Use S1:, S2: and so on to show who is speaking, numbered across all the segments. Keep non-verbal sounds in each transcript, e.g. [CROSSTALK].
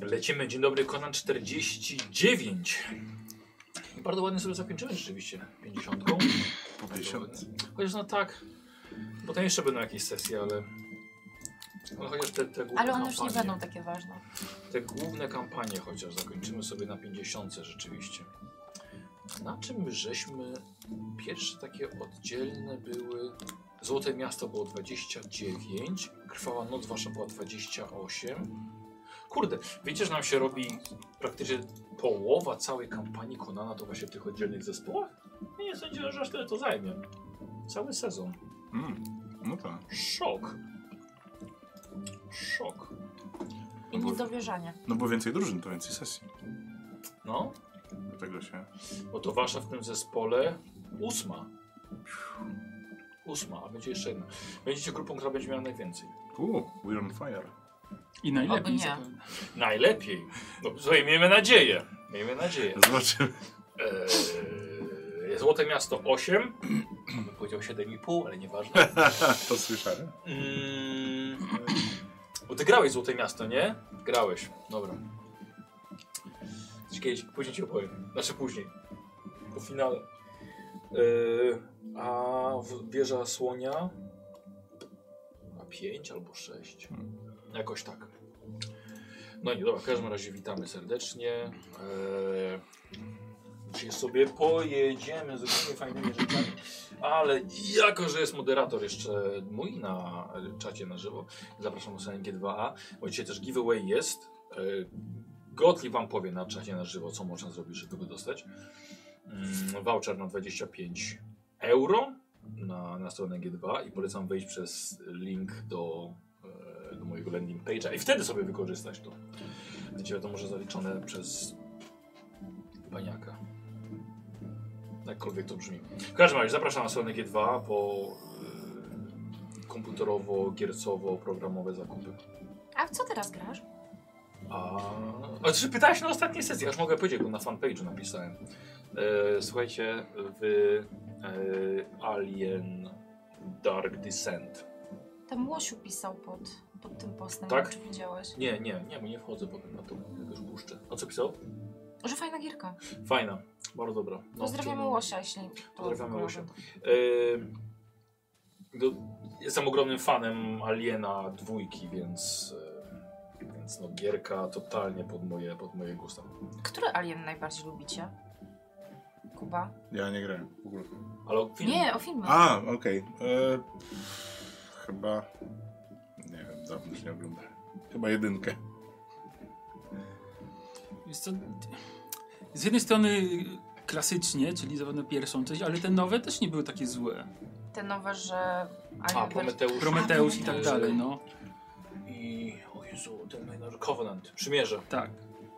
S1: Lecimy, dzień dobry, Conan 49. I bardzo ładnie sobie zakończymy rzeczywiście 50.
S2: Po 50.
S1: Chociaż no tak, potem jeszcze będą jakieś sesje, ale... No chociaż te, te główne
S3: Ale one już nie
S1: kampanie-
S3: będą takie ważne.
S1: Te główne kampanie chociaż zakończymy sobie na 50 rzeczywiście. Na czym żeśmy... Pierwsze takie oddzielne były... Złote Miasto było 29, Krwawa Noc Wasza była 28. Kurde, wiecie, że nam się robi praktycznie połowa całej kampanii Konana to właśnie w tych oddzielnych zespołach? Ja nie sądziłem, że aż tyle to zajmie. Cały sezon.
S2: Mm, no tak.
S1: Szok. Szok.
S3: I niedowierzanie.
S2: No bo więcej drużyn, to więcej sesji.
S1: No,
S2: Dlatego się.
S1: bo to wasza w tym zespole ósma. Ósma, a będzie jeszcze jedna. Będziecie grupą, która będzie miała najwięcej.
S2: Uuu, we're on fire.
S4: I
S3: Oby
S4: najlepiej
S3: nie.
S4: zapewne.
S1: Najlepiej. No słuchaj, miejmy nadzieję. Miejmy nadzieję.
S2: Zobaczymy. [LAUGHS]
S1: Eee, Złote Miasto 8. Bym powiedział 7,5, ale nieważne.
S2: to słyszałem.
S1: Mm, bo ty grałeś Złote Miasto, nie? Grałeś, dobra. Coś Kiedyś, później ci opowiem. Znaczy później. Po finale. Yy, a w- wieża słonia? A 5 albo 6. Jakoś tak. No i dobra, w każdym razie witamy serdecznie. Yy, Dzisiaj sobie pojedziemy, zrobimy fajnymi rzeczami. Ale jako, że jest moderator jeszcze mój na czacie na żywo, zapraszam do SNG2A, bo dzisiaj też giveaway jest. E, Gotli wam powie na czacie na żywo, co można zrobić, żeby go dostać. Mm, Voucher na 25 euro na, na stronę G2 i polecam wejść przez link do, e, do mojego landing page'a i wtedy sobie wykorzystać to. Będzie wiadomo, że zaliczone przez baniaka. Jakkolwiek to brzmi. W każdym razie zapraszam na stronę G2 po y, komputerowo-giercowo-programowe zakupy.
S3: A w co teraz grasz?
S1: A, a czy pytałeś na ostatniej sesji? Aż mogę powiedzieć, bo na fanpage'u napisałem. E, słuchajcie, w e, Alien Dark Descent.
S3: Tam Łosiu pisał pod, pod tym postem,
S1: Tak?
S3: tak? czy widziałeś.
S1: Nie, nie, nie, bo nie wchodzę potem na to, jak już puszczę. A co pisał?
S3: Że fajna gierka.
S1: No, Fajna, bardzo dobra. No,
S3: Pozdrawiamy
S1: czyli-
S3: Łosia, jeśli... to
S1: Pozdrawiamy
S3: kojarzy.
S1: Łosia. E, do, jestem ogromnym fanem Aliena dwójki, więc, e, więc no, gierka totalnie pod moje, pod moje gusta.
S3: Który alien najbardziej lubicie? Kuba?
S2: Ja nie grałem w ogóle.
S1: Ale o film,
S3: Nie, o filmach.
S2: A, okej. E, Chyba. Nie wiem, dawno już nie oglądałem. Chyba jedynkę.
S4: Wiesz co, z jednej strony klasycznie, czyli zapewne pierwszą część, ale te nowe też nie były takie złe.
S3: Te nowe, że...
S1: a
S3: Alien
S1: Prometeusz.
S4: Prometeusz i tak dalej, no.
S1: I o Jezu, ten najnor- Covenant, przymierze.
S4: Tak.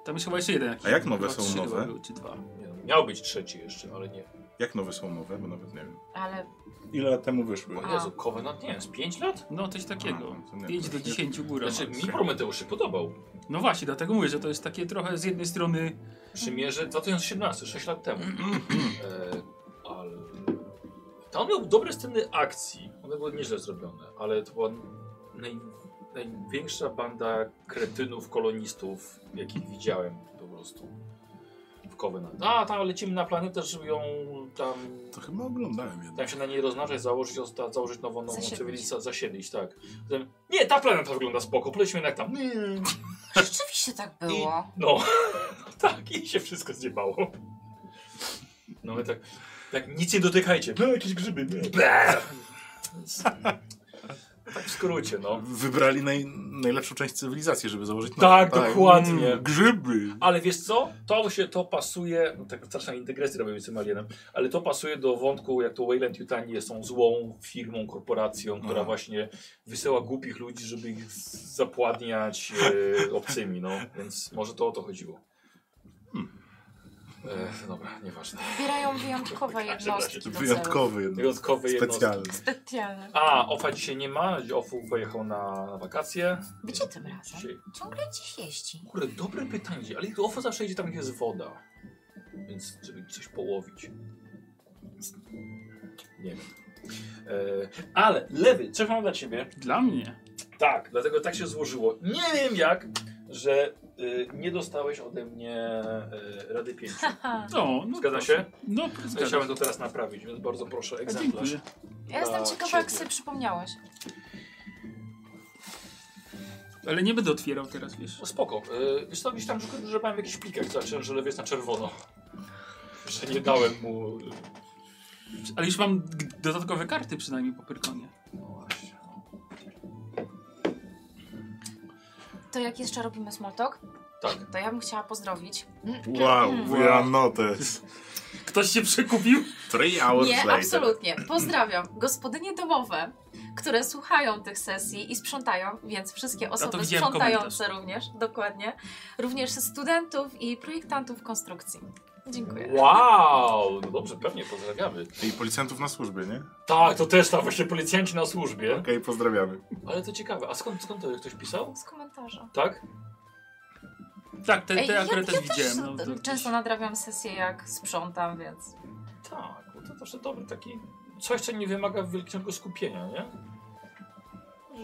S4: Tam jest chyba jeszcze jeden jakiś.
S2: A jak nowe
S4: chyba
S2: są
S4: trzy
S2: nowe?
S4: chyba były, czy dwa.
S1: Nie, no, miał być trzeci jeszcze, ale nie.
S2: Jak nowe są nowe, bo nawet nie wiem.
S1: [LAUGHS]
S3: Ale
S2: Ile lat temu wyszły?
S1: O Jezu, Covenant nie wiem, z 5 lat?
S4: No, coś takiego.
S2: A, to nie,
S4: 5
S2: to
S4: do
S2: już nie-
S4: 10 góra.
S1: Znaczy,
S4: max.
S1: mi Prometeusz się podobał.
S4: No właśnie, dlatego mówię, że to jest takie trochę z jednej strony
S1: Przymierze 2017, 6 lat temu. e, ale... Tam miał dobre sceny akcji. One były nieźle zrobione, ale to była naj... największa banda kretynów, kolonistów, jakich widziałem po prostu. W Covenant. A, tam lecimy na planetę, żeby ją tam
S2: To chyba oglądałem jednak.
S1: Tam Tak się na niej rozmnażać, założyć, osta- założyć nową, nową
S3: Zasiedlić.
S1: cywilizację, zasiedlić, tak. Potem, nie, ta planeta wygląda spoko, polećmy jednak tam. Mm.
S3: rzeczywiście tak było.
S1: No, [LAUGHS] tak, i się wszystko zjebało. No my tak, tak nic nie dotykajcie. No, jakieś grzyby. nie. Bleh. Więc- [LAUGHS] Tak w skrócie, no.
S2: Wybrali naj, najlepszą część cywilizacji, żeby założyć
S1: Tak, dokładnie.
S2: grzyby.
S1: Ale wiesz co? To się to pasuje. No, tak straszna integresja robię z tym alienem, ale to pasuje do wątku, jak to Wayland Yutani są złą firmą, korporacją, która
S2: Aha.
S1: właśnie wysyła głupich ludzi, żeby ich z- zapładniać e, obcymi, no. Więc może to o to chodziło. E, dobra, nieważne. [LAUGHS]
S3: Wybierają wyjątkowe
S1: W każdym razie
S3: jednostki do celu.
S2: Wyjątkowy jednak.
S1: Wyjątkowe jednostki.
S2: Specjalny.
S3: Specjalne.
S1: A, Ofa dzisiaj nie ma. Ofu pojechał na, na wakacje.
S3: Gdzie tym razem?
S1: Dzisiaj
S3: Ciągle gdzieś jeździ.
S1: Kurde, dobre pytanie, ale ofo zawsze idzie tam, gdzie jest woda. Więc żeby coś połowić. Nie wiem. E, ale, lewy, coś mam dla ciebie.
S4: dla mnie.
S1: Tak, dlatego tak się złożyło. Nie wiem jak, że y, nie dostałeś ode mnie y, Rady 5.
S3: Aha.
S4: O, no
S1: Zgadza
S4: proszę.
S1: się?
S4: No, zgadza
S1: Chciałem tak
S4: się.
S1: to teraz naprawić, więc bardzo proszę,
S4: A,
S1: egzemplarz.
S4: Dziękuję.
S3: Ja jestem
S1: dla
S3: ciekawa, jak
S1: ciebie.
S3: sobie przypomniałeś.
S4: Ale nie będę otwierał teraz, wiesz.
S1: No Spoko. Y, Wiesz co, gdzieś tam szukam, że mam jakiś plikach, zobaczyłem, że lewy jest na czerwono. Że nie dałem mu...
S4: Ale już mam g- dodatkowe karty przynajmniej po Pyrkonie.
S1: No właśnie.
S3: To jak jeszcze robimy smoltok,
S1: Tak.
S3: to ja bym chciała pozdrowić.
S2: Wow, we are noticed.
S4: Ktoś się przekupił?
S2: Three hours
S3: Nie,
S2: later.
S3: absolutnie. Pozdrawiam gospodynie domowe, które słuchają tych sesji i sprzątają, więc wszystkie osoby
S4: widziałem
S3: sprzątające również, dokładnie. Również studentów i projektantów konstrukcji. Dziękuję.
S1: Wow! No dobrze, pewnie pozdrawiamy.
S2: I policjantów na służbie, nie? Okej,
S1: Tak, to też tam właśnie policjanci na służbie.
S2: pozdrawiamy.
S1: Ale to ciekawe, a skąd, skąd to ktoś pisał?
S3: Z komentarza.
S1: Tak?
S4: Tak, te,
S3: Ej,
S4: te
S3: ja-
S4: akurat
S3: ja
S4: też widziałem. No,
S3: też
S4: to-
S3: często nadrabiam sesję, jak sprzątam, więc
S1: Tak, no to zawsze dobry taki... Coś, co nie wymaga wielkiego skupienia, nie?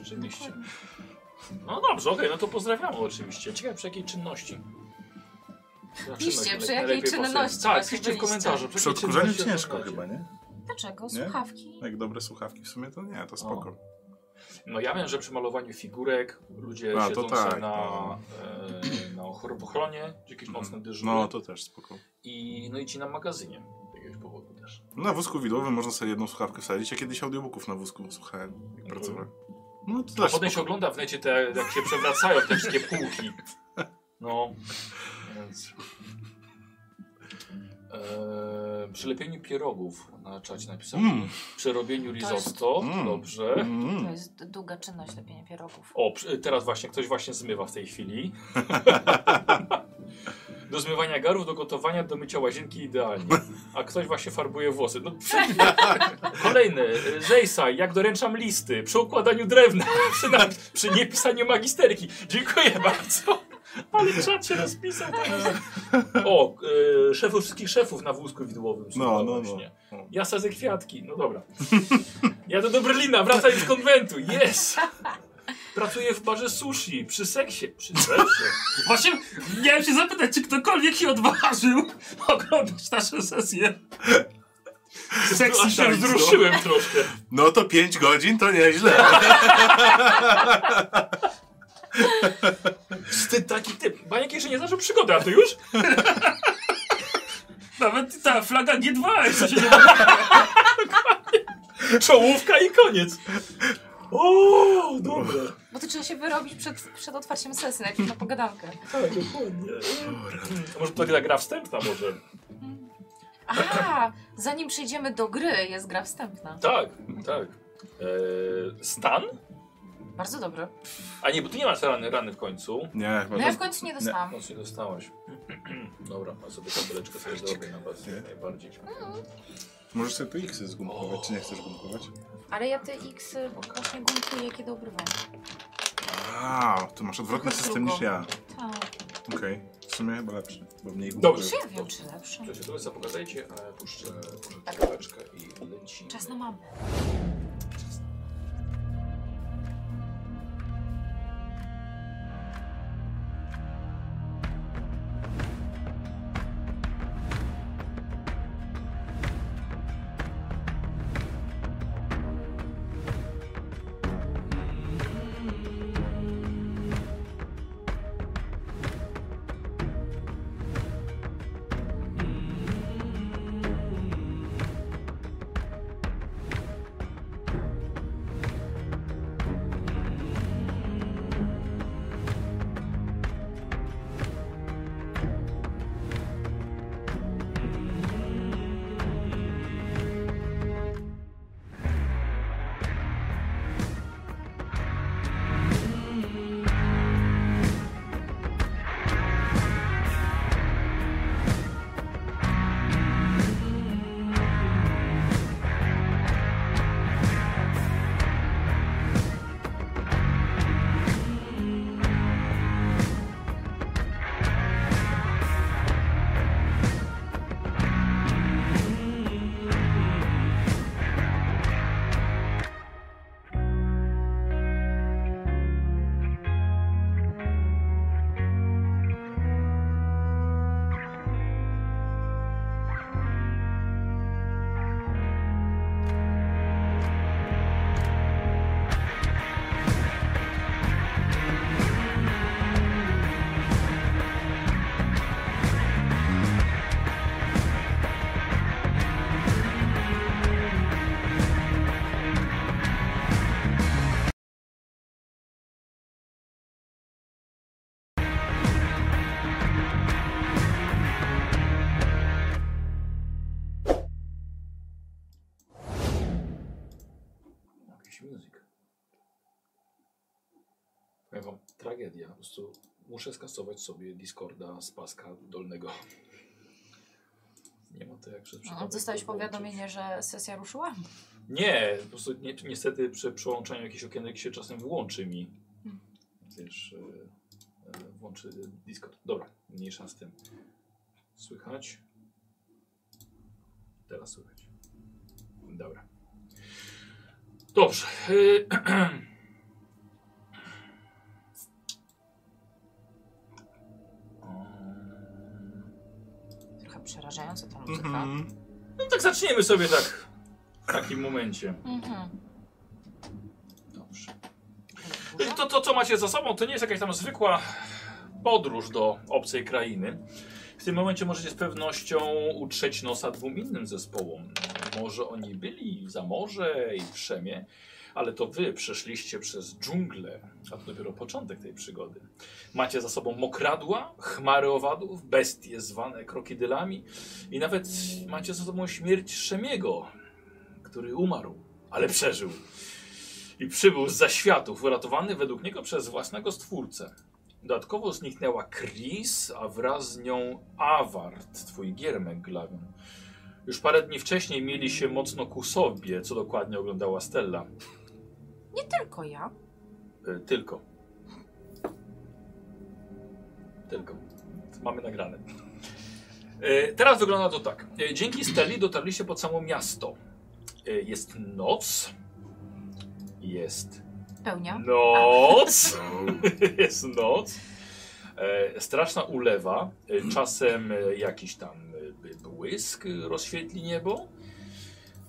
S1: Rzeczywiście. No dobrze, okej, no to pozdrawiamy oczywiście. Ciekawe przy jakiej czynności. Zobaczymy,
S3: Piszcie,
S1: jak
S3: przy jakiej
S1: najlepiej powstaje.
S3: czynności
S1: Tak,
S3: właśnie
S1: piszcie w
S3: byliście.
S1: komentarzu. przy
S2: Przy
S1: jakiej
S2: odkurzeniu
S1: czynności
S2: ciężko
S1: rozmawiacie.
S2: chyba, nie?
S3: dlaczego?
S2: Nie?
S3: Słuchawki?
S2: Jak dobre słuchawki w sumie, to nie, to spoko.
S1: No ja wiem, że przy malowaniu figurek ludzie
S2: A, to
S1: siedzący
S2: tak,
S1: na,
S2: no.
S1: e, na ochronie, gdzie jakieś
S2: Mhm.
S1: nocne dyżury
S2: No, to też spoko.
S1: i, no i ci na magazynie z jakiegoś powodu też.
S2: Na wózku widłowym można sobie jedną słuchawkę wsadzić. Ja kiedyś audiobooków na wózku słuchałem, jak pracowałem. No to
S1: A
S2: też
S1: potem się
S2: spoko.
S1: ogląda w necie, te, jak się przewracają te wszystkie półki. No. Więc... E, przy lepieniu pierogów na czacie napisałem.
S2: Mm.
S1: Przy robieniu
S3: jest-
S1: risotto,
S2: Mm.
S1: dobrze.
S3: To
S2: Mm.
S3: jest długa czynność lepienie pierogów.
S1: O, przy- teraz właśnie, ktoś właśnie zmywa w tej chwili. Do zmywania garów, do gotowania, do mycia łazienki idealnie. A ktoś właśnie farbuje włosy. No, kolejny, y, Zejsaj, jak doręczam listy, przy układaniu drewna, [LAUGHS] przy, na, przy niepisaniu magisterki. Dziękuję bardzo. Ale czat się rozpisał. tak. O, y, szefów wszystkich szefów na wózku widłowym.
S2: No,
S1: No,
S2: no, no.
S1: właśnie. Ja sadzę kwiatki, no dobra. Ja do Berlina, wracam z konwentu, yes! Pracuję w barze sushi, przy seksie, przy [LAUGHS] seksie.
S4: Właśnie miałem się zapytać, czy ktokolwiek się odważył oglądać nasze sesje. Sexy
S1: Aż się
S4: time, co?
S1: wzruszyłem troszkę.
S2: No to 5 godzin to nieźle.
S1: Wstyd taki typ. Baniek jeszcze nie zaczął przygody, a ty już?
S4: Nawet ta flaga G2 jeszcze się nie
S1: Czołówka i koniec. O, dobra.
S3: Bo to trzeba się wyrobić przed, przed otwarciem sesji, najpierw na pogadankę.
S2: [LAUGHS]
S1: Tak, dokładnie. A może to gra wstępna może?
S3: Aha, zanim przejdziemy do gry, jest gra wstępna.
S1: Tak, tak. Eee, stan?
S3: Bardzo dobry.
S1: A nie, bo ty nie masz rany, rany w końcu.
S2: Nie, chyba tak.
S3: No
S2: to-
S3: ja w końcu nie dostałam.
S1: No się dostałaś. [CLEARS THROAT] Dobra, a sobie kabeleczkę sobie zrobię na was
S2: Nie.
S1: najbardziej.
S2: Możesz sobie tu X zgumkować, czy nie chcesz gumkować?
S3: Ale ja te X y, właśnie gumkuję, kiedy obrywam.
S2: A, to masz odwrotny
S3: Trochę
S2: system
S3: drugą.
S2: niż ja.
S3: Tak.
S2: Okej, w sumie chyba lepszy, bo mniej
S1: Dobrze.
S3: Czy ja wiem, czy lepszy?
S1: To się trochę zapogadajcie, a ja puszczę, puszczę kabeleczkę i lecimy.
S3: Czas na mamę.
S1: British Music. Powiem wam, tragedia. Po prostu muszę skasować sobie Discorda z paska dolnego. Nie ma to jak przez
S3: No,
S1: przypadek
S3: dostałeś
S1: włączyć.
S3: powiadomienie, że sesja ruszyła?
S1: Nie, po prostu nie, niestety przy przełączaniu jakichś okienek się czasem włączy mi.
S3: Mhm.
S1: Wiesz, e, e, włączy Discord. Dobra, mniejsza z tym. Słychać? Teraz słychać. Dobra. Dobrze. y,
S3: Trochę przerażająca ta muzyka.
S4: Mhm.
S1: No tak zaczniemy sobie tak w takim momencie.
S3: Mhm.
S1: Dobrze.
S3: Duża?
S1: To, to, co macie za sobą, to nie jest jakaś tam zwykła podróż do obcej krainy. W tym momencie możecie z pewnością utrzeć nosa dwóm innym zespołom. Może oni byli w Zamorze i w Szemie, ale to wy przeszliście przez dżunglę, a to dopiero początek tej przygody. Macie za sobą mokradła, chmary owadów, bestie zwane krokodylami i nawet macie za sobą śmierć Szemiego, który umarł, ale przeżył i przybył z zaświatów, uratowany według niego przez własnego stwórcę. Dodatkowo zniknęła Chris, a wraz z nią Awart, twój giermek glawion. Już parę dni wcześniej mieli się mocno ku sobie, co dokładnie oglądała Stella.
S3: Nie tylko ja.
S1: Y, tylko. Tylko. Mamy nagrane. Y, Teraz wygląda to tak. Y, Dzięki Steli dotarliście pod samo miasto. Y, Jest noc. Jest [LAUGHS]
S3: Pełnia.
S1: noc.
S2: O,
S1: jest noc. E, straszna ulewa, e, czasem e, jakiś tam e, błysk e, rozświetli niebo,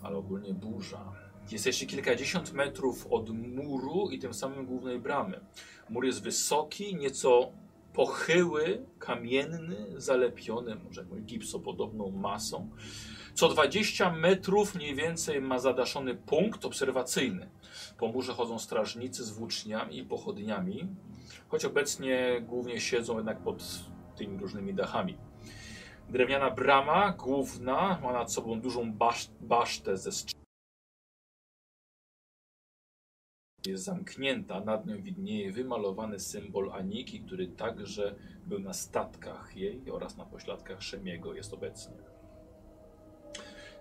S1: ale ogólnie burza. Jesteście kilkadziesiąt metrów od muru i tym samym głównej bramy. Mur jest wysoki, nieco pochyły, kamienny, zalepiony może jakąś gipsopodobną masą. Co 20 metrów mniej więcej ma zadaszony punkt obserwacyjny. Po murze chodzą strażnicy z włóczniami i pochodniami, choć obecnie głównie siedzą jednak pod tymi różnymi dachami. Drewniana brama główna ma nad sobą dużą basz basztę ze strz- Jest zamknięta, nad nią widnieje wymalowany symbol Aniki, który także był na statkach jej oraz na pośladkach Szemiego jest obecnie.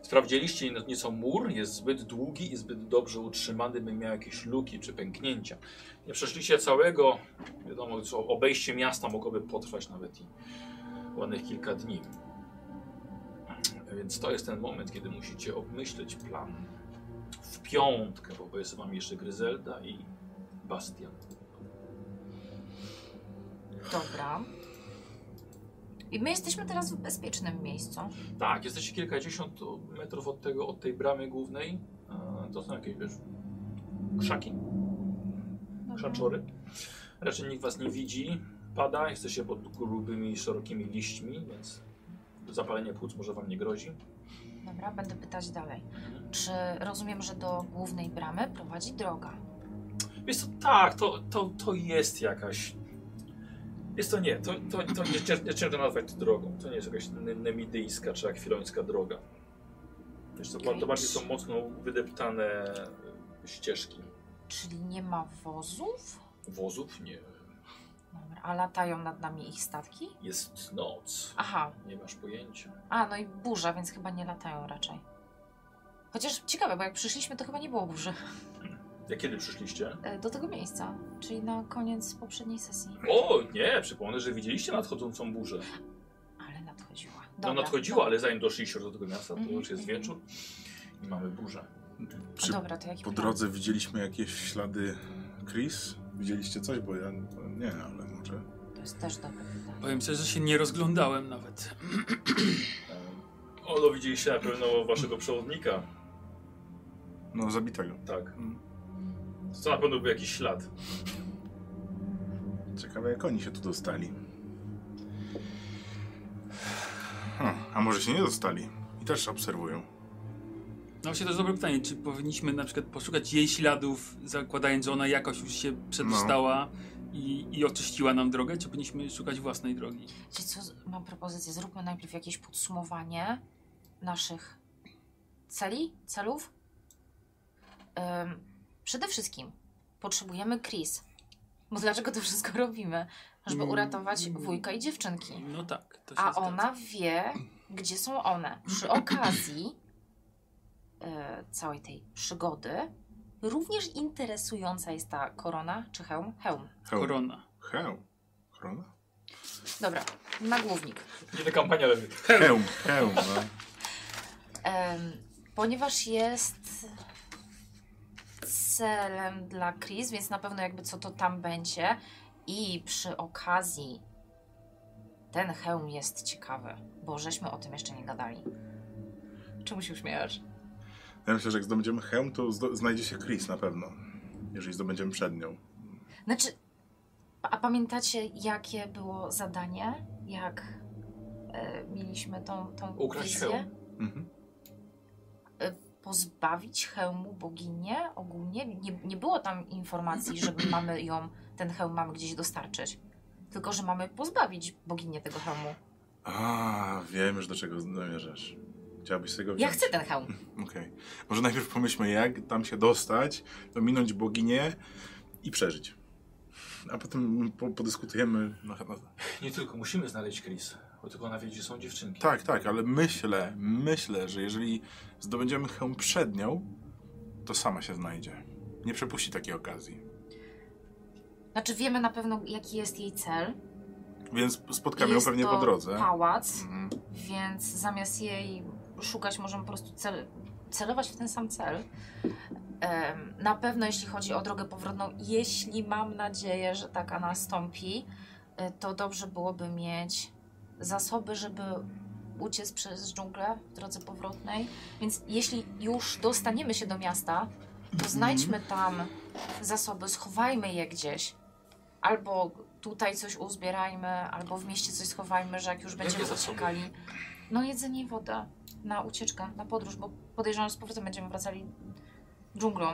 S1: Sprawdziliście nieco mur, jest zbyt długi i zbyt dobrze utrzymany, by miał jakieś luki czy pęknięcia. Nie przeszliście całego, wiadomo, co obejście miasta mogłoby potrwać nawet i ładnych kilka dni. Więc to jest ten moment, kiedy musicie obmyśleć plan w piątkę, bo jest wam jeszcze Gryzelda i Bastian.
S3: Dobra. I my jesteśmy teraz w bezpiecznym miejscu.
S1: Tak, jesteście kilkadziesiąt metrów od tego, od tej bramy głównej. E, To są jakieś, wiesz, krzaki, krzaczory. Raczej nikt was nie widzi. Pada, jesteście pod grubymi, szerokimi liśćmi, więc zapalenie płuc może wam nie grozi.
S3: Dobra, będę pytać dalej. Czy rozumiem, że do głównej bramy prowadzi droga?
S1: Wiesz co, tak, to, to, to jest jakaś... Jest to nie, to, to, to nie, cię- nie ciężko nazwać to drogą. To nie jest jakaś ne- nemidyjska czy akwilońska droga. Wiesz co, to
S3: Okej.
S1: bardziej są mocno wydeptane e, ścieżki.
S3: Czyli nie ma wozów?
S1: Wozów nie.
S3: Dobra, a latają nad nami ich statki?
S1: Jest noc.
S3: Aha,
S1: Nie masz pojęcia.
S3: a no i burza, więc chyba nie latają raczej. Chociaż ciekawe, bo jak przyszliśmy, to chyba nie było burzy.
S1: Jak kiedy przyszliście?
S3: E, Do tego miejsca, czyli na koniec poprzedniej sesji.
S1: O, nie, przypomnę, że widzieliście nadchodzącą burzę.
S3: Ale nadchodziła.
S1: No
S3: Dobra,
S1: nadchodziła, ale zanim doszliście do tego miasta, to
S3: Mhm,
S1: już jest
S3: mhm.
S1: wieczór i mamy burzę.
S3: A
S2: Czy
S3: Dobra, to jaki
S2: po
S3: plan?
S2: drodze widzieliśmy jakieś ślady Chris? Widzieliście coś? Bo ja nie, ale może.
S3: To jest też dobre pytanie.
S4: Powiem szczerze, że się nie rozglądałem nawet.
S1: E, O, no widzieliście na pewno waszego przewodnika,
S2: No, zabitego.
S1: tak.
S2: Mm.
S1: To na pewno był jakiś ślad.
S2: Ciekawe, jak oni się tu dostali. Hm, a może się nie dostali? I też obserwują.
S4: No właśnie to jest dobre pytanie, czy powinniśmy na przykład poszukać jej śladów, zakładając, że ona jakoś już się przedostała i, i oczyściła nam drogę, czy powinniśmy szukać własnej drogi?
S3: Czyli co, z- mam propozycję, zróbmy najpierw jakieś podsumowanie naszych celi, celów. Ym, Przede wszystkim potrzebujemy Chris. Bo dlaczego to wszystko robimy? Żeby
S4: Mm.
S3: uratować wujka i dziewczynki.
S4: No tak, to się
S3: A
S4: zgadza.
S3: ona wie, gdzie są one. Przy okazji e, całej tej przygody również interesująca jest ta korona czy hełm? Hełm.
S2: Hełm.
S4: Korona.
S2: Hełm. Korona?
S3: Dobra, nagłównik.
S1: Nie ta kampania lewy.
S2: Hełm. Hełm, no.
S3: Em, ponieważ jest celem dla Chris, więc na pewno jakby co to tam będzie. I przy okazji ten hełm jest ciekawy, bo żeśmy o tym jeszcze nie gadali. Czemu się uśmiechasz?
S2: Ja myślę, że jak zdobędziemy hełm, to zdo- znajdzie się Chris na pewno. Jeżeli zdobędziemy przed nią.
S3: Znaczy, a pamiętacie jakie było zadanie? Jak e, mieliśmy tą, tą
S1: Ukraść
S3: wizję?
S1: hełm.
S2: Mhm.
S3: pozbawić hełmu boginię ogólnie? Nie, nie było tam informacji, że mamy ją, ten hełm mamy gdzieś dostarczyć. Tylko, że mamy pozbawić boginię tego hełmu.
S2: A, wiem już do czego zmierzasz. Chciałabyś sobie go
S3: Ja
S2: wziąć?
S3: chcę ten hełm.
S2: Okej. Może najpierw pomyślmy, jak tam się dostać, dominąć boginię i przeżyć. A potem po, podyskutujemy. No, no,
S1: Nie tylko, musimy znaleźć Chris. Bo tylko ona wie, gdzie są dziewczynki.
S2: tak, tak, ale myślę, myślę, że jeżeli zdobędziemy hełm przed nią, to sama się znajdzie. Nie przepuści takiej okazji.
S3: Znaczy wiemy na pewno, jaki jest jej cel.
S2: Więc spotkamy ją
S3: jest
S2: pewnie
S3: to
S2: po drodze.
S3: pałac,
S2: Mhm.
S3: więc zamiast jej szukać, możemy po prostu cel, celować w ten sam cel. Em, Na pewno, jeśli chodzi o drogę powrotną, jeśli mam nadzieję, że taka nastąpi, y, to dobrze byłoby mieć zasoby, żeby uciec przez dżunglę w drodze powrotnej. Więc jeśli już dostaniemy się do miasta, to znajdźmy tam zasoby, schowajmy je gdzieś. Albo tutaj coś uzbierajmy, albo w mieście coś schowajmy, że jak już będziemy
S1: zasoby?
S3: uciekali. No jedzenie i woda na ucieczkę, na podróż, bo podejrzewam, że z powrotem będziemy wracali dżunglą.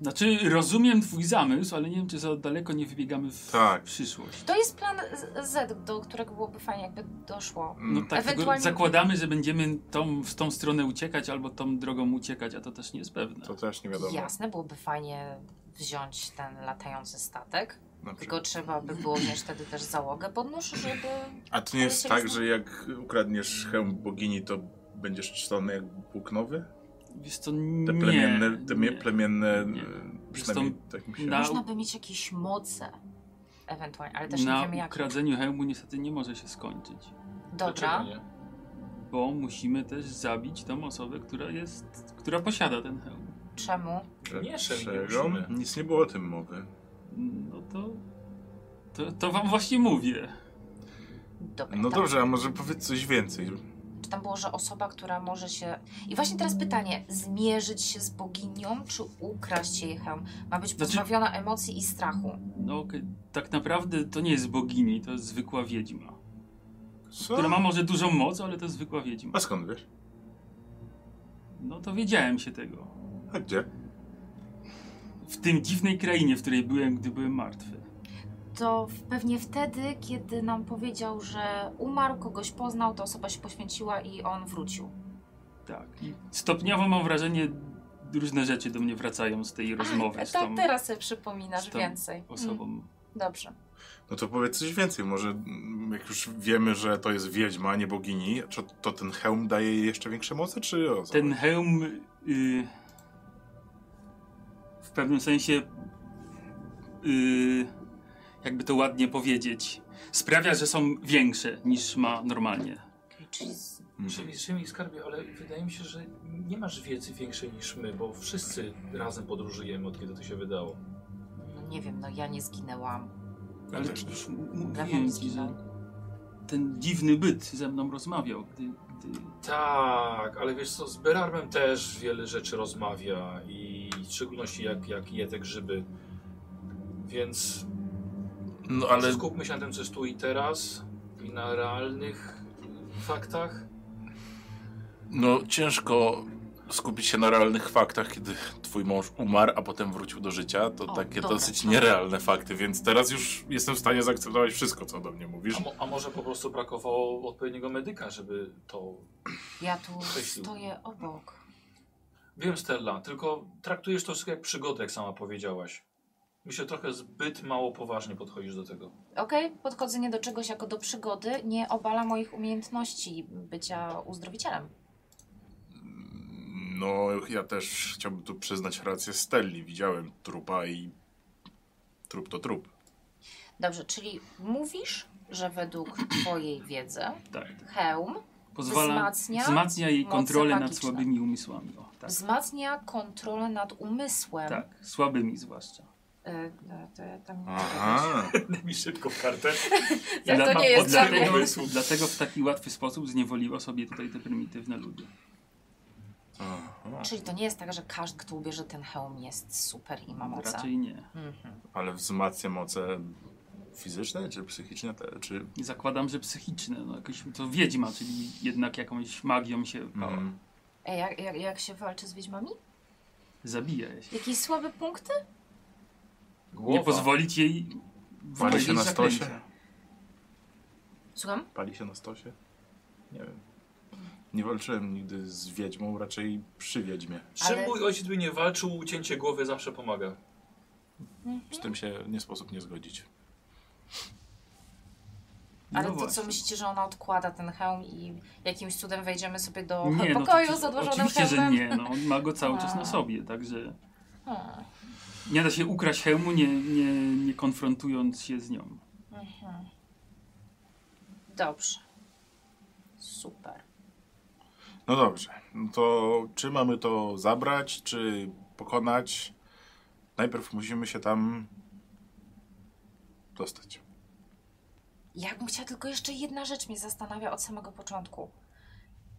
S4: Znaczy, rozumiem twój zamysł, ale nie wiem, czy za daleko nie wybiegamy w
S2: Tak.
S4: przyszłość.
S3: To jest plan Z- Z, do którego byłoby fajnie, jakby doszło.
S2: Mm.
S4: No tak, tylko
S3: Ewentualnie-
S4: zakładamy, że będziemy tą, w tą stronę uciekać albo tą drogą uciekać, a to też nie jest pewne.
S2: To też nie wiadomo.
S3: Jasne, byłoby fajnie wziąć ten latający statek,
S2: Na
S3: tylko trzeba by było wziąć wtedy też załogę pod nóż, żeby...
S2: A to nie
S3: Ale
S2: jest
S3: się
S2: tak,
S3: rozna-
S2: że jak ukradniesz hełm bogini, to będziesz czczony jak Bóg nowy?
S4: Wiesz co,
S2: Te
S4: nie,
S2: plemienne, te mie-
S4: nie.
S2: plemienne
S4: Nie.
S2: e,
S4: Zresztą
S2: przynajmniej tak mi się
S4: na-
S3: Można by mieć jakieś moce, ewentualnie, ale też nie wiemy
S4: Na
S3: jak.
S4: ukradzeniu hełmu niestety nie może się skończyć,
S1: Dlaczego
S3: Dobra,
S1: nie?
S4: bo musimy też zabić tą osobę, która jest, która posiada ten hełm.
S3: czemu?
S1: Nie, Szemi, nie
S2: Dlaczego?
S1: musimy.
S2: Nic nie było o tym mowy.
S4: No to, to, to wam właśnie mówię.
S3: Dobra,
S2: No
S3: tak.
S2: dobrze, a może powiedz coś więcej.
S3: Czy tam było, że osoba, która może się... I właśnie teraz pytanie, zmierzyć się z boginią, czy ukraść jej hełm? Ma być
S4: Znaczy-
S3: pozbawiona emocji i strachu.
S4: No okej, tak naprawdę to nie jest bogini, to jest zwykła wiedźma.
S2: Co?
S4: Która ma może dużą moc, ale to jest zwykła wiedźma.
S2: A skąd wiesz?
S4: No to wiedziałem się tego.
S2: A gdzie?
S4: W tym dziwnej krainie, w której byłem, gdy byłem martwy.
S3: To w- pewnie wtedy, kiedy nam powiedział, że umarł, kogoś poznał, ta osoba się poświęciła i on wrócił.
S4: Tak. I stopniowo mam wrażenie, różne rzeczy do mnie wracają z tej rozmowy
S3: A,
S4: z
S3: ta-
S4: tą
S3: teraz sobie przypominasz
S4: z tą
S3: więcej. Mm,
S4: osobą.
S3: dobrze.
S2: No to powiedz coś więcej. Może mm, jak już wiemy, że to jest wiedźma, a nie bogini, czy to ten hełm daje jej jeszcze większe moce, czy o co?
S4: Ten hełm y, w pewnym sensie, y, jakby to ładnie powiedzieć, sprawia, że są większe niż ma normalnie.
S3: Okej, czyli z-
S2: Mhm.
S1: Szemi, Szemi, skarbie, ale wydaje mi się, że nie masz wiedzy większej niż my, bo wszyscy razem podróżujemy, od kiedy to się wydało.
S3: no nie wiem, no ja nie zginęłam.
S2: Ja
S4: Ale
S2: też nie.
S4: już m- mówiłem ci,
S3: Grafiński,
S4: że
S3: no.
S4: ten dziwny byt ze mną rozmawiał, gdy, gdy
S1: Tak, ale wiesz co, z Berarmem też wiele rzeczy rozmawia i w szczególności jak, jak je te grzyby. Więc
S2: No
S1: ale...
S2: ale
S1: skupmy się na tym, co jest tu i teraz i na realnych faktach.
S2: no, ciężko skupić się na realnych faktach, kiedy twój mąż umarł, a potem wrócił do życia. To
S3: O,
S2: takie
S3: dobra,
S2: dosyć
S3: tak.
S2: nierealne fakty, więc teraz już jestem w stanie zaakceptować wszystko, co do mnie mówisz.
S1: A, mo a może po prostu brakowało odpowiedniego medyka, żeby to...
S3: Ja tu
S1: Chwycił.
S3: stoję obok.
S1: Wiem, Stella, tylko traktujesz to wszystko jak przygodę, jak sama powiedziałaś. Myślę, trochę zbyt mało poważnie podchodzisz do tego.
S3: Okej, podchodzenie do czegoś jako do przygody nie obala moich umiejętności bycia uzdrowicielem.
S2: No, ja też chciałbym tu przyznać rację Stelli. Widziałem trupa i trup to trup.
S3: Dobrze, czyli mówisz, że
S4: [CLEARS THROAT]
S3: według twojej wiedzy
S4: Tak.
S3: hełm
S4: Pozwala,
S3: Wzmacnia
S4: wzmacnia, jej
S3: moce
S4: kontrolę nad
S3: magiczne.
S4: słabymi umysłami. O, tak.
S3: wzmacnia kontrolę nad umysłem.
S4: tak, słabymi zwłaszcza.
S3: Y, no, to ja tam nie mogę
S2: Aha.
S1: Daj mi szybko kartę.
S3: Tak, to
S4: dla-
S3: nie jest
S4: od-
S3: dla
S4: dlatego,
S3: mnie.
S4: dlatego w taki łatwy sposób zniewoliła sobie tutaj te prymitywne ludy.
S2: Aha.
S3: być. Czyli to nie jest tak, że każdy, kto ubierze ten hełm jest super i ma moce.
S4: Raczej nie.
S3: Mhm.
S2: Ale wzmacnia moce fizyczne czy psychiczne? Te, czy...
S4: Zakładam, że psychiczne. No jakoś to wiedźma, czyli jednak jakąś magią się bała.
S2: Mm.
S3: Ej, jak, jak, jak się walczy z wiedźmami?
S4: zabija się.
S3: Jakieś słabe punkty?
S1: Głowa.
S4: Nie pozwolić jej
S2: Pali
S4: wypełnić
S2: się na
S4: zaklęcia.
S2: stosie?
S3: Słucham?
S2: Pali się na stosie? Nie wiem. Nie walczyłem nigdy z wiedźmą, raczej przy wiedźmie.
S1: Czym
S3: Ale-
S1: mój ojciec by nie walczył, ucięcie głowy zawsze pomaga.
S2: Z tym się nie sposób nie zgodzić.
S4: No
S3: Ale to
S4: właśnie.
S3: co myślicie, że ona odkłada ten hełm i jakimś cudem wejdziemy sobie do
S4: Nie, no to-
S3: pokoju
S4: to-
S3: z odłożonym
S4: Oczywiście,
S3: hełmem?
S4: że nie. No, on ma go cały czas
S3: A.
S4: na sobie, także
S3: Hmm.
S4: nie da się ukraść hełmu, nie, nie, nie konfrontując się z nią.
S3: Mhm. Dobrze. Super.
S2: No dobrze. No to czy mamy to zabrać, czy pokonać? Najpierw musimy się tam dostać.
S3: Ja bym chciała tylko jeszcze jedna rzecz mnie zastanawia od samego początku.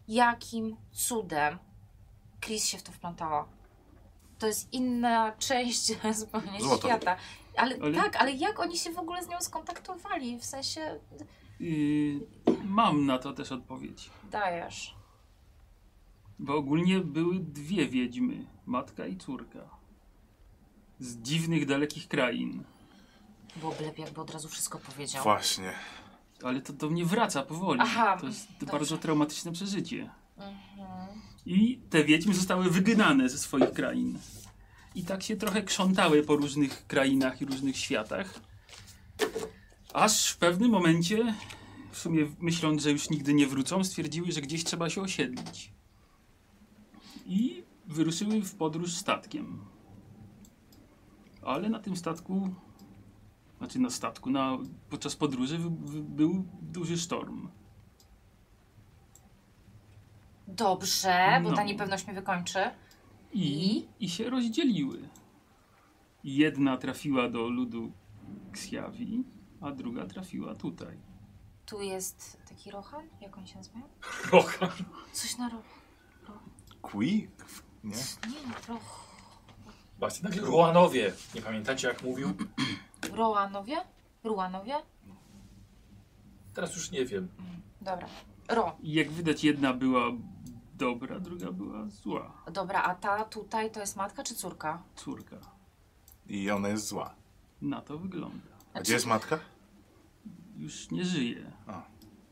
S3: Jakim cudem Chris się w to wplątała? To jest inna część [LAUGHS] zupełnie
S2: Złota.
S3: świata. Ale,
S4: Ale-
S3: tak, ale jak oni się w ogóle z nią skontaktowali? W sensie
S4: Yy, mam na to też odpowiedź.
S3: dajesz.
S4: Bo ogólnie były dwie wiedźmy, matka i córka. Z dziwnych, dalekich krain.
S3: Byłoby lepiej, jakby od razu wszystko powiedział.
S2: Właśnie.
S4: Ale to do mnie wraca powoli.
S3: Aha,
S4: to jest
S3: dobrze.
S4: bardzo traumatyczne przeżycie.
S3: Mhm.
S4: I te wiedźmy zostały wygnane ze swoich krain. I tak się trochę krzątały po różnych krainach i różnych światach. Aż w pewnym momencie, w sumie myśląc, że już nigdy nie wrócą, stwierdziły, że gdzieś trzeba się osiedlić. I wyruszyły w podróż statkiem. Ale na tym statku, znaczy na statku, na, podczas podróży wy, wy, był duży sztorm.
S3: Dobrze, bo
S4: No.
S3: ta niepewność mnie wykończy.
S4: I, I się rozdzieliły. Jedna trafiła do ludu Ksiawi, a druga trafiła tutaj.
S3: Tu jest taki Rohan, jak on się nazywa?
S1: Rocha.
S3: Coś na roch.
S2: Qui? Nie?
S3: Nie, roch.
S1: Patrzcie, nagle Ruanowie. Nie pamiętacie jak mówił?
S3: Roanowie? Ruanowie?
S1: Teraz już nie wiem.
S3: Dobra. Ro.
S4: I jak widać, jedna była dobra, druga była zła.
S3: Dobra, a ta tutaj to jest matka czy córka?
S4: Córka.
S2: I ona jest zła.
S4: Na to wygląda.
S2: A gdzie jest matka?
S4: Już nie żyje.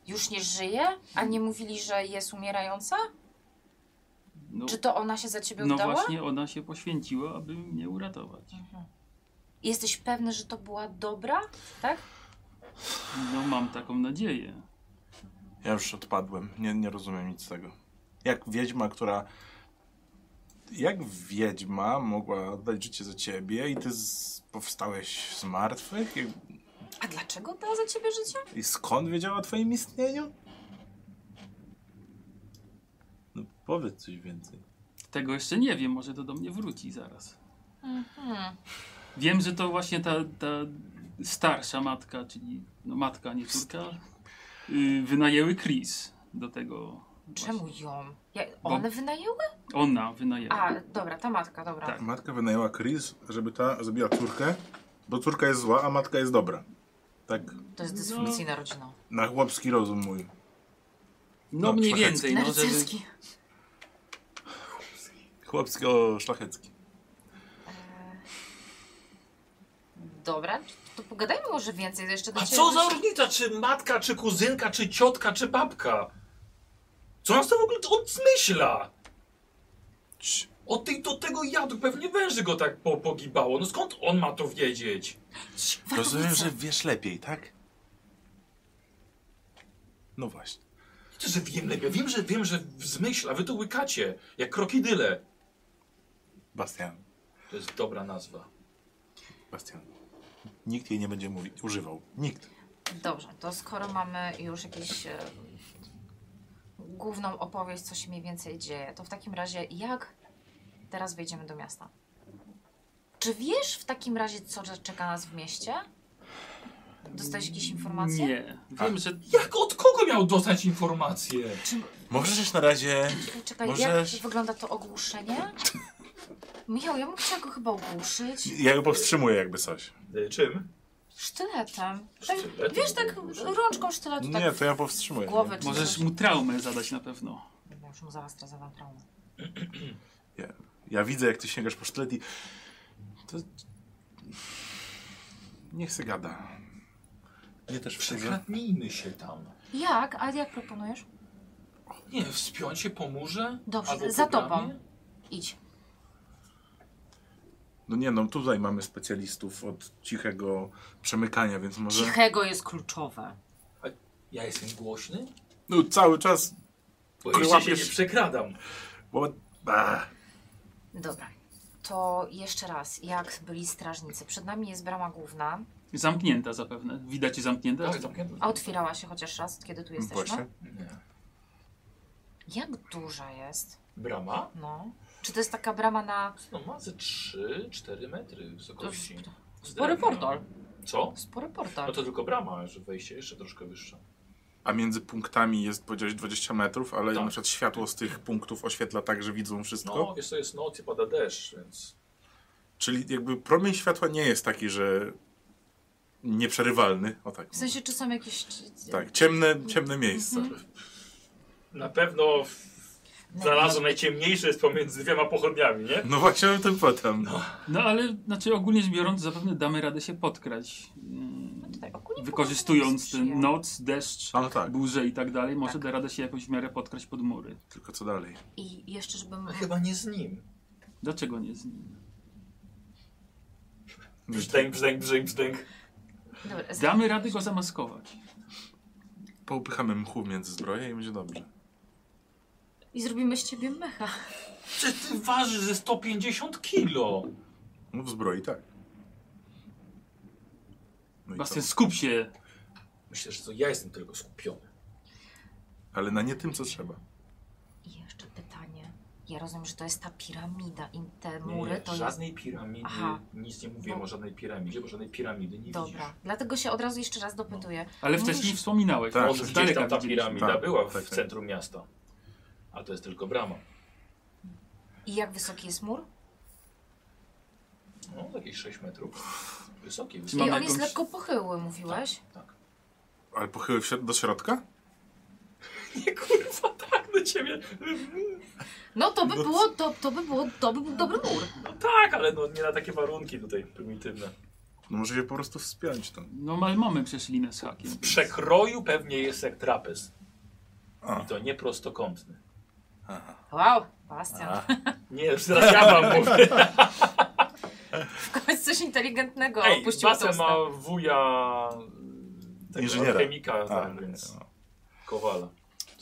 S3: Już nie żyje? A nie mówili, że jest umierająca?
S4: No,
S3: Czy to ona się za ciebie
S4: no
S3: oddała?
S4: właśnie, ona się poświęciła, aby mnie uratować.
S3: Mhm. Jesteś pewny, że to była dobra? Tak?
S4: No, mam taką nadzieję.
S2: Ja już odpadłem. Nie, nie rozumiem nic z tego. Jak wiedźma, która. Jak wiedźma mogła oddać życie za ciebie i ty z... powstałeś z martwych? Jak...
S3: A dlaczego dała za ciebie życie?
S2: I skąd wiedziała o twoim istnieniu? No powiedz coś więcej.
S4: Tego jeszcze nie wiem, może to do mnie wróci zaraz.
S3: Mhm.
S4: Wiem, że to właśnie ta, ta starsza matka, czyli no matka, nie córka, yy, wynajęły Chris do tego.
S3: Czemu
S4: właśnie.
S3: ją? Ja,
S4: Bo-
S3: one wynajęły?
S4: Ona wynajęła.
S3: A, dobra, ta matka, dobra.
S4: Tak.
S2: Matka wynajęła Chris, żeby ta zrobiła córkę, bo córka jest zła, a matka jest dobra. Tak
S3: To jest dysfunkcyjna rodzina.
S2: na chłopski rozum mój.
S4: no,
S2: no,
S4: mniej
S2: szlachecki.
S4: więcej, no, żeby,
S3: Narcyski.
S2: Chłopsko-szlachecki.
S3: Dobra, to pogadajmy może więcej, to jeszcze do
S1: A
S3: ciebie
S1: co za
S3: wrócę.
S1: różnica, czy matka, czy kuzynka, czy ciotka, czy babka? Co nas to w ogóle odmyśla?
S2: Cii.
S1: Od tej do tego jadu, pewnie węży go tak po, pogibało. No skąd on ma to wiedzieć?
S2: Rozumiem, że wiesz lepiej, tak? No właśnie.
S1: Ty, że wiem lepiej, wiem, że wiem, że zmyśla, wy to łykacie, jak krokodyle.
S2: Bastian.
S1: To jest dobra nazwa.
S2: Bastian. Nikt jej nie będzie mówił, używał. Nikt.
S3: Dobrze, to skoro mamy już jakąś e, główną opowieść, co się mniej więcej dzieje, to w takim razie jak teraz wejdziemy do miasta? Czy wiesz w takim razie, co że czeka nas w mieście? Dostałeś jakieś informacje?
S4: Nie. Wiem, że
S1: Jak od kogo miał dostać informacje?
S3: Czy,
S2: Możesz na razie...
S3: czekaj,
S2: Możesz-
S3: jak wygląda to ogłuszenie? Michał, ja bym chciała go chyba ogłuszyć.
S2: Ja go powstrzymuję jakby coś.
S1: Y, Czym?
S3: Sztyletem. Tak,
S1: Sztyletem
S3: wiesz, tak
S1: ogłuszyć?
S3: rączką sztyletu tak
S2: Nie, to ja powstrzymuję.
S3: Głowę
S2: nie?
S3: czy-
S4: możesz mu traumę zadać na pewno.
S3: Bo Już mu zaraz teraz zadam traumę.
S2: Ja widzę, jak ty sięgasz po sztylet i... To... Niech se gada. Nie też wstydzę.
S1: Przekradnijmy się tam.
S3: Jak? A jak proponujesz?
S1: Nie, wspiąć się po murze?
S3: Dobrze,
S1: Albo
S3: za
S1: po bramie?
S3: tobą. Idź.
S2: No nie, no tutaj mamy specjalistów od cichego przemykania, więc może...
S3: Cichego jest kluczowe.
S1: Ja jestem głośny?
S2: No cały czas...
S1: Bo
S2: Kurwa,
S1: jeszcze się nie
S2: wiesz-
S1: przekradam.
S2: Bo... Bah.
S3: Dobra. To jeszcze raz, jak byli strażnicy. Przed nami jest brama główna,
S4: Zamknięta zapewne. Widać zamknięte?
S1: Tak, zamknięte.
S3: a otwierała się chociaż raz, od kiedy tu jesteśmy.
S2: Właśnie.
S1: Nie.
S3: Jak duża jest?
S1: Brama?
S3: No. Czy to jest taka brama na...
S1: No ma ze 3-4 metry wysokości. Z
S3: Spory
S1: drewna.
S3: portal.
S1: Co?
S3: Spory
S1: No
S3: portal.
S1: to tylko brama, że wejście jeszcze troszkę wyższe.
S2: A między punktami jest powiedziałeś 20 metrów, ale
S1: Tak.
S2: na przykład światło z tych punktów oświetla tak, że widzą wszystko.
S1: No, wiesz, to jest noc i pada deszcz, więc...
S2: Czyli jakby promień światła nie jest taki, że nieprzerywalny. O tak.
S3: W sensie, Mhm. czy są jakieś...
S2: Tak, ciemne, ciemne miejsce.
S3: No.
S1: Na pewno w- znalazłem najciemniejsze jest pomiędzy dwiema pochodniami, nie?
S2: No właśnie o tym potem.
S1: Tak.
S4: No ale znaczy ogólnie rzecz biorąc, zapewne damy radę się podkrać. Mm,
S3: Tutaj ogólnie
S4: Wykorzystując
S3: pogoda jest
S4: ten
S3: przyjemna.
S4: noc, deszcz,
S2: No tak,
S4: burzę i tak dalej, może
S3: Tak.
S4: da radę się jakoś w miarę podkrać pod mury.
S2: tylko co dalej?
S3: I jeszcze, żebym...
S1: Chyba nie z nim.
S4: Dlaczego nie z nim?
S1: Brzdęk, brzdęk, brzdęk, brzdęk.
S3: Dobra,
S4: Damy radę go zamaskować.
S2: Poupychamy mchu między zbroje i będzie dobrze.
S3: I zrobimy z ciebie mecha.
S1: Przecież ty ważysz ze 150 kilo.
S2: No w zbroi tak. No i co?
S4: Bastian, skup się!
S1: Myślę, że to ja jestem tylko skupiony.
S2: Ale na nie tym, co trzeba.
S3: I jeszcze pytanie. Ja rozumiem, że to jest ta piramida i te
S1: Nie,
S3: mury to jest...
S1: żadnej piramidy,
S3: Aha.
S1: nic nie mówiłem
S3: Bo-
S1: o żadnej piramidzie, bo żadnej piramidy nie
S3: Dobra,
S1: widzisz.
S3: dlatego się od razu jeszcze raz dopytuję.
S4: Ale
S3: Mówisz-
S4: wcześniej wspominałeś.
S2: Tak,
S4: że
S1: Może
S2: że
S4: z
S1: gdzieś tam ta
S4: widzieliśmy.
S1: piramida
S2: Tak,
S1: była w
S2: tak, tak.
S1: centrum miasta. A to jest tylko brama.
S3: I jak wysoki jest mur?
S1: No, jakieś 6 metrów. Wysokie,
S4: Czy
S3: I
S1: wysokie.
S3: on
S4: mamy
S3: jest
S4: jakąś-
S3: lekko pochyły, mówiłeś?
S1: Tak. [LAUGHS]
S2: Ale pochyły w środ- do środka?
S1: Nie kurwa, tak do ciebie.
S3: No to by
S2: No
S3: było, to, to by było, to by był dobry mur.
S1: No tak, ale no, nie na takie warunki tutaj prymitywne.
S2: No może się po prostu wspiąć tam.
S4: No ale mamy przecież linę z hakiem.
S1: W przekroju pewnie jest jak trapez.
S2: A.
S1: I to nie prostokątny.
S2: Aha.
S3: Wow, Bastian,
S1: Tak.
S2: A.
S1: Nie, [LAUGHS] już teraz ja wam mówię.
S3: w końcu coś inteligentnego
S1: Ej,
S3: opuścił to
S1: Basen ma wuja... y, tego
S2: Inżyniera.
S1: Chemika,
S2: A,
S1: tak, więc...
S2: no.
S1: Kowala.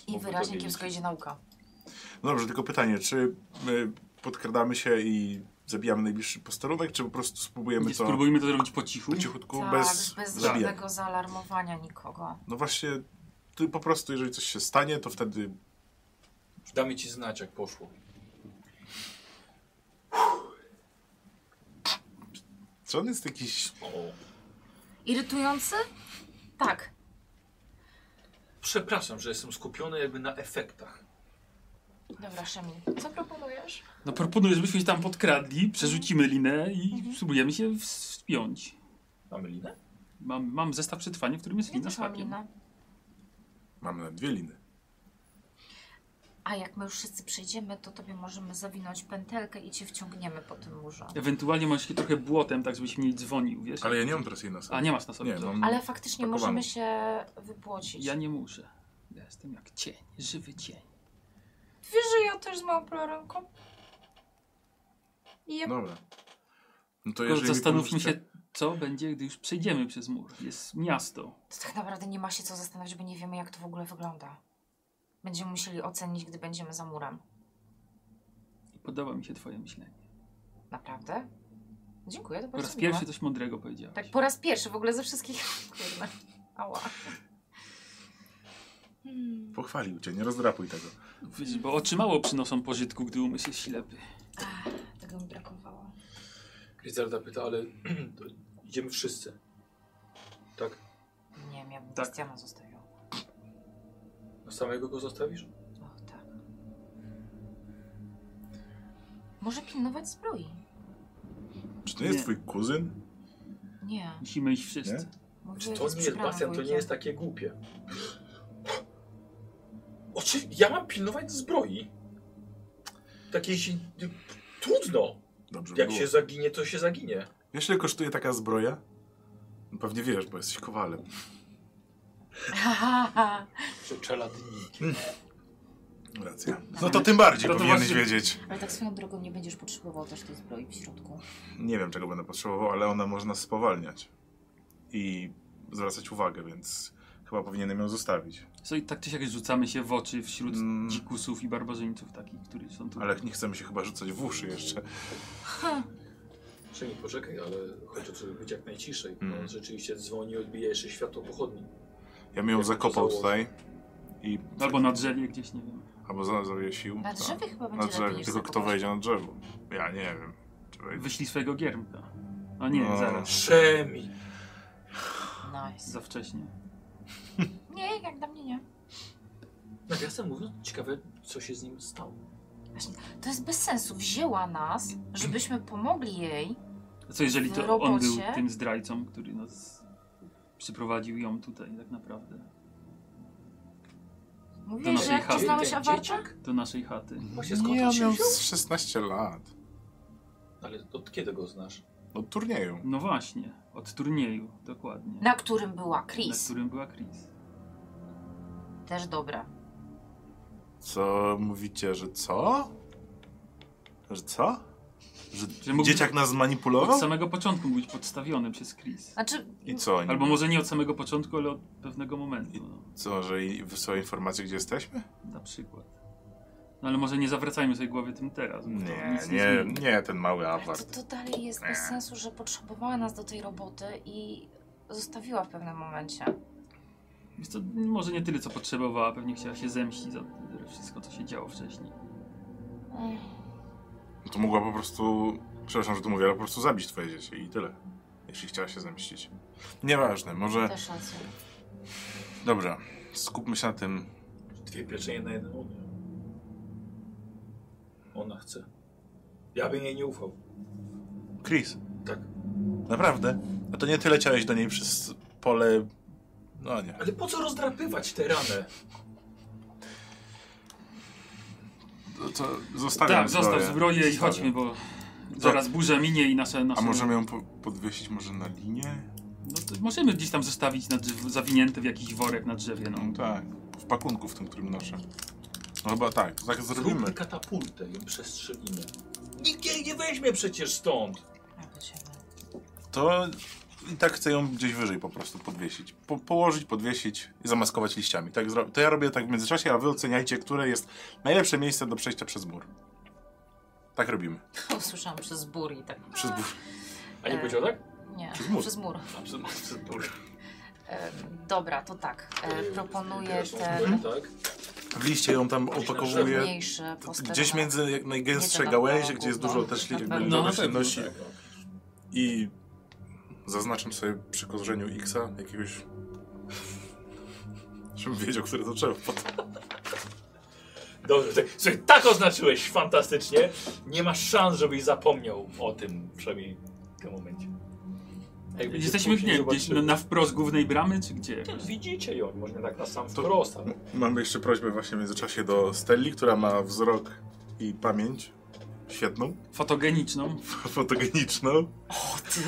S3: I
S1: Mógłby
S3: wyraźnie
S1: powiedzieć.
S3: kiepsko idzie nauka.
S2: No dobrze, tylko pytanie, czy my podkradamy się i zabijamy najbliższy posterunek, czy po prostu spróbujemy
S4: Nie
S2: to
S4: spróbujmy to zrobić po cichu.
S2: po cichutku,
S3: Tak,
S2: bez,
S3: bez, bez
S2: zabijania?
S3: żadnego zaalarmowania nikogo.
S2: No właśnie, ty po prostu, jeżeli coś się stanie, to wtedy
S1: Damy ci znać, jak poszło.
S2: Czy on jest jakiś.
S1: O.
S3: Irytujący? Tak.
S1: Przepraszam, że jestem skupiony jakby na efektach.
S3: Dobra, Szemil, co proponujesz?
S4: No proponuję, żebyśmy się tam podkradli, przerzucimy linę
S3: Mhm.
S4: i spróbujemy się wspiąć.
S1: Mamy linę?
S4: Mam, mam zestaw przetrwania, w którym jest
S3: Ja
S4: lina
S3: też
S4: z
S3: mam
S4: hakiem.
S3: linę.
S2: Mamy na dwie liny.
S3: A jak my już wszyscy przejdziemy, to tobie możemy zawinąć pętelkę i cię wciągniemy po tym murze.
S4: Ewentualnie możesz się trochę błotem, tak żebyś mi nie dzwonił, wiesz?
S2: Ale ja nie mam teraz jej na sobie.
S4: A nie masz na sobie.
S2: Nie,
S4: to.
S2: mam.
S3: Ale faktycznie
S2: Pakowane.
S3: możemy się wypłocić.
S4: Ja nie muszę. Ja jestem jak cień, żywy cień.
S3: Wiesz, że ja też z małą proręką? I jak
S2: Dobra. No to
S4: Tylko
S2: jeżeli
S4: zastanówmy
S2: komuś
S4: się,
S2: tak-
S4: co będzie, gdy już przejdziemy przez mur. Jest miasto.
S3: To tak naprawdę nie ma się co zastanawiać, bo nie wiemy, jak to w ogóle wygląda. Będziemy musieli ocenić, gdy będziemy za murem.
S4: I podoba mi się twoje myślenie.
S3: Naprawdę? Dziękuję, to
S4: Po raz
S3: bardzo miłe.
S4: pierwszy coś mądrego powiedziałeś.
S3: Tak, po raz pierwszy w ogóle ze wszystkich. [LAUGHS] Kurde. Ała. Hmm.
S2: Pochwalił cię, nie rozdrapuj tego.
S4: Wiesz, bo oczy mało przynoszą pożytku, gdy umysł jest ślepy.
S3: Tego mi brakowało.
S1: Grizzarda pyta, ale [CLEARS THROAT] to idziemy wszyscy. Tak?
S3: Nie wiem, ja bym
S4: Tak.
S3: Krystiana zostawiła.
S1: A samego go zostawisz?
S3: Och, tak. Może pilnować zbroi?
S2: Czy to jest
S4: Nie.
S2: twój kuzyn?
S3: Nie.
S4: Musimy iść wszyscy.
S2: Nie?
S3: Mówię,
S1: Czy to nie jest,
S3: przebrana
S1: Bastian, to nie
S3: wujkiem.
S1: jest takie głupie. Oczy, ja mam pilnować zbroi. Takiej się... Trudno.
S2: Dobrze
S1: Jak
S2: było.
S1: się zaginie, to się zaginie.
S2: Wiesz, ile kosztuje taka zbroja? No Pewnie wiesz, bo jesteś kowalem.
S1: Czy czeladniki.
S2: Racja. No
S3: Dobra.
S2: to tym bardziej
S4: No to
S2: powinieneś
S4: właśnie-
S2: wiedzieć.
S3: [LAUGHS] Ale tak swoją drogą nie będziesz potrzebował też tej zbroi w środku.
S2: Nie wiem, czego będę potrzebował, ale ona można spowalniać. I zwracać uwagę, więc chyba powinienem ją zostawić.
S4: Co i tak czy siak rzucamy się w oczy wśród
S2: Mm.
S4: dzikusów i barbarzyńców takich, którzy są tu.
S2: Ale nie chcemy się chyba rzucać w uszy jeszcze.
S1: Czy nie poczekaj, ale chodzi o to, żeby być jak najciszej.
S2: Mm.
S1: No, rzeczywiście dzwoni, odbija jeszcze światło pochodni.
S2: Ja bym ją
S1: Jak
S2: zakopał
S1: to
S2: tutaj. I...
S4: Albo na drzewie gdzieś, nie wiem.
S2: Albo za- zawiesił.
S3: Na
S2: tak.
S3: drzewie chyba będzie
S2: Na
S3: lepiej
S2: drzewie,
S3: niż
S2: tylko
S3: za
S2: kto
S3: kogoś.
S2: wejdzie na drzewo. Ja nie wiem. Czy wejdzie.
S4: Wyślij swojego giermka. A nie,
S2: No.
S4: zaraz.
S1: Szemi!
S3: Nice.
S4: Za wcześnie.
S3: Nie, jak dla mnie nie.
S1: Nawiasem mówiąc, ciekawe, co się z nim stało.
S3: To jest bez sensu. Wzięła nas, żebyśmy pomogli jej.
S4: A co jeżeli
S3: W
S4: to on
S3: robocie?
S4: był tym zdrajcą, który nas przyprowadził ją tutaj tak naprawdę?
S3: Mówiłeś,
S2: No,
S4: naszej
S3: że jak
S4: chaty.
S3: poznałeś
S1: Ten
S3: Awarczak?
S2: Tak.
S1: dzieciak?
S4: Do naszej chaty.
S1: Właśnie skąd
S2: Nie,
S1: on
S2: on
S1: się
S2: miał
S1: wziął?
S2: z 16 lat.
S1: Ale od kiedy go znasz?
S2: Od turnieju.
S4: No właśnie, od turnieju, dokładnie.
S3: Na którym była
S4: na
S3: Chris.
S4: którym była Chris.
S3: Też dobra.
S2: Co mówicie, że co? Że co? Że
S4: Że mógł-
S2: dzieciak nas zmanipulował?
S4: Od samego początku mógł być podstawiony przez Chris.
S3: Znaczy,
S2: I co oni?
S4: Albo może nie od samego początku, ale od pewnego momentu. No.
S2: Co, że i wysyła informacje, gdzie jesteśmy?
S4: Na przykład. No ale może nie zawracajmy sobie głowy tym teraz. bo to
S2: Nie,
S4: No, nic
S2: nie,
S4: zmieni.
S2: nie, ten mały
S3: ale to,
S2: awart.
S3: to dalej jest bez
S2: Nie.
S3: sensu, że potrzebowała nas do tej roboty i zostawiła w pewnym momencie.
S4: Wiesz co, może nie tyle co potrzebowała, pewnie chciała się zemścić za wszystko, co się działo wcześniej.
S3: Ech,
S2: To mogła po prostu, przepraszam, że to mówię, ale po prostu zabić twoje dzieci i tyle. Jeśli chciała się zemścić. Nieważne,
S4: Tak.
S2: może...
S3: Też rację.
S2: Dobra, skupmy się na tym.
S1: Dwie pieczenie na jednym ogniu. Ona chce. Ja bym jej nie ufał.
S2: Chris,
S1: Tak.
S2: naprawdę? A to nie ty leciałeś do niej przez pole... No nie.
S1: Ale po co rozdrapywać te ranę?
S2: To, to zostawiam
S4: tak, zostaw zbroję i
S2: Zostawiam.
S4: chodźmy, bo zaraz burza minie i nasze... nasze
S2: A możemy ją po podwiesić może na linię?
S4: No to możemy gdzieś tam zostawić na drzew... zawinięte w jakiś worek na drzewie, no.
S2: No tak, w pakunku w tym, którym noszę. No chyba tak, to tak
S1: Zróbmy
S2: zrobimy.
S1: katapultę i przestrzelimy. Nikt jej nie weźmie przecież stąd.
S3: A do ciebie.
S2: To i tak chcę ją gdzieś wyżej po prostu podwiesić. Po położyć, podwiesić i zamaskować liściami. Tak zro- to ja robię tak w międzyczasie, a wy oceniajcie, które jest najlepsze miejsce do przejścia przez mur. Tak robimy.
S3: [LAUGHS] Usłyszałam przez bur i tak.
S2: Przez mur.
S1: A nie
S3: E.
S1: powiedział tak?
S3: Nie,
S2: Przez mur.
S3: Przez mur.
S1: Absolutnie.
S3: E, dobra, to tak. E, proponuję ten
S1: Mhm. Tak?
S2: W liście ją tam opakowuję.
S3: mniejszy posterunek.
S2: Gdzieś między jak najgęstsze gałęzie, gdzie jest dużo też
S3: No,
S2: jakby
S3: na
S4: pewno.
S2: roślinności.
S1: tak, no.
S2: I zaznaczam sobie przy korzeniu X jakiegoś. [LAUGHS] Żebym wiedział, które to trzeba. potem.
S1: Dobrze, tak, słuchaj, tak oznaczyłeś fantastycznie. Nie masz szans, żebyś zapomniał o tym, przynajmniej w tym momencie. Jak będzie
S4: Jesteśmy
S1: później,
S4: nie, gdzieś
S1: zobaczymy.
S4: na, na wprost głównej bramy, czy gdzie?
S1: Widzicie ją, może nie tak na sam
S2: To-
S1: wprost, ale...
S2: Mam jeszcze prośbę właśnie w międzyczasie do Stelli, która ma wzrok i pamięć świetną, [LAUGHS]
S4: Fotogeniczną.
S2: fotogeniczną,
S3: O, ty.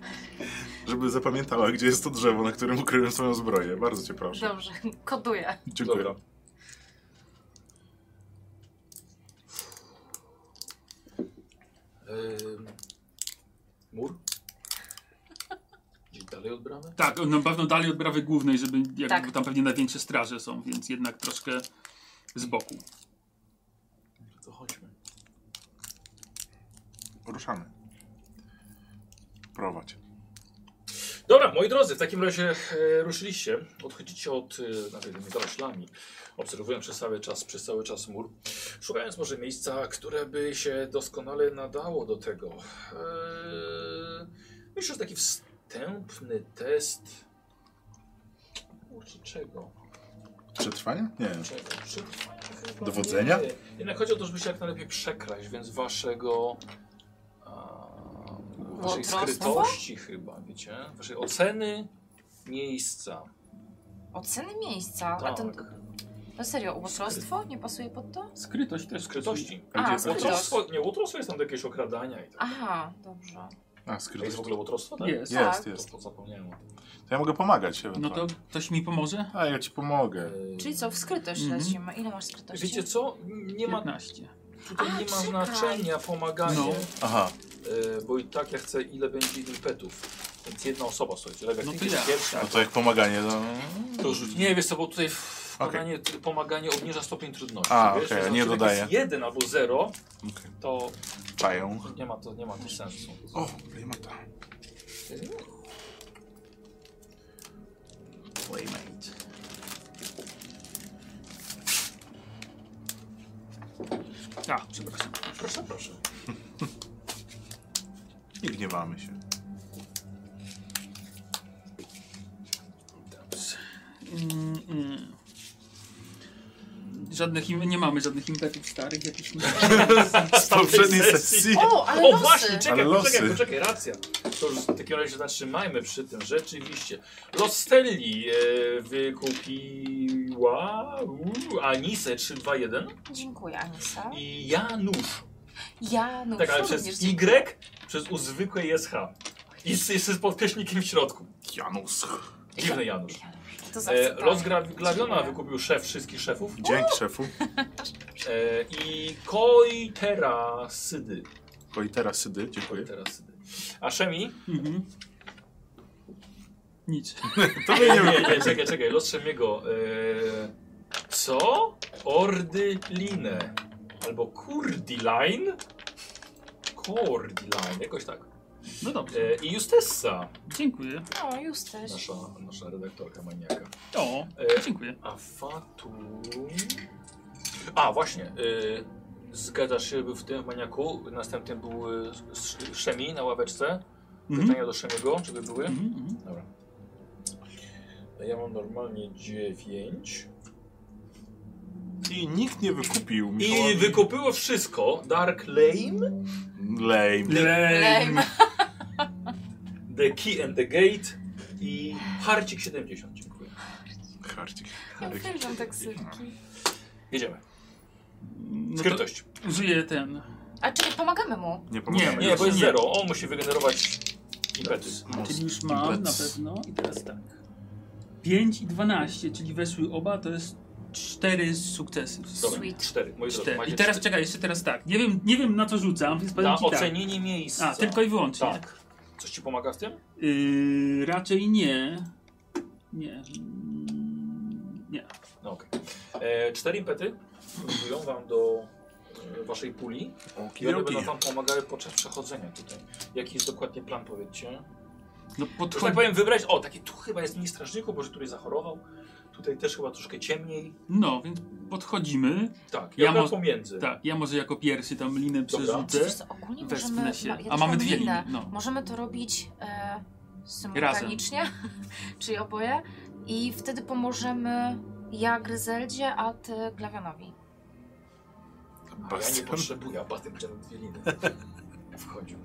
S2: [LAUGHS] żeby zapamiętała, gdzie jest to drzewo, na którym ukryłem swoją zbroję. Bardzo cię proszę.
S3: Dobrze, [LAUGHS] koduję.
S2: Dziękuję.
S1: Dobra.
S2: E,
S1: Ym, Ehm, mur? Gdzieś dalej od bramy?
S4: Tak, na pewno dalej od brawy głównej, żeby jakby
S3: Tak.
S4: tam pewnie największe straże są, więc jednak troszkę z boku.
S1: To chodźmy.
S2: Ruszamy. Prowadź.
S1: Dobra, moi drodzy, w takim razie e, ruszyliście. Odchodzicie od, e, nawet nie za oślami, obserwując przez cały, czas, przez cały czas mur, szukając może miejsca, które by się doskonale nadało do tego. E, myślę, że taki wstępny test. Kurczę, czego?
S2: Przetrwanie? Nie.
S1: Czego? Przetrwania chyba
S2: Dowodzenia?
S1: nie. Jednak chodzi o to, żeby się jak najlepiej przekraść, więc waszego. A, waszej
S3: Wątrostwa?
S1: skrytości chyba, wiecie? Waszej oceny miejsca.
S3: Oceny miejsca. A
S1: Tak.
S3: ten, no serio, łotrostwo nie pasuje pod to?
S4: Skrytość też.
S1: Skrytości.
S2: A,
S3: A,
S2: gdzie jest
S3: skrytość.
S2: skrytość?
S1: Łotrostwo, nie, łotrostwo jest tam do jakiegoś okradania i tak.
S3: Aha, dobrze.
S2: A,
S1: To jest
S2: skrytość.
S1: w ogóle łotrostwo? Tak?
S4: Jest.
S2: Jest,
S3: Tak.
S2: jest.
S1: To, to zapomniałem. o tym.
S2: To ja mogę pomagać
S4: No
S2: ewentualnie.
S4: to Y, ktoś mi pomoże?
S2: A, ja ci pomogę.
S1: Eee,
S3: Czyli co, w skrytość
S4: Mhm.
S3: lecimy. Ile masz skrytości?
S1: Wiecie co? Nie ma,
S4: 15.
S1: tutaj
S3: A,
S1: nie ma
S3: czekaj.
S1: znaczenia pomaganie,
S4: No.
S2: Aha.
S1: e, bo i tak ja chcę ile będzie impetów. Więc jedna osoba, słuchajcie, lepiej
S4: No
S1: jak
S4: to
S1: ty jest
S4: ja.
S1: pierwsza,
S2: No to jak pomaganie, to...
S1: to rzuć. Nie, wiesz co, bo tutaj wkładanie, pomaganie obniża stopień trudności.
S2: A,
S1: wiesz,
S2: okej,
S1: to
S2: nie
S1: znaczy, jak
S2: dodaję.
S1: jest jeden albo zero,
S2: Okay.
S1: to
S2: Czają.
S1: nie ma to, nie ma to sensu.
S2: O, playmata.
S4: Playmate. A, Tak, przepraszam.
S1: Proszę, proszę.
S2: Nie gniewamy się.
S4: Mm, mm. Żadnych im, nie mamy żadnych impetów starych jakichś.
S2: Z poprzedniej sesji.
S3: O, ale
S1: o
S3: losy!
S1: właśnie, czekaj,
S2: Ale
S1: poczekaj,
S2: losy.
S1: poczekaj, racja. To już w takim razie zatrzymajmy przy tym, rzeczywiście. Los Stelli e, wykupiła u, Anisę 321
S3: Dziękuję, Anisa.
S1: i Janusz.
S3: Janusz
S1: Tak, ale
S3: No, również
S1: przez
S3: dziękuję.
S1: Y, przez U zwykłe jest H. I z, z podkreśnikiem w środku.
S2: Janusz.
S1: Dziwny Janusz.
S3: Janusz, to
S1: E,
S3: zacytałem.
S1: los Gra- Glawiona
S3: tak. Dziękuję.
S1: wykupił szef wszystkich szefów
S2: Dzięki, szefu.
S1: e, i Koitera Sydy.
S2: O, No i teraz sydy, dziękuję.
S1: Koitera Sydy. A Szemi?
S4: [LAUGHS] Mhm. Nic.
S2: To mnie nie
S1: [LAUGHS] Nie, nie, czekaj, czekaj, los Szemiego. Eee, co? Ordyline. Albo Kurdiline? Kurdiline, jakoś tak.
S4: No dobrze.
S1: Eee, I Justessa,
S4: Dziękuję.
S3: O, Justyś.
S1: nasza, nasza redaktorka maniaka.
S4: O,
S1: E,
S4: dziękuję.
S1: A Fatu... A, właśnie. Eee, zgadzasz się, był w tym maniaku. Następnym był e, Sz- Szemi na ławeczce.
S4: Mhm.
S1: Pytania do Szemiego, czy by były?
S4: Mhm, mhm.
S1: Dobra. Ja mam normalnie 9.
S2: I nikt nie wykupił Michała.
S1: I wykupiło wszystko. Dark Lane,
S2: Lame.
S4: Lame.
S1: The Key and the Gate i Harcik 70. Dziękuję.
S2: Harcik.
S3: Uwielbiam taksówki.
S1: Jedziemy.
S4: No to
S1: Skrytość.
S4: użyję ten.
S3: A czyli pomagamy mu.
S2: Nie pomagamy.
S1: Nie, bo jest
S4: nie.
S1: zero. On musi wygenerować impetus.
S4: Czyli już mam na
S2: Bec.
S4: pewno. I teraz tak. 5 i 12, czyli weszły oba, to jest 4 sukcesy.
S1: Dobra,
S3: Sweet.
S1: cztery. Moi drodzy,
S4: Cztery.
S1: macie
S4: I teraz
S1: cztery.
S4: czekaj, jeszcze teraz tak. Nie wiem, nie wiem na co rzucam, więc powiem
S1: Na
S4: ci tak.
S1: ocenienie miejsca.
S4: A, tylko i wyłącznie.
S1: Tak. Coś ci pomaga w tym?
S4: Yy, raczej nie. Nie. Mm, Nie.
S1: No okej. E, Cztery impety wpływają wam do e, waszej puli. I one będą wam pomagały podczas przechodzenia tutaj. Jaki jest dokładnie plan, powiedzcie?
S4: No
S1: Że tak
S4: podchodzi.
S1: powiem, wybrać. O, taki tu chyba jest mniej strażników, bo że któryś zachorował. Tutaj też chyba troszkę ciemniej.
S4: No, więc podchodzimy.
S1: Tak,
S4: Ja
S1: ja mam
S4: mo-
S1: pomiędzy.
S4: Tak, ja może jako pierwszy tam linę przerzucę.
S3: Wiesz co, ogólnie
S4: Wespnę
S3: możemy...
S4: się.
S3: ma-
S4: A
S3: też
S4: mamy
S3: mam
S4: dwie
S3: linę.
S4: linie, no.
S3: Możemy to robić e, symultanicznie, [LAUGHS] czyli oboje. I wtedy pomożemy ja Gryzeldzie, a ty Glawianowi.
S1: A ja nie potrzebuję, a Batem będzie na dwie liny. [LAUGHS] Wchodził.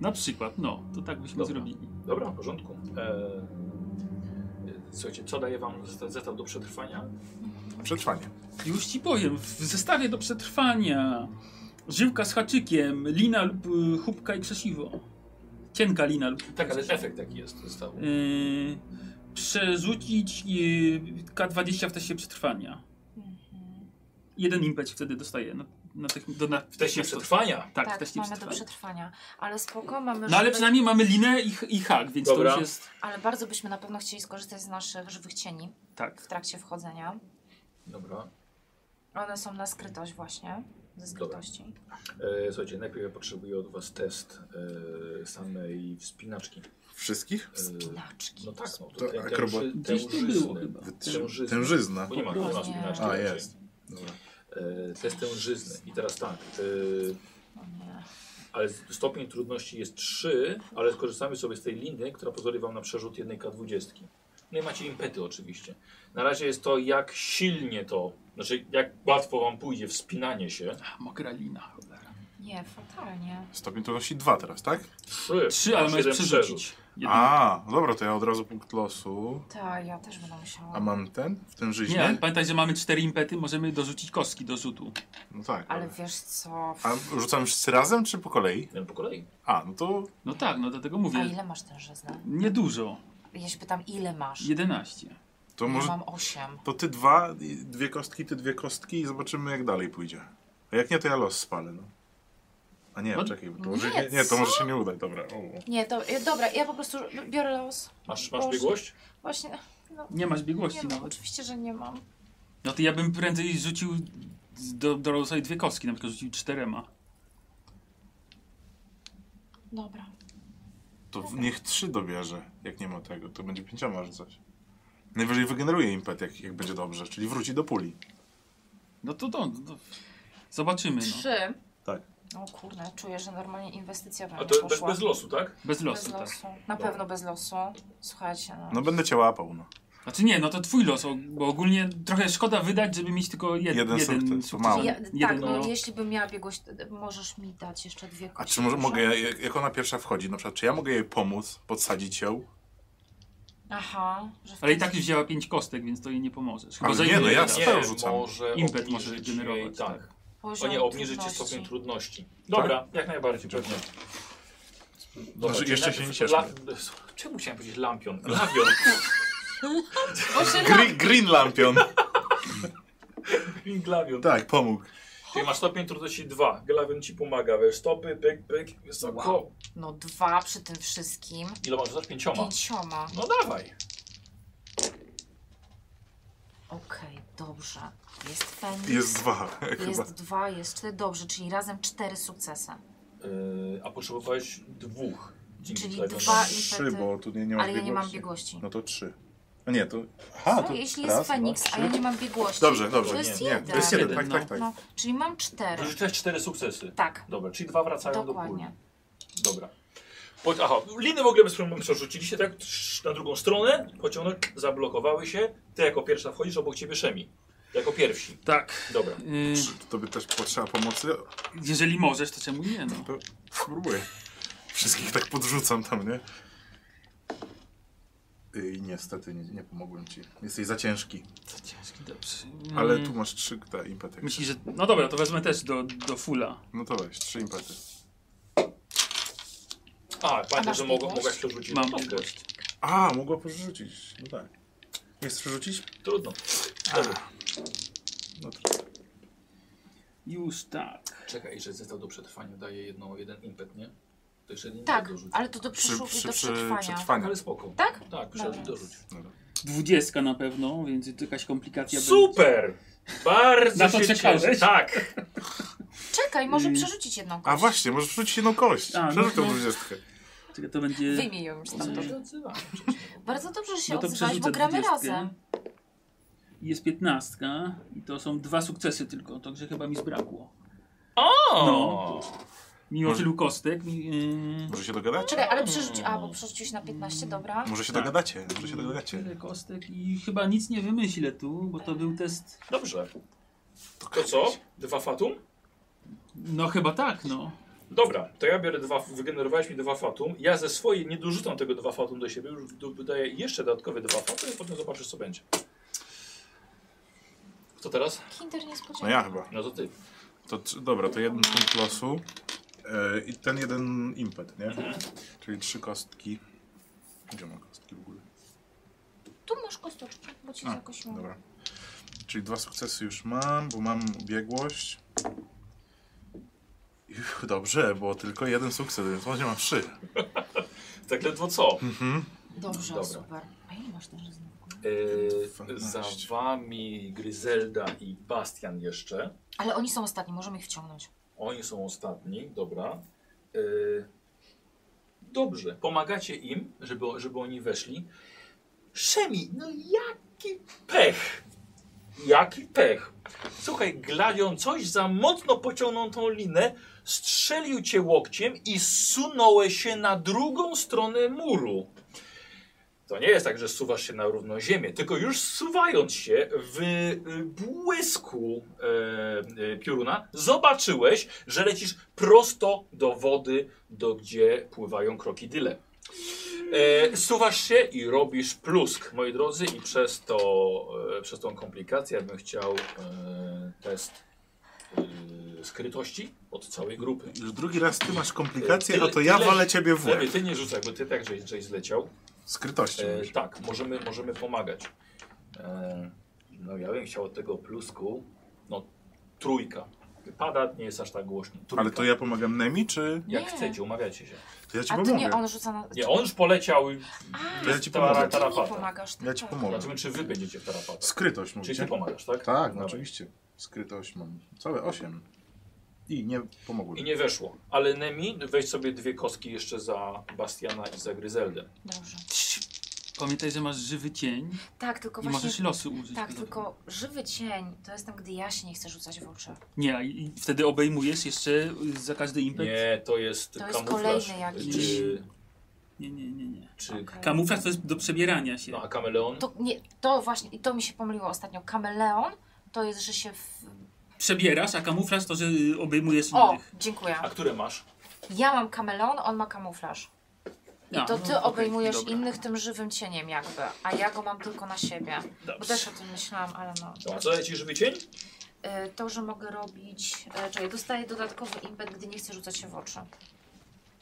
S4: Na przykład, no, to tak byśmy
S1: Dobra.
S4: zrobili.
S1: Dobra, w porządku. E... Słuchajcie, co daje wam zeta- zeta do przetrwania?
S2: Przetrwanie.
S4: Już ci powiem, w zestawie do przetrwania żyłka z haczykiem, lina lub y, chubka i krzesiwo. Cienka lina lub
S1: Tak, ale efekt taki jest zestawu.
S4: Yy, przerzucić y, yy, K20 w teście przetrwania.
S3: Mhm.
S4: Jeden impet wtedy dostaje na, natych- do na,
S1: W teście przetrwania.
S4: Tak,
S3: tak,
S4: w teście
S3: mamy do
S4: przetrwania.
S3: przetrwania. Ale spoko, mamy
S4: No ale
S3: żywy-
S4: przynajmniej mamy linę i, i hak, więc
S1: Dobra.
S4: to już jest...
S3: ale bardzo byśmy na pewno chcieli skorzystać z naszych żywych cieni w
S4: Tak.
S3: trakcie wchodzenia.
S1: Dobra.
S3: One są na skrytość właśnie. Ze skrytości.
S1: E, słuchajcie, najpierw ja potrzebuję od was test e, samej wspinaczki.
S2: Wszystkich?
S1: E,
S3: Spinaczki.
S1: No tak, no to,
S2: To
S1: te- te
S2: akroba-
S1: ży- te
S4: Gdzieś to było
S1: ży-
S4: chyba.
S2: Wytrzy...
S1: Tężyzny.
S2: Tężyzna.
S1: Bo nie ma u nas wspinaczki.
S2: A,
S1: raczej.
S2: jest. Dobra.
S1: E, test tężyzny. I teraz tak. E,
S3: O nie.
S1: ale stopień trudności jest 3, ale skorzystamy sobie z tej liny, która pozwoli wam na przerzut jednej K20. No i macie impety oczywiście. Na razie jest to jak silnie to, znaczy jak łatwo wam pójdzie wspinanie się.
S4: A, Mokra lina, cholera.
S3: Nie, fatalnie.
S2: Stopień trudności dwa teraz, tak?
S1: 3,
S4: Trzy, ale możesz przerzucić. Jedynkę.
S2: A, dobra, to ja od razu punkt losu.
S3: Tak, ja też będę musiała.
S2: A mam ten w tym
S4: Nie, ale
S2: żyźnie?
S4: pamiętaj, że mamy cztery impety, możemy dorzucić kostki do rzutu.
S2: No tak.
S3: Ale
S2: Ale...
S3: wiesz co?
S2: A rzucamy wszyscy razem, czy po kolei?
S1: Jeden po kolei.
S2: A, no to
S4: No tak, no dlatego
S3: A
S4: mówię.
S3: ile masz tężyzny?
S4: Niedużo.
S3: Ja się pytam, ile masz?
S4: 11.
S2: To
S3: Ja
S2: może
S3: mam 8.
S2: to ty dwa, i- dwie kostki, ty dwie kostki i zobaczymy jak dalej pójdzie. A jak nie, to ja los spalę. No. A nie,
S4: No,
S2: czekaj, bo to może,
S3: nie,
S2: nie, nie, to
S3: co?
S2: może się nie udać, dobra. O.
S3: Nie, to y, dobra, ja po prostu biorę los.
S1: Masz, masz
S3: Boże.
S1: biegłość?
S3: Właśnie. No,
S4: Nie masz
S3: nie
S4: biegłości
S3: mam,
S4: nawet.
S3: oczywiście, że nie mam.
S4: No to ja bym prędzej rzucił z- do, do sobie dwie kostki, na przykład rzucił czterema.
S3: Dobra.
S2: To w- niech trzy dobierze, jak nie ma tego, to będzie pięcioma rzucać. Najwyżej wygeneruje impet, jak, jak będzie dobrze, czyli wróci do puli.
S4: No to to. to zobaczymy, no.
S3: Trzy.
S2: Tak.
S3: O kurde, czuję, że normalnie inwestycja
S1: A
S3: będzie
S1: to bez,
S3: poszła.
S1: bez losu, tak?
S3: Bez
S4: Bez losu, tak.
S3: Na
S1: Dobra.
S3: pewno bez losu. Słuchajcie, no.
S2: No będę cię łapał, no.
S4: Znaczy nie, no to twój los, o- bo ogólnie trochę szkoda wydać, żeby mieć tylko jed,
S2: Jeden
S4: jeden,
S2: sukces, to
S4: sukces.
S2: mało.
S3: ja, tak,
S4: jeden,
S3: no,
S4: no.
S3: jeśli bym miała biegłość, to możesz mi dać jeszcze dwie
S2: A
S3: kości,
S2: czy może,
S3: proszę?
S2: mogę, ja- jak, jak ona pierwsza wchodzi, na przykład, czy ja mogę jej pomóc, podsadzić ją?
S3: Aha. Że
S4: Ale
S3: wtedy-
S4: i tak już wzięła pięć kostek, więc to jej nie pomoże. Chyba
S2: Ale
S4: że
S2: nie,
S4: jej
S2: no ja
S4: da.
S2: z- spell rzucam.
S1: może
S4: Impet
S1: obniżyć
S4: może wygenerować,
S1: jej- Tak. O
S3: Poziom
S1: nie, obniżycie
S3: trudności.
S1: stopień trudności. Dobra, jak najbardziej, pewnie. Dobra,
S2: Znaczy,
S1: czyli
S2: jeszcze
S1: najpierw
S2: się nie cieszmy.
S1: la- Czemu chciałem powiedzieć lampion? Lawion.
S3: Boże,
S2: Green, green Lampion!
S1: Glawion.
S2: tak, pomógł.
S1: Czyli masz stopień trudności 2. Glawion ci pomaga, wiesz, stopy, pyk, pyk, wysoko.
S3: Wow. No dwa przy tym wszystkim.
S1: Ile masz? Zasz pięcioma.
S3: Pięcioma.
S1: No dawaj.
S3: Okej, dobrze. Jest Feniks.
S2: Jest dwa, chyba.
S3: Jest dwa, jest cztery. Dobrze, czyli razem cztery sukcesy.
S1: Yy, a potrzebowałeś dwóch. dzięki
S3: Czyli
S1: Glawionowi.
S3: dwa i-
S2: Trzy, bo tu nie, nie masz
S3: Ale ja nie mam
S2: biegłości.
S3: biegłości.
S2: No to trzy. No nie, to. Aha,
S3: Co,
S2: to
S3: jeśli
S2: raz,
S3: jest Feniks,
S2: dwa,
S3: a ja
S2: trzy.
S3: nie mam biegłości.
S2: Dobrze, dobrze.
S3: To jest
S2: nie,
S3: jeden.
S2: nie, to jest jeden,
S4: Jeden,
S2: tak,
S4: no.
S2: tak, tak.
S3: No, czyli mam cztery.
S1: Dorzuciłeś cztery sukcesy.
S3: Tak,
S1: Dobra, czyli dwa wracają do puli.
S3: dokładnie.
S1: Dobra. Po, aha, liny w ogóle bez problemu przerzuciliście, tak? Trz- Na drugą stronę, pociągnąć, zablokowały się. Ty jako pierwsza wchodzisz, obok ciebie Szemi. Jako pierwsi.
S4: Tak.
S1: Dobra.
S4: Y,
S2: Czy To by też potrzeba pomocy?
S4: jeżeli możesz, to czemu nie, no.
S2: To spróbuję. Wszystkich tak podrzucam tam, nie? I niestety nie, nie pomogłem ci. Jesteś za ciężki.
S4: To ciężki, dobrze.
S2: Ale
S3: Mm.
S4: Y,
S2: tu masz trzy te impety.
S4: Myślisz, że... No dobra, to wezmę też do, do fulla.
S2: No to weź, trzy impety.
S1: A, pamiętaj,
S3: masz
S1: że mogła,
S3: biegłość?
S1: mogłaś przerzucić.
S4: Mam
S1: Okej.
S4: biegłość.
S2: A, mogła porzucić. No tak. Nie chcesz przerzucić?
S1: Trudno. Dobra.
S2: No trudno.
S4: Już tak.
S1: Czekaj, że zestaw do przetrwania daje jedno, jeden impet, nie? To jeszcze jeden
S3: Tak,
S1: impet dorzuć.
S3: ale to do
S2: Przy,
S3: przyszu
S2: przy,
S3: do
S2: przy
S3: przetrwania.
S2: przetrwaniu.
S1: Ale spoko.
S3: Tak?
S1: Tak,
S3: Dobra.
S1: przerzuć, dorzuć.
S2: Dobra.
S4: Dwudziestka na pewno, więc tu jakaś komplikacja będzie.
S1: Super! Bardzo
S4: Na to
S1: się
S4: czekałeś?
S1: cieszę. Tak.
S3: Czekaj, może
S4: Y.
S3: przerzucić jedną kość.
S2: Mm. A właśnie, możesz przerzucić jedną kość.
S4: A, no
S2: Przerzuć tą
S4: to-
S2: dwudziestkę.
S4: Czekaj, to będzie...
S3: Wyjmij ją już
S2: Mm.
S1: Co
S3: stamtąd.
S1: się odzywam przecież?
S3: Bardzo dobrze, że się
S4: No to
S3: odzywałeś, bo
S4: przerzucę
S3: gramy
S4: 20.
S3: razem.
S4: Jest piętnastka i to są dwa sukcesy tylko, także chyba mi zbrakło.
S1: O!
S4: No. Mimo
S2: Może-
S4: tylu kostek. mi- Yy,
S2: Może się dogadacie?
S3: Czekaj, ale przerzuć... A, bo przerzuciłeś na 15, dobra.
S2: Mm. Może się
S4: Tak.
S2: dogadacie, może się dogadacie.
S4: tyle kostek i chyba nic nie wymyślę tu, bo to był test.
S1: Dobrze. To co? Dwa fatum?
S4: No chyba tak, no.
S1: Dobra, to ja biorę dwa, wygenerowałeś mi dwa fatum. Ja ze swojej nie dorzucam tego dwa fatum do siebie, już do- dodaję jeszcze dodatkowe dwa fatum i potem zobaczysz co będzie. Co teraz?
S3: Kinder niespodzianka.
S2: No ja chyba.
S1: No to ty.
S2: To, tr- dobra, to jeden punkt losu e, i ten jeden impet, nie? Czyli trzy kostki. Gdzie ma kostki w ogóle?
S3: Tu masz kosteczki, bo ci
S2: A,
S3: jakoś mam.
S2: Dobra. Czyli dwa sukcesy już mam, bo mam biegłość. Dobrze, bo tylko jeden sukces, więc właśnie mam trzy.
S1: Tak ledwo co?
S2: No
S3: Dobrze,
S1: Dobra.
S3: super. A ile masz ten rezerw?
S1: Yy,
S2: 12.
S1: za wami Gryzelda i Bastian jeszcze.
S3: Ale oni są ostatni, możemy ich wciągnąć.
S1: Oni są ostatni, dobra. Yy, dobrze, pomagacie im, żeby, żeby oni weszli. Szemi, no jaki pech! Jaki pech! Słuchaj, Gladion coś za mocno pociągnął tą linę, strzelił cię łokciem i zsunąłeś się na drugą stronę muru. To nie jest tak, że suwasz się na równą ziemię, tylko już suwając się w y, błysku e, y, pioruna, zobaczyłeś, że lecisz prosto do wody, do gdzie pływają krokodyle. E, suwasz się i robisz plusk, moi drodzy, i przez, to, e, przez tą komplikację ja bym chciał e, test e, skrytości od całej grupy.
S2: Już drugi raz ty masz komplikacje,
S1: Tyle-
S2: a to ja
S1: tyle-
S2: walę ciebie w łeb.
S1: Lewy, ty nie rzucaj, bo ty tak żeś, żeś zleciał.
S2: Skrytości.
S1: E,
S2: mówisz.
S1: tak, możemy, możemy pomagać. E, no ja bym chciał od tego plusku, no trójka. Pada, nie jest aż tak głośno. Trójka.
S2: Ale to ja pomagam Nemi, czy
S1: Jak
S3: Nie.
S1: chcecie, umawiacie się.
S2: to ja ci
S3: A to
S2: pomogę?
S3: nie on rzuca na...
S1: Nie, on już poleciał i
S3: A,
S2: To ja ci
S1: Ta-
S2: pomogę.
S1: ta-
S3: ty mi
S1: tarapata.
S3: pomagasz. tak,
S2: Ja ci
S3: tak.
S2: pomogę.
S1: zobaczymy, czy wy będziecie w tarapatach.
S2: Skrytość
S1: Czyli
S2: mówicie?
S1: ty pomagasz, tak?
S2: Tak, no
S1: Dobra.
S2: oczywiście. Skrytość mam. Całe osiem. I nie pomogło.
S1: I nie weszło. Ale Nemi, weź sobie dwie kostki jeszcze za Bastiana i za Gryzeldę.
S3: Dobrze.
S4: Pamiętaj, że masz żywy cień
S3: Tak, tylko
S4: i możesz
S3: właśnie...
S4: losy użyć.
S3: Tak,
S4: do tego.
S3: tylko żywy cień to jest tam, gdy ja się nie chcę rzucać w oczy.
S4: Nie, a i i wtedy obejmujesz jeszcze y, za każdy impet.
S1: Nie, to jest
S3: To jest
S1: kamuflaż.
S3: kolejny jakiś.
S1: Czy,
S4: nie, nie, nie. nie.
S1: czy,
S3: Okej.
S4: Kamuflaż to jest do przebierania się.
S1: no, a kameleon?
S3: To, nie, to właśnie, i to mi się pomyliło ostatnio. Kameleon to jest, że się w...
S4: Przebierasz, a kamuflaż to, że y, obejmujesz
S3: O,
S4: innych. Tak.
S3: dziękuję.
S1: A które masz?
S3: Ja mam kameleon, on ma kamuflaż. I
S4: A,
S3: to
S4: no,
S3: ty
S4: okej,
S3: obejmujesz
S4: dobra.
S3: innych tym żywym cieniem jakby, a ja go mam tylko na siebie. Bo
S1: Dobrze.
S3: też o tym myślałam, ale no.
S1: A co daje ci żywy cień?
S3: Y, To, że mogę robić... y, Czyli dostaję dodatkowy impet, gdy nie chcę rzucać się w oczy.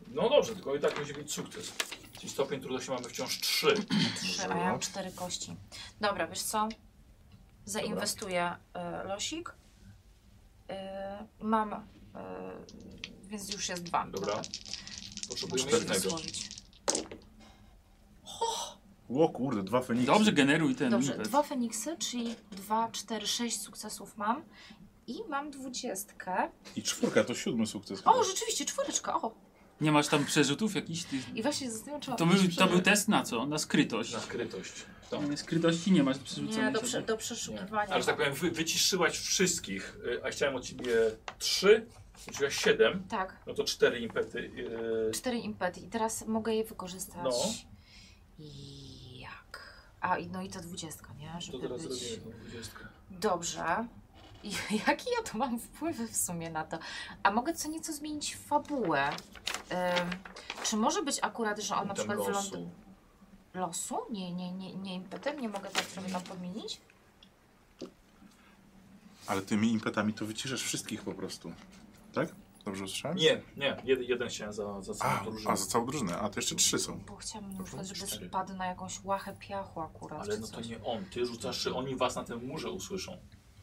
S1: No dobrze, tylko i tak musi być sukces. Czyli stopień trudności mamy wciąż 3.
S3: Trzy, a ja mam cztery kości. Dobra, wiesz co? Zainwestuję y, losik. Y, mam... y, więc już jest dwa.
S1: Dobra. Potrzebujemy
S3: Muszę się
S1: jednego.
S3: złożyć.
S2: O kurde, dwa Feniksy.
S4: Dobrze, generuj ten
S3: Dobrze,
S4: impet.
S3: dwa Feniksy, czyli dwa, cztery, sześć sukcesów mam. I mam dwudziestkę.
S2: I czwórka to siódmy sukces.
S3: O, rzeczywiście, czwóreczka, o.
S4: Nie masz tam przerzutów jakichś? Ty...
S3: I właśnie się zastanawiam,
S4: To,
S3: mam
S4: był,
S3: jakiś
S4: to był
S3: przerzut.
S4: test na co? Na skrytość.
S1: Na skrytość. Tak.
S4: Skrytości nie masz do przerzucenia.
S3: Nie, do, prze,
S4: sobie.
S3: do
S1: Nie.
S3: przeszukiwania.
S1: Ale że tak powiem, wy, wyciszyłaś wszystkich, y, a chciałem od ciebie 3, rzuciłaś 7,
S3: Tak,
S1: no to 4 impety. y,
S3: cztery impety i teraz mogę je wykorzystać.
S1: No.
S3: I jak? A, i- no i ta dwudziestka, nie?
S1: To
S3: Żeby
S1: teraz
S3: być...
S1: zrobimy tą 20.
S3: Dobrze. I, [LAUGHS] jaki ja tu mam wpływy w sumie na to? A mogę co nieco zmienić fabułę? Ym, czy może być akurat, że on na przykład wyląduje... losu? Nie, nie, nie, nie impetem? Nie mogę tak sobie tam podmienić?
S2: Ale tymi impetami to wyciszasz wszystkich po prostu. Tak? Dobrze usłyszałem?
S1: Nie, nie, jeden, jeden chciałem za, za
S2: A,
S1: całą drużynę.
S2: a za całą drużynę. A to jeszcze trzy są.
S3: Bo chciałabym na przykład, żeby
S1: cztery.
S3: spadł na jakąś łachę piachu akurat.
S1: Ale
S3: czy
S1: no to
S3: coś.
S1: nie on, ty rzucasz, trzy, oni was na tym murze usłyszą.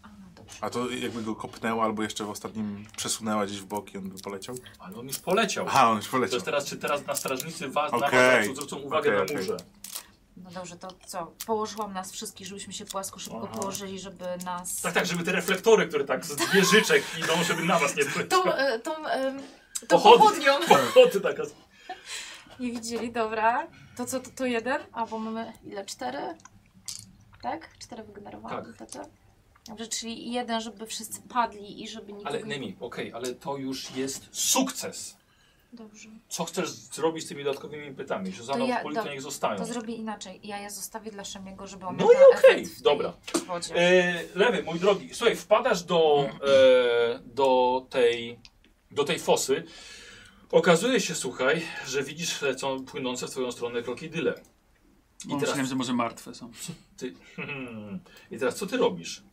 S3: A, no dobrze.
S2: A to jakby go kopnęła albo jeszcze w ostatnim przesunęła gdzieś w bok i on by poleciał?
S1: Ale on już poleciał.
S2: Aha, on już
S1: To
S2: poleciał.
S1: jest teraz, czy teraz na strażnicy was, na
S2: Okej.
S1: was zwrócą uwagę
S2: Okej,
S1: na
S2: okej.
S1: murze.
S3: No dobrze, to co? Położyłam nas wszystkich, żebyśmy się płasko szybko
S1: Aha.
S3: położyli, żeby nas...
S1: Tak, tak, żeby te reflektory, które tak z dwie życzek idą, żeby na was nie były.
S3: Tą, e, tą, e, tą
S1: Pochodnie.
S3: pochodnią
S1: [LAUGHS] Pochoty taka.
S3: nie widzieli, dobra. To co, to, to jeden? A bo mamy ile? Cztery? Tak? Cztery wygenerowane
S1: Tak.
S3: impety? Dobrze, czyli jeden, żeby wszyscy padli i żeby nikt...
S1: Ale Nemi, okej, ale to już jest sukces.
S3: Dobrze.
S1: Co chcesz zrobić z tymi dodatkowymi impetami? Że za
S3: ja-
S1: ja, policja
S3: do-
S1: niech zostają.
S3: To zrobię inaczej. Ja je zostawię dla Szemiego, żeby on
S1: No
S3: miał
S1: i
S3: ten efekt
S1: okej,
S3: w tej
S1: dobra.
S3: wodzie.
S1: E, lewy, mój drogi, słuchaj, wpadasz do, e, do, tej, do tej fosy. Okazuje się, słuchaj, że widzisz lecą płynące w twoją stronę krokodyle.
S4: I
S1: teraz-
S4: Myślałem, że może martwe są.
S1: Ty, hmm, I teraz co ty robisz?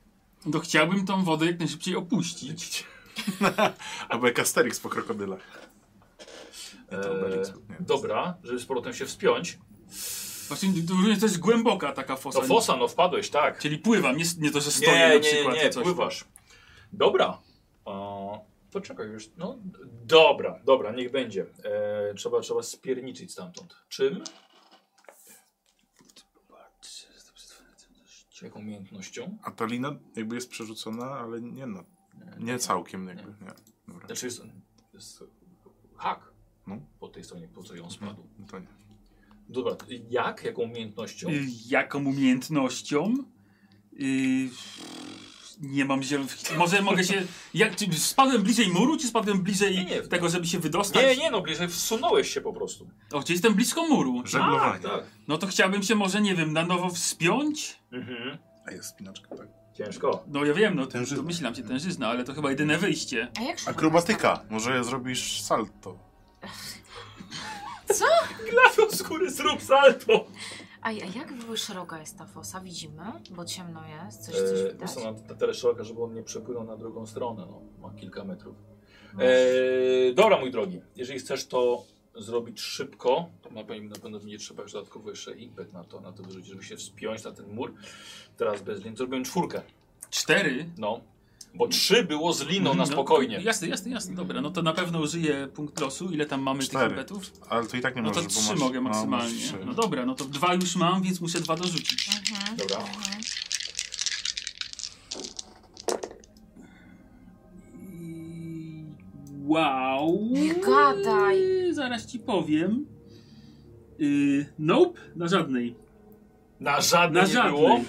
S4: No chciałbym tą wodę jak najszybciej opuścić.
S2: Albo jak Asterix po krokodylach. Nie, to Obelix,
S1: E,
S2: nie.
S1: dobra, żeby z powrotem się wspiąć.
S4: Właśnie to również to jest głęboka taka fosa.
S1: To fosa, no wpadłeś, tak.
S4: Czyli pływam, nie, nie to, że stoję
S1: Nie,
S4: na
S1: nie,
S4: przykład.
S1: nie,
S4: czy coś.
S1: pływasz. Dobra. O, Poczekaj już. No d- dobra, dobra, niech będzie. E, trzeba, trzeba spierniczyć stamtąd. Czym? Jaką umiejętnością?
S2: A ta lina jakby jest przerzucona, ale nie na, nie całkiem jakby. Nie. Dobra.
S1: Znaczy jest, jest hak
S2: No.
S1: po tej stronie, po co ją spadł.
S2: No to nie.
S1: Dobra, jak? Jaką umiejętnością?
S4: Y, Jaką umiejętnością? Y, nie mam zielonych. Może mogę się. Jak, czy spadłem bliżej muru, czy spadłem bliżej
S1: Nie, nie.
S4: tego, żeby się wydostać?
S1: Nie, nie, no bliżej wsunąłeś się po prostu.
S4: O, czy jestem blisko muru?
S2: Żeglowanie.
S1: Tak, tak.
S4: No to chciałbym się może, nie wiem, na nowo wspiąć?
S1: Mhm.
S2: A jest spinaczka, tak.
S1: Ciężko.
S4: No ja wiem, no
S2: Tężyzna.
S4: domyślam się tężyzna, ale to chyba jedyne wyjście.
S3: A jak szybko
S2: Akrobatyka. Może zrobisz salto.
S1: Gladą skóry, zrób salto!
S3: A, a jak w- szeroka jest ta fosa? Widzimy? Bo ciemno jest, coś, coś
S1: E,
S3: widać.
S1: są na na tyle szeroka, żeby on nie przepłynął na drugą stronę. No, ma kilka metrów.
S3: No.
S1: E, dobra, mój drogi. Jeżeli chcesz to zrobić szybko, to na pewno, na pewno będzie trzeba już dodatkowo jeszcze impet na to, na to wyrzucić, żeby się wspiąć na ten mur. Teraz bez lin. Zrobiłem czwórkę.
S4: Cztery?
S1: No. Bo trzy było z liną na
S4: No,
S1: spokojnie.
S4: jasne, jasne, jasne, dobra. No to na pewno użyję punkt losu. Ile tam mamy
S2: Cztery.
S4: tych betów?
S2: Ale to i tak nie
S4: No to
S2: możesz, bo
S4: trzy
S2: masz-
S4: mogę
S2: no, masz
S4: maksymalnie.
S2: trzy.
S4: No dobra, no to dwa już mam, więc muszę dwa dorzucić.
S3: Mhm.
S1: e, Dobra.
S3: Mhm.
S4: Wow.
S3: Nie gadaj.
S4: Zaraz ci powiem. Yy, nope, na żadnej.
S1: Na żadne
S4: Na
S1: nie było.
S4: żadnej.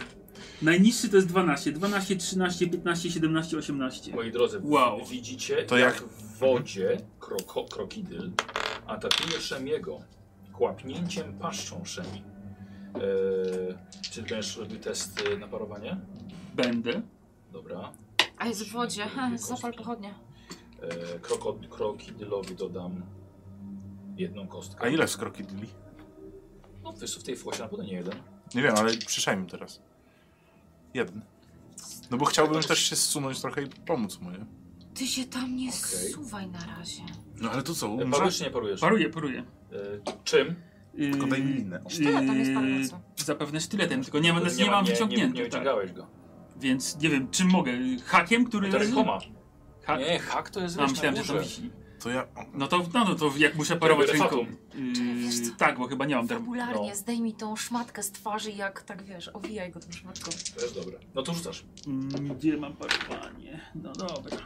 S4: Najniższy to jest 12. 12, 13, 15, 17, 18.
S1: Moi drodzy,
S4: Wow.
S1: widzicie,
S2: To
S1: jak
S2: jak-
S1: w wodzie kroko, krokidyl atakuje Szemiego kłapnięciem paszczą Szemi. Eee, czy będziesz robił test y, na parowanie?
S4: Będę.
S1: Dobra.
S3: A jest w wodzie. [LAUGHS] Ha, zapal pochodnia.
S1: Eee, kroko, krokidylowi dodam jedną kostkę.
S2: A ile z krokidyli?
S1: No wiesz, co, w tej fosie na pewno nie jeden.
S2: Nie wiem, ale przyszaj mi teraz. Jeden. No bo chciałbym też się zsunąć trochę i pomóc mu, nie?
S3: Ty się tam nie
S1: Okej.
S3: zsuwaj na razie.
S2: No ale to co,
S1: E,
S2: umrzesz?
S1: Parujesz czy nie parujesz?
S4: Paruję, paruję.
S1: Eee, czym?
S4: Yy,
S2: Tylko daj mi linę.
S3: Sztyletem jest pan mocno.
S4: Zapewne sztyletem, tylko nie,
S1: To
S4: mam, nie, nie
S1: ma-
S4: mam
S1: Nie, nie,
S4: wyciągnięty.
S1: nie
S4: tak.
S1: wyciągałeś go.
S4: Więc nie wiem, czym mogę. Hakiem, który.
S1: No To rękoma.
S4: Hak.
S1: Nie, hak to jest
S4: A,
S1: wiesz, na
S4: Tak. No, myślałem, że to
S1: górze.
S4: wisi.
S2: To ja...
S4: No to, no, no to jak muszę parować
S1: biorę
S4: ręką.
S1: fatum.
S3: Czekaj, wiesz
S4: Yy,
S3: co?
S4: tak, bo chyba nie mam derby.
S3: Fabularnie
S1: no.
S3: zdejmij tą szmatkę z twarzy, jak tak wiesz, owijaj go tą szmatką.
S1: To jest dobre. No to rzucasz.
S4: Mm, Gdzie mam parowanie? No dobra.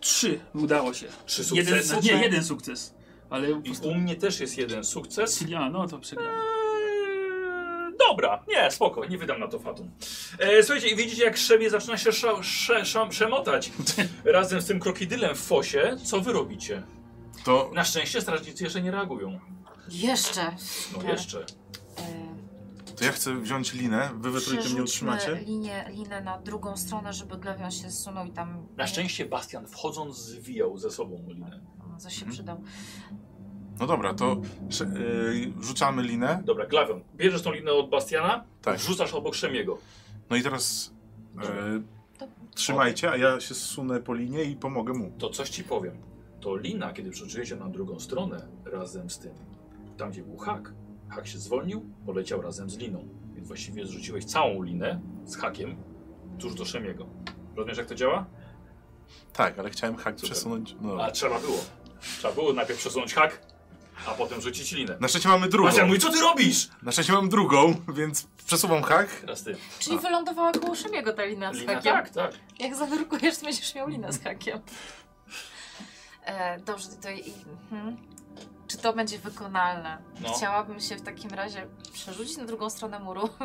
S4: Trzy. Udało się.
S1: Trzy
S4: Jeden,
S1: sukcesy?
S4: nie, jeden sukces. Ale po
S1: I
S4: prostu...
S1: u mnie też jest jeden sukces.
S4: A, no to przegrałem.
S1: Eee, Dobra, nie, spoko, nie wydam na to fatum. E, słuchajcie, i widzicie jak Szemie zaczyna się szał, sze, szam, szemotać razem z tym krokodylem w fosie. Co wy robicie?
S2: To...
S1: Na szczęście strażnicy jeszcze nie reagują.
S3: Jeszcze.
S1: No
S3: Tak.
S1: jeszcze.
S3: E,
S2: To ja chcę wziąć linę, wy we trójkę mnie
S3: przerzućmy
S2: utrzymacie.
S3: Linię, linę na drugą stronę, żeby Glewion się zsunął i tam...
S1: Na szczęście Bastian wchodząc zwijał ze sobą linę.
S3: No, Coś się
S2: Mhm.
S3: przydał.
S2: No dobra, to sze- y, rzucamy linę.
S1: Dobra, Glawion, bierzesz tą linę od Bastiana,
S2: Tak.
S1: wrzucasz obok Szemiego.
S2: No i teraz y,
S3: To-
S2: trzymajcie, a ja się zsunę po linie i pomogę mu.
S1: To coś ci powiem. To lina, kiedy przeczyjecie na drugą stronę razem z tym, tam gdzie był hak, hak się zwolnił, poleciał razem z liną. Więc właściwie zrzuciłeś całą linę z hakiem tuż do Szemiego. Rozumiesz jak to działa?
S2: Tak, ale chciałem hak
S1: Super.
S2: przesunąć. No.
S1: A trzeba było. Trzeba było najpierw przesunąć hak, a potem rzucić linę.
S2: Na szczęście mamy drugą.
S1: Macian mój, co ty robisz?
S2: Na szczęście mam drugą, więc przesuwam hak.
S1: Teraz ty.
S3: Czyli wylądowała koło Szymiego ta lina z
S1: Lina,
S3: hakiem.
S1: tak, Mhm. tak.
S3: Jak zawyrkujesz, to będziesz miał linę z hakiem. E, dobrze, to i, mhm. Czy to będzie wykonalne?
S1: No.
S3: Chciałabym się w takim razie przerzucić na drugą stronę muru, [LAUGHS]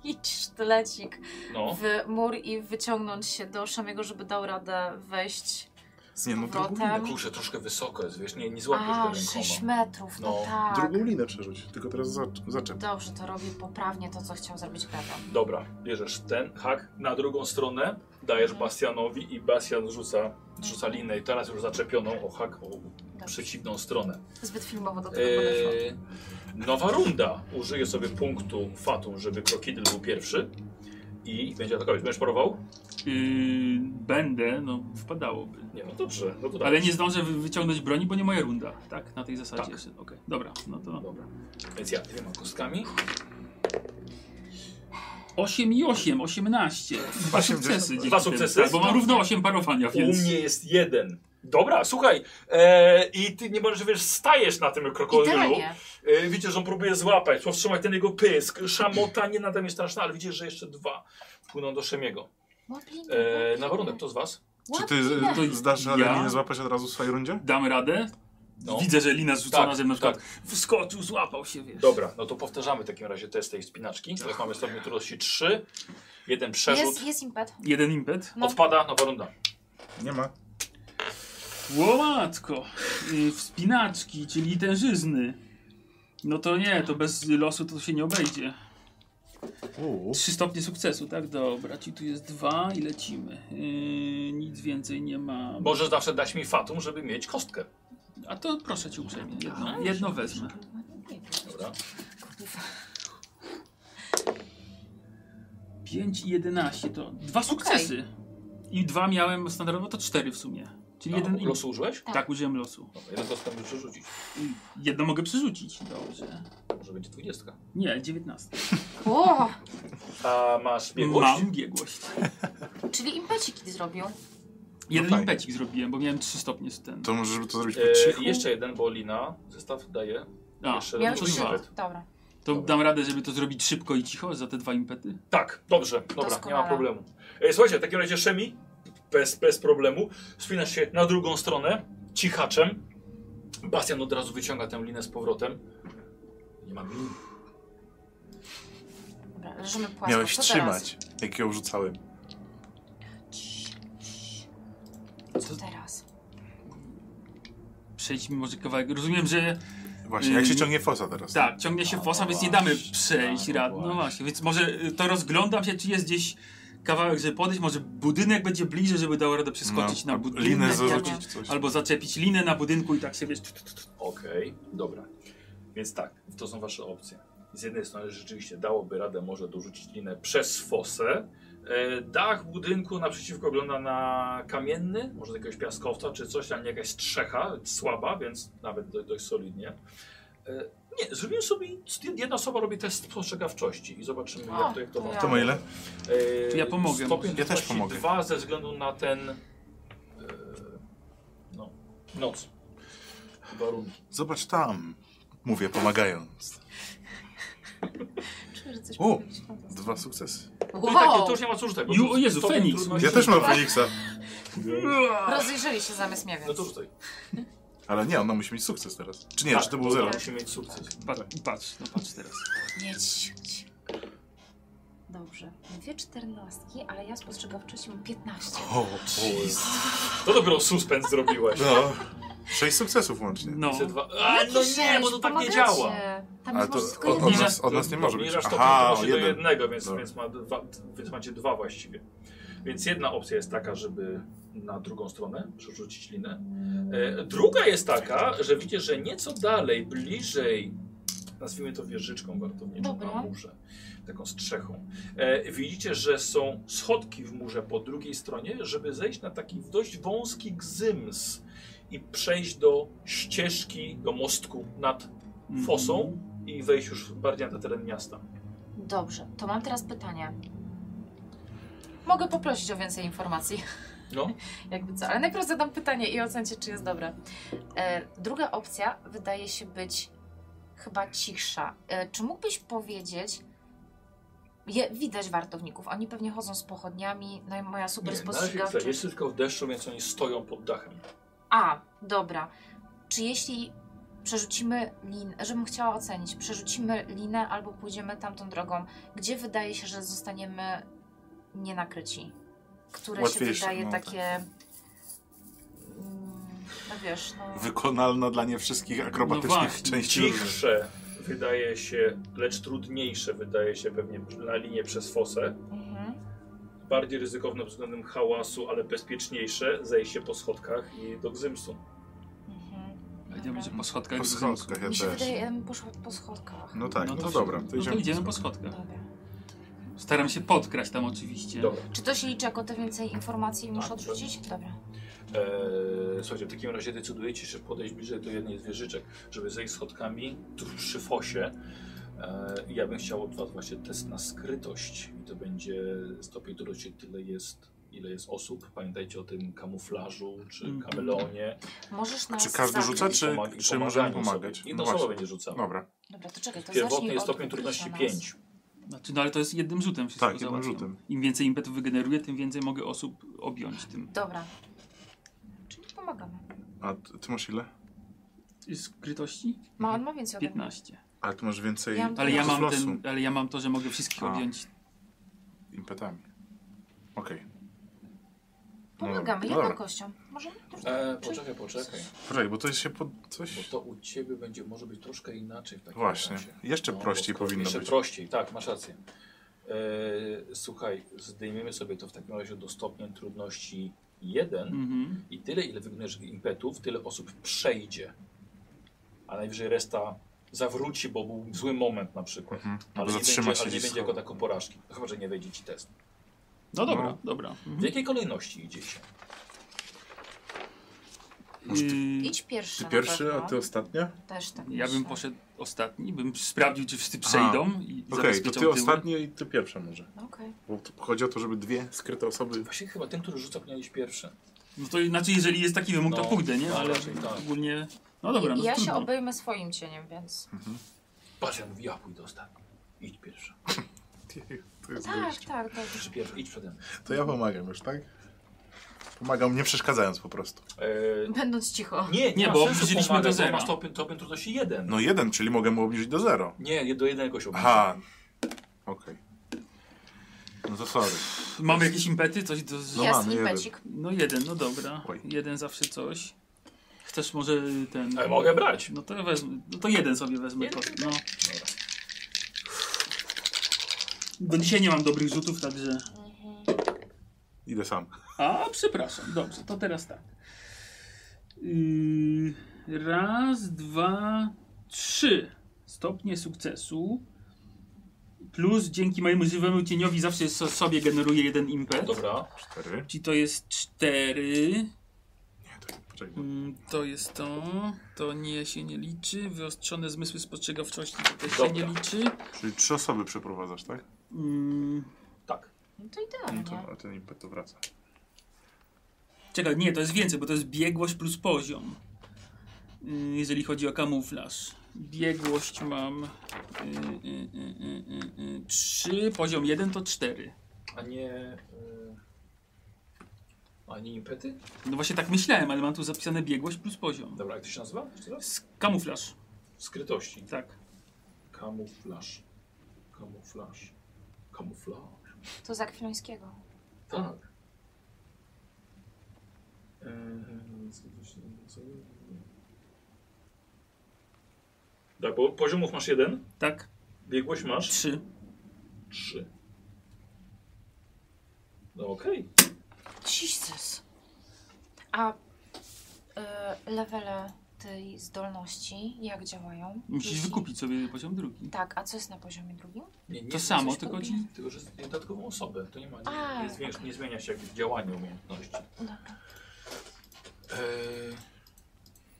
S3: wbić sztylecik
S1: No.
S3: w mur i wyciągnąć się do Szamiego, żeby dał radę wejść z
S2: Nie, no drugą
S3: powrotem.
S1: Kurczę, troszkę wysoko jest, wiesz, nie, nie złapiesz go
S3: A,
S1: rękoma.
S3: 6 metrów, no,
S1: No,
S3: tak.
S2: Drugą linę przerzuć, tylko teraz zac- zaczep.
S3: Dobrze, to robi poprawnie to, co chciał zrobić Gregor.
S1: Dobra, bierzesz ten hak na drugą stronę, dajesz Bastianowi i Bastian rzuca, rzuca linę i teraz już zaczepioną o hak
S3: Tak.
S1: o przeciwną stronę.
S3: Zbyt filmowo do tego podeszło.
S1: Eee, nowa runda. Użyję sobie punktu Fatum, żeby Krokidyl był pierwszy i będzie atakować. Będziesz parował?
S4: Yy, będę, no wpadałoby.
S1: Nie, no dobrze, no to
S4: Ale
S1: dajesz.
S4: nie zdążę wy- wyciągnąć broni, bo nie moja runda. Tak, na tej zasadzie
S1: Tak.
S4: jeszcze. Okej, dobra, no to.
S1: Dobra, więc ja dwiema kostkami.
S4: 8 i 8, 18. Dwa
S2: Osiem-
S4: sukcesy. dzięki
S1: Dwa
S4: temu.
S1: sukcesy? No.
S4: Tak, Bo mam równo 8 parofania, więc...
S1: U mnie jest jeden. Dobra, słuchaj, e, i ty nie możesz, wiesz, stajesz na tym krokodylu.
S3: Idealnie.
S1: E, widzisz, że on próbuje złapać, powstrzymać ten jego pysk. Szamota nie na tym jest straszna, ale widzisz, że jeszcze dwa płyną do Szemiego.
S3: Łapinę,
S1: E, na
S3: łapinę.
S1: warunek, kto z was?
S2: Czy ty
S3: Łapinę.
S2: y, zdasz radę
S4: Ja?
S2: mnie złapać od razu w swojej rundzie?
S4: Dam radę.
S1: No.
S4: Widzę, że lina zrzucona
S1: Tak,
S4: ze mną na
S1: tak.
S4: przykład wskoczył, złapał się, wiesz.
S1: Dobra, no to powtarzamy w takim razie test tej spinaczki. Teraz mamy stopień trudności 3, jeden przerzut,
S3: Jest, jest impet.
S4: Jeden impet.
S3: no.
S1: odpada, nowa runda.
S2: Nie ma.
S4: Łomatko! Y, Wspinaczki, czyli tężyzny. No to nie, to bez losu to się nie obejdzie.
S2: Uuu.
S4: Trzy stopnie sukcesu, tak? Dobra, ci tu jest dwa i lecimy. Yy, nic więcej nie ma.
S1: Możesz zawsze dać mi fatum, żeby mieć kostkę.
S4: A to proszę cię uprzejmie, jedno, jedno wezmę.
S1: Dobra.
S4: Pięć i 11 to dwa sukcesy. I dwa miałem standardowo, to cztery w sumie. Czyli jeden
S1: Jeden
S4: i-
S1: losu użyłeś?
S4: Tak, użyłem losu.
S1: Dobra, No, jeden to tam muszę rzucić.
S4: I jedno mogę przerzucić. Dobrze.
S1: Może będzie 20.
S4: Nie, 19.
S3: O,
S1: A masz biegłość?
S4: Mam biegłość.
S3: czyli impecik zrobił.
S4: Jeden
S2: fajnie.
S4: impecik zrobiłem, bo miałem 3 stopnie z ten.
S2: To może żeby to zrobić po
S1: E,
S2: cichu?
S1: i jeszcze jeden, bo Lina zestaw daje.
S4: A,
S1: jeszcze
S3: Miał
S1: to
S4: trzy.
S1: dwa.
S3: Dobra.
S4: to
S1: Dobra.
S4: dam radę, żeby to zrobić szybko i cicho za te dwa impety.
S1: Tak, dobrze, dobra, nie ma
S3: Doskonale.
S1: problemu. E, słuchajcie, w takim razie Szemi, bez, bez problemu, wspinasz się na drugą stronę, cichaczem. Bastian od razu wyciąga tę linę z powrotem. Nie mam lin.
S3: Dobra, leżymy płasko.
S2: Miałeś
S3: Co
S2: trzymać, jak ją rzucałem.
S3: Teraz? Cii, cii.
S4: To-
S3: Co teraz?
S4: Przejdźmy może kawałek. Rozumiem, że
S2: Właśnie, jak się
S4: Mm.
S2: ciągnie fosa teraz?
S4: tak, ciągnie się
S1: A,
S4: fosa,
S1: no
S4: więc nie damy
S1: właśnie,
S4: przejść
S1: no
S4: rad.
S1: właśnie.
S4: No właśnie, więc może y, to rozglądam się, czy jest gdzieś kawałek, żeby podejść. Może budynek będzie bliżej, żeby dało radę przeskoczyć na
S2: a
S4: budynek.
S2: No, Linę
S3: zarzucić.
S2: zarzucić coś.
S4: Albo zaczepić linę na budynku i tak się wiesz. tut, tut, tut.
S1: Okej, dobra. Więc tak, to są wasze opcje. Z jednej strony rzeczywiście dałoby radę może dorzucić linę przez fosę. E, Dach budynku naprzeciwko wygląda na kamienny, może z jakiegoś piaskowca czy coś, ale nie jakaś strzecha, słaba, więc nawet do- dość solidnie. E, Nie, zrobimy sobie, jedna osoba robi test spostrzegawczości i zobaczymy
S3: O,
S1: jak to, jak to
S3: to
S1: wam
S3: ja.
S2: To ma ile?
S1: E,
S4: To ja pomogę
S1: Stopień
S4: może.
S2: Ja też
S1: trudności
S2: pomogę.
S1: Dwa ze względu na ten. e, No, noc. Warunki.
S2: Zobacz tam. Mówię, pomagając.
S3: Czuję, że coś
S2: O,
S3: powinno być fantastyczne.
S2: dwa sukcesy.
S1: No i
S3: Wow.
S1: takie, to już nie ma co rzucać. bo
S4: Ju-
S1: to
S4: o Jezu,
S1: stopień
S4: Feniks.
S1: trudności-
S2: Ja też mam Feniksa.
S3: Rozejrzeli się zamiast mnie, więc...
S1: No to rzucaj.
S2: Ale nie, ona musi mieć sukces teraz. Czy nie,
S1: Tak,
S2: czy to był zero?
S1: Musi mieć sukces.
S4: Patrz, patrz, no patrz teraz.
S3: Nie cić. Dobrze. Dwie czternastki, ale ja spostrzegawczości mam 15.
S2: O, o,
S1: To dopiero suspens zrobiłeś.
S2: no. Sześć sukcesów łącznie.
S4: No.
S1: Jeszcze dwa- A, no
S3: Jakiś
S1: nie,
S3: sześć,
S1: bo to tak nie
S3: pomagacie.
S1: działa.
S3: Tam
S2: Ale
S3: jest
S2: to
S3: może tylko
S2: od, od,
S3: jeden.
S2: nas, od nas nie może być.
S1: Obniżasz stopień
S2: Aha, o
S1: trudności do
S2: jeden. No.
S1: jednego, więc,
S2: Dobra.
S1: więc, ma dwa, więc macie dwa właściwie. Więc jedna opcja jest taka, żeby na drugą stronę przerzucić linę. E, druga jest taka, że widzicie, że nieco dalej, bliżej, nazwijmy to wieżyczką wartowniczą
S3: Dobra.
S1: na murze, taką strzechą, e, widzicie, że są schodki w murze po drugiej stronie, żeby zejść na taki dość wąski gzyms i przejść do ścieżki, do mostku nad
S4: Mm.
S1: fosą i wejść już bardziej na teren miasta.
S3: Dobrze, to mam teraz pytanie. Mogę poprosić o więcej informacji,
S1: No.
S3: [LAUGHS] jakby co, ale najpierw zadam pytanie i ocencie, czy jest dobre. E, druga opcja wydaje się być chyba cichsza. E, czy mógłbyś powiedzieć, je, widać wartowników, oni pewnie chodzą z pochodniami, no i moja super
S1: Nie, na razie chwilę.
S3: spostrzegawczość.
S1: Jest tylko w deszczu, więc oni stoją pod dachem.
S3: A, dobra. Czy jeśli przerzucimy linę, żebym chciała ocenić, przerzucimy linę albo pójdziemy tamtą drogą, gdzie wydaje się, że zostaniemy nienakryci? Które się
S2: Łatwiejsze,
S3: wydaje
S2: no tak.
S3: takie... mm, No wiesz, no...
S2: Wykonalna dla nie wszystkich akrobatycznych
S4: właśnie,
S2: części. różnych.
S1: Cichsze wydaje się, lecz trudniejsze wydaje się pewnie na linię przez fosę.
S3: Mhm.
S1: Bardziej ryzykowne pod względem hałasu, ale bezpieczniejsze zejście po schodkach i do gzymsu.
S3: Mhm.
S4: Będziemy
S3: Dobra.
S4: po schodkach.
S2: Po schodkach ja
S3: Mi się
S2: też.
S3: wydaje, ja bym poszła po schodkach.
S2: No tak, no to dobra. To
S4: No to
S2: idziemy.
S4: idziemy po schodkach.
S3: Dobra.
S4: Staram się podkraść tam oczywiście.
S1: Dobra.
S3: Czy to się liczy jako te więcej informacji i muszę
S1: Tak,
S3: odrzucić? Dobra.
S1: Eee, słuchajcie, w takim razie decydujecie się podejść bliżej do jednej z wieżyczek, żeby zejść schodkami tuż przy fosie. E, ja bym chciał od was właśnie test na skrytość i to będzie stopień trudności tyle jest, ile jest osób. Pamiętajcie o tym kamuflażu czy
S4: Mhm.
S1: kamelonie.
S3: Możesz nas
S2: Czy każdy
S3: zakryć.
S2: rzuca, czy,
S1: Pomag-
S2: czy możemy
S1: pomaganiu
S2: pomagać?
S1: sobie. I
S2: No
S1: to słowo
S2: właśnie.
S1: będzie rzucało.
S2: Dobra,
S3: Dobra, to czekaj, to
S1: Pierwotny
S3: zacznij
S1: jest
S3: od
S1: stopień
S3: odkrycia
S1: trudności
S3: nas.
S1: 5.
S4: Znaczy, no ale to jest jednym rzutem wszystko
S2: Tak, jednym
S4: załatwiam.
S2: rzutem.
S4: Im więcej impetu wygeneruję, tym więcej mogę osób objąć tym.
S3: Dobra. Czyli pomagamy.
S2: a ty, ty masz ile?
S4: Skrytości?
S2: Mhm.
S3: Ma, on ma więcej ode mnie.
S4: 15.
S2: Ale ty masz więcej
S3: Ja mam-
S4: Ale ja
S2: punktów
S4: mam,
S2: losu
S4: ten, ale ja mam to, że mogę wszystkich
S2: A.
S4: objąć.
S2: impetami. Okej. No
S3: Pomagamy,
S2: dobra,
S3: jedną
S2: dobra.
S3: kością. Możemy?
S1: E, poczekaj, poczekaj.
S2: Poczekaj, bo to jest się pod
S1: Bo
S2: coś...
S1: to u ciebie będzie może być troszkę inaczej w takim
S2: Właśnie.
S1: razie.
S2: Jeszcze
S1: No, bo
S2: prościej
S1: skoro-
S2: powinno
S1: jeszcze
S2: być.
S1: prościej, tak, masz rację. E, słuchaj, zdejmiemy sobie to w takim razie do stopnia trudności 1
S2: Hmm.
S4: Mhm.
S1: i tyle, ile wykonujesz impetów, tyle osób przejdzie. A najwyżej reszta zawróci, bo był zły moment na przykład.
S2: Mhm.
S1: Ale, nie będzie,
S2: zatrzyma się
S1: ale nie
S2: gdzieś
S1: będzie tak- jako
S2: schowa-
S1: taką porażki. Chyba, że nie wejdzie ci test.
S4: No dobra,
S2: No.
S4: dobra.
S1: W jakiej kolejności idziecie?
S2: Może ty-
S4: Yy,
S3: Idź pierwszy.
S2: Ty
S3: na
S2: pierwszy,
S3: pewno.
S2: a ty ostatnia?
S3: Też tak.
S4: ja bym
S3: myślę.
S4: poszedł ostatni, bym sprawdził, czy wszyscy przejdą i
S2: Okej, to
S4: zabezpieczą
S2: ty
S4: tyły.
S2: ostatnia i ty pierwsza może.
S3: No Okej.
S2: Bo tu chodzi o to, żeby dwie skryte
S1: [LAUGHS]
S2: osoby...
S1: Właśnie chyba ten, który rzuca, powinien iść pierwszy.
S4: No to inaczej, jeżeli jest taki wymóg, to
S1: No,
S4: pójdę, nie?
S1: no,
S4: Ale
S1: raczej tak.
S4: ogólnie... No dobra, no
S3: ja
S4: to
S3: się
S4: trudno.
S3: obejmę swoim cieniem, więc.
S1: Patrz, ja mówię, ja pójdę ostatni. Idź pierwszy.
S2: To, jest
S3: Tak,
S2: wyjście.
S3: tak, dobrze.
S1: Idź pierwszy, idź przede mną.
S2: to ja pomagam już, tak? Pomagam nie przeszkadzając po prostu.
S1: E,
S3: Będąc cicho.
S1: Nie, nie,
S4: Nie,
S1: ma
S4: bo
S1: sensu
S4: obniżyliśmy
S1: pomagać,
S4: do
S1: bo
S4: zera.
S1: Masz stopień, stopień trudności jeden.
S2: No jeden, czyli mogę mu obniżyć do zero.
S1: Nie, nie, do jednego się obniża.
S2: Aha. Okej. No to sorry.
S4: Mamy jakieś impety? Coś do...
S2: No
S3: Jest
S2: mamy jeden.
S3: impecik.
S4: No jeden, no dobra.
S2: Oj.
S4: Jeden zawsze coś. Chcesz może ten...
S1: Ale mogę brać.
S4: No to wezmę, no to jeden sobie wezmę.
S1: Jeden?
S4: kosz- No.
S1: Dobra.
S4: Do dzisiaj nie mam dobrych rzutów, także...
S2: Idę sam.
S4: A, przepraszam, dobrze, to teraz tak. Yy, raz, dwa, trzy stopnie sukcesu. Plus dzięki mojemu żywemu cieniowi zawsze so, sobie generuję jeden impet.
S1: Dobra.
S2: Cztery.
S4: Czyli to jest cztery.
S2: Nie, to poczekaj. bo-
S4: Mm, To jest to. To nie się nie liczy. Wyostrzone zmysły spostrzegawczości to też się
S1: Dobra.
S4: nie liczy.
S2: Czyli trzy osoby przeprowadzasz, tak?
S4: Mm,
S1: Tak.
S3: No to
S2: No
S3: idealnie.
S2: to a ten impet to wraca.
S4: Czekaj, nie, to jest więcej, bo to jest biegłość plus poziom. Yy, Jeżeli chodzi o kamuflaż. Biegłość mam y, 3, y, poziom 1 to 4.
S1: A nie... Y... A nie impety?
S4: No właśnie tak myślałem, ale mam tu zapisane biegłość plus poziom.
S1: Dobra, jak to się nazywa? Jeszcze raz?
S4: S- Kamuflaż,
S1: Skrytości.
S4: tak.
S1: Kamuflaż. Kamuflaż. Kamuflaż.
S3: To za Kwilońskiego.
S1: Tak. Ehm, skrytości- Tak, bo poziomów masz jeden,
S4: Tak,
S1: biegłość masz
S4: 3.
S1: trzy. No okej.
S3: Jesus. A y, levele tej zdolności, jak działają?
S4: Musisz
S3: Jeśli-
S4: wykupić sobie poziom drugi.
S3: Tak, a co jest na poziomie drugim?
S1: Nie, nie,
S4: To samo,
S1: coś
S4: tylko
S1: podobnie,
S4: ci-
S1: Tylko, że z dodatkową osobę. To nie ma. Nie,
S3: A,
S1: nie, zmienia, nie zmienia się jakby działanie umiejętności.
S3: Dobra.
S1: Eee,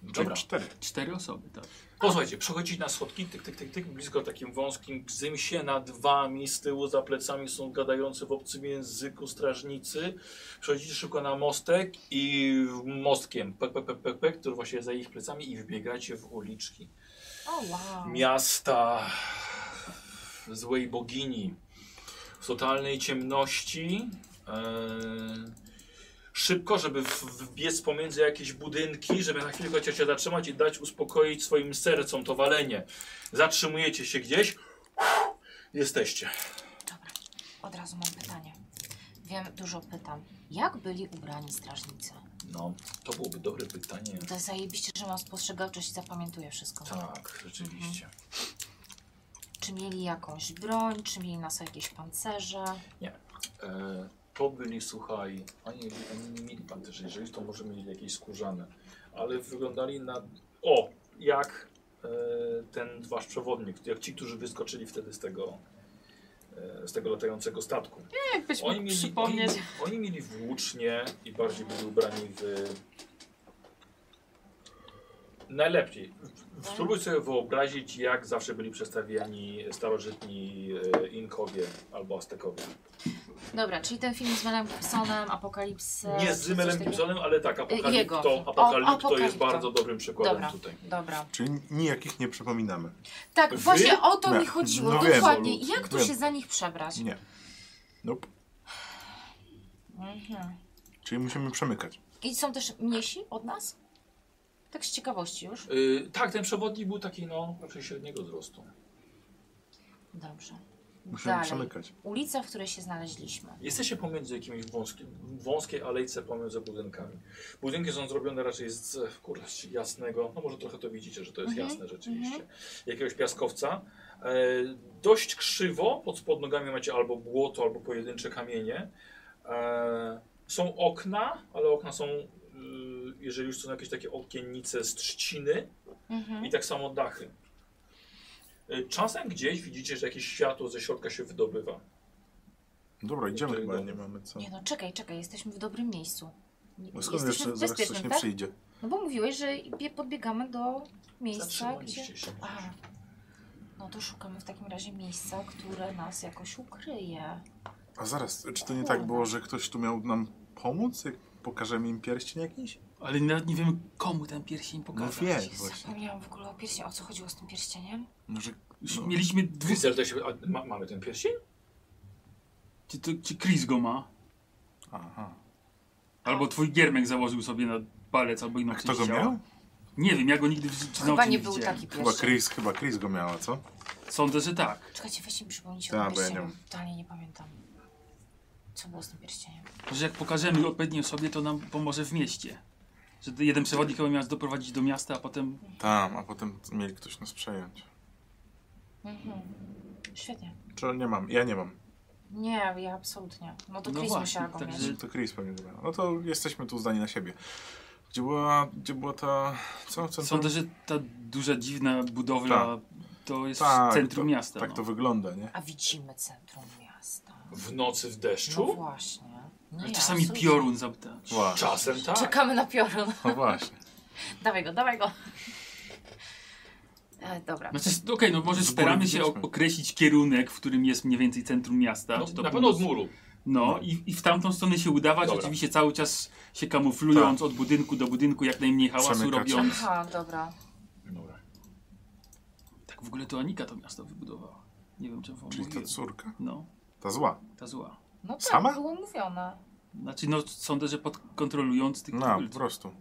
S2: Czyli
S1: dobra.
S2: cztery.
S4: 4 osoby, tak.
S1: Posłuchajcie, przechodzić na schodki, tyk, tyk, tyk, tyk, blisko takim wąskim gzym się nad wami, z tyłu za plecami są gadający w obcym języku strażnicy. Przechodzicie szybko na mostek i mostkiem, pek, pek, pek, pek, pek, który właśnie jest za ich plecami i wbiegacie w uliczki.
S3: O wow.
S1: miasta złej bogini w totalnej ciemności. Eee, szybko, żeby w- wbiec pomiędzy jakieś budynki, żeby na chwilę cię się zatrzymać i dać uspokoić swoim sercom to walenie. Zatrzymujecie się gdzieś. Jesteście.
S3: Dobra. Od razu mam pytanie. Wiem, dużo pytam. Jak byli ubrani strażnicy?
S1: No, to byłoby dobre pytanie.
S3: To jest zajebiście, że mam spostrzegawczość i zapamiętuję wszystko.
S1: Tak, rzeczywiście.
S3: Czy mieli jakąś broń, czy mieli na sobie jakieś pancerze?
S1: E, to byli, słuchaj, oni, oni nie mieli panterzy, jeżeli to może mieli jakieś skórzane, ale wyglądali na, o, jak e, ten wasz przewodnik, jak ci, którzy wyskoczyli wtedy z tego, e, z tego latającego statku.
S3: Jakbyś
S1: Oni mieli, oni, oni mieli włócznie i bardziej byli ubrani w Najlepiej. Spróbuj sobie wyobrazić, jak zawsze byli przedstawiani starożytni e, Inkowie albo Aztekowie.
S3: Dobra, czyli ten film z Melem Gibsonem, Apokalipsę...
S1: Nie z
S3: czy coś
S1: Zymelem
S3: takiego?
S1: Gibsonem, ale tak,
S3: Jego.
S1: Apokalipto,
S3: O,
S1: Apokalipto jest
S3: Apokalipto.
S1: bardzo dobrym przykładem
S3: Dobra,
S1: tutaj.
S3: dobra.
S2: Czyli nijakich nie przypominamy.
S3: Tak,
S1: Wy?
S3: właśnie o to
S2: Nie.
S3: mi chodziło,
S2: No wiem,
S3: dokładnie.
S1: Olu,
S3: Jak tu
S2: wiem.
S3: się za nich przebrać?
S2: Nie. Nope.
S3: Mhm.
S2: Czyli musimy przemykać.
S3: I są też mniejsi od nas? Tak z ciekawości już.
S1: Y, tak, ten przewodnik był taki, no, raczej średniego wzrostu.
S3: Dobrze.
S2: Musimy
S3: Dalej.
S2: przemykać.
S3: Ulica, w której się znaleźliśmy.
S1: Jesteście pomiędzy jakimiś wąskim, wąskiej alejce pomiędzy budynkami. Budynki są zrobione raczej z e, kurde, z jasnego, no może trochę to widzicie, że to jest
S3: Mhm,
S1: jasne rzeczywiście, jakiegoś piaskowca. E, dość krzywo, pod spod nogami macie albo błoto, albo pojedyncze kamienie. E, są okna, ale okna są, y, jeżeli już są jakieś takie okiennice z trzciny,
S3: Mhm.
S1: i tak samo dachy. Y, Czasem gdzieś widzicie, że jakieś światło ze środka się wydobywa.
S2: Dobra, idziemy
S1: to
S2: chyba,
S1: idą.
S2: nie mamy co.
S3: Nie no, czekaj, czekaj, jesteśmy w dobrym miejscu.
S2: No skąd wiesz, że
S3: w
S2: zaraz coś
S3: bezpiecznym,
S2: nie
S3: tak?
S2: przyjdzie?
S3: No bo mówiłeś, że bie- podbiegamy do miejsca, gdzie...
S1: Zatrzymaliście się.
S3: A, no to szukamy w takim razie miejsca, które nas jakoś ukryje.
S2: A zaraz, czy to nie tak było, że ktoś tu miał nam pomóc? Jak pokażemy im pierścień jakiś?
S4: Ale nawet nie wiem, komu ten pierścień
S2: No
S4: pokazać.
S2: wiem właśnie.
S3: Zapomniałam w ogóle o pierścieniu. O co chodziło z tym pierścieniem?
S2: No, że,
S4: Już
S2: no.
S4: mieliśmy dwóch...
S1: Widzę, że to się, a, ma, mamy ten pierścień?
S4: Czy, to, czy Chris go ma?
S2: Aha.
S4: Albo twój giermek założył sobie na palec, albo inną
S2: A No kto
S4: część
S2: go
S4: ciała.
S2: miał?
S4: Nie wiem, ja go nigdy w życiu na
S3: Chyba
S4: oczy
S3: nie był
S4: widziałem.
S3: taki
S2: No, Chyba
S3: pierścień.
S2: Chris, chyba Chris go miała, co?
S4: Sądzę, że tak.
S3: Czekajcie, weźcie mi przypomnijcie o
S2: Tak,
S3: tym
S2: bo ja nie
S3: pierścieniu. Totalnie nie pamiętam. Co było z tym pierścieniem?
S4: Może jak pokażemy odpowiednie sobie, to nam pomoże w mieście. Że to jeden przewodnik chyba miał nas doprowadzić do miasta, a potem...
S2: Tam, a potem mieli ktoś nas przejąć.
S3: Mhm. Świetnie.
S2: Czy nie mam? Ja nie mam.
S3: Nie, ja absolutnie. No to
S4: No
S3: Chris
S4: właśnie,
S3: musiała go
S4: także-
S3: mieć.
S2: To Chris pewnie go miał. No to jesteśmy tu zdani na siebie. Gdzie była, gdzie była ta... Co? Centrum?
S4: Sądzę, że ta duża, dziwna budowla
S2: Tak.
S4: to jest
S2: Tak,
S4: centrum
S2: to-
S4: miasta.
S2: Tak to
S4: no.
S2: wygląda, nie?
S3: A widzimy centrum miasta.
S1: W nocy w
S3: No
S1: deszczu?
S3: właśnie. Nie,
S4: Ale Znaczy, czasami
S3: absolutnie.
S4: piorun zapyta.
S2: Właśnie.
S1: Czasem tak.
S3: Czekamy na piorun. [LAUGHS]
S2: No właśnie.
S3: Dawaj go, dawaj go. E, dobra.
S4: Znaczy, s- okej, no może
S2: Z góry
S4: staramy się
S2: widzieliśmy.
S4: o- określić kierunek, w którym jest mniej więcej centrum miasta.
S1: No,
S4: czy to
S1: na
S4: północ-
S1: pewno od muru.
S4: No i, i w tamtą stronę się udawać,
S1: Dobra.
S4: oczywiście cały czas się kamuflując
S2: Tak.
S4: od budynku do budynku, jak najmniej hałasu
S2: Przemykać.
S4: robiąc.
S3: Aha, dobra.
S1: Dobra.
S4: Tak w ogóle to Anika to miasto wybudowała. Nie wiem czemu
S2: Czyli ta
S4: mówiłem.
S2: córka.
S4: No,
S2: Ta zła.
S4: ta zła.
S3: No tak,
S2: Sama?
S3: było mówione.
S4: Znaczy, no sądzę, że pod kontrolując tych
S2: No, po
S4: tubylców.
S2: prostu.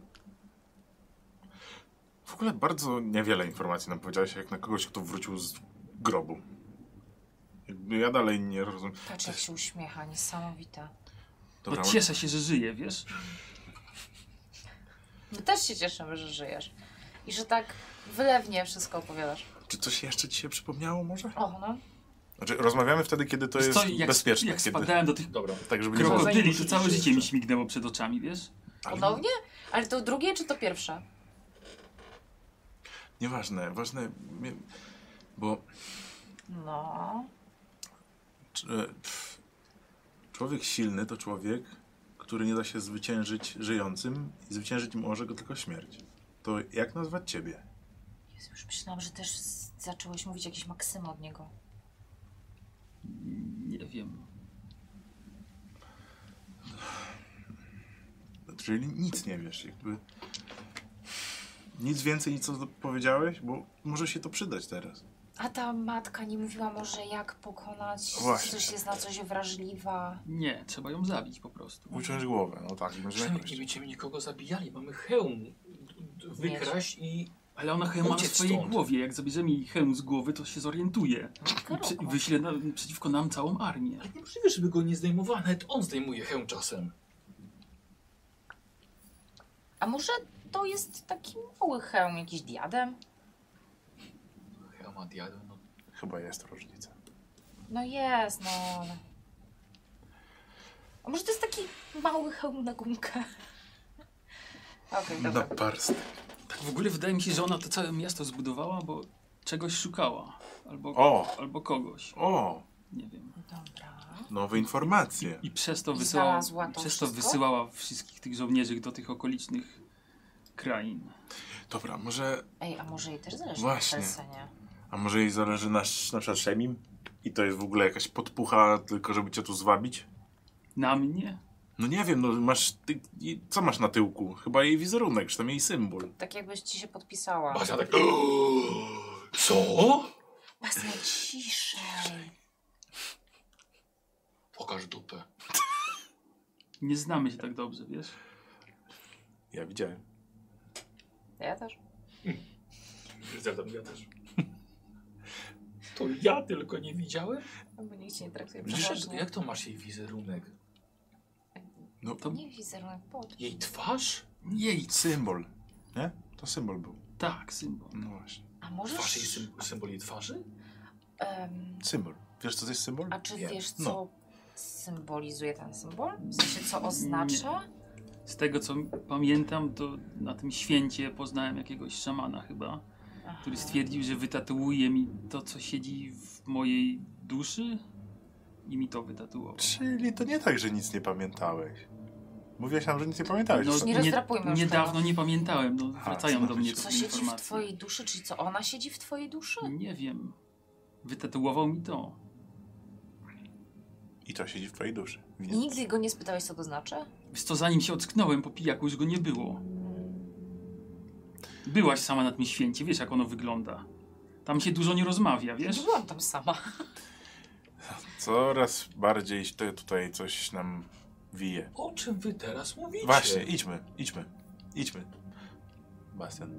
S2: W ogóle bardzo niewiele informacji nam powiedziałeś, jak na kogoś, kto wrócił z grobu. Jakby ja dalej nie rozumiem.
S3: Patrz jak się uśmiecha, niesamowite.
S4: No
S2: Dobra,
S4: cieszę się, że żyje, wiesz?
S3: My też się cieszymy, że żyjesz. I że tak wylewnie wszystko opowiadasz.
S2: czy coś jeszcze ci się przypomniało może?
S3: O, no.
S2: Znaczy, rozmawiamy wtedy, kiedy to jest
S4: Wiesz co, jak,
S2: bezpieczne.
S4: Jak
S2: kiedy...
S4: spadałem do tych
S1: Dobra.
S2: Tak, żeby nie było.
S4: krokodyli, to
S1: Zajebiście.
S4: całe życie
S2: tak.
S4: mi śmignęło przed oczami, wiesz?
S2: Ale
S3: Ponownie? Ale to drugie czy to pierwsze?
S2: nieważne, ważne, mi- bo
S3: No.
S2: czy- e, pff, człowiek silny to człowiek, który nie da się zwyciężyć żyjącym i zwyciężyć może go tylko śmierć. To jak nazwać ciebie?
S3: Jezu, już myślałam, że też z- zacząłeś mówić jakieś maksymy od niego.
S4: Nie wiem.
S2: Czyli Znaczy, nic nie wiesz, jakby. Nic więcej, nic co do- powiedziałeś, bo może się to przydać teraz.
S3: A ta matka nie mówiła może jak pokonać,
S2: Właśnie.
S3: coś jest na coś wrażliwa.
S4: Nie, trzeba ją zabić po prostu.
S2: Uciąć głowę, no tak, będzie
S1: Przynajmniej nie
S2: jakoś.
S1: będziemy nikogo zabijali. Mamy hełm. d- d- Wykraść i...
S4: Ale ona hełm ma w
S1: Uciec
S4: swojej
S1: stąd.
S4: głowie. Jak zabierzemy jej hełm z głowy, to się zorientuje. I prze-
S3: Karolko.
S4: wyśle na, przeciwko nam całą armię.
S1: Ale niemożliwe, żeby go nie zdejmowała. Nawet on zdejmuje hełm czasem.
S3: A może to jest taki mały hełm, jakiś diadem?
S1: Hełma diadłem. No.
S2: Chyba jest różnica.
S3: No jest, no ale... A może to jest taki mały hełm na gumkę? [LAUGHS] Okej,
S2: Na
S3: dobra.
S2: parst.
S4: Tak w ogóle wydaje mi się, że ona to całe miasto zbudowała, bo czegoś szukała. Albo,
S2: O!
S4: albo kogoś.
S2: O!
S4: Nie wiem.
S3: Dobra.
S2: Nowe informacje.
S4: I przez to,
S3: I
S4: wysyłała,
S3: znalazła to
S4: przez to
S3: wszystko?
S4: wysyłała wszystkich tych żołnierzy do tych okolicznych krain.
S2: Dobra, może...
S3: Ej, a może jej też zależy
S2: Właśnie.
S3: na Felsenie?
S2: A może jej zależy na, na przykład Szemim? I to jest w ogóle jakaś podpucha, tylko żeby cię tu zwabić?
S4: Na mnie?
S2: No nie wiem, no masz... Ty, i- co masz na tyłku? Chyba jej wizerunek, czy tam jej symbol.
S3: Tak jakbyś ci się podpisała.
S1: Basia tak... [GASPS] Co?
S3: Basia, ciszej.
S1: Pokaż dupę.
S4: Nie znamy się tak dobrze, wiesz?
S2: Ja widziałem.
S3: Ja też.
S1: Zjadam, ja też. To ja tylko nie widziałem?
S3: No bo nikt cię nie traktuje
S1: Wiesz,
S3: przeważnie.
S1: jak to masz jej wizerunek?
S2: No
S4: To-
S2: to
S3: Nie wizerunek, pod.
S1: Jej twarz?
S4: Jej,
S2: symbol, nie? To symbol był.
S4: tak, symbol.
S2: No właśnie.
S3: A
S1: Twarz jej
S3: możesz...
S1: sym symboli twarzy?
S3: em,
S2: Symbol. Wiesz, co to jest symbol?
S3: a czy
S1: Nie.
S3: wiesz, co
S2: No.
S3: symbolizuje ten symbol? W sensie, co oznacza?
S4: Z tego co pamiętam, to na tym święcie poznałem jakiegoś szamana chyba,
S3: Aha.
S4: który stwierdził, że wytatuuje mi to, co siedzi w mojej duszy i mi to wytatuował.
S2: Czyli to nie tak, że nic nie pamiętałeś. Mówiłeś nam, że nic nie pamiętałeś.
S4: No,
S2: Co-
S3: nie rozdrapujmy już
S4: niedawno
S3: tego.
S4: nie pamiętałem, no,
S2: Aha,
S4: wracają do
S2: znaczy,
S4: mnie
S2: Tak, co
S4: te
S3: Co siedzi w
S4: informacje.
S3: twojej duszy? Czyli co, ona siedzi w twojej duszy?
S4: Nie wiem. Wytatuował mi to.
S2: I to siedzi w twojej duszy.
S3: I nigdy go nie spytałeś, co to znaczy?
S4: Wiesz co, zanim się ocknąłem po pijaku, już go nie było. Byłaś sama na tym święcie, wiesz jak ono wygląda. Tam się dużo nie rozmawia, wiesz?
S3: Nie byłam tam sama.
S2: Coraz bardziej to tutaj coś nam wije.
S1: O czym wy teraz mówicie?
S2: Właśnie, idźmy, idźmy, idźmy. Bastian,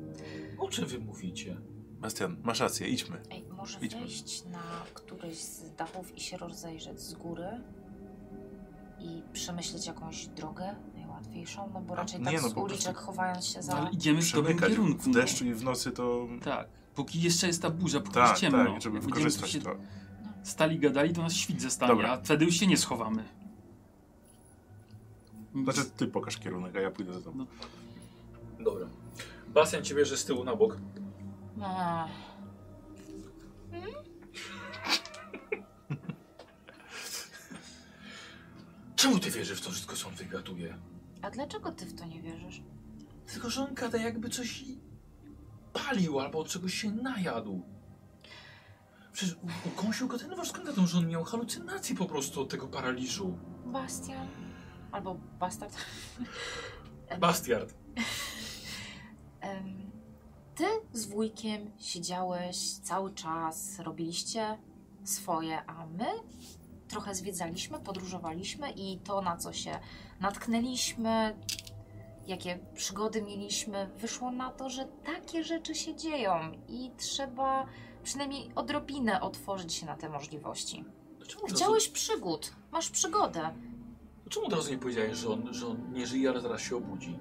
S1: O czym wy mówicie?
S2: Bastian, masz rację, idźmy.
S3: Ej, może
S2: Idźmy.
S3: wejść na któryś z dachów i się rozejrzeć z góry i przemyśleć jakąś drogę najłatwiejszą, no bo
S2: A,
S3: raczej
S2: nie,
S3: tak
S2: no
S3: z
S2: po
S3: uliczek chowając się
S4: No,
S3: za...
S4: ale idziemy w dobrym
S2: Przemykać
S4: kierunku.
S2: w
S4: no.
S2: deszczu i w nocy to...
S4: Tak. Póki jeszcze jest ta burza, póki
S2: Tak,
S4: jest ciemno.
S2: tak, żeby
S4: Jak będziemy
S2: wykorzystać
S4: się
S2: to.
S4: Stali gadali, to nas świt zastanie,
S2: Dobra.
S4: a wtedy już się nie schowamy.
S2: Znaczy, ty pokaż kierunek, a ja pójdę za tobą.
S1: Dobra. Basen cię bierze z tyłu na bok.
S3: A,
S1: Czemu ty wierzysz w to wszystko, co on wygaduje?
S3: a dlaczego ty w to nie wierzysz?
S1: Tylko, że on gada jakby coś i- palił albo od czegoś się najadł. Przecież u- ukąsił go ten wasz skąd wiadomo, że on miał halucynacje po prostu od tego paraliżu.
S3: Bastian? Albo Bastard?
S1: Bastiard.
S3: Em, Ty z wujkiem siedziałeś cały czas, robiliście swoje, a my trochę zwiedzaliśmy, podróżowaliśmy i to, na co się natknęliśmy, jakie przygody mieliśmy, wyszło na to, że takie rzeczy się dzieją i trzeba przynajmniej odrobinę otworzyć się na te możliwości.
S1: Dlaczego No od, razu,
S3: Chciałeś przygód, masz przygodę.
S1: dlaczego od razu nie powiedziałeś, że on, że on nie żyje, ale zaraz się obudzi?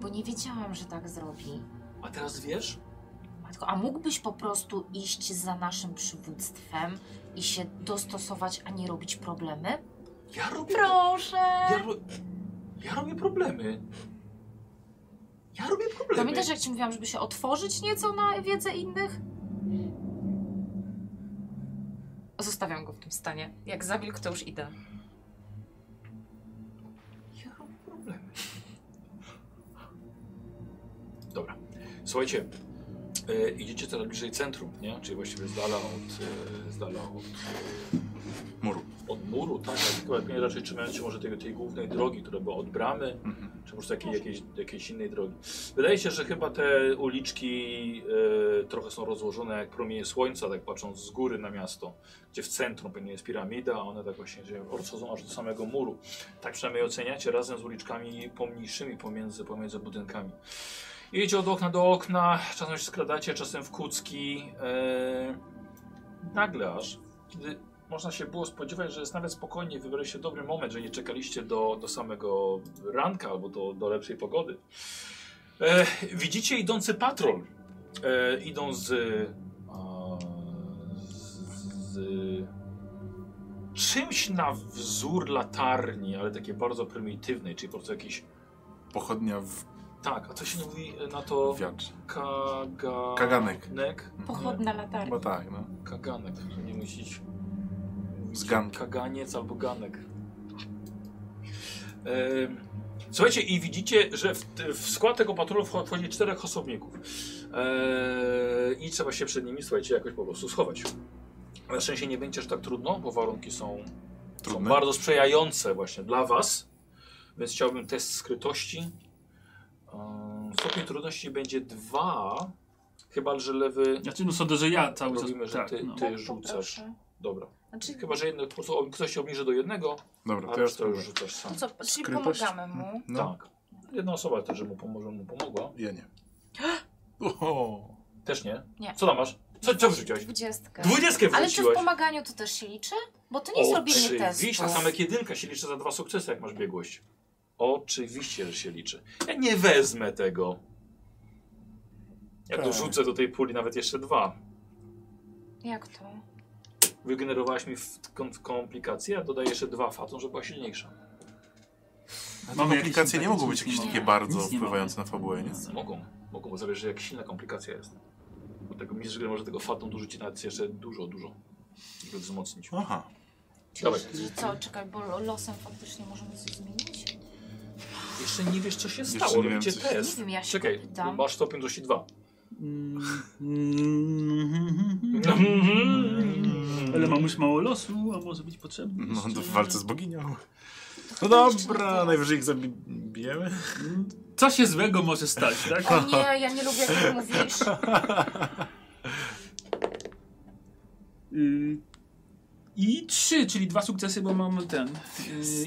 S3: Bo nie wiedziałam, że tak zrobi.
S1: A teraz wiesz?
S3: Matko, a mógłbyś po prostu iść za naszym przywództwem i się dostosować, a nie robić problemy?
S1: Ja robię...
S3: Proszę!
S1: Ja, ro... ja robię problemy. Ja robię problemy.
S3: Pamiętasz, jak ci mówiłam, żeby się otworzyć nieco na wiedzę innych? Zostawiam go w tym stanie. Jak zamilkł, to już idę.
S1: Ja robię problemy. Dobra. Słuchajcie, e, idziecie coraz bliżej centrum, nie? Czyli właściwie z dala od, e, z dala od,
S2: Muru.
S1: od muru, tak? Ale Chyba nie raczej trzymając się może tej, tej głównej drogi, która była od bramy,
S2: Mhm.
S1: czy może takiej
S3: Może.
S1: jakiejś, jakiejś innej drogi. Wydaje się, że chyba te uliczki e, trochę są rozłożone jak promienie słońca, tak patrząc z góry na miasto, gdzie w centrum pewnie jest piramida, a one tak właśnie się rozchodzą aż do samego muru. Tak przynajmniej oceniacie razem z uliczkami pomniejszymi pomiędzy, pomiędzy budynkami. Idziecie od okna do okna, czasem się skradacie, czasem w kucki. E, nagle aż, kiedy można się było spodziewać, że jest nawet spokojnie, wybrał się dobry moment, że nie czekaliście do, do samego ranka albo do, do lepszej pogody. E, widzicie idący patrol. E, idą z, e, z, z czymś na wzór latarni, ale takie bardzo prymitywnej, czyli po prostu jakiś.
S2: Pochodnia w
S1: Tak, a co się mówi na to?
S2: wiatrze.
S1: Kaga...
S2: Kaganek.
S1: Nek?
S3: Pochodna latarnia.
S2: Bo tak, no.
S1: Nie, Kaganek, żeby nie musisz.
S2: Z ganka.
S1: Kaganiec albo ganek. Em, Słuchajcie, i widzicie, że w, t- w skład tego patrolu wcho- wchodzi czterech osobników. Eee, I trzeba się przed nimi, słuchajcie, jakoś po prostu schować. Na szczęście nie będzie aż tak trudno, bo warunki są, są
S2: Trudne.
S1: bardzo sprzyjające właśnie dla was. Więc chciałbym test skrytości. Eee, stopień trudności będzie dwa, chyba że lewy...
S4: Znaczy, no sądzę, że ja cały
S1: Robimy,
S4: czas...
S1: że ty-
S4: no.
S1: ty-
S3: Tak,
S1: rzucasz.
S3: poproszę.
S1: Dobra.
S3: Znaczy,
S1: Chyba, że jednak po prostu ob- ktoś się obniży do jednego,
S2: Dobra,
S1: a
S2: No to
S1: resztę
S2: ja
S1: już
S2: spróbuję.
S1: rzucasz sam.
S3: no co, czyli
S2: Skrytość?
S3: pomagamy mu.
S2: No,
S1: Tak. Jedna osoba też, że mu pomoże, mu pomogła.
S2: ja [GASPS] nie. Oho.
S1: Też nie?
S3: Nie.
S1: Co tam masz? Co, co wrzuciłeś?
S3: Dwudziestkę.
S1: Dwudziestkę
S3: Ale czy w
S1: wrzuciłeś!
S3: pomaganiu to też się liczy? Bo to nie jest robienie testu.
S1: Oczywiście, tak samo jak jedynka się liczy za dwa sukcesy, jak masz biegłość. Oczywiście, że się liczy. Ja nie wezmę tego. Ja
S2: Tak.
S1: dorzucę do tej puli nawet jeszcze dwa.
S3: Jak to?
S1: Wygenerowałaś mi w kom- komplikację, a dodaję jeszcze dwa fatom, żeby była silniejsza.
S2: A te
S4: Mamy jakieś
S2: komplikacje nie mogą być
S4: nic nie
S2: jakieś
S3: mamy.
S2: takie bardzo
S4: Nic nie
S2: wpływające na fabułę, nie?
S1: Mogą, mogą, bo zależy jak silna komplikacja jest. Dlatego mistrz gry może tego fatum dorzucić nawet jeszcze dużo, dużo. Żeby wzmocnić.
S2: Aha.
S3: Czyli,
S1: Dawaj.
S3: czyli co, czekaj, bo lo- losem faktycznie możemy coś zmienić?
S1: Jeszcze nie wiesz, co się
S2: Jeszcze
S1: stało.
S2: nie wiem,
S1: Robicie
S2: co się-
S1: test.
S3: Nie wiem, ja się
S1: Czekaj,
S3: pytam.
S1: masz stopień do 2.
S4: Mm, [LAUGHS] mm, Mhm. Ale mam już mało losu, a może być potrzebny.
S2: No,
S4: jeszcze.
S2: to w walce z boginią. No
S3: jeszcze na
S2: dobra,
S3: tyle.
S2: najwyżej ich zabijemy.
S4: Co się złego może stać, tak?
S3: O nie, ja nie lubię, jak ty mówisz.
S1: [LAUGHS]
S4: Y, I trzy, czyli dwa sukcesy, bo mam ten y,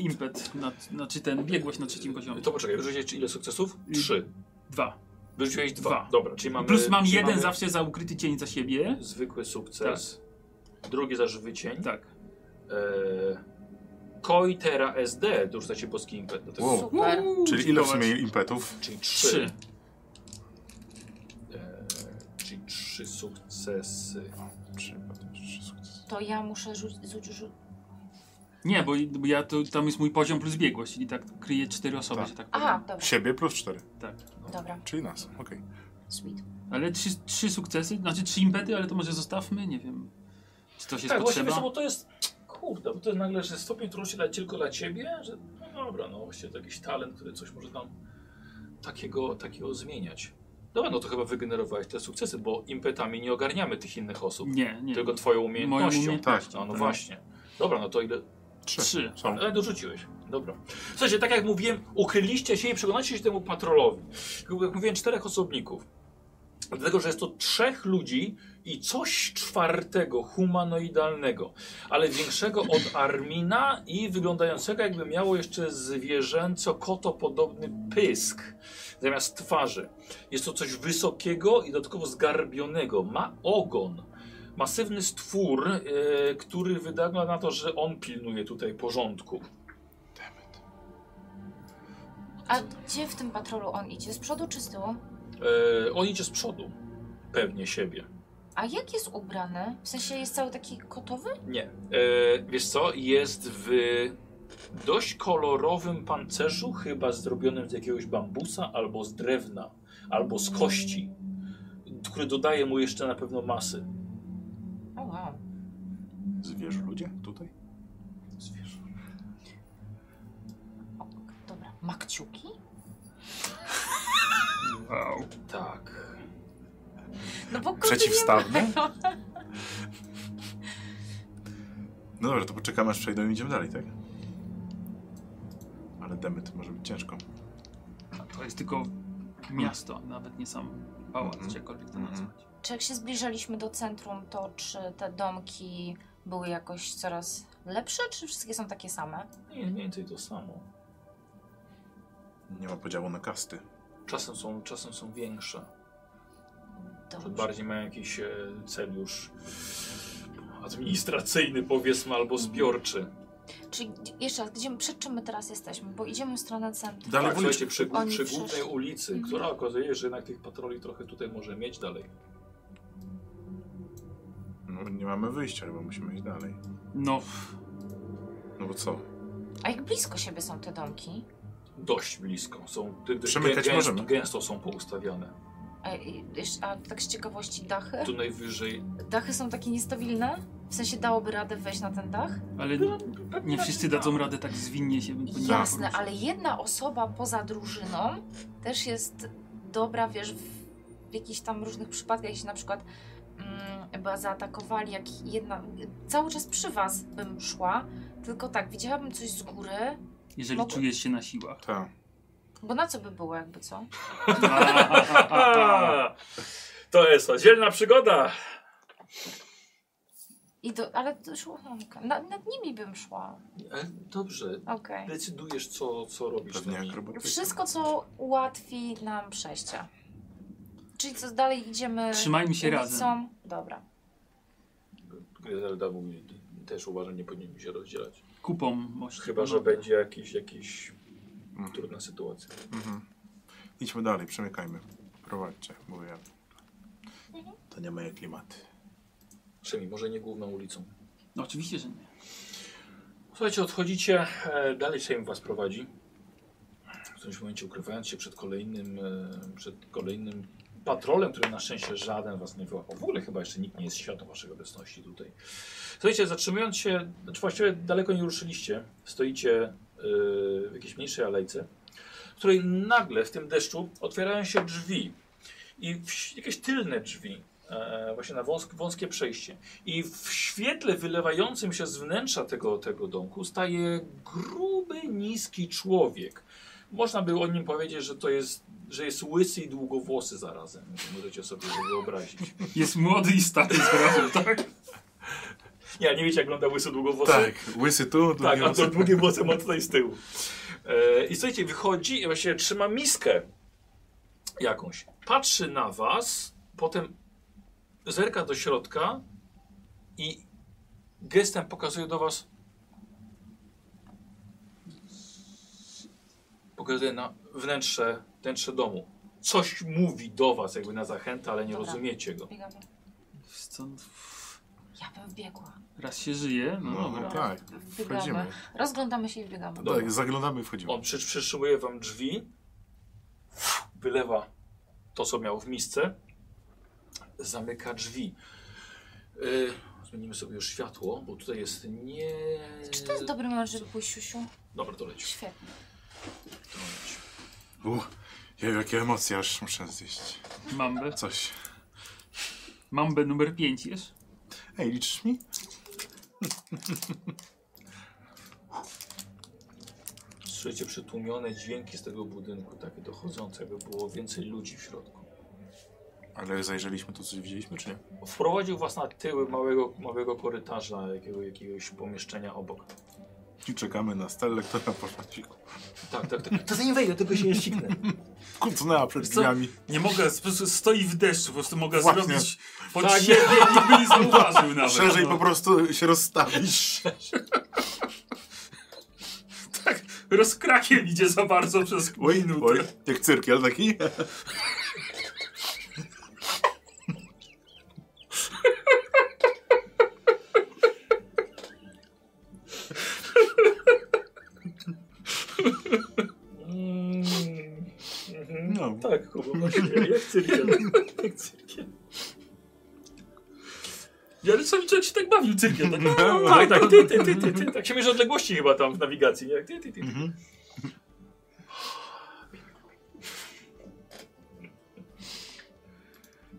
S4: impet, na, znaczy ten biegłość na trzecim poziomie.
S1: To poczekaj, wyrzuciłeś czy ile sukcesów?
S4: Y,
S1: Trzy.
S4: Dwa.
S1: Wyrzuciłeś dwa.
S4: dwa.
S1: Dobra, czyli mamy.
S4: Plus mam
S1: czyli
S4: jeden
S1: mamy
S4: zawsze za ukryty cień za siebie.
S1: Zwykły sukces. Drugi za żywy cień.
S4: Tak.
S1: Eee, Koitera SD dorzucacie boski impet. Do tego.
S2: Wow.
S3: Super.
S2: Czyli ile w sumie impetów?
S1: Czyli trzy.
S4: Tak. Trzy.
S1: Eee, czyli trzy sukcesy.
S3: To ja muszę rzucić. Rzu- rzu-
S4: Nie, bo, bo ja to, tam jest mój poziom plus biegłość, czyli tak kryję cztery osoby,
S2: Tak.
S4: że tak powiem.
S3: Aha, dobra,
S2: Siebie plus cztery,
S4: Tak.
S3: dobra.
S2: czyli nas, okej.
S3: Sweet.
S4: Ale trzy, trzy sukcesy, znaczy trzy impety, ale to może zostawmy, nie wiem. Czy to się
S1: Tak, właściwie
S4: potrzeba?
S1: co, bo to jest. Kurde, bo to jest nagle, że stopień trudności dla, tylko dla ciebie, że no dobra, no właściwie to jakiś talent, który coś może tam takiego, takiego zmieniać. Dobra, no to chyba wygenerowałeś te sukcesy, bo impetami nie ogarniamy tych innych osób,
S4: Nie, nie.
S1: tylko twoją umiejętnością. No,
S4: umiejętnością,
S1: no
S4: tak.
S1: właśnie. Dobra, no to ile.
S4: Trzy.
S2: Są.
S1: Ale dorzuciłeś. Dobra. Słuchajcie, tak jak mówiłem, ukryliście się i przekonaliście się temu patrolowi. Jak mówiłem, czterech osobników. Dlatego, że jest to trzech ludzi i coś czwartego, humanoidalnego, ale większego od Armina i wyglądającego jakby miało jeszcze zwierzęco-kotopodobny pysk zamiast twarzy. Jest to coś wysokiego i dodatkowo zgarbionego. Ma ogon. Masywny stwór, e, który wygląda na to, że on pilnuje tutaj porządku.
S3: A gdzie w tym patrolu on idzie? Z przodu czy z tyłu?
S1: E, on idzie z przodu. Pewnie siebie.
S3: A jak jest ubrany? W sensie jest cały taki kotowy?
S1: Nie. E, wiesz co? Jest w dość kolorowym pancerzu, chyba zrobionym z jakiegoś bambusa, albo z drewna, albo z kości, który dodaje mu jeszcze na pewno masy.
S3: O wow.
S2: Zwierzę ludzie tutaj?
S1: Zwierzę.
S3: O, dobra. Ma kciuki?
S4: Wow.
S1: Tak.
S3: No bo koty
S2: Przeciwstawne?
S3: nie mają.
S2: No dobra, to poczekamy aż przejdą i idziemy dalej, tak? Ale demyt może być ciężko.
S4: A To jest tylko miasto, nawet nie sam pałac,
S2: Mhm.
S4: czy jakkolwiek to
S2: Mhm.
S4: nazwać.
S3: [LAUGHS] Czy jak się zbliżaliśmy do centrum, to czy te domki były jakoś coraz lepsze, czy wszystkie są takie same?
S1: Nie, mniej więcej to samo.
S2: Nie ma podziału na kasty.
S1: Czasem są, czasem są większe.
S3: Dobrze.
S1: Czasem Bardziej mają jakiś e, cel już administracyjny, powiedzmy, albo zbiorczy.
S3: Czyli gdzie- jeszcze raz, gdzie, przed czym my teraz jesteśmy? Bo idziemy w stronę centrum.
S2: Dalej
S1: tak,
S2: w ulicy.
S1: słuchajcie, przy,
S3: Oni
S1: przy
S3: przecież-
S1: głównej ulicy,
S3: Mhm.
S1: która okazuje, że jednak tych patroli trochę tutaj może mieć dalej.
S2: No, nie mamy wyjścia, chyba musimy iść dalej.
S4: No, f-
S2: No bo co?
S3: A jak blisko siebie są te domki?
S1: Dość blisko. Są, ty- ty-
S2: Przemykać
S1: gęsto,
S2: możemy.
S1: gęsto są poustawiane.
S3: A, i jeszcze, a tak z ciekawości dachy?
S1: Tu najwyżej.
S3: Dachy są takie niestabilne? W sensie dałoby radę wejść na ten dach?
S4: Ale nie wszyscy dadzą radę tak zwinnie się. po nim
S3: No, Jasne,
S4: poruszyć.
S3: ale jedna osoba poza drużyną też jest dobra, wiesz, w, w jakichś tam różnych przypadkach, jeśli na przykład mm, chyba zaatakowali, jak jedna, cały czas przy was bym szła, tylko tak, widziałabym coś z góry,
S4: Jeżeli
S3: mogę-
S4: czujesz się na
S3: [LAUGHS]
S4: siłach. [LAUGHS]
S2: Tak.
S3: bo na co by było jakby co?
S1: A, to jest oddzielna przygoda.
S3: I do, ale to szło, na, nad nimi bym szła,
S1: E, Dobrze.
S3: okej.
S1: Decydujesz, co, co robisz.
S2: Pewnie
S1: tam.
S2: akrobatyka.
S3: Wszystko, co ułatwi nam przejście. Czyli co dalej idziemy
S4: Trzymajmy
S3: E,
S4: się razem.
S3: ulicą? Dobra.
S1: Gryzelda mówi, też uważam, nie powinniśmy się rozdzielać.
S4: Kupą mości.
S1: Chyba, że
S4: panowie.
S1: będzie jakiś, jakiś
S2: Mhm.
S1: trudna sytuacja.
S2: Mhm. Idźmy dalej, przemykajmy. Prowadźcie, mówię ja. To nie moje klimaty.
S1: Przynajmniej może nie główną ulicą.
S4: No, oczywiście, że nie.
S1: Słuchajcie, odchodzicie, e, dalej Sejm was prowadzi. W którymś momencie ukrywając się przed kolejnym, e, przed kolejnym patrolem, który na szczęście żaden was nie wyłapał. W ogóle chyba jeszcze nikt nie jest świadom waszej obecności tutaj. Słuchajcie, zatrzymując się, znaczy właściwie daleko nie ruszyliście. Stoicie e, w jakiejś mniejszej alejce, w której nagle w tym deszczu otwierają się drzwi. I w, jakieś tylne drzwi, e, właśnie na wąsk, wąskie przejście. I w świetle wylewającym się z wnętrza tego, tego domku staje gruby, niski człowiek. Można by o nim powiedzieć, że to jest, że jest łysy i długowłosy zarazem. Możecie sobie to wyobrazić.
S4: Jest młody i stary [LAUGHS] zrazem, tak?
S1: Nie, nie wiecie jak wygląda łysy długowłosy?
S2: Tak, łysy tu,
S1: Tak,
S2: drugi
S1: a to
S2: łysy tu.
S1: długim włosem ma tutaj z tyłu. E, I słuchajcie, wychodzi i właśnie trzyma miskę jakąś. Patrzy na was, potem zerka do środka i gestem pokazuje do was. Pokazuje na wnętrze, wnętrze domu. Coś mówi do was, jakby na zachętę, ale nie
S3: Dobra.
S1: rozumiecie go.
S3: Biegamy.
S4: Stąd
S3: Ja bym biegła.
S4: raz się żyje, no,
S2: No,
S4: dobra.
S2: tak,
S3: Biegamy.
S2: wchodzimy.
S3: Rozglądamy się i biegamy.
S1: Dobra.
S2: Tak, zaglądamy i wchodzimy.
S1: On przy, przytrzymuje wam drzwi, wylewa to, co miał w misce, zamyka drzwi. Yy, zmienimy sobie już światło, bo tutaj jest nie...
S3: Czy to
S4: Yy.
S3: jest dobry moment, żeby pójść siusiu?
S1: Dobra, to leci.
S3: Świetnie.
S1: To leci.
S2: Uch, ja, jakie emocje, aż muszę zjeść.
S4: Mambę.
S2: Coś.
S4: Mambę numer 5 jesz?
S2: Ej, liczysz mi?
S1: Słyszycie przytłumione dźwięki z tego budynku, takie dochodzące, jakby było więcej ludzi w środku.
S2: Ale zajrzeliśmy tu, coś widzieliśmy, czy nie?
S1: Wprowadził was na tyły małego, małego korytarza, jakiego, jakiegoś pomieszczenia obok.
S2: I czekamy na Stellę, która poszła ci
S1: Tak, tak, tak. To zanim wejdę, tylko się nie ścignę.
S2: kucnęła przed
S4: Co?
S2: drzwiami.
S4: Nie mogę, po prostu stoi w deszczu, po prostu mogę
S2: Właśnie.
S4: zrobić pod
S1: Tak,
S4: siebie i niby nie [LAUGHS] zauważył nawet.
S2: Szerzej
S4: No.
S2: po prostu się rozstawić.
S4: Tak, rozkrakiem idzie za bardzo przez pół
S2: Oj,
S4: minuty.
S2: oj, jak cyrkiel taki.
S1: Mm, mhm.
S2: No.
S1: Tak,
S2: [LAUGHS]
S1: Kuba, właśnie, jak cyrkiel. Jak cyrkiel.
S4: Ja ale sam człowiek się tak bawił cyrkiem, tak?
S1: No, tak, [LAUGHS] tak, ty, ty, ty, ty, ty. Tak się mierzy odległości chyba tam w nawigacji, nie? Ty, ty, ty, ty.
S2: Mhm.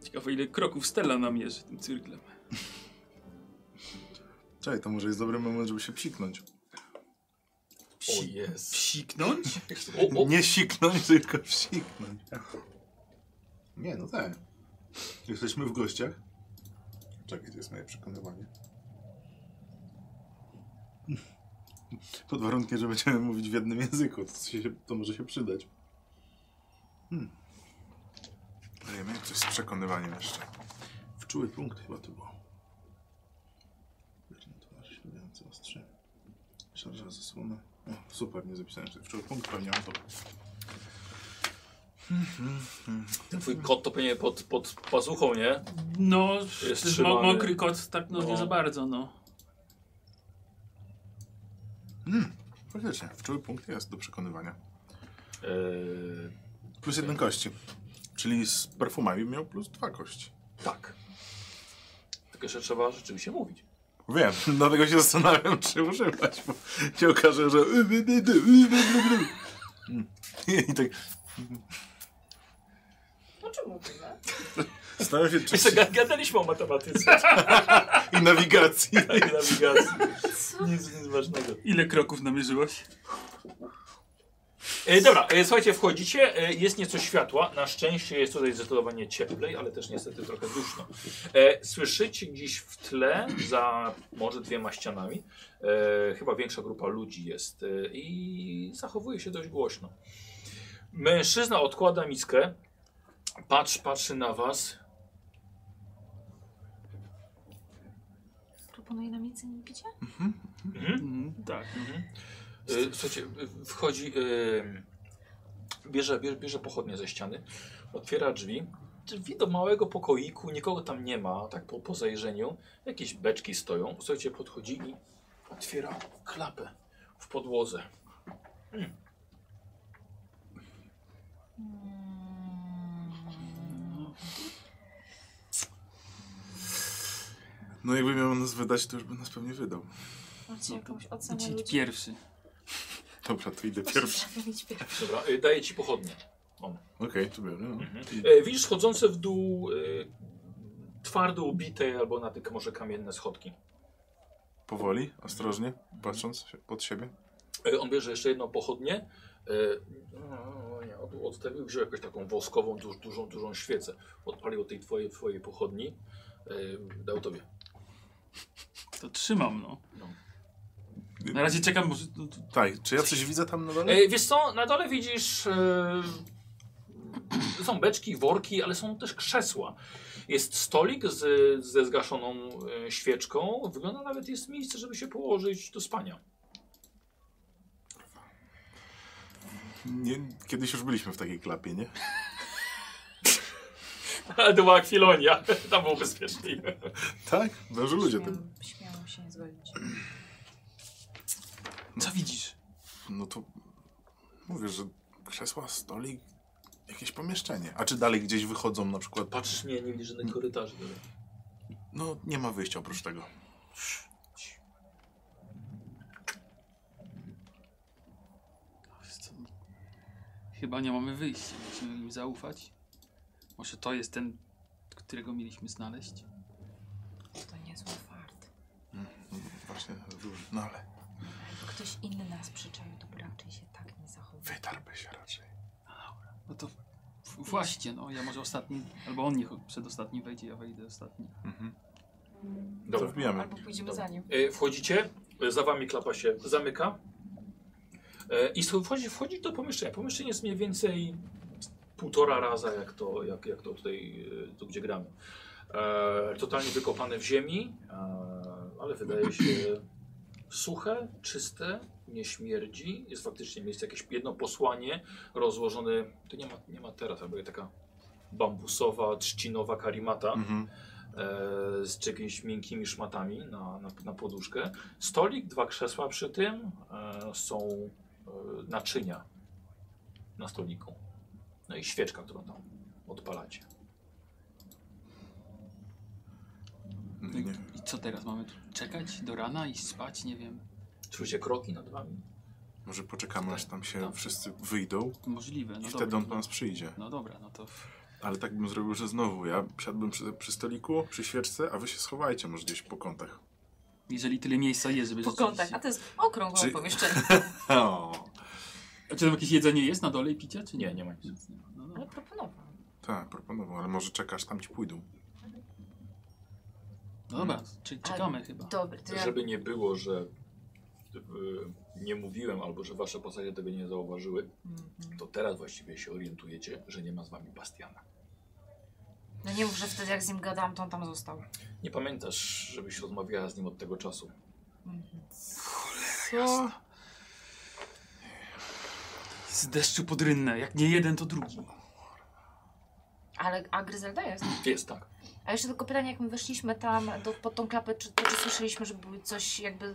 S4: Ciekawe ile kroków Stella namierzy tym cyrklem.
S2: Czekaj, to może jest dobry moment, żeby się psiknąć.
S1: O jest.
S4: Psiknąć?
S1: O, o,
S2: Nie siknąć, tylko psiknąć. Nie, no tak. Jesteśmy w gościach. Czekaj, to jest moje przekonywanie. Pod warunkiem, że będziemy mówić w jednym języku, to, się, to może się przydać. Hmm. Ale ja miałem coś z przekonywaniem jeszcze. W czuły punkt chyba to było. Wierny twarz, śledujący ostrzy. Szarża zasłona. O, super, nie zapisałem sobie. W czuły punkt pewnie mam to.
S1: ten twój kot to pewnie pod, pod pazuchą, nie?
S4: No,
S1: Jest
S4: jest mo-
S1: trzymany.
S4: mokry kot, tak no,
S1: No.
S4: nie za bardzo, no.
S2: Faktycznie, w czuły punkt jest do przekonywania.
S1: Eee,
S2: Plus jeden kości. Czyli z perfumami miał plus dwa kości.
S1: Tak. Tylko jeszcze trzeba rzeczywiście mówić.
S2: Wiem, [LAUGHS] dlatego się zastanawiam, czy używać, bo się okaże, że... [LAUGHS] I tak
S3: O czym mówimy?
S2: staram się
S1: Jeszcze
S2: czyścić
S1: ga- gadaliśmy o matematyce [LAUGHS]
S2: i nawigacji.
S1: i nawigacji. Nic, nic ważnego.
S4: Ile kroków namierzyłaś?
S1: E, dobra, e, słuchajcie, wchodzicie, e, jest nieco światła, na szczęście jest tutaj zdecydowanie cieplej, ale też niestety trochę duszno. E, słyszycie gdzieś w tle, za może dwiema ścianami, e, chyba większa grupa ludzi jest e, i zachowuje się dość głośno. Mężczyzna odkłada miskę, patrz, patrzy na was.
S3: Proponuję nam jedzenie i picie?
S1: Mhm.
S4: Mm, tak.
S1: E, Słuchajcie, e, wchodzi, e, bierze, bierze, bierze pochodnie ze ściany, otwiera drzwi. Drzwi do małego pokoiku, nikogo tam nie ma, tak po, po zajrzeniu. Jakieś beczki stoją. Słuchajcie, podchodzi i otwiera klapę w podłodze.
S2: No jakby miał nas wydać, to już by nas pewnie wydał.
S4: No
S3: Macie jakąś ocenę
S4: Idź
S3: ludzi?
S4: pierwszy.
S2: Dobra, to idę pierwszy.
S3: Idź pierwszy.
S1: Dobra, e, daje ci pochodnie. On.
S2: Okej, to biorę. No.
S1: E, widzisz schodzące w dół e, twardo ubite albo na tylko może kamienne schodki.
S2: Powoli, ostrożnie, patrząc się- pod siebie.
S1: E, On bierze jeszcze jedną pochodnię. e, no, nie, Od, od tego wziął jakąś taką woskową, duż, dużą, dużą świecę. Odpalił od tej twojej, twojej pochodni. e, Dał tobie.
S4: To trzymam, no.
S1: No.
S4: Na razie czekam, może... no, to-
S2: Tak, czy ja coś widzę tam na dole?
S1: E, Wiesz co, na dole widzisz. e, Są beczki, worki, ale są też krzesła. Jest stolik z, ze zgaszoną e, świeczką. Wygląda nawet jest miejsce, żeby się położyć do spania. [LAUGHS]
S2: Nie, kiedyś już byliśmy w takiej klapie, nie?
S1: Ale to była akwilonia. [LAUGHS] Tam było bezpieczniej.
S2: Tak, dobrze ludzie tam.
S3: Śmiałam, śmiałam się nie zgodzić.
S4: Co widzisz?
S2: No to mówię, że krzesła, stolik, jakieś pomieszczenie. A czy dalej gdzieś wychodzą na przykład?
S1: Patrzysz mnie, nie widzisz żadnych korytarzy. Dobra.
S2: No nie ma wyjścia oprócz tego.
S4: Wiesz co? no. Chyba nie mamy wyjścia. Musimy im zaufać. Może to jest ten, którego mieliśmy znaleźć?
S3: To niezły fart.
S2: Właśnie, no ale
S3: Jakby Ktoś inny nas przyczaił, to by raczej się tak nie zachowywał.
S2: wytarpę się raczej.
S4: No to w- właśnie, no ja może ostatni, albo on niech przedostatni wejdzie, ja wejdę ostatni.
S2: To
S1: Dobra.
S2: wbijamy.
S3: Albo pójdziemy za nim.
S1: E, Wchodzicie, e, za wami klapa się zamyka E, i słuchaj, wchodzi, wchodzi do pomieszczenia. Pomieszczenie jest mniej więcej półtora raza, jak to, jak, jak to tutaj, e, tu gdzie gramy. E, totalnie wykopane w ziemi, e, ale wydaje się suche, czyste, nie śmierdzi. Jest faktycznie miejsce, jakieś jedno posłanie rozłożone, to nie ma, nie ma teraz, albo taka bambusowa, trzcinowa karimata
S2: Mhm.
S1: e, z jakimiś miękkimi szmatami na, na, na poduszkę. Stolik, dwa krzesła przy tym, e, są e, naczynia na stoliku. No i świeczka, którą tam odpalacie.
S4: No i,
S2: Nie.
S4: I co teraz? Mamy tu czekać do rana i spać? Nie wiem.
S1: Czujcie kroki nad wami.
S2: Może poczekamy, aż tam się wszyscy wyjdą
S4: Możliwe. No
S2: i wtedy
S4: dobra,
S2: on
S4: no-
S2: do nas przyjdzie.
S4: No dobra, no to...
S2: Ale tak bym zrobił, że znowu ja siadłbym przy, przy stoliku, przy świeczce, a wy się schowajcie może gdzieś po kątach.
S4: Jeżeli tyle miejsca jest, żeby
S3: Po kątach. A to jest okrągłe
S2: Czy- [LAUGHS]
S3: pomieszczenie.
S2: O,
S4: A czy tam jakieś jedzenie jest na dole i picie, czy nie?
S1: Nie, nie ma nic.
S4: Nic nie ma. No dobra.
S3: Ale proponowałam.
S2: tak, proponował, ale może czekasz, tam ci pójdą.
S4: No dobra, czyli czekamy chyba.
S3: Dobry, to ja...
S1: Żeby nie było, że e, nie mówiłem albo że wasze postacie tego nie zauważyły,
S3: Mhm.
S1: to teraz właściwie się orientujecie, że nie ma z wami Bastiana.
S3: No nie mów, że wtedy jak z nim gadałam, to on tam został.
S1: Nie pamiętasz, żebyś rozmawiała z nim od tego czasu.
S2: Co?
S4: Z deszczu pod rynnę. Jak nie jeden, to drugi.
S3: Ale a Gryzelda jest.
S1: Jest tak.
S3: A jeszcze tylko pytanie, jak my weszliśmy tam do, pod tą klapę, czy, to, czy słyszeliśmy, że były coś jakby...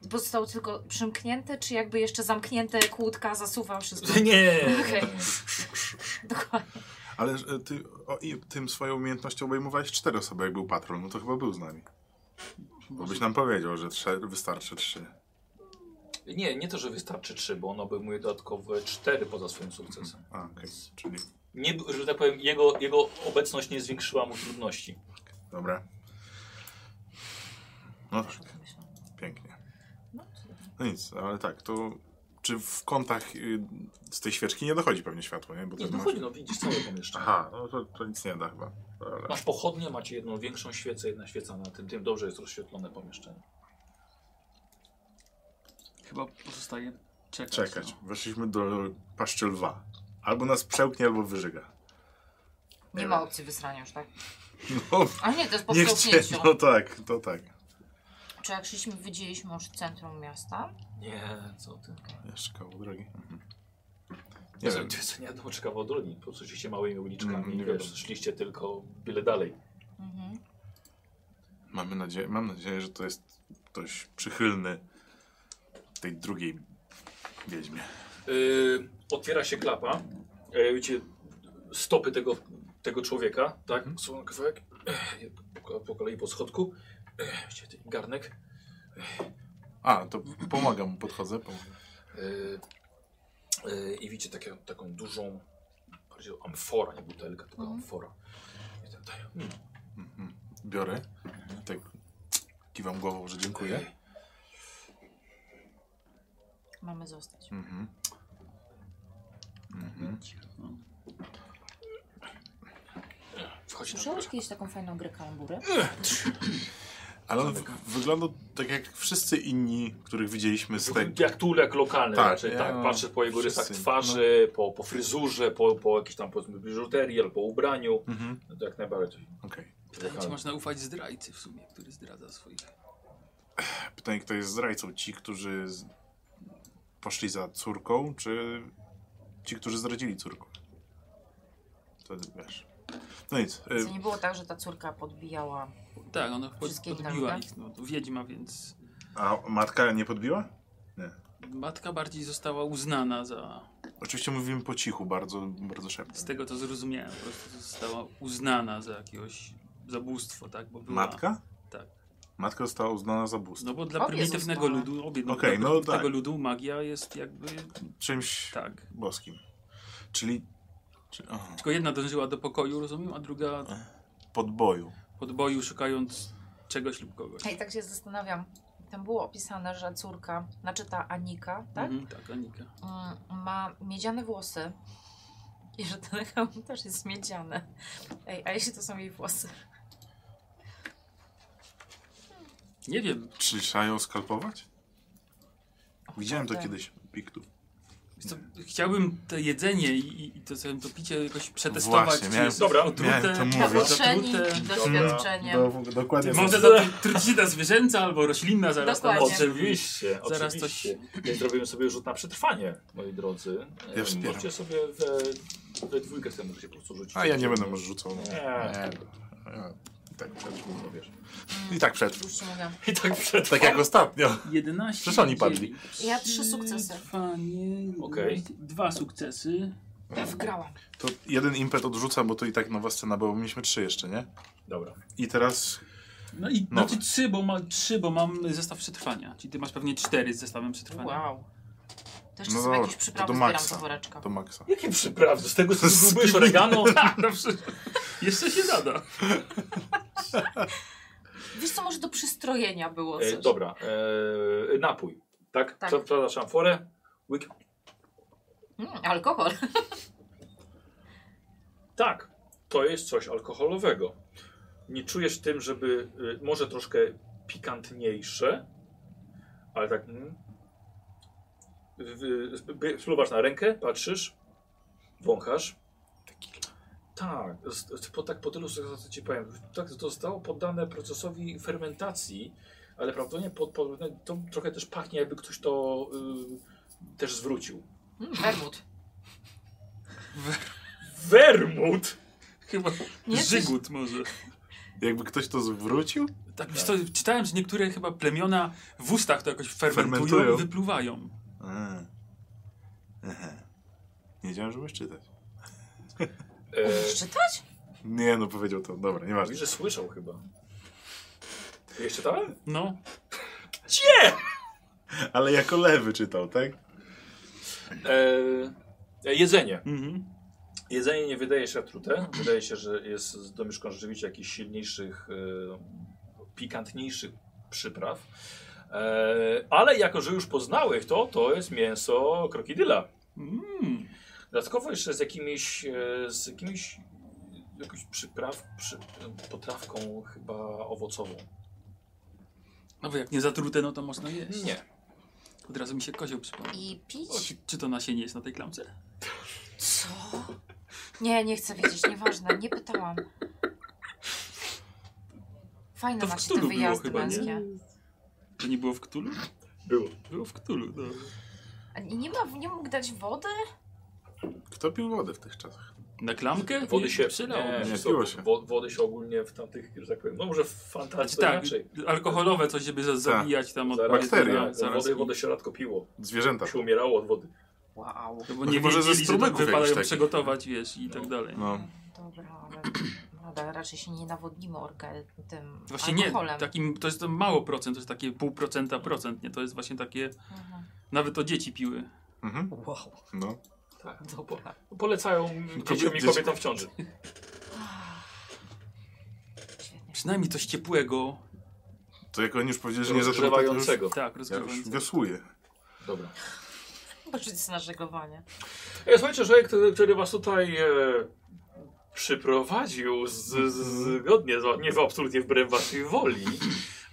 S3: Zostało tylko przymknięte, czy jakby
S2: [LAUGHS]
S1: E,
S3: jeszcze zamknięte kłódka zasuwa wszystko?
S1: Nie!
S3: Okej. Dokładnie.
S2: Ale e, ty o, i tym swoją umiejętnością obejmowałeś cztery osoby, jak był patrol, no to chyba był z nami. Bo byś nam powiedział, że trze, wystarczy trzy.
S1: Nie, nie to, że wystarczy trzy, bo on obejmuje dodatkowe cztery poza swoim sukcesem.
S2: A, okej, czyli
S1: Nie, b- że tak powiem, jego, jego obecność nie zwiększyła mu trudności.
S2: dobra. No tak, pięknie.
S3: No, to-
S2: No nic, ale tak, to czy w kątach y, z tej świeczki nie dochodzi pewnie światło, nie? Bo to
S1: Nie,
S2: jest
S1: dochodzi, no widzisz całe pomieszczenie.
S2: Aha, no to, to nic nie da chyba. Dobra.
S1: Masz pochodnie, macie jedną większą świecę, jedna świeca na tym, tym dobrze jest rozświetlone pomieszczenie.
S4: Chyba pozostaje czekać.
S2: Czekać,
S4: no.
S2: weszliśmy do paszczy lwa. Albo nas przełknie, albo wyżyga.
S3: Nie ma opcji wysrania już, tak?
S2: No,
S3: A nie, to jest po
S2: [LAUGHS] nie chcieli,
S3: wstrząśnięciu.
S2: no tak, to tak.
S3: Czy jak szliśmy, widzieliśmy już centrum miasta?
S1: Nie, co ty.
S2: Jeszcze koło drogi. Mhm.
S1: Nie,
S2: Nie
S1: co,
S2: wiem,
S1: nie, co, nie wiadomo, czy kawał drogi. Po prostu się małymi uliczkami,
S2: Mm, nie
S1: wiesz,
S2: wiadomo.
S1: szliście tylko byle dalej.
S3: Mhm.
S2: mamy nadzieję, mam nadzieję, że to jest ktoś przychylny tej drugiej wiedźmie.
S1: Yy, otwiera się klapa. Yy, widzicie stopy tego, tego człowieka, tak?
S2: Mhm.
S1: Są na kawałek. Ech, Po, po kolei po schodku. Ech, Widzicie ten garnek.
S2: A, to pomagam mu, podchodzę. Pomagam.
S1: Yy, yy, I widzicie takie, taką dużą, bardziej amfora, nie butelka, tylko amfora. I ten daje, mm,
S2: Mhm. Biorę, tak kiwam głową, że dziękuję.
S3: Mamy zostać.
S2: Mhm. Mhm.
S1: Wchodzi na
S3: Słyszałeś kiedyś taką fajną grę kalambury?
S2: Ale on w- wygląda tak jak wszyscy inni, których widzieliśmy z
S1: Wy-
S2: tego.
S1: Jak tulek lokalny,
S2: Tak,
S1: tak, raczej,
S2: ja-
S1: tak. Patrzę po jego rysach
S2: wszyscy, no.
S1: twarzy, po, po fryzurze, po, po jakiejś tam powiedzmy biżuterii albo ubraniu.
S2: Mhm.
S1: No to jak najbardziej.
S2: Okej.
S4: Pytanie, czy można ufać zdrajcy w sumie, który zdradza swoich.
S2: Pytanie, kto jest zdrajcą? Ci, którzy z... poszli za córką, czy ci, którzy zdradzili córką? To wiesz. No nic.
S3: To
S2: Y,
S3: nie było tak, że ta córka podbijała.
S4: Tak, ona pod,
S3: Wszystkie inne
S4: podbiła
S3: ludy?
S4: ich, no, to wiedźma, więc
S2: a matka nie podbiła? Nie.
S4: matka bardziej została uznana za,
S2: Oczywiście mówimy po cichu, bardzo, bardzo
S4: z
S2: szeptem.
S4: tego co zrozumiałem, po prostu została uznana za jakiegoś zabóstwo, tak, bo była...
S2: Matka?
S4: Tak.
S2: Matka została uznana za bóstwo.
S4: No bo dla
S3: Obie
S4: prymitywnego
S3: zostały.
S4: ludu, obie, no,
S2: Okej,
S4: dla
S2: no
S4: prymitywnego
S2: tak.
S4: ludu magia jest jakby,
S2: Czymś
S4: No, tak.
S2: boskim. Czyli... Czy, aha,
S4: Tylko jedna dążyła do pokoju, rozumiem, a druga
S2: podboju.
S4: podboju szukając czegoś lub kogoś.
S3: Ja i tak się zastanawiam. Tam było opisane, że córka, znaczy ta Anika, tak?
S4: Mhm, tak, Anika.
S3: Mm, ma miedziane włosy. I że ten hełm też jest miedziany. Ej, a jeśli to są jej włosy?
S4: Nie wiem,
S2: Czyli trzeba ją skalpować? Widziałem to
S3: tak.
S2: kiedyś u piktów.
S4: Wiesz Co, chciałbym to jedzenie i, i- i to, sobie to picie jakoś przetestować.
S2: Właśnie,
S4: czy
S2: miałem-
S4: jest
S1: Dobra.
S2: miałem to
S4: otrute,
S2: mówić.
S4: jest
S3: Zaproszeni,
S4: otrute.
S3: doświadczenie.
S2: No. dokładnie.
S4: Może to trucizna zwierzęca albo roślinna zaraz tam
S3: Dokładnie.
S4: odczep-
S1: Oczywiście,
S4: Zaraz
S1: oczywiście. Więc zrobimy sobie rzut na przetrwanie, moi drodzy. E,
S2: Ja wspieram.
S1: Możecie sobie we, we dwójkę sobie możecie po prostu rzucić.
S2: A ja nie będę może rzucał. no.
S1: Nie.
S2: Nie. Tak przetrwam.
S1: No, wiesz.
S2: I tak przetrwam.
S3: Już ci mówię.
S1: I tak przed.
S2: Tak jak ostatnio.
S4: 11.
S2: Przecież oni padli.
S4: dziewięć.
S3: Ja trzy sukcesy.
S4: Przetrwanie,
S1: Okej.
S4: Dwa sukcesy.
S3: Ja wygrałam.
S2: To jeden impet odrzucam, bo to i tak nowa scena, bo mieliśmy trzy jeszcze, nie?
S1: Dobra.
S2: I teraz...
S4: No i
S2: No.
S4: znaczy trzy, bo mam trzy, bo mam zestaw przetrwania. Czyli ty masz pewnie cztery z zestawem przetrwania.
S3: Wow. To jeszcze
S2: No
S3: sobie
S2: dobra,
S3: jakieś
S2: to
S3: przyprawy
S2: do
S3: zbieram
S2: maksa.
S3: z woreczka.
S2: Do maksa.
S1: Jakie przyprawy? Z tego co
S2: [LAUGHS] Z
S1: zgubiłeś
S2: kiwi.
S4: [LAUGHS]
S1: oregano?
S4: No przecież- Jeszcze się nada.
S3: Wiesz co, może do przystrojenia było coś.
S1: E, dobra. E, napój. Tak?
S3: Tak.
S1: Co przepraszam, forę? Łyk.
S3: Mm, alkohol.
S1: Tak, to jest coś alkoholowego. Nie czujesz tym, żeby y, może troszkę pikantniejsze, ale tak. Mm, W- y, sp- spluwasz na rękę, patrzysz, wąchasz. Tak, z- z- po, tak po tylu co ci powiem, tak to zostało poddane procesowi fermentacji, ale prawdopodobnie po, po, to trochę też pachnie, jakby ktoś to y, też zwrócił.
S3: Mm, Wermut.
S1: Wermut!
S4: Chyba
S3: Nie, coś-
S4: żygut może.
S2: Jakby ktoś to zwrócił?
S4: Tak, wiesz co, czytałem, że niektóre chyba plemiona w ustach to jakoś fermentują,
S2: Fermentują.
S4: i wypluwają.
S2: A. Aha. Nie wiedziałem, że umiesz czytać.
S1: E,
S3: Umiesz czytać?
S2: Nie, no powiedział to. Dobra, nieważne.
S1: mówi, że słyszał chyba. Jeszcze tam?
S4: No,
S2: Ale jako lewy czytał, tak?
S1: E, jedzenie.
S4: mhm.
S1: Jedzenie nie wydaje się trute. Wydaje się, że jest z domieszką rzeczywiście jakichś silniejszych, e, pikantniejszych przypraw. E, ale jako, że już poznałych to, to jest mięso krokodyla.
S4: Mm.
S1: Dodatkowo jeszcze z jakimiś, e, z jakimiś jakąś przypraw, przy, potrawką chyba owocową.
S4: No bo jak nie zatrute, no to można jeść.
S1: Nie.
S4: Od razu mi się kozioł przypomniał.
S3: I
S4: O,
S3: pić?
S4: Czy, czy to nasienie jest na tej klamce?
S3: Co? Nie, nie chcę wiedzieć, nieważne, nie pytałam. Fajne
S4: To w
S3: macie te
S4: Cthulhu było
S3: wyjazdy
S4: chyba, nie?
S3: męskie.
S4: To nie było w Ktulu?
S1: Było.
S4: Było w Ktulu, no.
S3: A Nie, nie, ma, nie mógł dać wody?
S2: Kto pił wodę w tych czasach?
S4: Na klamkę?
S1: Wody się
S4: przydało.
S1: Nie,
S2: Nie
S1: nie
S2: piło się.
S1: wo- Wody się ogólnie w tamtych, że tak powiem, no może w
S4: Znaczy,
S1: fantazji to
S4: tak,
S1: inaczej.
S4: alkoholowe coś, żeby
S2: Tak.
S4: za- zabijać tam od
S1: Zaraz-
S2: bakterie.
S1: tak,
S4: zaraz- Tak.
S1: Wody, wody się rzadko piło.
S2: Zwierzęta.
S1: Się umierało od wody.
S3: Wow.
S4: No bo
S2: No
S4: nie
S2: chyba, że ze
S4: wiedzieli, że tak
S2: strumyków
S4: wypadają
S2: jakichś takich.
S4: przygotować, wiesz, i tak dalej.
S2: No.
S3: Dobra, ale, ale raczej się nie nawodnimy orga tym
S4: Właśnie nie, tak.
S3: alkoholem.
S4: takim, to jest to mało procent, to jest takie pół procenta, procent, nie? To jest właśnie takie,
S3: Mhm.
S4: nawet to dzieci piły.
S2: Mhm.
S3: Wow,
S2: No.
S1: Tak.
S3: dobra.
S1: Polecają dzieciom i
S2: dzieci-
S1: kobietom w ciąży.
S3: Świetnie.
S4: Przynajmniej coś ciepłego,
S2: To jak oni już powiedzieli, że nie zatrudnią, to już,
S1: Rozgrzewającego.
S4: tak,
S2: ja już
S4: rozgrzewające.
S2: wiosłuję.
S1: Dobra.
S3: Poczuć na żeglowanie.
S1: E, słuchajcie, człowiek, który, który was tutaj e, przyprowadził z, z, zgodnie, z, nie absolutnie wbrew waszej woli.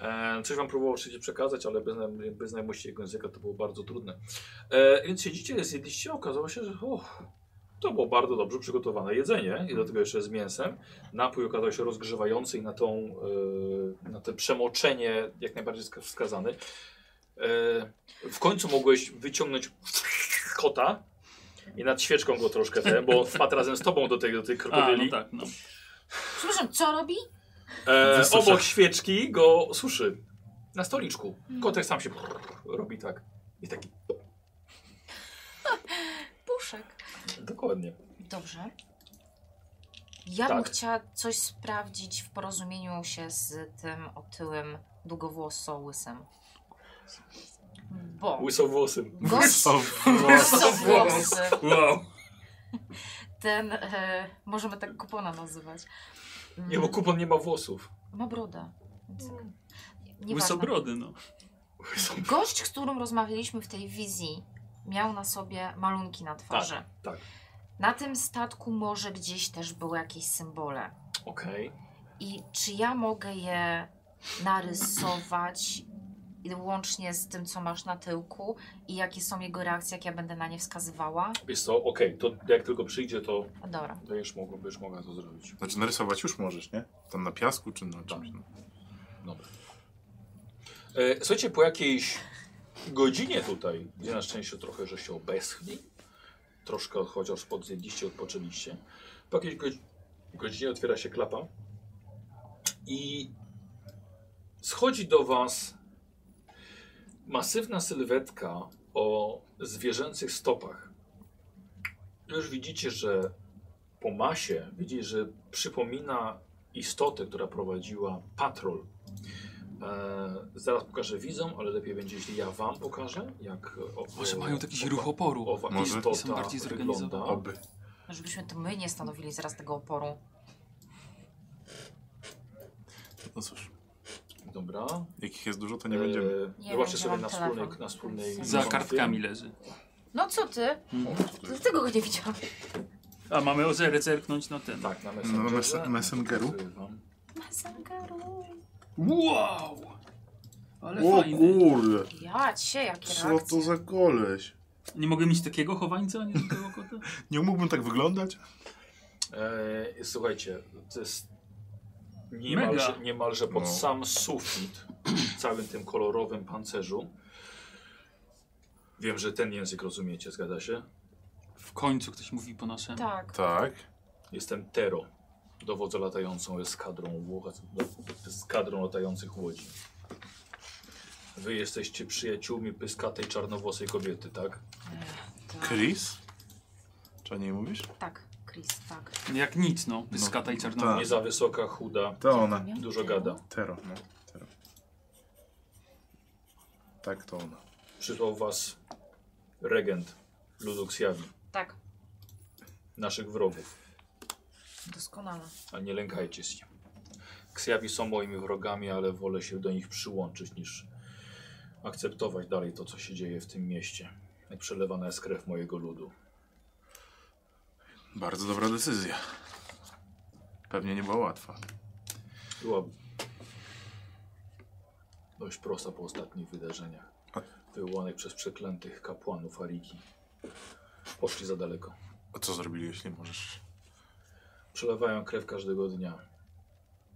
S1: E, coś wam próbował oczywiście przekazać, ale bez, znaj- bez znajomości jego języka to było bardzo trudne. E, więc siedzicie, zjedliście, okazało się, że uch, to było bardzo dobrze przygotowane jedzenie i do tego jeszcze z mięsem. Napój okazał się rozgrzewający i na, tą, e, na to przemoczenie jak najbardziej ska- wskazany. E, w końcu mogłeś wyciągnąć kota i nad świeczką go troszkę, te, bo on wpadł razem z tobą do tej, do tej
S4: A,
S1: krokodyli.
S4: no tak,
S1: [LAUGHS]
S4: no.
S3: Przepraszam, co robi?
S1: E,
S2: Wysusza.
S1: obok świeczki go suszy. Na stoliczku. Kotek sam się robi tak. I taki.
S3: Puszek.
S1: Dokładnie.
S3: Dobrze. Ja bym
S1: Tak.
S3: chciała coś sprawdzić w porozumieniu się z tym otyłym długowłoso-łysem. Bo
S1: Łysowłosym.
S3: gość [LAUGHS]
S2: O,
S3: łysowłosy,
S4: Wow.
S3: ten, e, możemy tak kupona nazywać, mm,
S1: Nie, bo kupon nie ma włosów.
S3: ma brodę. Więc tak. Nieważne.
S4: Łysobrody, no.
S3: Gość, z którym rozmawialiśmy w tej wizji, miał na sobie malunki na twarzy.
S1: tak.
S3: Na tym statku może gdzieś też były jakieś symbole.
S1: Okej.
S3: I czy ja mogę je narysować i łącznie z tym, co masz na tyłku i jakie są jego reakcje, jak ja będę na nie wskazywała?
S1: Wiesz co, okej, to jak tylko przyjdzie, to
S3: No Dobra.
S1: będziesz mogła, będziesz mogła to zrobić.
S2: Znaczy narysować już możesz, nie? Tam na piasku czy na czymś. no.
S1: Dobra. E, słuchajcie, po jakiejś godzinie tutaj, gdzie na szczęście trochę, że się obeschli, troszkę chociaż podzjedliście, odpoczęliście, po jakiejś godzi- godzinie otwiera się klapa i schodzi do was masywna sylwetka o zwierzęcych stopach. Już widzicie, że po masie, widzicie, że przypomina istotę, która prowadziła patrol E, zaraz pokażę widzom, ale lepiej będzie, jeśli ja wam pokażę, jak owo,
S4: Może mają jakiś
S1: owa-
S4: ruch oporu.
S1: Owa
S2: Może?
S1: istota
S4: Są bardziej zorganizowane.
S1: tak wygląda.
S2: Oby.
S3: Żebyśmy to my nie stanowili zaraz tego oporu.
S2: No cóż,
S1: Dobra.
S2: jakich jest dużo, to nie będziemy.
S1: E,
S3: Nie
S1: zobaczcie
S3: wiem,
S1: sobie na
S3: ja mam
S1: wspólnej,
S3: telefon.
S1: na wspólnej
S4: Za
S1: mapie.
S4: kartkami leży.
S3: No co ty? Dlatego go nie widziałam.
S4: A mamy ozerę zerknąć na ten.
S1: Tak, na
S2: No,
S1: Messengerze.
S2: mes- Messengeru.
S1: Wam.
S3: Masangaru.
S4: Wow! Ale
S2: O
S4: fajny.
S2: kurde,
S3: Ja cię, jakie
S2: co to
S3: reakcje.
S2: za koleś?
S4: Nie mogę mieć takiego chowańca, nie takiego kota?
S2: Nie mógłbym tak wyglądać?
S1: E, słuchajcie, to jest
S4: Mega.
S1: niemalże, niemalże pod
S2: No.
S1: sam sufit w całym tym kolorowym pancerzu. Wiem, że ten język rozumiecie, zgadza się?
S4: W końcu ktoś mówi po naszemu.
S3: Tak.
S2: Tak.
S1: Jestem Tero. Dowodzę latającą eskadrą, ło- eskadrą latających łodzi. Wy jesteście przyjaciółmi pyskatej czarnowłosej kobiety, tak?
S3: Ech,
S2: Chris? Czy o niej mówisz?
S3: Tak. Chris, tak.
S4: Jak nic, no. Pyskata i
S2: tak.
S4: czarnowa.
S1: Nie za wysoka, chuda.
S2: To ona.
S3: Nie?
S1: Dużo gada.
S2: Tero, no. Tero. Tak, to ona.
S1: Przysłał was regent Luduksjawi,
S3: Tak,
S1: naszych wrogów,
S3: doskonale.
S1: a nie lękajcie się. Ksjawi są moimi wrogami, ale wolę się do nich przyłączyć niż akceptować dalej to, co się dzieje w tym mieście. Jak przelewana jest krew mojego ludu.
S2: Bardzo dobra decyzja. Pewnie nie była łatwa.
S1: Była dość prosta po ostatnich wydarzeniach.
S2: A-
S1: Wywołanych przez przeklętych kapłanów Ariki. Poszli za daleko.
S2: A co zrobili, jeśli możesz?
S1: Przelewają krew każdego dnia.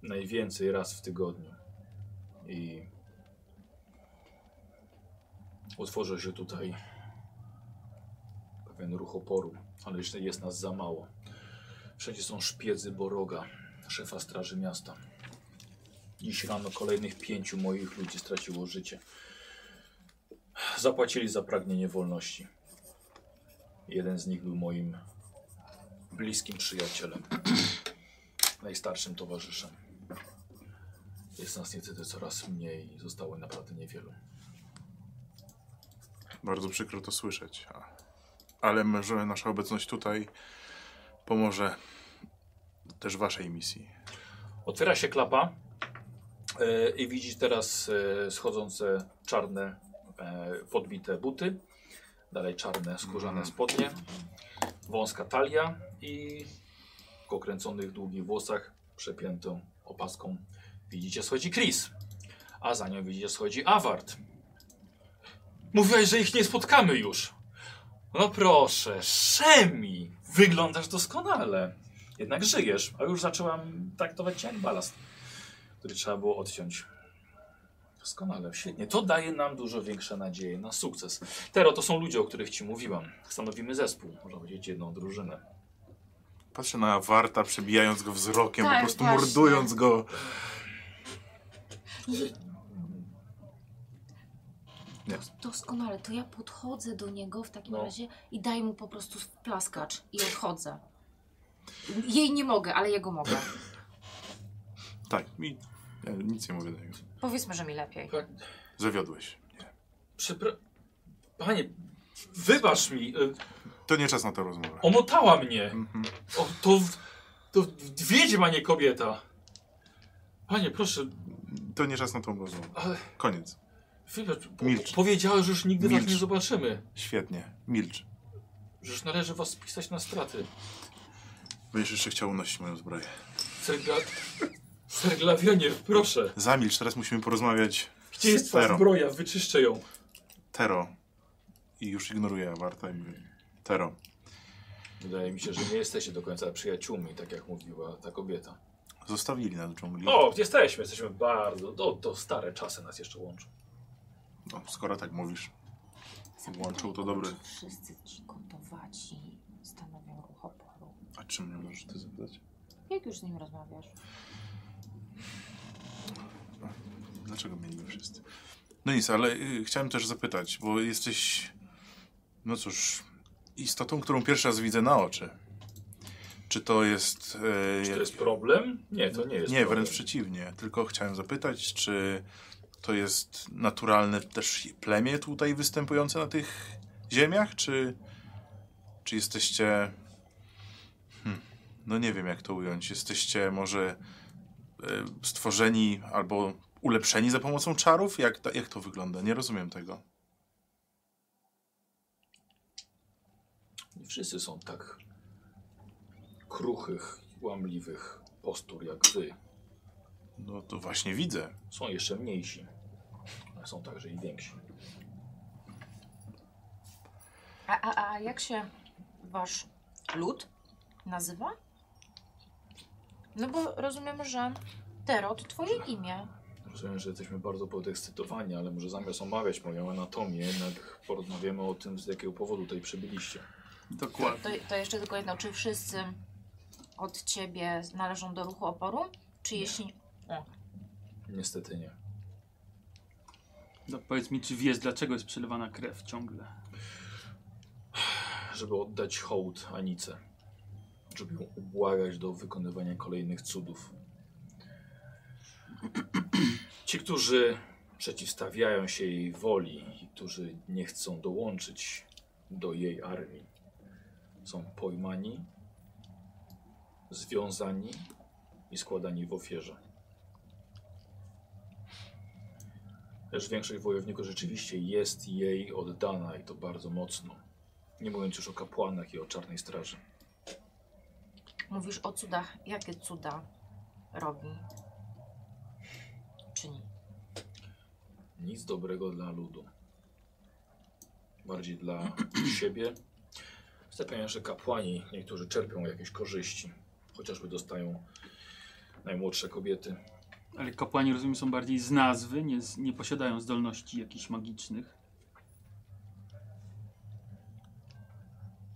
S1: Najwięcej raz w tygodniu. I utworzył się tutaj pewien ruch oporu, ale jeszcze jest nas za mało. Wszędzie są szpiedzy Boroga, szefa straży miasta. Dziś rano kolejnych pięciu moich ludzi straciło życie. Zapłacili za pragnienie wolności. Jeden z nich był moim bliskim przyjacielem, najstarszym towarzyszem. Jest nas niestety coraz mniej i zostało naprawdę niewielu.
S2: Bardzo przykro to słyszeć. A... Ale może nasza obecność tutaj pomoże też waszej misji.
S1: Otwiera się klapa e, i widzisz teraz e, schodzące czarne, e, podbite buty, dalej czarne, skórzane
S2: Mhm.
S1: spodnie, wąska talia i w okręconych, długich włosach przepiętą opaską widzicie schodzi Chris, a za nią widzicie schodzi Awart. Mówiłaś, że ich nie spotkamy już. No proszę, Szemi, wyglądasz doskonale. Jednak żyjesz, a już zaczęłam traktować cię jak balast, który trzeba było odciąć. Doskonale, świetnie. To daje nam dużo większe nadzieje na sukces. Tero, to są ludzie, o których ci mówiłam. Stanowimy zespół, można powiedzieć jedną drużynę.
S2: Patrzę na Warta, przebijając go wzrokiem,
S3: Tak,
S2: po prostu
S3: właśnie.
S2: mordując go. Nie.
S3: Doskonale, to ja podchodzę do niego w takim
S1: No.
S3: razie i daję mu po prostu plaskacz i odchodzę. Jej nie mogę, ale jego mogę.
S2: Tak, i ja nic nie mówię do niego.
S3: Powiedzmy, że mi lepiej.
S2: Zawiodłeś. Nie.
S1: Przepra... Panie, wybacz mi, y,
S2: To nie czas na tę rozmowę.
S1: omotała mnie.
S2: Mhm.
S1: O, to, w- to w- wiedźma, nie kobieta. Panie, proszę,
S2: To nie czas na tą rozmowę.
S1: ale
S2: Koniec.
S1: wybacz, po,
S2: Milcz.
S1: powiedziałeś, że już nigdy was
S2: Milcz.
S1: nie zobaczymy.
S2: Świetnie. Milcz.
S1: Że już należy was spisać na straty.
S2: Będziesz jeszcze chciał unosić moją zbroję.
S1: Sergla... [LAUGHS] Serglawionie, proszę.
S2: Zamilcz, teraz musimy porozmawiać
S1: Gdzie jest
S2: Tero.
S1: twoja zbroja? Wyczyszczę ją.
S2: Tero. I już ignoruję Warta i mówię. Tero,
S1: Wydaje mi się, że nie jesteście do końca przyjaciółmi, tak jak mówiła ta kobieta.
S2: zostawili nas w dżungli.
S1: O, jesteśmy, jesteśmy bardzo. To, to stare czasy nas jeszcze łączą.
S2: No, skoro tak mówisz. Włączył, to dobry.
S3: Czy wszyscy ci gotowaci stanowią ruch oporu?
S2: A czym mnie możesz ty zapytać?
S3: Jak już z nim rozmawiasz?
S2: Dlaczego mnie niby wszyscy? No nic, ale y, chciałem też zapytać, bo jesteś, no cóż, istotą, którą pierwszy raz widzę na oczy. Czy to jest... y,
S1: Czy to jest problem? Nie, to nie jest
S2: Nie,
S1: problem.
S2: wręcz przeciwnie. Tylko chciałem zapytać, czy to jest naturalne też plemię tutaj występujące na tych ziemiach, czy, czy jesteście. Hmm, no nie wiem, jak to ująć. Jesteście może e, stworzeni albo ulepszeni za pomocą czarów? Jak, ta, jak to wygląda? Nie rozumiem tego.
S1: Nie wszyscy są tak kruchych, łamliwych postur jak wy.
S2: No to właśnie widzę.
S1: Są jeszcze mniejsi, ale są także i więksi.
S3: A, a, a jak się wasz lud nazywa? No bo rozumiem, że Tero to twoje imię.
S1: Rozumiem, że jesteśmy bardzo podekscytowani, ale może zamiast omawiać moją anatomię, jednak porozmawiamy o tym, z jakiego powodu tutaj przybyliście.
S4: Dokładnie.
S3: To, to jeszcze tylko jedno, czy wszyscy od ciebie należą do ruchu oporu? Czy jeśli...
S1: Niestety nie.
S4: No, powiedz mi, czy wiesz, dlaczego jest przelewana krew ciągle?
S1: Żeby oddać hołd Anice, żeby ją ubłagać do wykonywania kolejnych cudów. Ci, którzy przeciwstawiają się jej woli i którzy nie chcą dołączyć do jej armii, są pojmani, związani i składani w ofierze. Lecz większość wojowników rzeczywiście jest jej oddana i to bardzo mocno. Nie mówiąc już o kapłanach i o czarnej straży.
S3: Mówisz o cudach. Jakie cuda robi? Czyni.
S1: Nic dobrego dla ludu. Bardziej dla [CLEARS THROAT] siebie. Zapewniam, że kapłani niektórzy czerpią jakieś korzyści. Chociażby dostają najmłodsze kobiety.
S4: Ale kapłani, rozumiem, są bardziej z nazwy, nie, z, nie posiadają zdolności jakichś magicznych.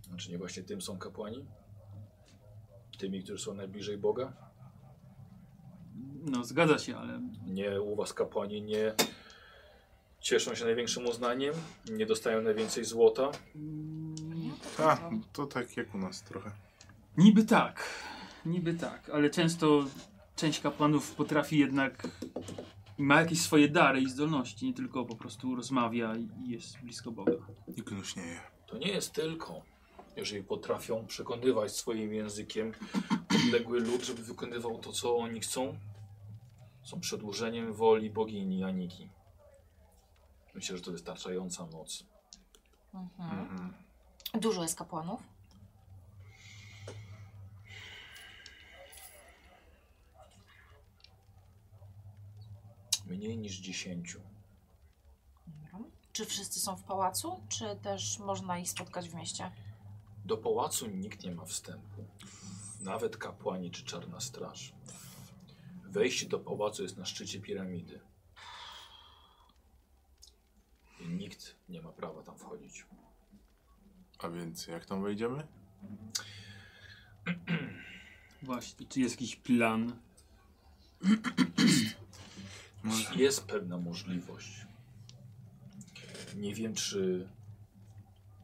S1: Znaczy nie właśnie tym są kapłani? Tymi, którzy są najbliżej Boga?
S4: No, zgadza się, ale
S1: Nie, u was kapłani nie cieszą się największym uznaniem, nie dostają najwięcej złota.
S3: Nie, to
S2: Tak,
S3: tak.
S2: to tak jak u nas trochę.
S4: Niby tak, niby tak, ale często część kapłanów potrafi jednak, ma jakieś swoje dary i zdolności, nie tylko po prostu rozmawia i jest blisko Boga.
S2: I gnuśnieje.
S1: To nie jest tylko, jeżeli potrafią przekonywać swoim językiem podległy lud, żeby wykonywał to, co oni chcą. Są przedłużeniem woli bogini Janiki. Myślę, że to wystarczająca moc.
S3: Mhm. Dużo jest kapłanów?
S1: Mniej niż dziesięciu.
S3: Dobra. Czy wszyscy są w pałacu, czy też można ich spotkać w mieście?
S1: Do pałacu nikt nie ma wstępu. Nawet kapłani czy czarna straż. Wejście do pałacu jest na szczycie piramidy. I nikt nie ma prawa tam wchodzić.
S2: A więc jak tam wejdziemy?
S4: Właśnie, czy jest jakiś plan?
S2: Może
S1: Jest pewna możliwość. Nie wiem, czy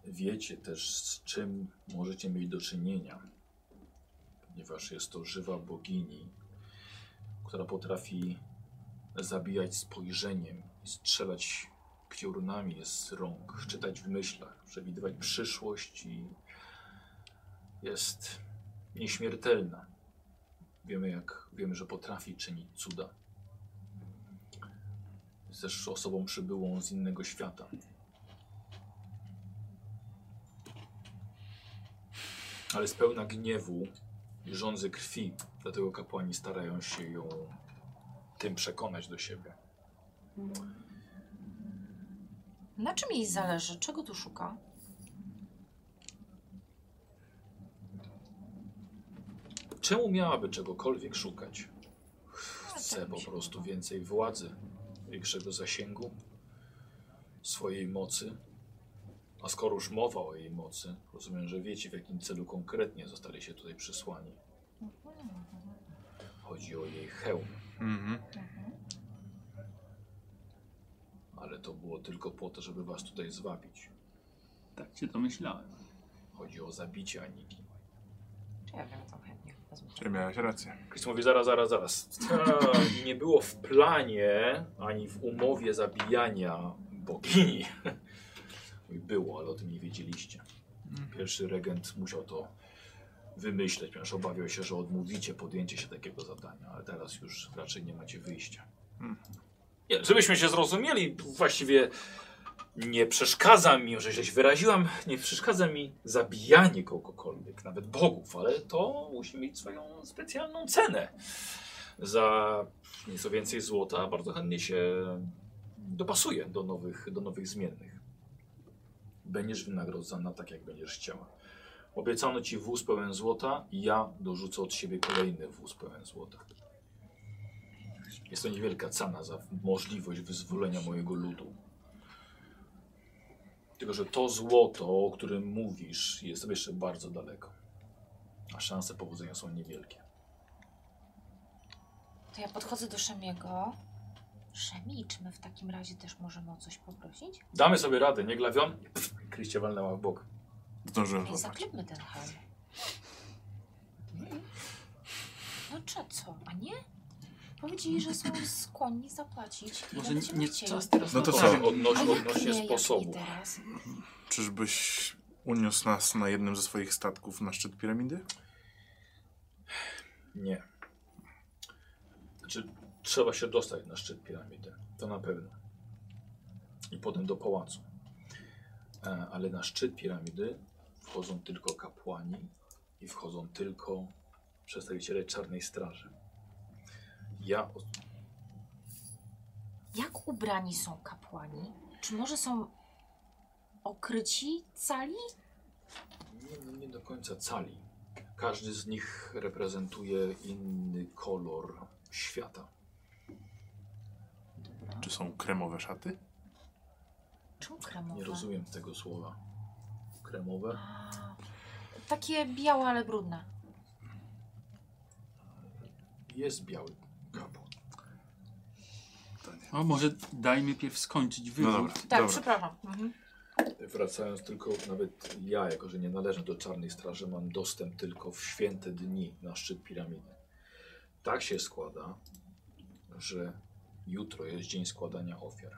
S1: wiecie też, z czym możecie mieć do czynienia, ponieważ jest to żywa bogini, która potrafi zabijać spojrzeniem i strzelać piórnami z rąk, czytać w myślach, przewidywać przyszłość i jest nieśmiertelna. Wiemy, jak, wiemy, że potrafi czynić cuda jest też osobą przybyłą z innego świata. Ale jest pełna gniewu i żądzy krwi, dlatego kapłani starają się ją tym przekonać do siebie.
S3: Na czym jej zależy? Czego tu szuka?
S1: Czemu miałaby czegokolwiek szukać? Chce
S3: tak mi
S1: po
S3: się
S1: prostu
S3: podoba.
S1: więcej władzy, większego zasięgu, swojej mocy. A skoro już mowa o jej mocy, rozumiem, że wiecie w jakim celu konkretnie zostali się tutaj przysłani. Chodzi o jej hełm,
S2: Mhm.
S1: ale to było tylko po to, żeby was tutaj zwabić.
S4: Tak się domyślałem.
S1: Chodzi o zabicie Aniki.
S3: Czy ja wiem, co chętnie wezmę.
S2: Czy miałeś rację?
S1: Chris mówi, zaraz, zaraz, zaraz. Ta, nie było w planie, ani w umowie zabijania bogini. [LAUGHS] Mówi, było, ale o tym nie wiedzieliście.
S2: Mhm.
S1: Pierwszy regent musiał to wymyśleć, ponieważ obawiał się, że odmówicie podjęcie się takiego zadania, ale teraz już raczej nie macie wyjścia.
S2: Mhm.
S1: Nie, żebyśmy się zrozumieli, właściwie nie przeszkadza mi, że się wyraziłam, nie przeszkadza mi zabijanie kogokolwiek, nawet bogów, ale to musi mieć swoją specjalną cenę. Za nieco więcej złota bardzo chętnie się dopasuje do nowych, do nowych zmiennych. Będziesz wynagrodzona tak, jak będziesz chciała. Obiecano ci wóz pełen złota, ja dorzucę od siebie kolejny wóz pełen złota. Jest to niewielka cena za możliwość wyzwolenia mojego ludu. Tylko, że to złoto, o którym mówisz, jest jeszcze bardzo daleko. A szanse powodzenia są niewielkie.
S3: To ja podchodzę do Szemiego. Szemi, czy my w takim razie też możemy o coś poprosić?
S1: Damy sobie radę, nie glawion? Kryście walnęła w bok.
S2: Zdążyłem
S3: Ej,
S2: złapać.
S3: zaklipmy ten hełm. Dlaczego? No Co? A nie? Powiedzieli, że są skłonni zapłacić.
S4: Może nie,
S3: Nawet się
S4: nie
S3: chcieli.
S4: czas teraz
S2: No
S4: na
S2: to
S4: targi.
S2: co?
S1: Odnoś,
S3: A jak
S1: odnośnie
S3: nie, jak nie
S1: sposobu.
S3: teraz?
S2: Czyżbyś uniósł nas na jednym ze swoich statków na szczyt piramidy?
S1: Nie. Znaczy, trzeba się dostać na szczyt piramidy. To na pewno. I potem do pałacu. E, Ale na szczyt piramidy wchodzą tylko kapłani i wchodzą tylko przedstawiciele czarnej straży. Ja o-
S3: Jak ubrani są kapłani? Czy może są okryci cali?
S1: nie, nie do końca cali. Każdy z nich reprezentuje inny kolor świata.
S2: Czy są kremowe szaty?
S3: Czemu kremowe?
S1: Nie rozumiem tego słowa. Kremowe?
S3: A, Takie białe, ale brudne.
S1: Jest biały kapłan.
S2: To nie.
S4: O, może dajmy pierw skończyć
S2: No
S4: wywód.
S2: dobra,
S3: Tak,
S2: dobra.
S3: przepraszam. Mhm.
S1: Wracając tylko, nawet ja, jako że nie należę do Czarnej Straży, mam dostęp tylko w święte dni na szczyt piramidy. Tak się składa, że jutro jest dzień składania ofiar.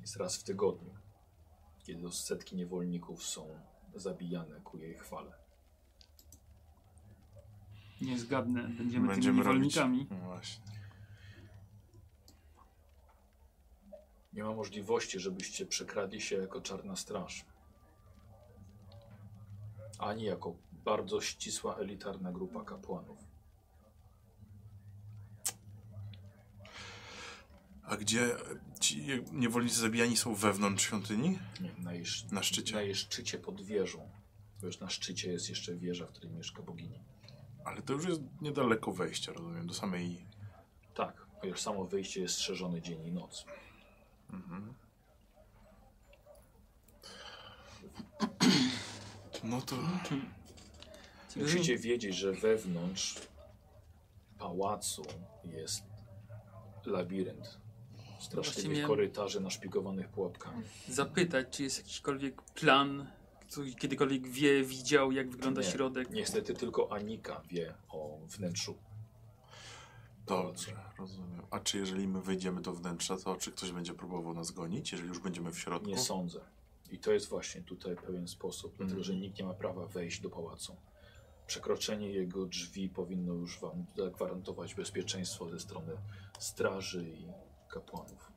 S1: Jest raz w tygodniu, kiedy to setki niewolników są zabijane ku jej chwale.
S4: Nie zgadnę, będziemy, tymi
S2: Będziemy robić...
S4: niewolnikami.
S2: No Właśnie.
S1: Nie ma możliwości, żebyście przekradli się jako czarna straż. Ani jako bardzo ścisła, elitarna grupa kapłanów.
S2: A gdzie ci niewolnicy zabijani są wewnątrz świątyni?
S1: Nie, na, jeż-
S2: Na szczycie?
S1: Na jej szczycie pod wieżą. Bo już na szczycie jest jeszcze wieża, w której mieszka bogini.
S2: Ale to już jest niedaleko wejścia, rozumiem, do samej...
S1: Tak, chociaż samo wyjście jest strzeżone dzień i noc.
S2: Mhm. No to...
S1: Musicie wiedzieć, że wewnątrz pałacu jest labirynt.
S4: Właśnie
S1: Straszliwych
S4: miałem-
S1: korytarzy naszpiegowanych pułapkami.
S4: Zapytać, czy jest jakikolwiek plan, który kiedykolwiek wie, widział, jak wygląda
S1: Nie.
S4: środek.
S1: Niestety tylko Anika wie o wnętrzu.
S2: Dobrze, rozumiem. A czy jeżeli my wejdziemy do wnętrza, to czy ktoś będzie próbował nas gonić, jeżeli już będziemy w środku?
S1: Nie sądzę. I to jest właśnie tutaj pewien sposób, dlatego że nikt nie ma prawa wejść do pałacu. Przekroczenie jego drzwi powinno już wam zagwarantować bezpieczeństwo ze strony straży i kapłanów.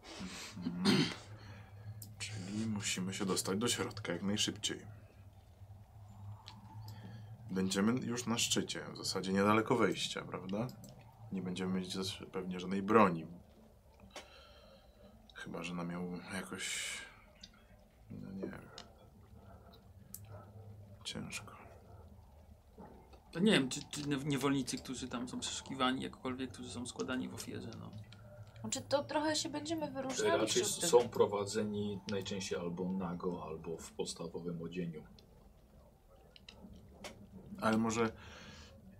S2: Czyli musimy się dostać do środka jak najszybciej. Będziemy już na szczycie, w zasadzie niedaleko wejścia, prawda? Nie będziemy mieć też pewnie żadnej broni. Chyba, że nam ją jakoś... No nie wiem. Ciężko.
S4: To nie wiem, czy, czy niewolnicy, którzy tam są przeszukiwani, jakkolwiek, którzy są składani w ofierze. No.
S3: Czy Znaczy, to trochę się będziemy wyróżniali
S1: Raczej
S3: wśród tych?
S1: są prowadzeni najczęściej albo nago, albo w podstawowym odzieniu.
S2: Ale może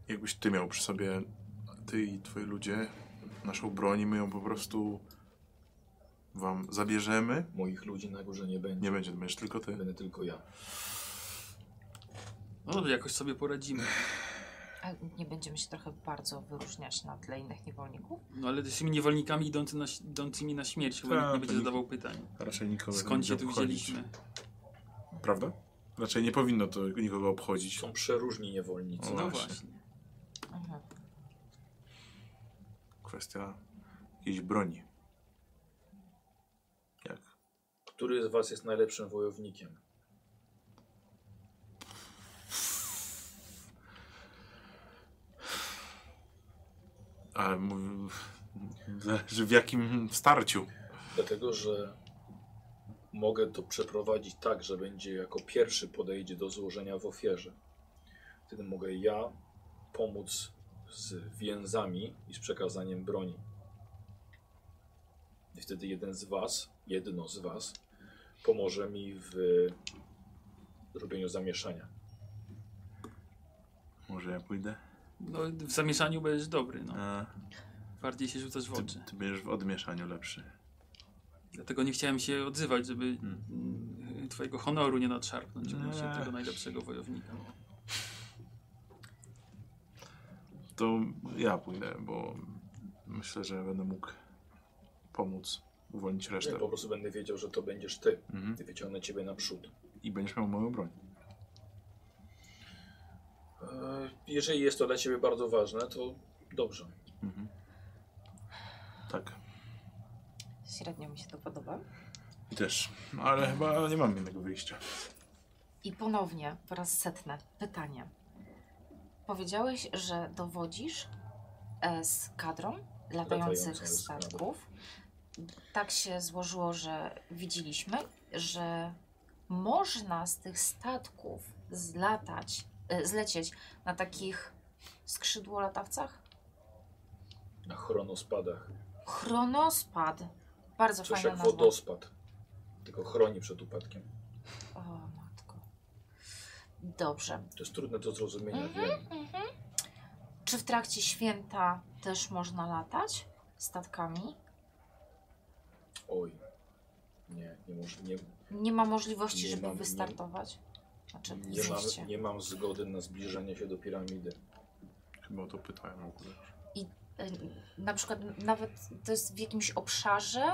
S2: jakbyś ty miał przy sobie, ty i twoi ludzie, naszą broń, i my ją po prostu wam zabierzemy.
S1: Moich ludzi na górze nie będzie,
S2: Nie będzie, to będziesz tylko ty.
S1: będę tylko ja.
S4: no to jakoś sobie poradzimy.
S3: A nie będziemy się trochę bardzo wyróżniać na tle innych niewolników?
S4: No ale z tymi niewolnikami idący na, idącymi na śmierć, chyba
S2: Tak,
S4: nikt
S2: to
S4: nie będzie
S2: nikt-
S4: zadawał pytań.
S2: Raczej nikogo
S4: Skąd
S2: nie
S4: się tu
S2: będzie obchodzić.
S4: wzięliśmy?
S2: Prawda? Raczej nie powinno to nikogo obchodzić.
S1: Są przeróżni niewolnicy.
S2: O.
S4: No
S2: właśnie.
S4: właśnie.
S3: Mhm.
S2: Kwestia jakiejś broni. Jak?
S1: Który z was jest najlepszym wojownikiem?
S2: Ale m- zależy w jakim starciu.
S1: Dlatego, że mogę to przeprowadzić tak, że będzie jako pierwszy podejdzie do złożenia w ofierze. Wtedy mogę ja pomóc z więzami i z przekazaniem broni. I wtedy jeden z was, jedno z was, pomoże mi w robieniu zamieszania.
S2: Może ja pójdę?
S4: No, w zamieszaniu będziesz dobry, no.
S2: A,
S4: Bardziej się rzucasz w
S2: ty,
S4: oczy.
S2: ty będziesz w odmieszaniu lepszy.
S4: Dlatego nie chciałem się odzywać, żeby
S1: Hmm.
S4: mm, twojego honoru nie nadszarpnąć
S2: Nie.
S4: no. odnośnie tego najlepszego wojownika.
S2: to ja pójdę, bo myślę, że będę mógł pomóc uwolnić
S1: Ja
S2: resztę.
S1: po prostu będę wiedział, że to będziesz ty.
S2: Mhm.
S1: I wyciągnę ciebie naprzód.
S2: I będziesz miał moją broń.
S1: E, Jeżeli jest to dla ciebie bardzo ważne, to dobrze.
S2: Mhm. Tak.
S3: Średnio mi się to podoba.
S2: I też. Ale chyba nie mam innego wyjścia.
S3: I ponownie, po raz setny, pytanie. Powiedziałeś, że dowodzisz e, z kadrą latających
S1: Latającą z kadrą.
S3: statków. Tak się złożyło, że widzieliśmy, że można z tych statków zlatać, e, zlecieć na takich skrzydłolatawcach?
S1: Na chronospadach.
S3: Chronospad. Bardzo
S1: Coś
S3: fajna
S1: jak
S3: nazwa.
S1: wodospad. Tylko chroni przed upadkiem.
S3: O matko. Dobrze.
S1: To jest trudne do zrozumienia,
S3: Mhm.
S1: wiem.
S3: Czy w trakcie święta też można latać statkami?
S1: Oj. Nie, nie, może, nie,
S3: Nie ma możliwości,
S1: Nie
S3: żeby
S1: mam- nie-
S3: wystartować? Znaczy,
S1: nie, mam,
S3: oczywiście.
S1: nie mam zgody na zbliżanie się do piramidy.
S2: Chyba o to pytałem akurat.
S3: Y, Na przykład nawet to jest w jakimś obszarze?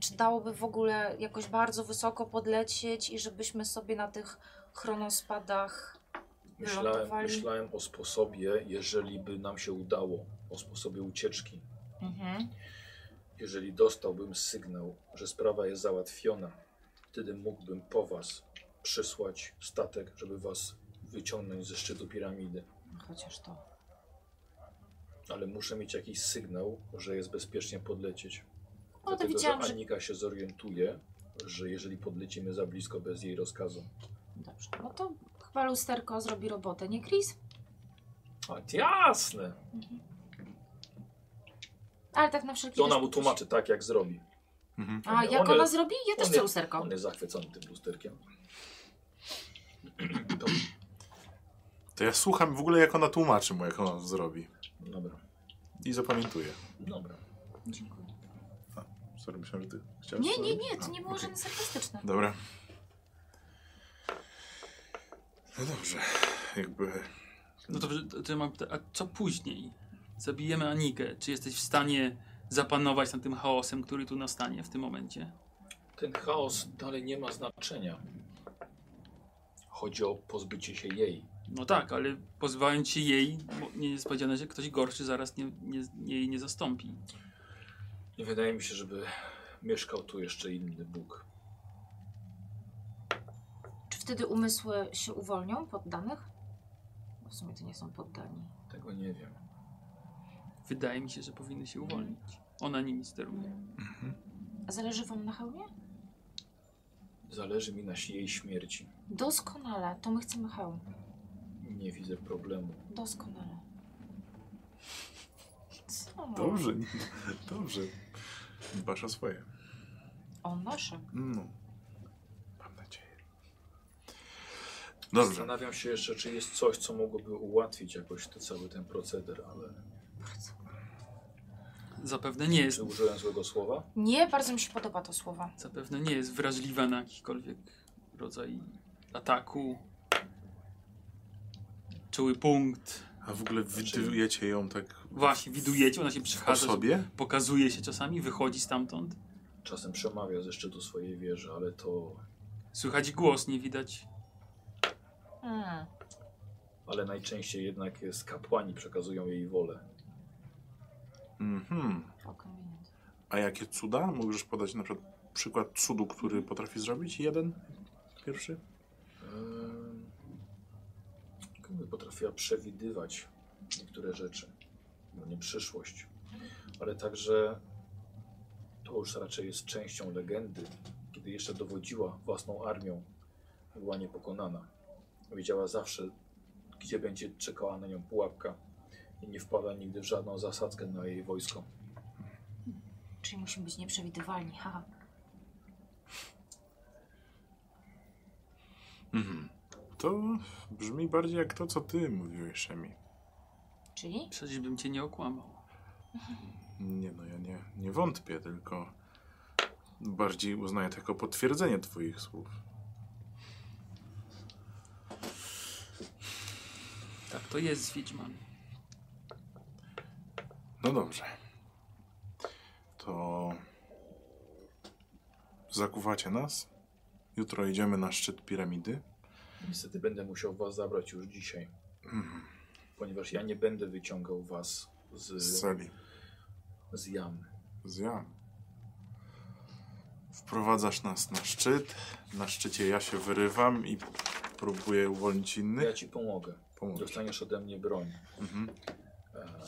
S3: Czy dałoby w ogóle jakoś bardzo wysoko podlecieć i żebyśmy sobie na tych chronospadach... No,
S1: Myślałem,
S3: Wylądowali?
S1: myślałem o sposobie, jeżeli by nam się udało, o sposobie ucieczki.
S3: Mhm.
S1: Jeżeli dostałbym sygnał, że sprawa jest załatwiona, wtedy mógłbym po was przysłać statek, żeby was wyciągnąć ze szczytu piramidy.
S3: Chociaż to...
S1: Ale muszę mieć jakiś sygnał, że jest bezpiecznie podlecieć.
S3: No to
S1: Dlatego,
S3: widziałam,
S1: że
S3: że...
S1: Anika się zorientuje, że jeżeli podlecimy za blisko bez jej rozkazu.
S3: Dobrze, no to chyba lusterko zrobi robotę, nie Chris?
S1: A jasne!
S3: Ale tak na wszelki
S1: To ona mu
S3: wypadek-
S1: tłumaczy tak, jak zrobi.
S2: Mhm.
S3: A,
S1: On-
S3: jak
S1: one-
S3: ona zrobi? Ja też
S1: one-
S3: chcę lusterko.
S1: On jest zachwycony tym lusterkiem. [CLEARS THROAT] Dobrze,
S2: To ja słucham w ogóle, jak ona tłumaczy mu, jak ona to zrobi.
S1: dobra,
S2: I zapamiętuję.
S1: dobra.
S3: Dziękuję.
S2: Sorry, myślałem, że ty chciałeś.
S3: Nie, nie,
S2: zrobić?
S3: nie, to
S2: A,
S3: nie było
S2: okej.
S3: żadne sarkastyczne.
S2: Dobra. No dobrze. Jakby.
S4: No dobrze, to, to ja mam pyta- a co później? Zabijemy Anikę. Czy jesteś w stanie zapanować nad tym chaosem, który tu nastanie w tym momencie?
S1: Ten chaos dalej nie ma znaczenia. Chodzi o pozbycie się jej.
S4: No tak, ale pozbywając się jej, bo nie jest powiedziane, że ktoś gorszy zaraz nie, nie, nie, jej nie zastąpi.
S1: Nie wydaje mi się, żeby mieszkał tu jeszcze inny Bóg.
S3: Czy wtedy umysły się uwolnią poddanych? Bo W sumie to nie są poddani.
S1: Tego nie wiem.
S4: Wydaje mi się, że powinny się uwolnić. Ona nimi steruje.
S3: A zależy wam na hełmie?
S1: Zależy mi na jej śmierci.
S3: Doskonale, to my chcemy hełm.
S1: Nie widzę problemu.
S3: Doskonale. Co?
S2: Dobrze, nie, dobrze. Dbasz o swoje.
S3: O nasze.
S2: No. Mam nadzieję. Dobrze.
S1: Zastanawiam się jeszcze, czy jest coś, co mogłoby ułatwić jakoś to, cały ten proceder, ale
S4: Zapewne nie jest,
S1: czy użyłem złego słowa?
S3: Nie, bardzo mi się podoba to słowo.
S4: zapewne nie jest wrażliwa na jakikolwiek rodzaj ataku. Czuły punkt.
S2: A w ogóle widujecie ją tak
S4: Właśnie, widujecie, ona się
S2: po
S4: przechadza,
S2: sobie?
S4: pokazuje się czasami, wychodzi stamtąd.
S1: Czasem przemawia ze szczytu swojej wieży, ale to...
S4: Słychać głos, nie widać.
S3: Hmm.
S1: Ale najczęściej jednak jest kapłani przekazują jej wolę.
S2: Mhm.
S3: O, convenient.
S2: A jakie cuda? Możesz podać na przykład przykład cudu, który potrafi zrobić? Jeden? Pierwszy?
S1: Ym, Tylko by Ehm, potrafiła przewidywać niektóre rzeczy, no nie przyszłość, ale także to już raczej jest częścią legendy, kiedy jeszcze dowodziła własną armią, była niepokonana. Wiedziała zawsze, gdzie będzie czekała na nią pułapka i nie wpada nigdy w żadną zasadzkę na jej wojsko.
S3: Czyli musimy być nieprzewidywalni, haha.
S2: Mhm. To brzmi bardziej jak to, co ty mówiłeś, Szemi.
S3: Czyli?
S4: Przecież bym cię nie okłamał.
S2: Nie no, ja nie, nie wątpię, tylko bardziej uznaję to jako potwierdzenie twoich słów.
S4: Tak to jest z Wiedźmami.
S2: No dobrze. To zakuwacie nas. Jutro idziemy na szczyt piramidy.
S1: Niestety będę musiał was zabrać już dzisiaj,
S2: Mhm.
S1: ponieważ ja nie będę wyciągał was
S2: Z
S1: z,
S2: celi.
S1: z jamy.
S2: Z jam. Wprowadzasz nas na szczyt. Na szczycie ja się wyrywam i próbuję uwolnić
S1: Ja
S4: No
S2: innych.
S1: ci pomogę.
S2: Pomóż.
S1: Dostaniesz ode mnie broń.
S2: Mhm.
S1: E,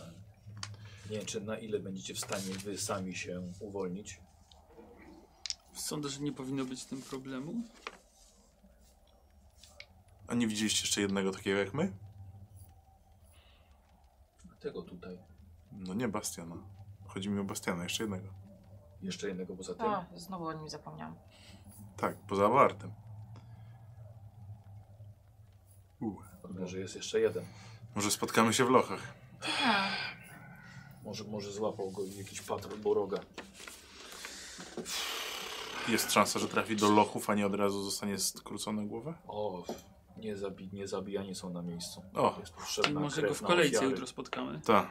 S1: nie wiem, czy na ile będziecie w stanie wy sami się uwolnić.
S4: Sądzę, że nie powinno być z tym problemu.
S2: A nie widzieliście jeszcze jednego takiego jak my?
S1: Tego tutaj.
S2: No nie Bastiana. Chodzi mi o Bastiana, jeszcze jednego.
S1: Jeszcze jednego poza tym.
S3: A, znowu o nim zapomniałam.
S2: Tak, poza Bartem. U,
S1: Może jest jeszcze jeden.
S2: Może spotkamy się w lochach.
S3: A,
S1: Może, może złapał go jakiś patrol Boroga.
S2: Jest szansa, że trafi do lochów, a nie od razu zostanie skrócona głowa?
S1: O, nie, zabi nie zabijani są na miejscu.
S2: O,
S1: tak, Jest potrzebna
S4: Może
S1: krew
S4: go w
S1: na
S4: kolejce
S1: ofiary.
S4: jutro spotkamy.
S2: ta.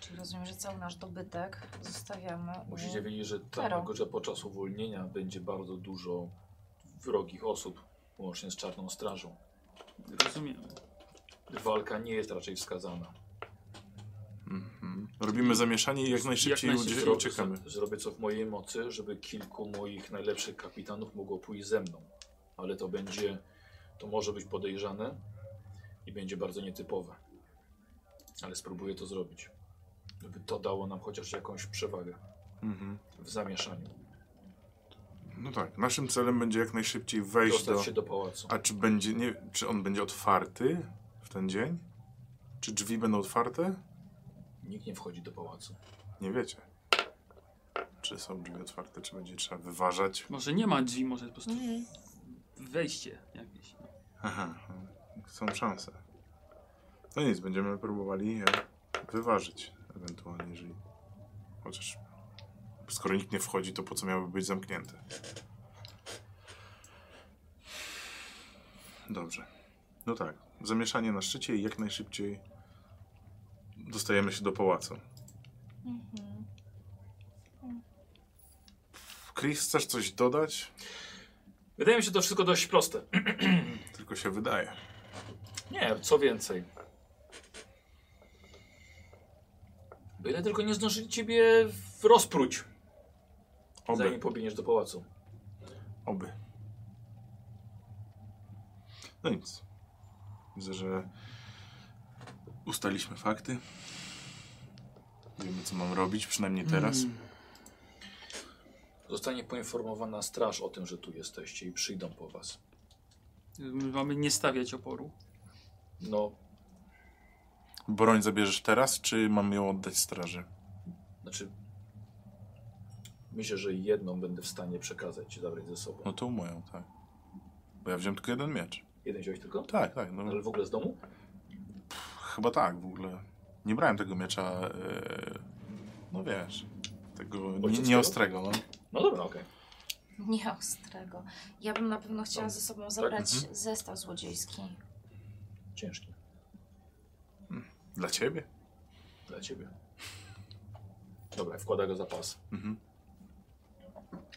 S3: czyli rozumiem, że cały nasz dobytek zostawiamy. u-
S1: Musicie wiedzieć, że
S3: Karo.
S1: tego, że podczas uwolnienia będzie bardzo dużo wrogich osób, łącznie z Czarną Strażą.
S4: Rozumiem.
S1: Walka nie jest raczej wskazana.
S2: Mhm. Robimy zamieszanie i jak najszybciej
S4: Jak najszybciej.
S2: ucie- uciekamy.
S1: z- zrobię co w mojej mocy, żeby kilku moich najlepszych kapitanów mogło pójść ze mną. Ale to będzie, to może być podejrzane i będzie bardzo nietypowe. Ale spróbuję to zrobić, żeby to dało nam chociaż jakąś przewagę
S2: Mhm.
S1: w zamieszaniu.
S2: No tak, naszym celem będzie jak najszybciej wejść
S1: Dostać
S2: do...
S1: się do pałacu.
S2: A czy będzie, nie, czy on będzie otwarty w ten dzień? Czy drzwi będą otwarte?
S1: Nikt nie wchodzi do pałacu.
S2: Nie wiecie. Czy są drzwi otwarte, czy będzie trzeba wyważać?
S4: Może nie ma drzwi, może po prostu
S3: Mhm.
S4: wejście jakieś. no.
S2: Aha, są szanse. No nic, będziemy próbowali je wyważyć ewentualnie, jeżeli... Chociaż skoro nikt nie wchodzi, to po co miałyby być zamknięte? Dobrze. No tak, zamieszanie na szczycie i jak najszybciej dostajemy się do pałacu.
S3: Mhm.
S2: Chris, chcesz coś dodać?
S1: Wydaje mi się to wszystko dość proste. [CLEARS THROAT]
S2: Tylko się wydaje.
S1: Nie, co więcej. Byle tylko nie zdążyli ciebie w- rozpróć, zanim
S2: Oby,
S1: pobiegniesz do pałacu.
S2: oby. No nic. Widzę, że ustaliśmy fakty. Wiemy, co mam robić, przynajmniej teraz.
S4: Mm.
S1: Zostanie poinformowana straż o tym, że tu jesteście i przyjdą po was.
S4: My mamy nie stawiać oporu.
S1: No,
S2: Broń zabierzesz teraz, czy mam ją oddać straży?
S1: znaczy... Myślę, że jedną będę w stanie przekazać ci zabrać ze
S2: No
S1: sobą.
S2: tą moją, tak. Bo ja wziąłem tylko jeden miecz.
S1: Jeden wziąłeś tylko?
S2: Tak, tak. No,
S1: Ale w ogóle z domu?
S2: Chyba tak w ogóle. Nie brałem tego miecza. e, no wiesz. Tego nie,
S1: Ojciec
S2: nieostrego, no.
S1: No dobra, okej.
S3: Nie ostrego. Ja bym na pewno chciała ze
S1: Tak,
S3: sobą zabrać
S1: mhm.
S3: zestaw złodziejski.
S1: Ciężki.
S2: Dla ciebie.
S1: Dla ciebie. Dobra, wkłada go za pas.
S2: Mhm.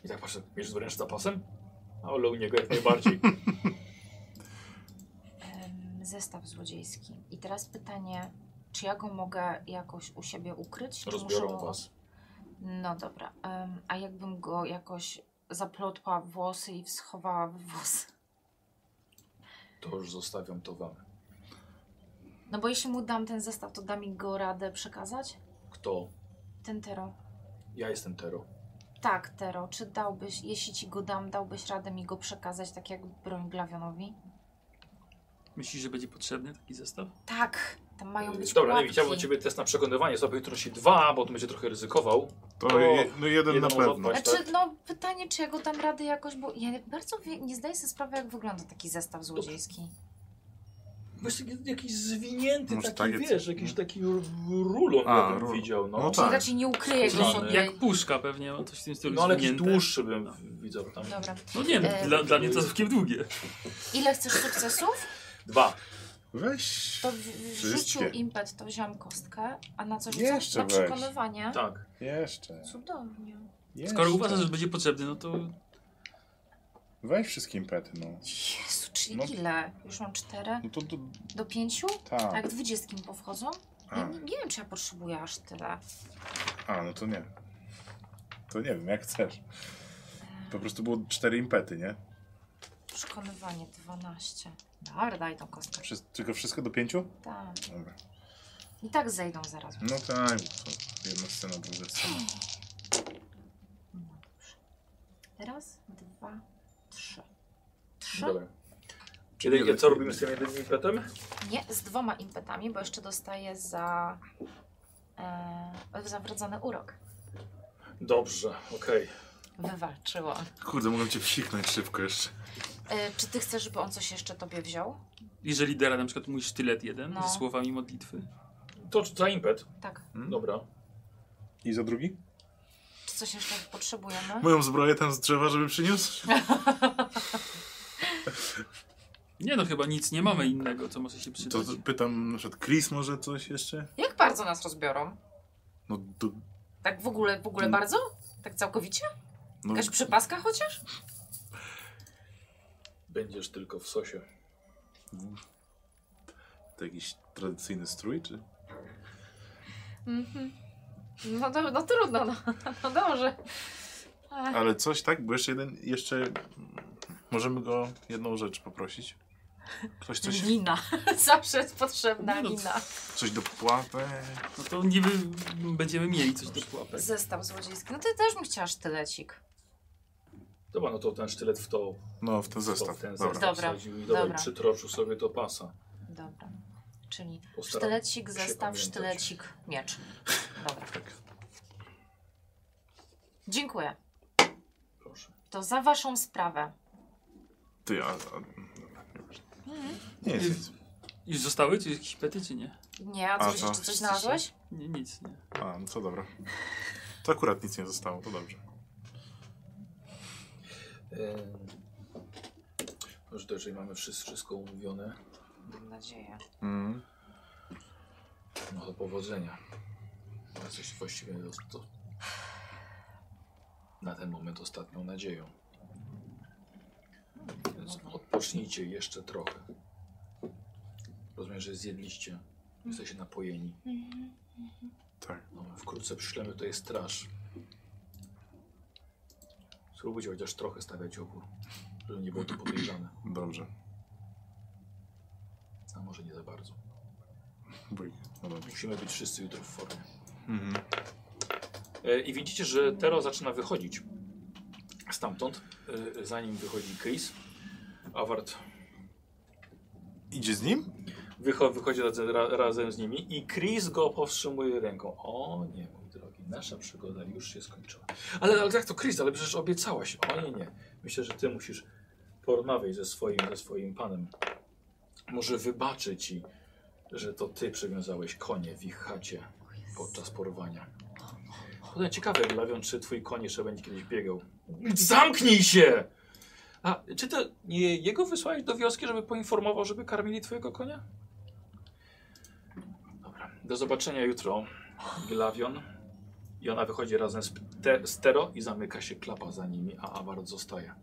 S1: I tak patrzę, bierzesz wręcz za pasem? A ale u niego jak najbardziej.
S3: Em, Zestaw złodziejski. I teraz pytanie, czy ja go mogę jakoś u siebie ukryć? Czy muszę
S1: Rozbiorą
S3: go-
S1: was.
S3: No dobra. em, a jakbym go jakoś zaplotła w włosy i schowała w włosy?
S1: To już zostawiam to wam.
S3: No bo jeśli mu dam ten zestaw, to da mi go radę przekazać?
S1: Kto?
S3: Ten Tero.
S1: Ja jestem Tero.
S3: Tak, Tero, czy dałbyś, jeśli ci go dam, dałbyś radę mi go przekazać tak jak broń Glawionowi?
S4: Myślisz, że będzie potrzebny taki zestaw?
S3: Tak, tam mają
S1: Yy,
S3: być
S1: Dobra,
S3: pułapki.
S1: Nemi, chciałbym od ciebie test na przekonywanie. Sobie jutro się dwa, bo tu będzie trochę ryzykował.
S2: To
S1: O,
S2: je, no jeden
S1: jeden
S2: na
S1: może
S2: pewno.
S1: odpaść.
S3: Znaczy, no pytanie, czy ja go dam radę jakoś, bo ja bardzo wie, nie zdaję sobie sprawy, jak wygląda taki zestaw złodziejski.
S1: Wiesz, taki- jakiś zwinięty,
S2: Może
S1: taki
S2: tak jest.
S1: wiesz, jakiś taki r- rulon,
S2: A,
S1: ja bym
S2: rulon.
S1: widział. No,
S2: No
S3: Czyli
S2: tak.
S3: raczej nie ukryję go
S1: Skórzany.
S3: sobie.
S4: Jak puszka pewnie, no coś w tym stylu
S1: no ale jakiś
S4: zwinięte.
S1: dłuższy bym
S4: No.
S1: widział tam.
S3: Dobra.
S4: No nie,
S3: E,
S4: dla, dla mnie to całkiem długie.
S3: Ile chcesz sukcesów?
S1: Dwa.
S5: Weź.
S3: To w, w życiu
S5: Wszystkie.
S3: impet to wziąłam kostkę, a na co
S5: Jeszcze
S3: rzucam? Na
S5: weź.
S3: przekonywanie.
S1: Tak.
S5: Jeszcze.
S3: Cudownie.
S5: jeszcze.
S4: Skoro uważasz, że będzie potrzebny, no to
S5: tak. Weź wszystkim pety, no.
S3: Jezu, czyli
S5: No.
S3: ile? Już mam cztery?
S5: No to, to
S3: Do pięciu?
S5: tak.
S3: Tak, dwudziestkim powchodzą?
S5: A,
S3: Ja nie, nie wiem, czy ja potrzebuję aż tyle.
S5: a, no to nie. To nie wiem, jak chcesz. Po prostu było cztery impety, nie?
S3: Przekonywanie 12. Dobra, daj tą kostkę.
S5: Wszy tylko wszystko do pięciu?
S3: Tak.
S5: Dobra.
S3: I tak zejdą zaraz.
S5: No tak, bo to jedna scena, druga scena.
S3: Raz, dwa, trzy. Trzy?
S1: Dobra. Kiedy, co robimy z tym jednym impetem?
S3: Nie, z dwoma impetami, bo jeszcze dostaję za, e, za wrodzony urok.
S1: Dobrze, okej.
S3: Wywalczyłam.
S2: Kurde, mogę cię wsiknąć szybko jeszcze.
S3: E, czy ty chcesz, żeby on coś jeszcze tobie wziął?
S4: jeżeli dera na przykład mój sztylet jeden
S3: No.
S4: ze słowami modlitwy.
S1: To za impet.
S3: Tak.
S1: Dobra.
S5: Hmm? I za drugi?
S3: Czy coś jeszcze potrzebujemy?
S2: Moją zbroję tam z drzewa, żeby przyniósł?
S4: Nie no, chyba nic nie mamy innego, co może się
S2: To
S4: przydać.
S2: z- pytam, na przykład Chris może coś jeszcze?
S3: Jak bardzo nas rozbiorą?
S2: No, do,
S3: Tak w ogóle, w ogóle bardzo? Tak całkowicie?
S2: no
S3: Jakaś przypaska chociaż?
S1: Będziesz tylko w sosie.
S2: to jakiś tradycyjny strój, czy?
S3: Mhm. No, do, no trudno, no, no dobrze. Ech.
S2: Ale coś tak, bo jeszcze jeden, jeszcze mm, możemy go jedną rzecz poprosić. Ktoś coś,
S3: Wina. [LAUGHS] Zawsze jest potrzebna
S4: No.
S3: wina.
S2: coś do pułapy.
S4: No to niby będziemy mieli coś do pułapek.
S3: Zestaw złodziejski. No ty też bym chciała sztylecik.
S1: Dobra, no to ten sztylet w to,
S2: No, w ten
S1: w to
S2: zestaw.
S1: w ten
S2: Dobra.
S1: zestaw
S3: Dobra.
S1: wsadził i dobra,
S3: Dobra.
S1: i przytroczył sobie do pasa.
S3: Dobra. Czyli
S1: Postaram
S3: sztylecik,
S1: się Tak.
S3: zestaw,
S1: pamiętać.
S3: sztylecik, miecz. Dobra.
S1: [LAUGHS]
S3: Dziękuję.
S1: Proszę.
S3: To za waszą sprawę.
S2: Ty, a, a, nie jest nic.
S4: Już zostały czy jakieś pety, czy nie?
S3: Nie, a
S2: A
S3: coś
S2: co?
S3: jeszcze coś
S2: Chcesz
S3: znalazłeś?
S4: Nie, nic, nie.
S2: A, no to dobra. To akurat nic nie zostało, to dobrze.
S1: Ehm, Może to jeżeli mamy wszy- wszystko umówione,
S3: Mam nadzieję.
S1: Mhm.
S2: Mm.
S1: no to powodzenia. Ja coś właściwie to, to na ten moment ostatnią nadzieją. Więc odpocznijcie jeszcze trochę. Rozumiem, że zjedliście, jesteście napojeni. Mhm.
S2: Tak.
S1: No, wkrótce przyślemy tutaj straż. Spróbujcie chociaż trochę stawiać opór, żeby nie było to podejrzane.
S2: Dobrze.
S1: A może nie za bardzo.
S2: Bój. No dobrze.
S1: Musimy być wszyscy jutro w formie.
S2: Mhm.
S1: E, I widzicie, że Tero zaczyna wychodzić stamtąd, e, zanim wychodzi Chris. Awart
S2: Idzie z nim?
S1: wycho wychodzi razem, ra razem z nimi i Chris go powstrzymuje ręką. O nie, mój drogi, nasza przygoda już się skończyła. Ale, ale jak to Chris, ale przecież obiecałaś. O nie, nie. Myślę, że ty musisz porozmawiać ze swoim, ze swoim panem. Może wybaczy ci, że to ty przywiązałeś konie w ich chacie podczas porwania. Potem ciekawe, Glawion, czy twój koń jeszcze będzie kiedyś biegał. Zamknij się! A czy to nie jego wysłałeś do wioski, żeby poinformował, żeby karmili twojego konia? Dobra. Do zobaczenia jutro, Glawion. I ona wychodzi razem z, te, z Tero i zamyka się klapa za nimi, a Award zostaje.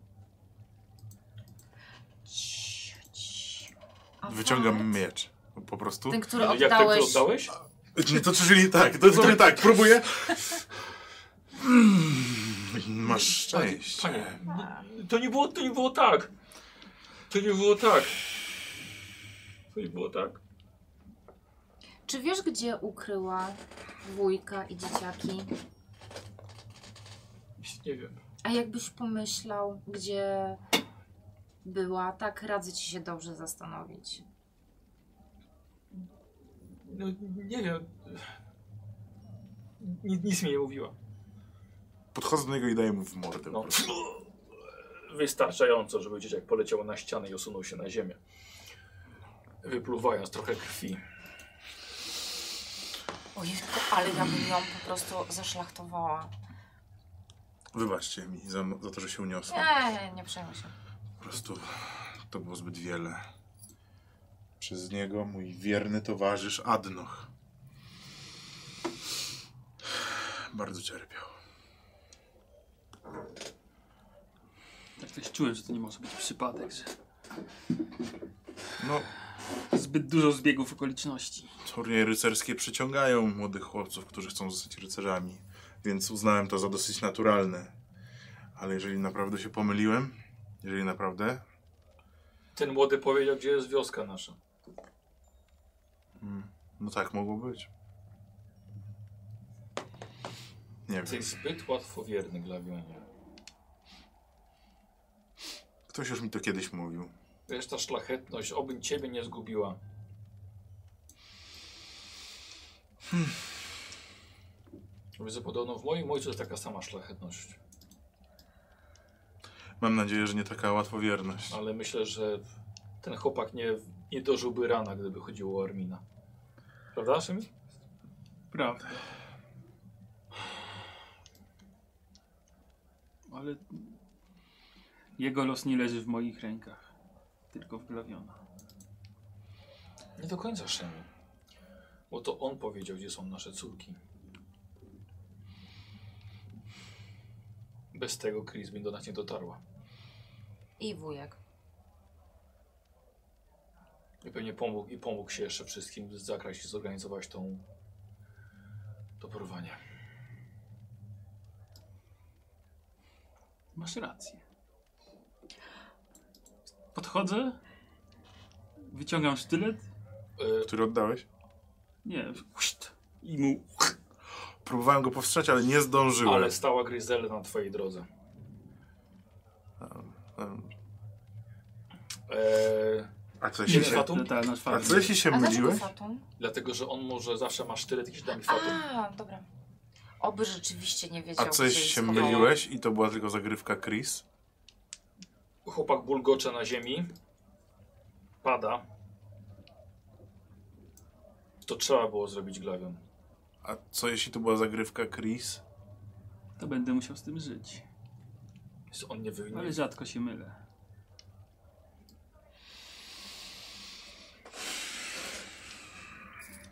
S3: Ciu, ciu. A
S2: Wyciągam
S3: wart?
S2: miecz. Po prostu.
S3: Ten, który
S1: No, Jak ten, który oddałeś?
S3: oddałeś.
S2: Nie, to czyli tak, to czyli tak,
S1: [LAUGHS]
S2: próbuję. Mm, Masz szczęście.
S1: Panie,
S3: Tak.
S1: to nie było, to nie było tak. To nie było tak. To nie było tak.
S3: Czy wiesz, gdzie ukryła wujka i dzieciaki?
S1: Nie wiem.
S3: A jakbyś pomyślał, gdzie była, tak radzę ci się dobrze zastanowić.
S1: No, nie wiem. Nic, nic mi nie mówiła.
S2: Podchodzę do niego i daję mu w mordę.
S1: No.
S2: po prostu.
S1: Wystarczająco, żeby dzieciak poleciał na ścianę i osunął się na ziemię. Wypluwając trochę krwi.
S3: Ojejku, ale ja bym ją po prostu zaszlachtowała.
S2: Wybaczcie mi za, za to, że się uniosłem.
S3: Nie, nie przejmuj się.
S2: Po prostu to było zbyt wiele.
S5: Przez niego mój wierny towarzysz Adnoch
S2: Bardzo cierpiał.
S4: Tak też czułem, że to nie może być przypadek, że
S2: No,
S4: zbyt dużo zbiegów okoliczności.
S2: turnieje rycerskie przyciągają młodych chłopców, którzy chcą zostać rycerzami, więc uznałem to za dosyć naturalne. Ale jeżeli naprawdę się pomyliłem, jeżeli naprawdę,
S1: Ten młody powiedział, gdzie jest wioska nasza.
S2: no tak mogło być. Nie wiem.
S1: Jesteś zbyt łatwowierny, Glawionie.
S2: Ktoś już mi to kiedyś mówił.
S1: Wiesz, ta szlachetność, oby ciebie nie zgubiła. Hmm. Widzę, podobno w moim ojcu jest taka sama szlachetność.
S2: Mam nadzieję, że nie taka łatwowierność.
S1: Ale myślę, że ten chłopak nie, nie dożyłby rana, gdyby chodziło o Armina. Prawda, Szymon?
S4: Prawda. Ale jego los nie leży w moich rękach, tylko w glawiona.
S1: Nie do końca Szymon. Bo to on powiedział, gdzie są nasze córki. Bez tego Chris by do nas nie dotarła.
S3: I wujek.
S1: I pewnie pomógł, i pomógł się jeszcze wszystkim zakraść i zorganizować tą, to porwanie.
S4: Masz rację. Podchodzę, wyciągam sztylet,
S1: E,
S2: Który oddałeś?
S4: nie, huszt, i mu
S2: Próbowałem go powstrzymać, ale nie zdążyłem.
S1: ale stała Gryzela na twojej drodze.
S2: Em,
S1: E,
S2: A co
S1: Jeden
S2: jeśli się,
S1: Fatum?
S4: Ta, nasz
S2: a
S4: fatum.
S2: co jeśli się
S3: A znaczy dlaczego
S2: myliłeś?
S3: Fatum?
S1: dlatego, że on może zawsze ma sztylet i się da mi fatum.
S3: A, dobra. Oby rzeczywiście nie wiedział,
S2: A coś
S3: gdzie
S2: się
S3: jest koło.
S2: myliłeś i to była tylko zagrywka Chris?
S1: Chłopak bulgocze na ziemi. Pada. To trzeba było zrobić glawią.
S2: A co jeśli to była zagrywka Chris?
S4: To będę musiał z tym żyć.
S1: Więc On nie wy...
S4: Ale rzadko się mylę.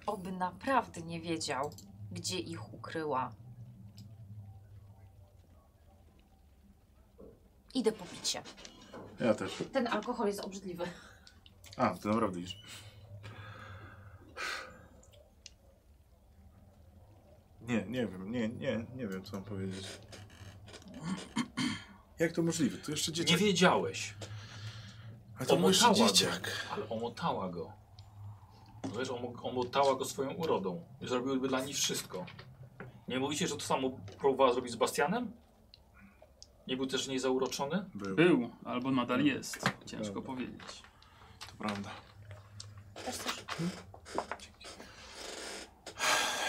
S3: Oby naprawdę nie wiedział, gdzie ich ukryła. Idę po picie.
S5: Ja też.
S3: Ten alkohol jest obrzydliwy.
S5: A, ty naprawdę idziesz.
S2: Nie, nie wiem, nie, nie, nie wiem co mam powiedzieć. Jak to możliwe? To jeszcze
S1: Nie
S2: dzieciak.
S1: wiedziałeś,
S2: A to był jeszcze
S1: Omotała go.
S2: dzieciak.
S1: ale omotała go. No Wiesz, omo- omotała go swoją urodą. Zrobiłyby dla nich wszystko. Nie mówicie, że to samo próbowała zrobić z Bastianem? Nie był też nie zauroczony?
S2: Był,
S4: Był, albo nadal jest. Ciężko powiedzieć.
S2: to prawda.
S3: Też też.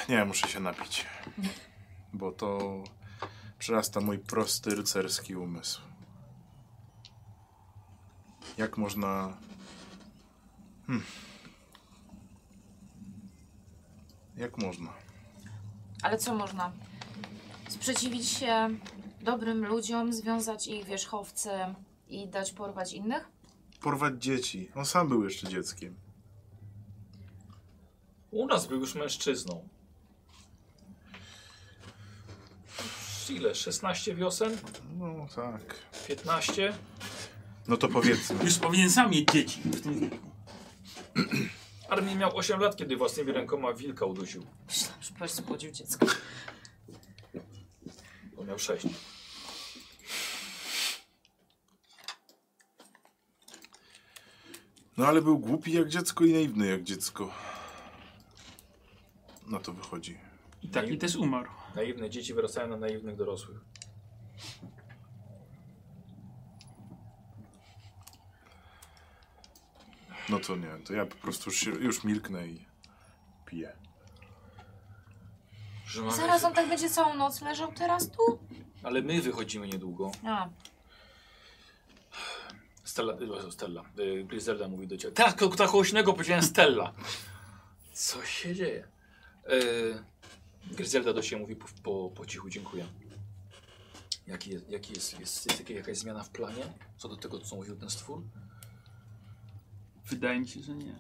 S2: Nie, muszę się napić. Bo to przerasta mój prosty rycerski umysł. Jak można. Hmm. Jak można?
S3: Ale co można? Sprzeciwić się dobrym ludziom, związać ich wierzchowcem i dać porwać innych?
S2: Porwać dzieci. On sam był jeszcze dzieckiem.
S1: U nas był już mężczyzną. Ile? 16 wiosen?
S2: No tak.
S1: 15?
S2: No to powiedzmy.
S4: Już powinien sam mieć dzieci w tym wieku.
S1: Armin miał 8 lat, kiedy własnymi rękoma wilka udusił.
S3: Myślałam, że powiesz, spłodził dziecko.
S1: On miał 6.
S2: No ale był głupi jak dziecko i naiwny jak dziecko. No to wychodzi.
S4: I taki też umarł.
S1: Naiwne dzieci wyrastają na naiwnych dorosłych.
S2: No to nie, to ja po prostu już, się- już milknę i piję.
S3: Zaraz on tak będzie całą noc leżał teraz tu?
S1: Ale my wychodzimy niedługo.
S3: A,
S1: Stella, y, Stella, y, Griselda mówi do ciebie. Tak, tak głośnego powiedziałem Stella. Co się dzieje? Y, Griselda do ciebie mówi po, po, po cichu, dziękuję. Jaki jest, jaki jest, jest, jest jaka- jakaś zmiana w planie? Co do tego, co mówił ten stwór?
S4: Wydaje mi się, że nie.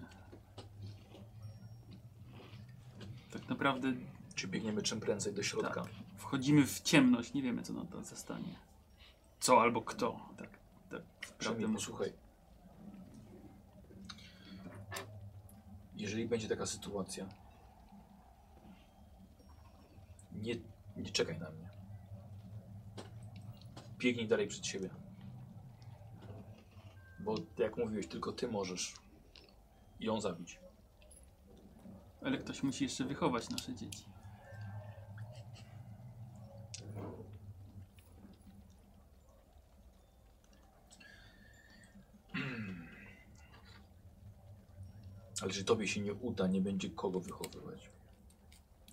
S4: Tak naprawdę
S1: Czy biegniemy czym prędzej do środka?
S4: wchodzimy w ciemność, nie wiemy co nam tam zastanie. Co albo kto. Tak, tak.
S1: Przynajmniej
S4: mówiąc.
S1: posłuchaj. Jeżeli będzie taka sytuacja, nie, nie czekaj na mnie. Biegnij dalej przed siebie. Bo jak mówiłeś, tylko ty możesz ją zabić.
S4: Ale ktoś musi jeszcze wychować nasze dzieci.
S1: Ale jeżeli tobie się nie uda, nie będzie kogo wychowywać.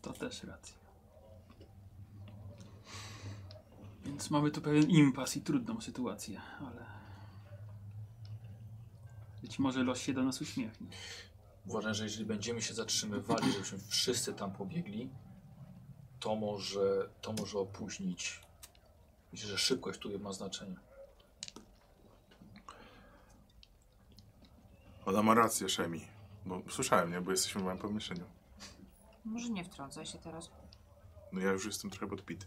S4: To też racja. Więc mamy tu pewien impas i trudną sytuację, ale. Być może los się do nas uśmiechnie.
S1: Uważam, że jeżeli będziemy się zatrzymywali, żebyśmy wszyscy tam pobiegli, to może, to może opóźnić. Myślę, że szybkość tutaj ma znaczenie.
S2: Ona ma rację, Szemi. Bo słyszałem, nie? Bo jesteśmy w moim pomieszczeniu.
S3: Może nie wtrącaj się teraz.
S2: No ja już jestem trochę podpity.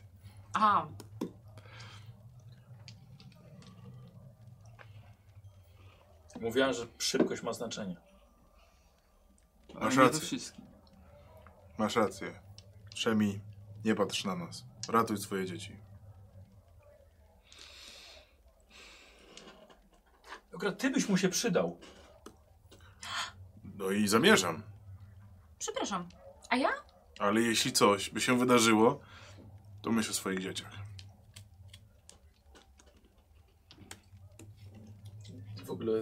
S3: A,
S1: Mówiłem, że szybkość ma znaczenie.
S4: Ale
S2: Masz
S4: nie do
S2: rację.
S4: wszystkich.
S2: Masz rację. Szemi, nie patrz na nas. Ratuj swoje dzieci.
S1: Akurat ty byś mu się przydał.
S2: No i zamierzam.
S3: przepraszam. A ja?
S2: Ale jeśli coś by się wydarzyło, to myśl o swoich dzieciach.
S1: W ogóle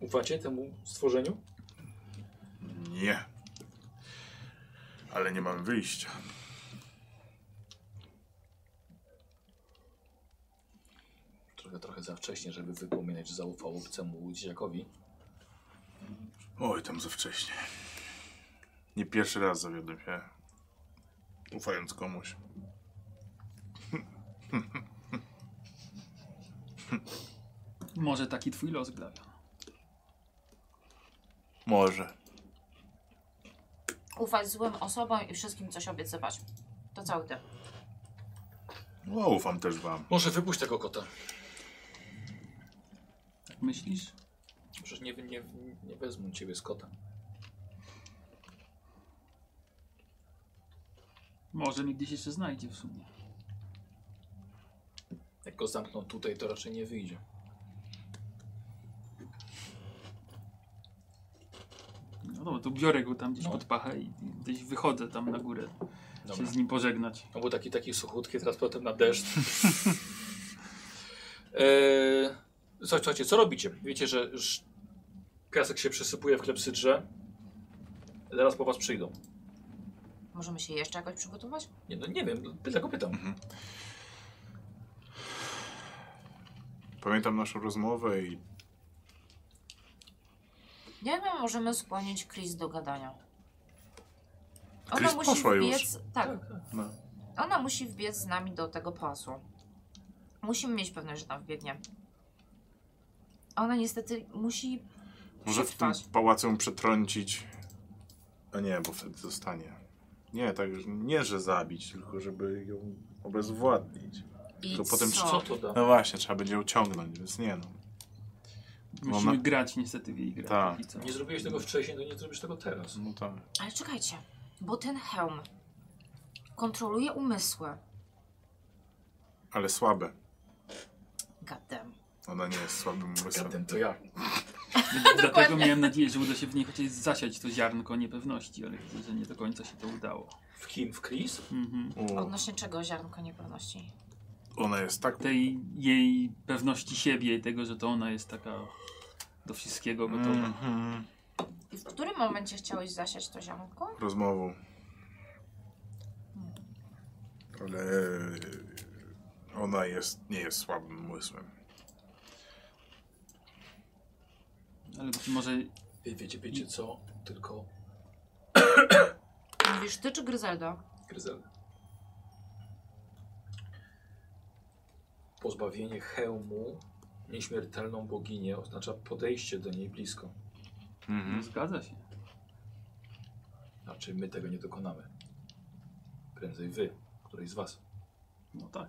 S1: ufacie temu stworzeniu?
S2: Nie. Ale nie mamy wyjścia.
S1: Trochę, trochę za wcześnie, żeby wypominać, że zaufał obcemu dzieciakowi.
S2: Oj, tam za wcześnie. Nie pierwszy raz zawiodłem się. Ufając komuś.
S4: Może taki twój los glawia.
S2: Może.
S3: Ufać złym osobom i wszystkim coś obiecywać. To cały ten.
S2: No, ufam też wam.
S1: Może wypuść tego kota.
S4: Tak myślisz?
S1: Przecież nie, nie, nie wezmą ciebie z kota.
S4: Może mnie gdzieś jeszcze znajdzie w sumie.
S1: Jak go zamkną tutaj, to raczej nie wyjdzie.
S4: No dobra, to biorę go tam gdzieś
S1: No.
S4: pod pachę i i gdzieś wychodzę tam na górę
S1: Dobra.
S4: się z nim pożegnać.
S1: No był taki, taki suchutki, teraz potem na deszcz. e, słuchajcie, słuchajcie, co robicie? Wiecie, że sz- piasek się przesypuje w klepsydrze. Zaraz po was przyjdą.
S3: Możemy się jeszcze jakoś przygotować?
S1: Nie, no nie wiem, dlatego pytam.
S2: Pamiętam naszą rozmowę i
S3: Nie wiem, możemy skłonić Chris do gadania.
S2: Chris poszła już.
S3: Tak.
S2: No.
S3: Ona musi wbiec z nami do tego pasu. Musimy mieć pewność, że tam wbiegnie. Ona niestety musi
S2: może w tym
S3: przetrwać.
S2: pałacu ją przetrącić. A nie, bo wtedy zostanie. Nie, tak, że- nie, że zabić, tylko żeby ją obezwładnić.
S3: I
S2: To potem
S3: co?
S1: Co to da?
S2: No właśnie, trzeba będzie ją ciągnąć, więc nie no.
S4: Musimy
S2: Ona-
S4: grać niestety w jej grę.
S2: Tak.
S4: póki co.
S1: Nie zrobiłeś
S4: [LAUGHS]
S1: tego wcześniej, to nie zrobisz tego teraz.
S2: No tak.
S3: Ale czekajcie, bo ten hełm kontroluje umysły.
S2: Ale słabe.
S3: Gadem.
S2: Ona nie jest słabym umysłem.
S1: Zatem to ja.
S4: Dlatego miałem nadzieję, że uda się w niej chociaż zasiać to ziarnko niepewności, ale widzę, że nie do końca się to udało.
S1: W kim? W Chris?
S4: Mhm.
S2: O,
S3: Odnośnie czego ziarnko niepewności?
S2: ona jest tak...
S4: Tej jej pewności siebie i tego, że to ona jest taka do wszystkiego gotowa.
S2: Mhm.
S3: I w którym momencie chciałeś zasiać to ziarnko?
S2: rozmową. Ale ona jest, nie jest słabym umysłem.
S4: Ale być może
S1: Wie, wiecie, wiecie co? Tylko
S3: Mówisz ty czy Gryzelda?
S1: Gryzel. Pozbawienie hełmu nieśmiertelną boginię
S2: Mm.
S4: Mhm.
S1: oznacza podejście do niej blisko.
S4: no, zgadza się.
S1: Raczej my tego nie dokonamy. Prędzej wy, któryś z was.
S4: No tak.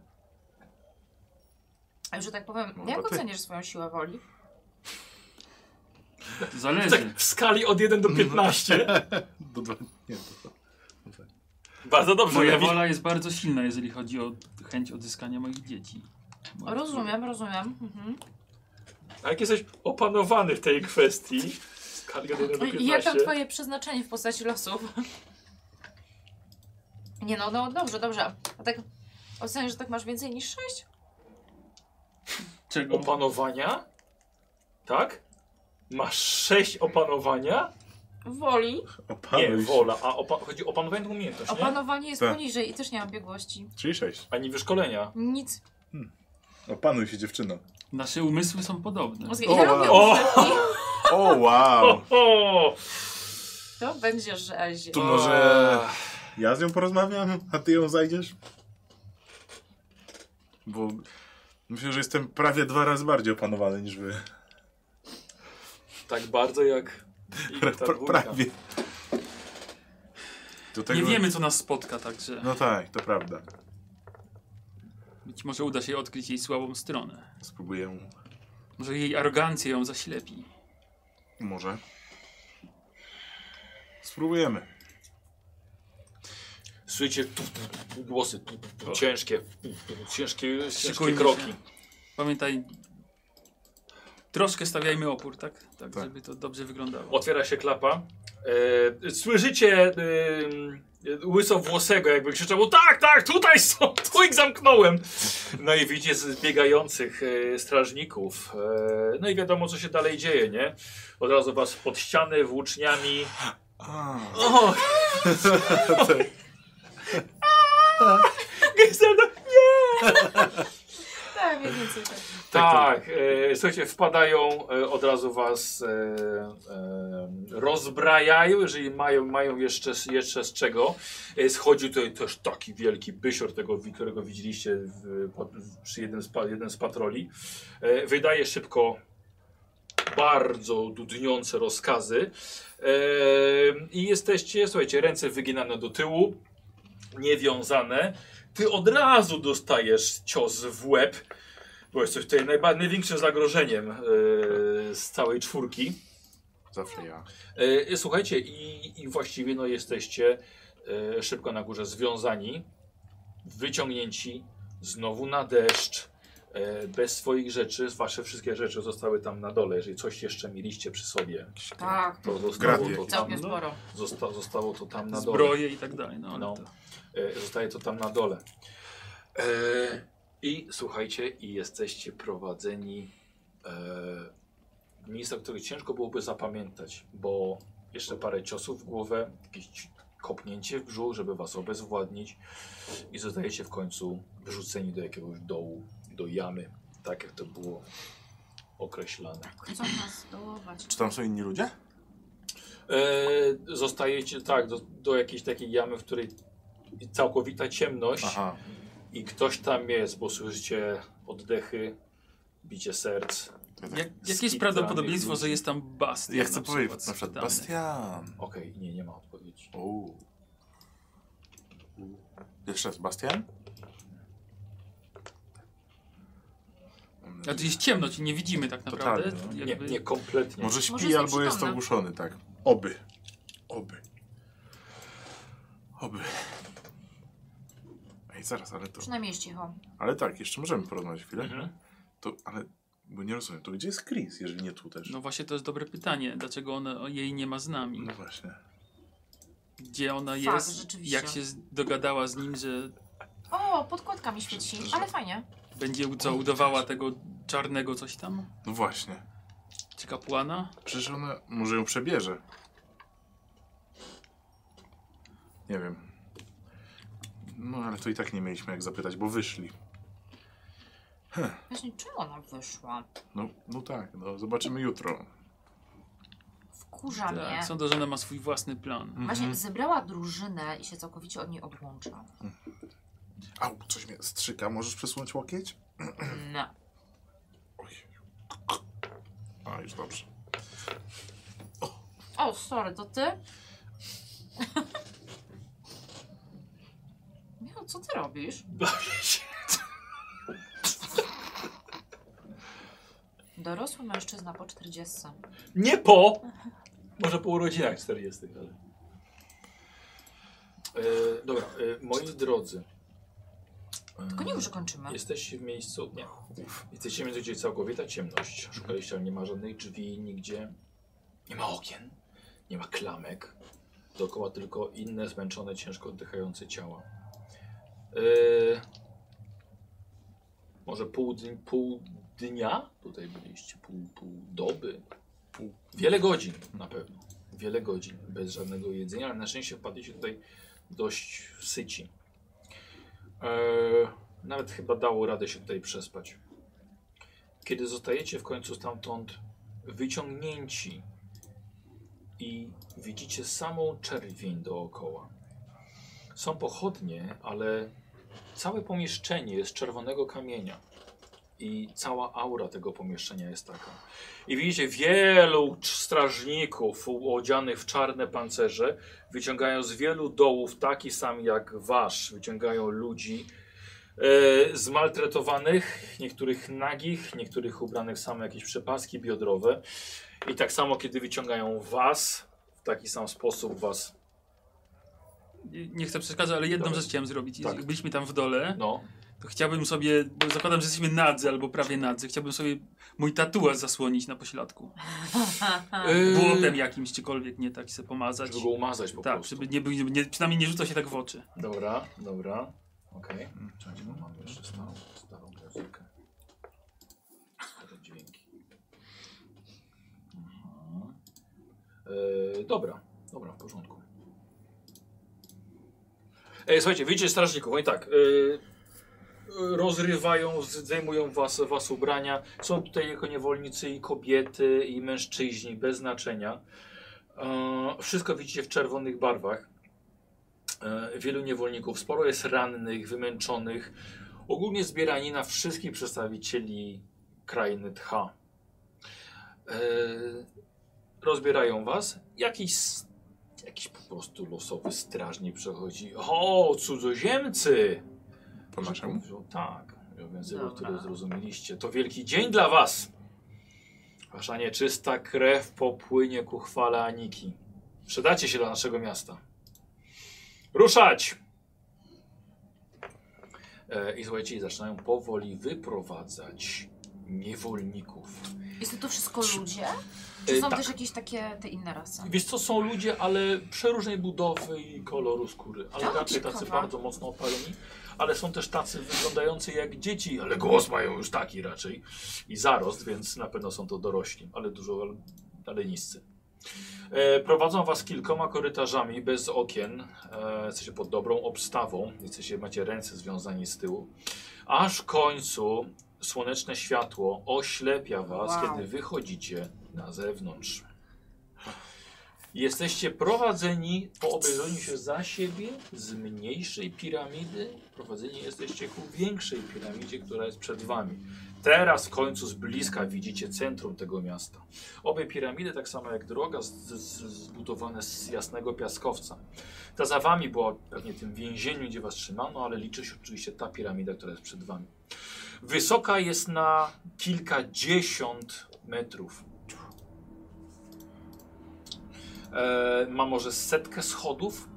S3: A już, że tak powiem,
S2: Może
S3: jak
S2: No, ty.
S3: ocenisz swoją siłę woli?
S4: Zależy.
S1: Tak, w skali od 1 do 15.
S2: Do dwa, nie, do dwa.
S1: [LAUGHS] Bardzo dobrze.
S4: Moja
S1: ja widzę-
S4: wola jest bardzo silna, jeżeli chodzi o chęć odzyskania moich dzieci.
S2: No,
S4: Moje-
S3: Rozumiem, rozumiem. Mhm.
S1: A jak jesteś opanowany w tej kwestii, w skali od 1 do
S3: I jak tam
S1: 15,
S3: twoje przeznaczenie w postaci losów? [LAUGHS] Nie no, no dobrze, dobrze. A tak oceniasz, że tak masz więcej niż 6?
S4: Czego?
S1: opanowania, tak? Masz 6 opanowania?
S3: Woli.
S5: Opanuj
S1: Nie,
S5: się.
S1: wola, a opa- chodzi o opanowanie to umiejętność, nie?
S3: Opanowanie jest
S2: Tak.
S3: poniżej i też nie mam biegłości.
S5: Czyli sześć.
S1: Ani wyszkolenia.
S3: Nic.
S5: Opanuj się dziewczyno.
S4: Nasze umysły są podobne.
S3: Mózg-
S2: O,
S3: Ja lubię
S1: wow.
S3: umysłki.
S2: O, wow!
S1: O!
S3: To będzie rzezie.
S2: To może...
S5: Ja z nią porozmawiam, a ty ją zajdziesz?
S2: Bo
S5: Myślę, że jestem prawie dwa razy bardziej opanowany niż wy.
S1: Tak bardzo jak.
S2: pra,
S1: ta dwójka.
S2: prawie... Do
S4: Nie
S2: tego-
S4: wiemy, co nas spotka, także
S2: No tak, to prawda.
S4: być może uda się odkryć jej słabą stronę.
S2: Spróbuję.
S4: Może jej arogancja ją zaślepi.
S2: Może. Spróbujemy.
S1: Słyszycie tu, tu, tu, tu, głosy, tu, tu, tu, ciężkie, tu, tu, ciężkie, ciężkie
S4: Szykujmy
S1: kroki.
S4: się. Pamiętaj, troszkę stawiajmy opór, tak? Tak,
S2: Tak.
S4: żeby to dobrze wyglądało.
S1: Otwiera się klapa. E, słyszycie e, łysowłosego, jakby krzyczał, tak, tak, tutaj są, [LAUGHS] tu ich zamknąłem. No i widzicie zbiegających e, strażników. E, no i wiadomo, co się dalej dzieje, nie? Od razu was pod ściany włóczniami.
S2: A,
S1: O! Gryzelda,
S3: Tak, mniej więcej tak.
S1: Tak, e, słuchajcie, wpadają, e, od razu was e, e, rozbrajają, jeżeli mają, mają jeszcze, z- jeszcze z czego. E, schodził tutaj też taki wielki bysior, tego, wi- którego widzieliście w, pod- w, przy jednym z, pa- jeden z patroli. E, wydaje szybko bardzo dudniące rozkazy. E, I jesteście, słuchajcie, ręce wyginane do tyłu, niewiązane. Ty od razu dostajesz cios w łeb. Bo jesteś tutaj najba- największym zagrożeniem yy, z całej czwórki.
S2: zawsze ja.
S1: Yy, słuchajcie, i, i właściwie no, jesteście yy, szybko na górze związani, wyciągnięci znowu na deszcz, yy, bez swoich rzeczy. Wasze wszystkie rzeczy zostały tam na dole. Jeżeli coś jeszcze mieliście przy sobie,
S3: Tak,
S1: to zostało
S2: Grabie.
S1: to tam,
S3: całkiem sporo.
S1: zosta zostało to tam na dole.
S4: Zbroje i tak dalej. No, ale
S1: No.
S4: to-
S1: E, Zostaje to tam na dole. E, I słuchajcie, i jesteście prowadzeni e, w miejsca, które ciężko byłoby zapamiętać, bo jeszcze parę ciosów w głowę, jakieś ci- kopnięcie w brzuch, żeby was obezwładnić i zostajecie w końcu wrzuceni do jakiegoś dołu, do jamy, tak jak to było określane.
S3: Chcą nas dołować.
S2: Czy tam są inni ludzie?
S1: E, zostajecie, tak, do, do jakiejś takiej jamy, w której całkowita ciemność.
S2: Aha.
S1: I ktoś tam jest, bo słyszycie oddechy, bicie serc.
S2: Ja, tak,
S4: Jak, jakie
S1: Skitranych
S4: jest prawdopodobieństwo,
S1: ludzi.
S4: że jest tam Bastian?
S2: ja chcę
S4: na
S2: powiedzieć,
S4: przykład
S2: na przykład
S4: schwytany?
S2: Bastian.
S1: Okej, nie, nie ma odpowiedzi.
S2: O. Jeszcze raz, Bastian?
S4: A tu Znaczy, jest ciemno, ci nie widzimy tak naprawdę.
S2: Totalnie, no.
S1: Nie,
S4: Jakby-
S1: nie, kompletnie.
S2: Może
S3: Może
S2: śpi
S3: jest
S2: albo jest
S3: nieprzytomna.
S2: ogłuszony, tak. Oby. Oby. Oby. Ej, zaraz, ale to...
S3: Przynajmniej jest cicho.
S2: Ale tak, jeszcze możemy porozmawiać chwilę.
S1: Mhm.
S2: To, ale... Bo nie rozumiem, to gdzie jest Chris, jeżeli nie tu też?
S4: No właśnie to jest dobre pytanie, dlaczego ona, o- jej nie ma z nami.
S2: No właśnie.
S4: Gdzie ona
S3: Fakt,
S4: jest,
S3: rzeczywiście.
S4: jak się z- dogadała z nim, że
S3: O, podkładka mi świeci, ale fajnie.
S4: będzie u- co, udawała tego czarnego coś tam?
S2: No właśnie.
S4: Czy kapłana?
S2: Przecież ona może ją przebierze. Nie wiem. No ale to i tak nie mieliśmy jak zapytać, bo wyszli.
S3: Właśnie, czemu ona wyszła?
S2: No, no tak, no zobaczymy jutro.
S3: Wkurza mnie.
S4: Tak, sądzę, że ona ma swój własny plan.
S3: Właśnie zebrała drużynę i się całkowicie od niej odłącza.
S2: Au, coś mnie strzyka, możesz przesunąć łokieć?
S3: No.
S2: Oj. A, już dobrze.
S3: [LAUGHS] O, sorry, to ty? Co ty robisz? Dorosły mężczyzna po 40.
S1: [LAUGHS] Nie po! Może po urodzinach 40, ale. E, dobra, e, moi drodzy. e,
S3: Tylko nie już kończymy.
S1: Jesteście w miejscu dnia. Jesteście w miejscu, gdzie jest całkowita ciemność. Szukaliście, ale nie ma żadnych drzwi nigdzie. Nie ma okien. Nie ma klamek. Dookoła tylko inne zmęczone, ciężko oddychające ciała. Yy, może pół, dni- pół dnia tutaj byliście, pół, pół doby.
S5: Pół.
S1: Wiele godzin na pewno. Wiele godzin bez żadnego jedzenia, ale na szczęście wpadliście tutaj dość syci. Yy, nawet chyba dało radę się tutaj przespać. Kiedy zostajecie w końcu stamtąd wyciągnięci i widzicie samą czerwień dookoła. Są pochodnie, ale całe pomieszczenie jest czerwonego kamienia i cała aura tego pomieszczenia jest taka. I widzicie wielu cz- strażników u- odzianych w czarne pancerze, wyciągają z wielu dołów, taki sam jak wasz, wyciągają ludzi e, zmaltretowanych, niektórych nagich, niektórych ubranych same jakieś przepaski biodrowe. I tak samo, kiedy wyciągają was, w taki sam sposób was,
S4: Nie- Nie chcę przeszkadzać, ale jedną
S1: Dobra.
S4: rzecz chciałem zrobić.
S1: Tak.
S4: Jak byliśmy tam w dole,
S1: no,
S4: to chciałbym sobie, bo zakładam, że jesteśmy nadzy albo prawie nadzy, chciałbym sobie mój tatuaż zasłonić na pośladku. Błotem jakimś, czykolwiek, nie tak, se pomazać.
S1: Yy. żeby go umazać po
S4: Tak,
S1: prostu.
S4: żeby nie, był- nie, przynajmniej nie rzucał się tak w oczy.
S1: Dobra, dobra, okej. Czekajcie, Mm, bo mam jeszcze starą, starą muzykę. Stare dźwięki. Mhm. E, dobra, dobra, w porządku. E, słuchajcie, widzicie strażników, oni tak, e, e, rozrywają, zdejmują was, was ubrania. Są tutaj jako niewolnicy i kobiety, i mężczyźni, bez znaczenia. E, wszystko widzicie w czerwonych barwach. E, wielu niewolników. Sporo jest rannych, wymęczonych. Ogólnie zbieranina wszystkich przedstawicieli krainy Tcha. E, rozbierają was. Jakiś, s- jakiś po prostu losowy strażnik przechodzi. O, cudzoziemcy!
S2: Po naszemu?
S1: Powiedział, Tak, w języku,
S3: Dobra.
S1: który zrozumieliście. To wielki dzień dla was! Wasza nieczysta krew popłynie ku chwale Aniki. Przydacie się dla naszego miasta. Ruszać! E, I słuchajcie, i zaczynają powoli wyprowadzać niewolników.
S3: Jest to wszystko ludzie?
S1: E,
S3: Czy są
S1: tak.
S3: też jakieś takie te inne rasy?
S1: Wiesz co, są ludzie, ale przeróżnej budowy i koloru skóry. Ale
S3: O,
S1: raczej tacy
S3: ciekawe.
S1: bardzo mocno opaleni. Ale są też tacy wyglądający jak dzieci, ale głos mają już taki raczej. I zarost, więc na pewno są to dorośli, ale dużo, ale, ale niscy. E, prowadzą was kilkoma korytarzami bez okien. E, jesteście pod dobrą obstawą. Jesteście, macie ręce związane z tyłu. Aż w końcu słoneczne światło oślepia was,
S3: Wow.
S1: kiedy wychodzicie na zewnątrz. Jesteście prowadzeni po obejrzeniu się za siebie z mniejszej piramidy. Prowadzeni jesteście ku większej piramidzie, która jest przed wami. Teraz w końcu z bliska widzicie centrum tego miasta. Obie piramidy, tak samo jak droga, z, z, zbudowane z jasnego piaskowca. Ta za wami była pewnie tym więzieniu, gdzie was trzymano, ale liczy się oczywiście ta piramida, która jest przed wami. Wysoka jest na kilkadziesiąt metrów. E, ma może setkę schodów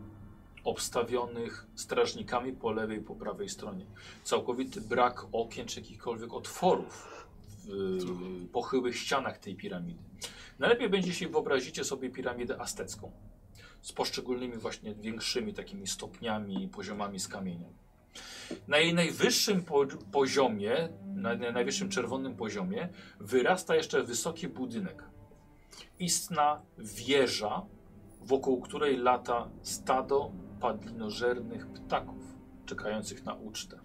S1: obstawionych strażnikami po lewej i po prawej stronie. Całkowity brak okien czy jakichkolwiek otworów w pochyłych ścianach tej piramidy. Najlepiej będzie się wyobrazicie sobie piramidę aztecką z poszczególnymi właśnie większymi takimi stopniami i poziomami z kamienia. Na jej najwyższym po poziomie, na na najwyższym czerwonym poziomie wyrasta jeszcze wysoki budynek istna wieża, wokół której lata stado padlinożernych ptaków czekających na ucztę.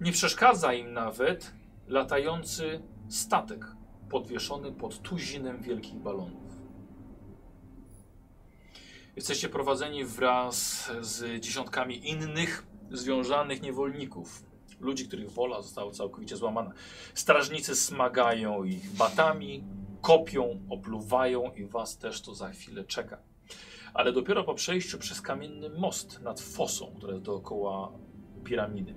S1: Nie przeszkadza im nawet latający statek podwieszony pod tuzinem wielkich balonów. Jesteście prowadzeni wraz z dziesiątkami innych związanych niewolników. Ludzi, których wola została całkowicie złamana. Strażnicy smagają ich batami, kopią, opluwają i was też to za chwilę czeka. ale dopiero po przejściu przez kamienny most nad fosą, która jest dookoła piramidy.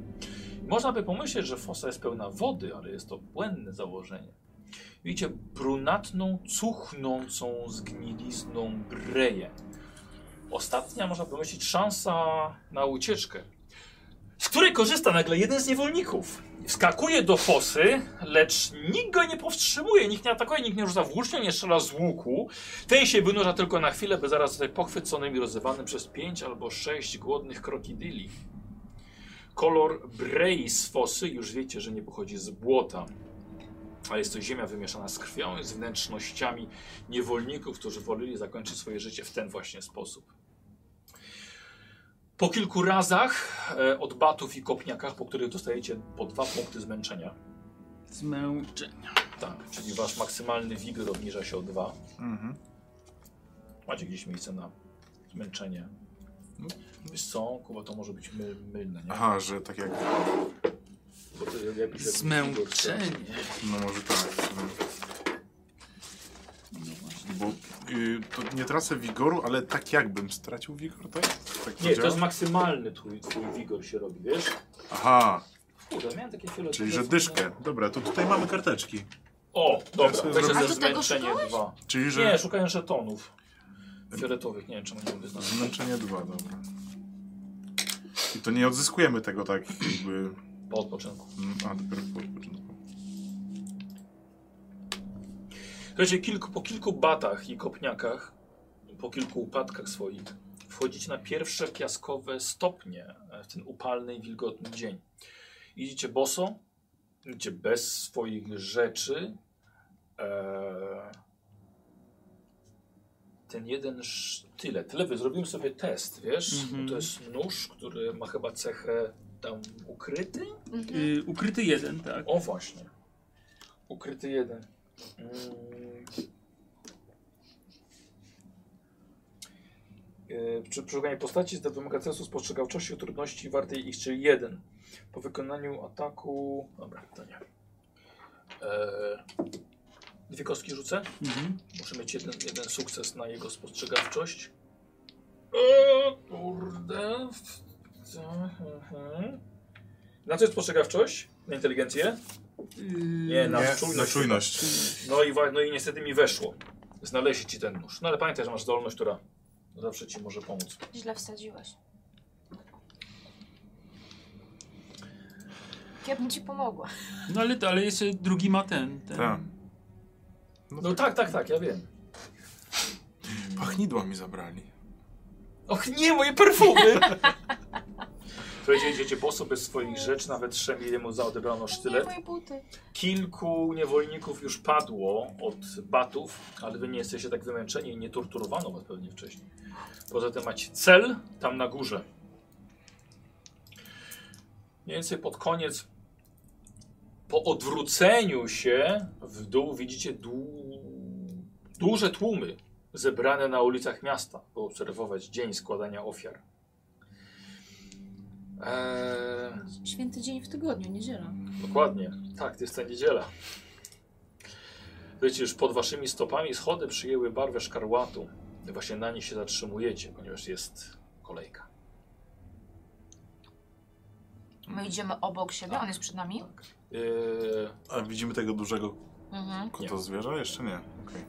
S1: Można by pomyśleć, że fosa jest pełna wody, ale jest to błędne założenie. Widzicie brunatną, cuchnącą zgnilizną breję. Ostatnia, można pomyśleć, szansa na ucieczkę, z której korzysta nagle jeden z niewolników. Wskakuje do fosy, lecz nikt go nie powstrzymuje, nikt nie atakuje, nikt nie rzuca włócznią, nie strzela z łuku. Ten się wynurza tylko na chwilę, by zaraz zostać pochwyconym i rozrywanym przez pięć albo sześć głodnych krokodyli. Kolor brei z fosy już wiecie, że nie pochodzi z błota, a jest to ziemia wymieszana z krwią i z wnętrznościami niewolników, którzy woleli zakończyć swoje życie w ten właśnie sposób. Po kilku razach e, od batów i kopniakach, po których dostajecie po dwa punkty zmęczenia,
S4: Zmęczenia.
S1: tak, czyli wasz maksymalny wigor obniża się o dwa.
S2: Mhm.
S1: Macie gdzieś miejsce na zmęczenie. Wiesz co, Kuba, to może być my, mylne, nie?
S2: Aha, że tak jak...
S1: Bo to jak- jak- jak-
S4: Zmęczenie.
S2: No może tak.
S4: No właśnie.
S2: Bo y, to nie tracę wigoru, ale tak jakbym stracił wigor, tak? tak
S1: Nie, to
S2: działa?
S1: jest maksymalny twój, twój wigor się robi, wiesz?
S2: Aha,
S1: Kurde, miałem takie chwile...
S2: czyli że dyszkę. Dobra, to tutaj mamy karteczki.
S1: O, dobra,
S2: sobie
S1: weź
S2: zrobię-
S1: ze
S3: A do tego
S1: zmęczenie
S3: szukałeś?
S1: dwa.
S2: Czyli że...
S1: Nie, szukałem żetonów. Fioletowych, nie wiem czemu nie mogę znaleźć.
S2: Zmęczenie 2, dobra. I to nie odzyskujemy tego tak jakby...
S1: Po odpoczynku.
S2: mm, A, dopiero po odpoczynku.
S1: Słuchajcie, kilku, po kilku batach i kopniakach, po kilku upadkach swoich, wchodzicie na pierwsze piaskowe stopnie e, w ten upalny i wilgotny dzień. Idziecie boso, idziecie bez swoich rzeczy. Eee, ten jeden sztylet. Lewy, zrobiłem sobie test, wiesz?
S4: Mhm.
S1: To jest nóż, który ma chyba cechę tam ukryty.
S3: Mhm.
S4: Y, ukryty jeden, tak.
S1: O właśnie. Ukryty jeden. Mm. Yy, Przy przeszukaniu postaci to wymaga cestu spostrzegawczości o trudności wartej ich czyli jeden. Po wykonaniu ataku... Dobra, to nie. Eee, dwie kostki rzucę.
S4: Mhm.
S1: Muszę mieć jeden, jeden sukces na jego spostrzegawczość. O kurde. Co? Mhm. Na co jest spostrzegawczość? Na inteligencję?
S4: Yy,
S1: Nie, na
S2: Nie, na
S1: czujność.
S2: czujność.
S1: No i, wa- no i niestety mi weszło. Znaleźli ci ten nóż. No ale pamiętaj, że masz zdolność, która zawsze ci może pomóc.
S3: Źle wsadziłeś. Ja bym ci pomogła.
S4: No ale, ale jeszcze drugi ma ten. ten.
S2: Tak.
S1: No tak, tak, tak, ja wiem.
S2: Pachnidła mi zabrali.
S1: Och nie, moje perfumy! [LAUGHS] Słuchajcie, idziecie boso bez swoich rzeczy, nawet Szemi mu zaodebrano
S3: Nie,
S1: sztylet.
S3: moje buty.
S1: Kilku niewolników już padło od batów, ale wy nie jesteście tak wymęczeni i nie torturowano was pewnie wcześniej. Poza tym macie cel tam na górze. Mniej więcej pod koniec, po odwróceniu się w dół widzicie dłu... duże tłumy zebrane na ulicach miasta, by obserwować dzień składania ofiar. Eee...
S3: Święty dzień w tygodniu, niedziela.
S1: Dokładnie. Tak, to jest ta niedziela. Wiecie, już pod waszymi stopami schody przyjęły barwę szkarłatu. I Właśnie na nich się zatrzymujecie, ponieważ jest kolejka.
S3: My idziemy obok
S1: Tak.
S3: siebie, on jest przed nami.
S1: Yy,
S2: A widzimy tego dużego
S3: Mhm.
S2: kota zwierza? Jeszcze nie. Okej.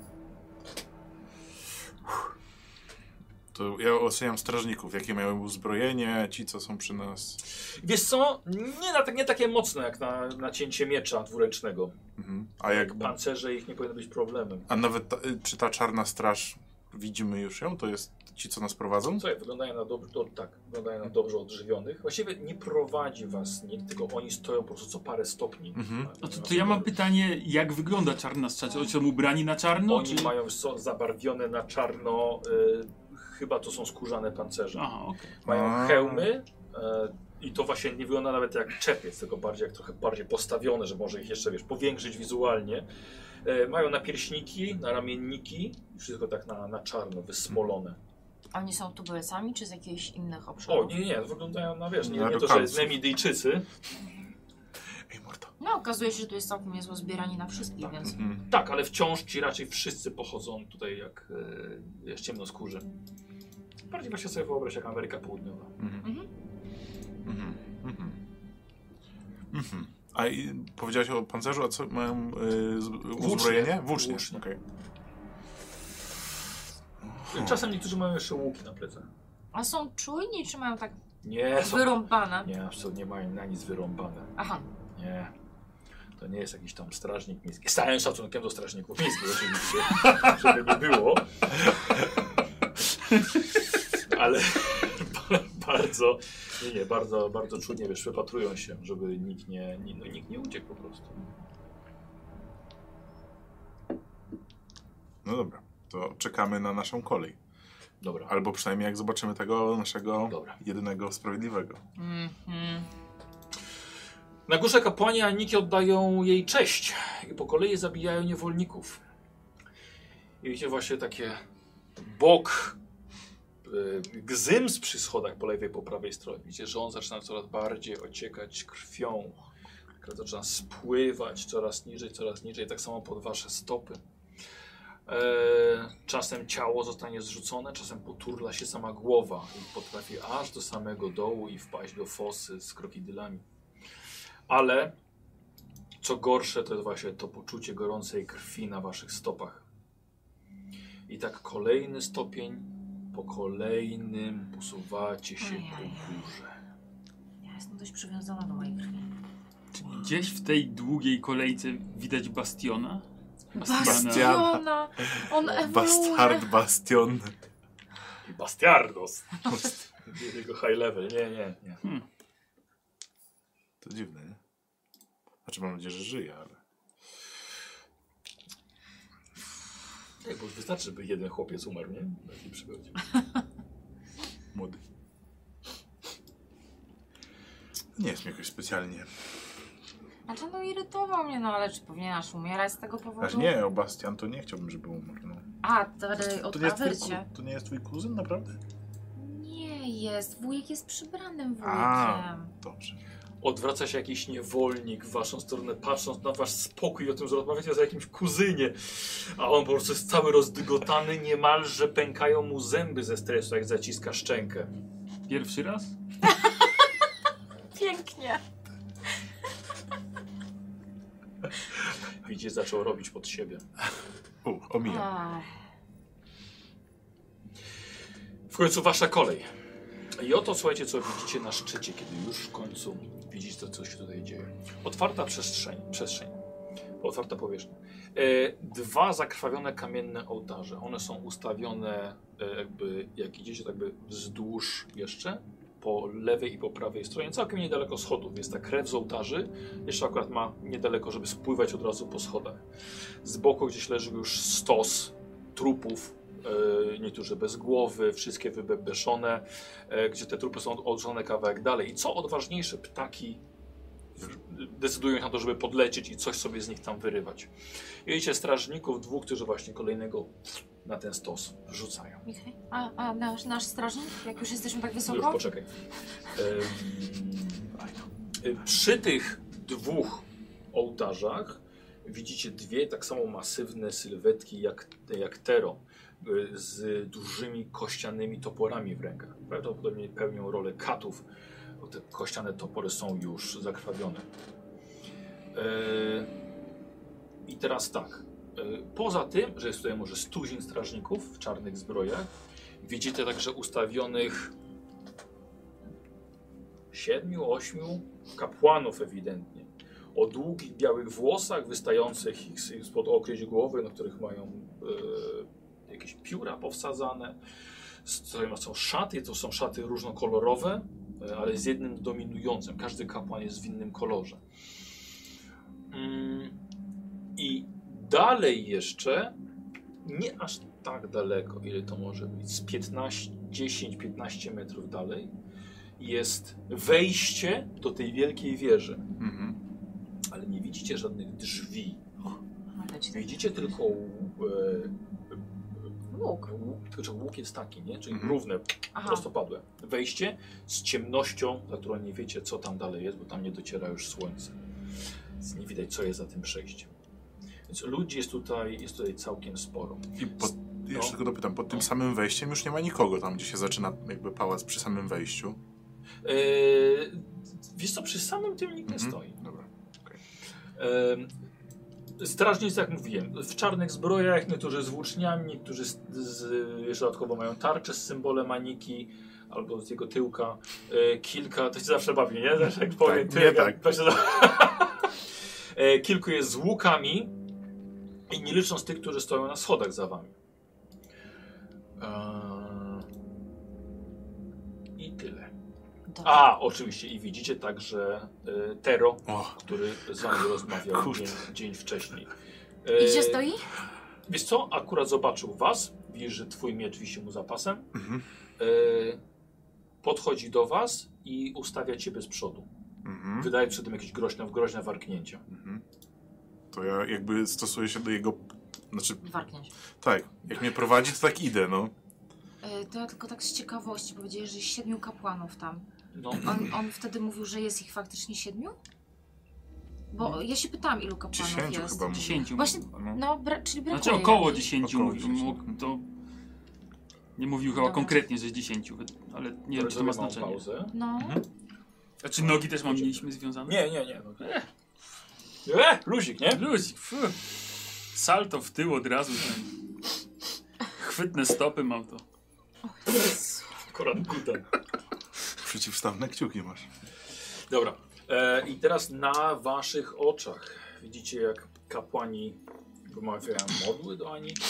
S2: To ja oceniam strażników, jakie mają uzbrojenie, ci co są przy nas.
S1: wiesz co? Nie, na, tak- nie takie mocne jak na, na cięcie miecza dwuręcznego.
S2: Mhm. A jak...
S1: Pancerze ich nie powinno być problemem.
S2: A nawet ta, y, czy ta czarna straż, widzimy już ją? To jest ci co nas prowadzą?
S1: Słuchaj, wyglądają na, dob- do, tak, wyglądają na dobrze odżywionych. Właściwie nie prowadzi was nikt, tylko oni stoją po prostu co parę stopni. Tak,
S2: Mhm.
S1: A nie
S4: No
S1: ma
S4: to, to ja mam
S1: wyboru.
S4: pytanie, jak wygląda czarna strzacie? Oni są ubrani na czarno?
S1: Oni mają są zabarwione na czarno, y, chyba to są skórzane pancerze.
S4: Aha, okej.
S1: Mają
S2: A.
S1: hełmy e, i to właśnie nie wygląda nawet jak czepiec, tylko bardziej jak trochę bardziej postawione, że może ich jeszcze wiesz, powiększyć wizualnie. E, mają napierśniki, naramienniki, wszystko tak na, na czarno, wysmolone.
S3: A Oni są tubylcami czy z jakichś innych
S1: O,
S3: obszarów?
S1: nie, nie, wyglądają na wiesz, nie,
S2: Na
S1: nie to, że
S2: rokalców.
S1: Nemidyjczycy.
S2: Ej, mordo.
S3: No, okazuje się, że tu jest całkiem niezłe zbieranie na wszystkich, więc...
S2: Mhm.
S1: Tak, ale wciąż ci raczej wszyscy pochodzą tutaj jak e, wiesz, ciemnoskórzy. Bardziej właśnie sobie wyobraź jak Ameryka Południowa.
S2: Mhm. Mhm. Mhm. A i powiedziałaś o pancerzu, a co mają y, z- uzbrojenie? Włócznie.
S1: Włócznie.
S2: Okej.
S1: Czasem niektórzy mają jeszcze łuki na plecach.
S3: A są czujni, czy mają tak
S1: Nie, są...
S3: wyrąbane?
S1: Nie, absolutnie mają na nic wyrąbane.
S3: Aha.
S1: Nie. To nie jest jakiś tam strażnik miejski. Z całym szacunkiem do strażników miejskich oczywiście, [LAUGHS] żeby nie było. [LAUGHS] Ale [LAUGHS] ba- bardzo, nie, nie, bardzo, bardzo czujnie, wiesz, wypatrują się, żeby nikt nie, nie, no, nikt nie uciekł po prostu.
S2: No dobra, to czekamy na naszą kolej.
S1: Dobra,
S2: Albo przynajmniej jak zobaczymy tego naszego
S1: dobra.
S2: jedynego sprawiedliwego.
S3: Mhm.
S1: Na górze kapłani Aniki oddają jej cześć i po kolei zabijają niewolników. I widzicie właśnie takie bok y, gzyms przy schodach po lewej, po prawej stronie. Widzicie, że on zaczyna coraz bardziej ociekać krwią. Krew Zaczyna spływać coraz niżej, coraz niżej, tak samo pod wasze stopy. E, czasem ciało zostanie zrzucone, czasem poturla się sama głowa i potrafi aż do samego dołu i wpaść do fosy z krokodylami. Ale co gorsze, to jest właśnie to poczucie gorącej krwi na waszych stopach. I tak kolejny stopień po kolejnym posuwacie się po
S3: Ojej.
S1: górze.
S3: Ja jestem dość przywiązana do mojej krwi.
S4: Czy gdzieś w tej długiej kolejce widać bastiona?
S3: Bastiona! On ewoluuje.
S2: Bastard Bastion.
S1: I Bastiardos! Jego high level. Nie, nie, nie.
S2: To dziwne, nie? Znaczy mam nadzieję, że żyje, ale...
S1: Ej, Tak, bo już wystarczy, żeby jeden chłopiec umarł, nie? Na takiej przygodzie.
S2: Młody. Nie jest mi jakoś specjalnie.
S3: Znaczy, no irytował mnie, no ale czy powinieneś umierać z tego powodu?
S2: Aż nie, o Bastian to nie chciałbym, żeby umarł. No.
S3: A, dalej
S2: To,
S3: od
S2: nie jest twój,
S3: Awercie.
S2: ku- to nie jest twój kuzyn, naprawdę?
S3: Nie jest. Wujek jest przybranym
S2: A.
S3: wujkiem.
S2: Dobrze.
S1: Odwraca się jakiś niewolnik w waszą stronę, patrząc na wasz spokój o tym, że rozmawiacie o jakimś kuzynie. A on po prostu jest cały rozdygotany, niemalże pękają mu zęby ze stresu, jak zaciska szczękę.
S4: Pierwszy raz?
S3: Pięknie.
S1: Widzicie, zaczął robić pod siebie.
S2: U, omijam.
S3: Ach,
S1: W końcu wasza kolej. I oto słuchajcie, co widzicie na szczycie, kiedy już w końcu widzicie, to, co się tutaj dzieje. Otwarta przestrzeń, przestrzeń. otwarta powierzchnia. E, dwa zakrwawione kamienne ołtarze. One są ustawione, e, jakby, jak idziecie, tak by wzdłuż jeszcze, po lewej i po prawej stronie, całkiem niedaleko schodów. Jest ta krew z ołtarzy, jeszcze akurat ma niedaleko, żeby spływać od razu po schodach. Z boku gdzieś leży już stos trupów, e, niektórzy bez głowy, wszystkie wybebeszone, e, gdzie te trupy są odrzucone kawałek dalej. I co odważniejsze, ptaki decydują się na to, żeby podlecieć i coś sobie z nich tam wyrywać. I widzicie strażników dwóch, którzy właśnie kolejnego na ten stos rzucają.
S3: Michał. A, a nasz, nasz strażnik? Jak już jesteśmy tak
S1: Już
S3: wysoko?
S1: poczekaj. Em, y, Przy tych dwóch ołtarzach widzicie dwie tak samo masywne sylwetki jak, jak Tero y, z dużymi kościanymi toporami w rękach. Prawdopodobnie pełnią rolę katów, bo te kościane topory są już zakrwawione. E, I teraz tak. E, Poza tym, że jest tutaj może stuzin strażników w czarnych zbrojach, widzicie także ustawionych siedmiu, ośmiu kapłanów ewidentnie. O długich białych włosach wystających ich z- spod okryć głowy, na których mają e, jakieś pióra powsadzane. Z- Tutaj są szaty, to są szaty różnokolorowe, e, ale z jednym dominującym. Każdy kapłan jest w innym kolorze. Mm, I dalej jeszcze, nie aż tak daleko, ile to może być, z 15, 10-15 metrów dalej, jest wejście do tej wielkiej wieży,
S2: Mhm.
S1: ale nie widzicie żadnych drzwi.
S3: Ale ci tak-
S1: Widzicie tylko
S3: Łuk.
S1: e, łuk, tylko że łuk jest taki, nie? czyli
S2: Mhm.
S1: równe,
S3: Aha.
S1: prostopadłe. Wejście z ciemnością, za którą nie wiecie, co tam dalej jest, bo tam nie dociera już słońce. Więc nie widać, co jest za tym przejściem. Więc ludzi jest tutaj, jest tutaj całkiem sporo.
S2: I pod, Jeszcze tylko dopytam, pod tym samym wejściem już nie ma nikogo tam, gdzie się zaczyna jakby pałac przy samym wejściu.
S1: Yy, wiesz co, przy samym tym nikt nie
S2: Mhm.
S1: stoi.
S2: Dobra.
S1: Yy, strażnicy, jak mówiłem, w czarnych zbrojach, niektórzy z włóczniami, niektórzy z, z, jeszcze dodatkowo mają tarcze z symbolem Aniki albo z jego tyłka. Yy, kilka, to się zawsze bawi, nie? [LAUGHS] Zawsze jak powiem
S2: nie
S1: tyłek,
S2: tak.
S1: jak- to się zawsze... [LAUGHS] Yy, Kilku jest z łukami i nie licząc tych, którzy stoją na schodach za wami. E, Yy, I tyle.
S3: Dobra.
S1: A, oczywiście i widzicie także y, Tero,
S2: O,
S1: który z wami rozmawiał
S2: Kurde.
S1: dzień, dzień wcześniej.
S3: I
S1: E,
S2: y-
S3: gdzie stoi?
S1: Wiesz co, akurat zobaczył was, widzisz, że twój miecz wisi mu za pasem.
S2: Mhm.
S1: E, podchodzi do was i ustawia ciebie z przodu.
S2: mhm,
S1: Wydaje przy tym jakieś groźne, groźne warknięcia.
S2: mhm. To ja jakby stosuję się do jego... Znaczy,
S3: Warknięć.
S2: tak, jak mnie prowadzi, to tak idę, no.
S3: E, To ja tylko tak z ciekawości powiedziałeś, że jest siedmiu kapłanów tam.
S1: No,
S3: On, on wtedy mówił, że jest ich faktycznie siedmiu? Bo ja się pytałam, ilu kapłanów
S2: Dziesięciu
S3: jest.
S2: chyba mówię.
S4: 10.
S3: Właśnie,
S2: No.
S3: no, bra- czyli brakuje.
S4: Znaczy około
S3: jakichś.
S4: 10
S2: Około
S4: mówił.
S2: 10.
S4: mógł To nie mówił chyba
S3: Dobra.
S4: konkretnie, że jest 10, ale nie wiem, czy to ma
S1: małą
S4: znaczenie.
S1: pauzę.
S3: No,
S4: Znaczy nogi też mam mieliśmy związane?
S1: Nie, nie, nie. No. E, luzik, nie?
S4: Ludzi, fu. salto w tył od razu. Ten. Chwytne stopy mam to.
S1: Akurat kuta.
S2: Przeciwstawne kciuki masz.
S1: Dobra. E, I teraz na waszych oczach widzicie, jak kapłani wymawiają modły do Aniki.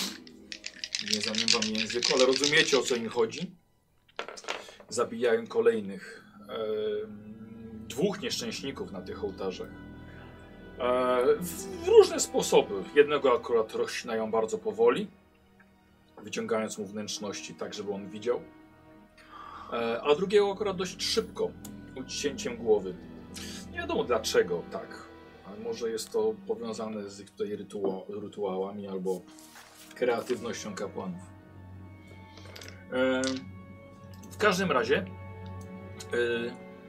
S1: Nie zamiem wam języku, ale rozumiecie, o co im chodzi. Zabijają kolejnych em, dwóch nieszczęśników na tych ołtarzach. E, w, w różne sposoby. Jednego akurat rozcinają bardzo powoli, wyciągając mu wnętrzności tak, żeby on widział. E, a drugiego akurat dość szybko, ucięciem głowy. Nie wiadomo dlaczego tak. A może jest to powiązane z ich tutaj rytua rytuałami albo kreatywnością kapłanów. E, w każdym razie,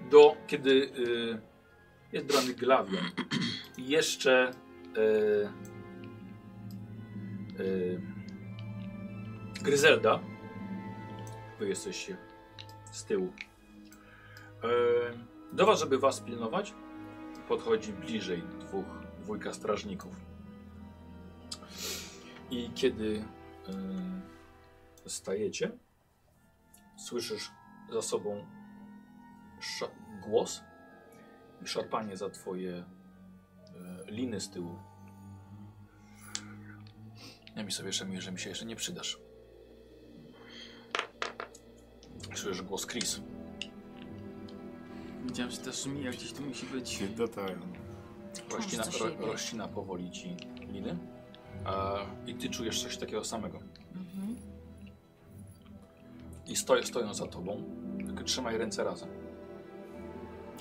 S1: e, do, kiedy e, jest brany glawion i [CLEARS THROAT] jeszcze e, e, Gryzelda, wy jesteście z tyłu. E, do was, żeby was pilnować, podchodzi bliżej dwóch dwójka strażników. I kiedy e, stajecie, słyszysz za sobą sza- głos i szarpanie za twoje e, liny z tyłu. Ja mi sobie szanuję, że mi się jeszcze nie przydasz. Słyszysz głos Chris.
S4: Widziałem, że też mija gdzieś tu musi być.
S2: Kiedy tak. no.
S1: Rościna,
S3: Coś
S1: ro,
S3: jebie.
S1: rościna powoli ci liny. A, I ty czujesz coś takiego samego.
S3: mhm. [LAUGHS]
S1: I stoją, stoją za tobą. Tylko trzymaj ręce razem.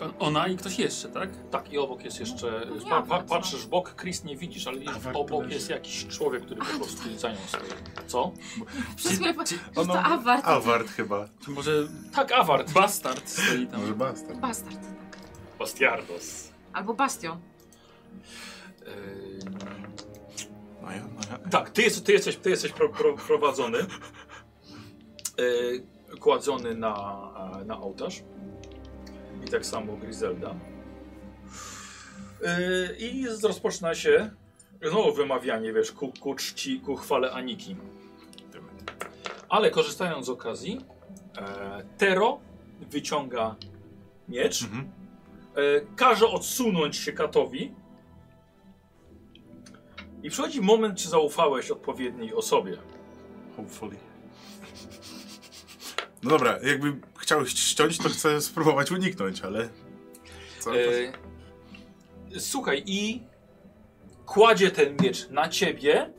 S4: O- Ona i ktoś jeszcze, tak?
S1: Tak, i obok jest jeszcze.
S3: No,
S1: Pa,
S3: ja
S1: pa,
S3: wiem, co.
S1: patrzysz w bok, Chris nie widzisz, ale widzisz,
S5: Awar
S1: obok
S5: leży.
S1: jest jakiś człowiek, który po prostu za nią stoi. Co?
S3: Przez mnie patrzę, że
S2: Ono-
S3: to awart.
S2: Award chyba.
S4: Czy może
S1: Tak, Awart.
S4: bastard stoi tam?
S5: Może basta.
S3: Bastard.
S1: Bastiardos.
S3: Albo bastion.
S2: No ja, no ja.
S1: tak, ty, jest, ty jesteś, ty jesteś pro, pro, prowadzony. Yy, kładzony na, a, na ołtarz. I tak samo Griselda. Yy, I z- rozpoczyna się no, wymawianie, wiesz, ku, ku czci, ku chwale Aniki. Ale korzystając z okazji, e, Tero wyciąga miecz,
S2: Mhm.
S1: e, każe odsunąć się katowi. I przychodzi moment, czy zaufałeś odpowiedniej osobie.
S2: Hopefully. [LAUGHS] No dobra, jakby chciał ściąć, to chcę spróbować uniknąć, ale... Cały czas...
S1: E, słuchaj, i kładzie ten miecz na ciebie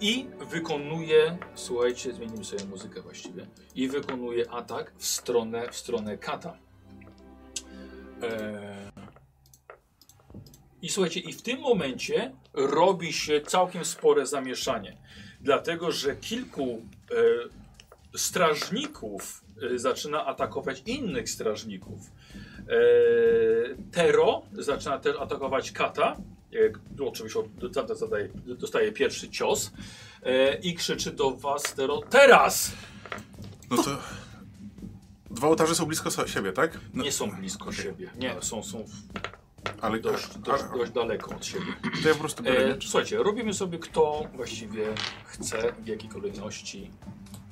S1: i wykonuje, słuchajcie, zmienimy sobie muzykę właściwie, i wykonuje atak w stronę, w stronę kata. E, I słuchajcie, i w tym momencie robi się całkiem spore zamieszanie, dlatego że kilku e, strażników e, zaczyna atakować innych strażników. Eee, Tero zaczyna też atakować Kata. E, Oczywiście on zada- zadaje, dostaje pierwszy cios. e, i krzyczy do was Tero teraz!
S2: No to...
S5: Dwa ołtarze są blisko so- siebie, tak? No,
S1: Nie są blisko siebie. Nie, są, są w-
S5: ale
S1: dość, dość, dość daleko od siebie.
S2: Tak. To ja po prostu biorę
S1: E,
S2: miecz.
S1: słuchajcie, robimy sobie kto właściwie chce, w jakiej kolejności.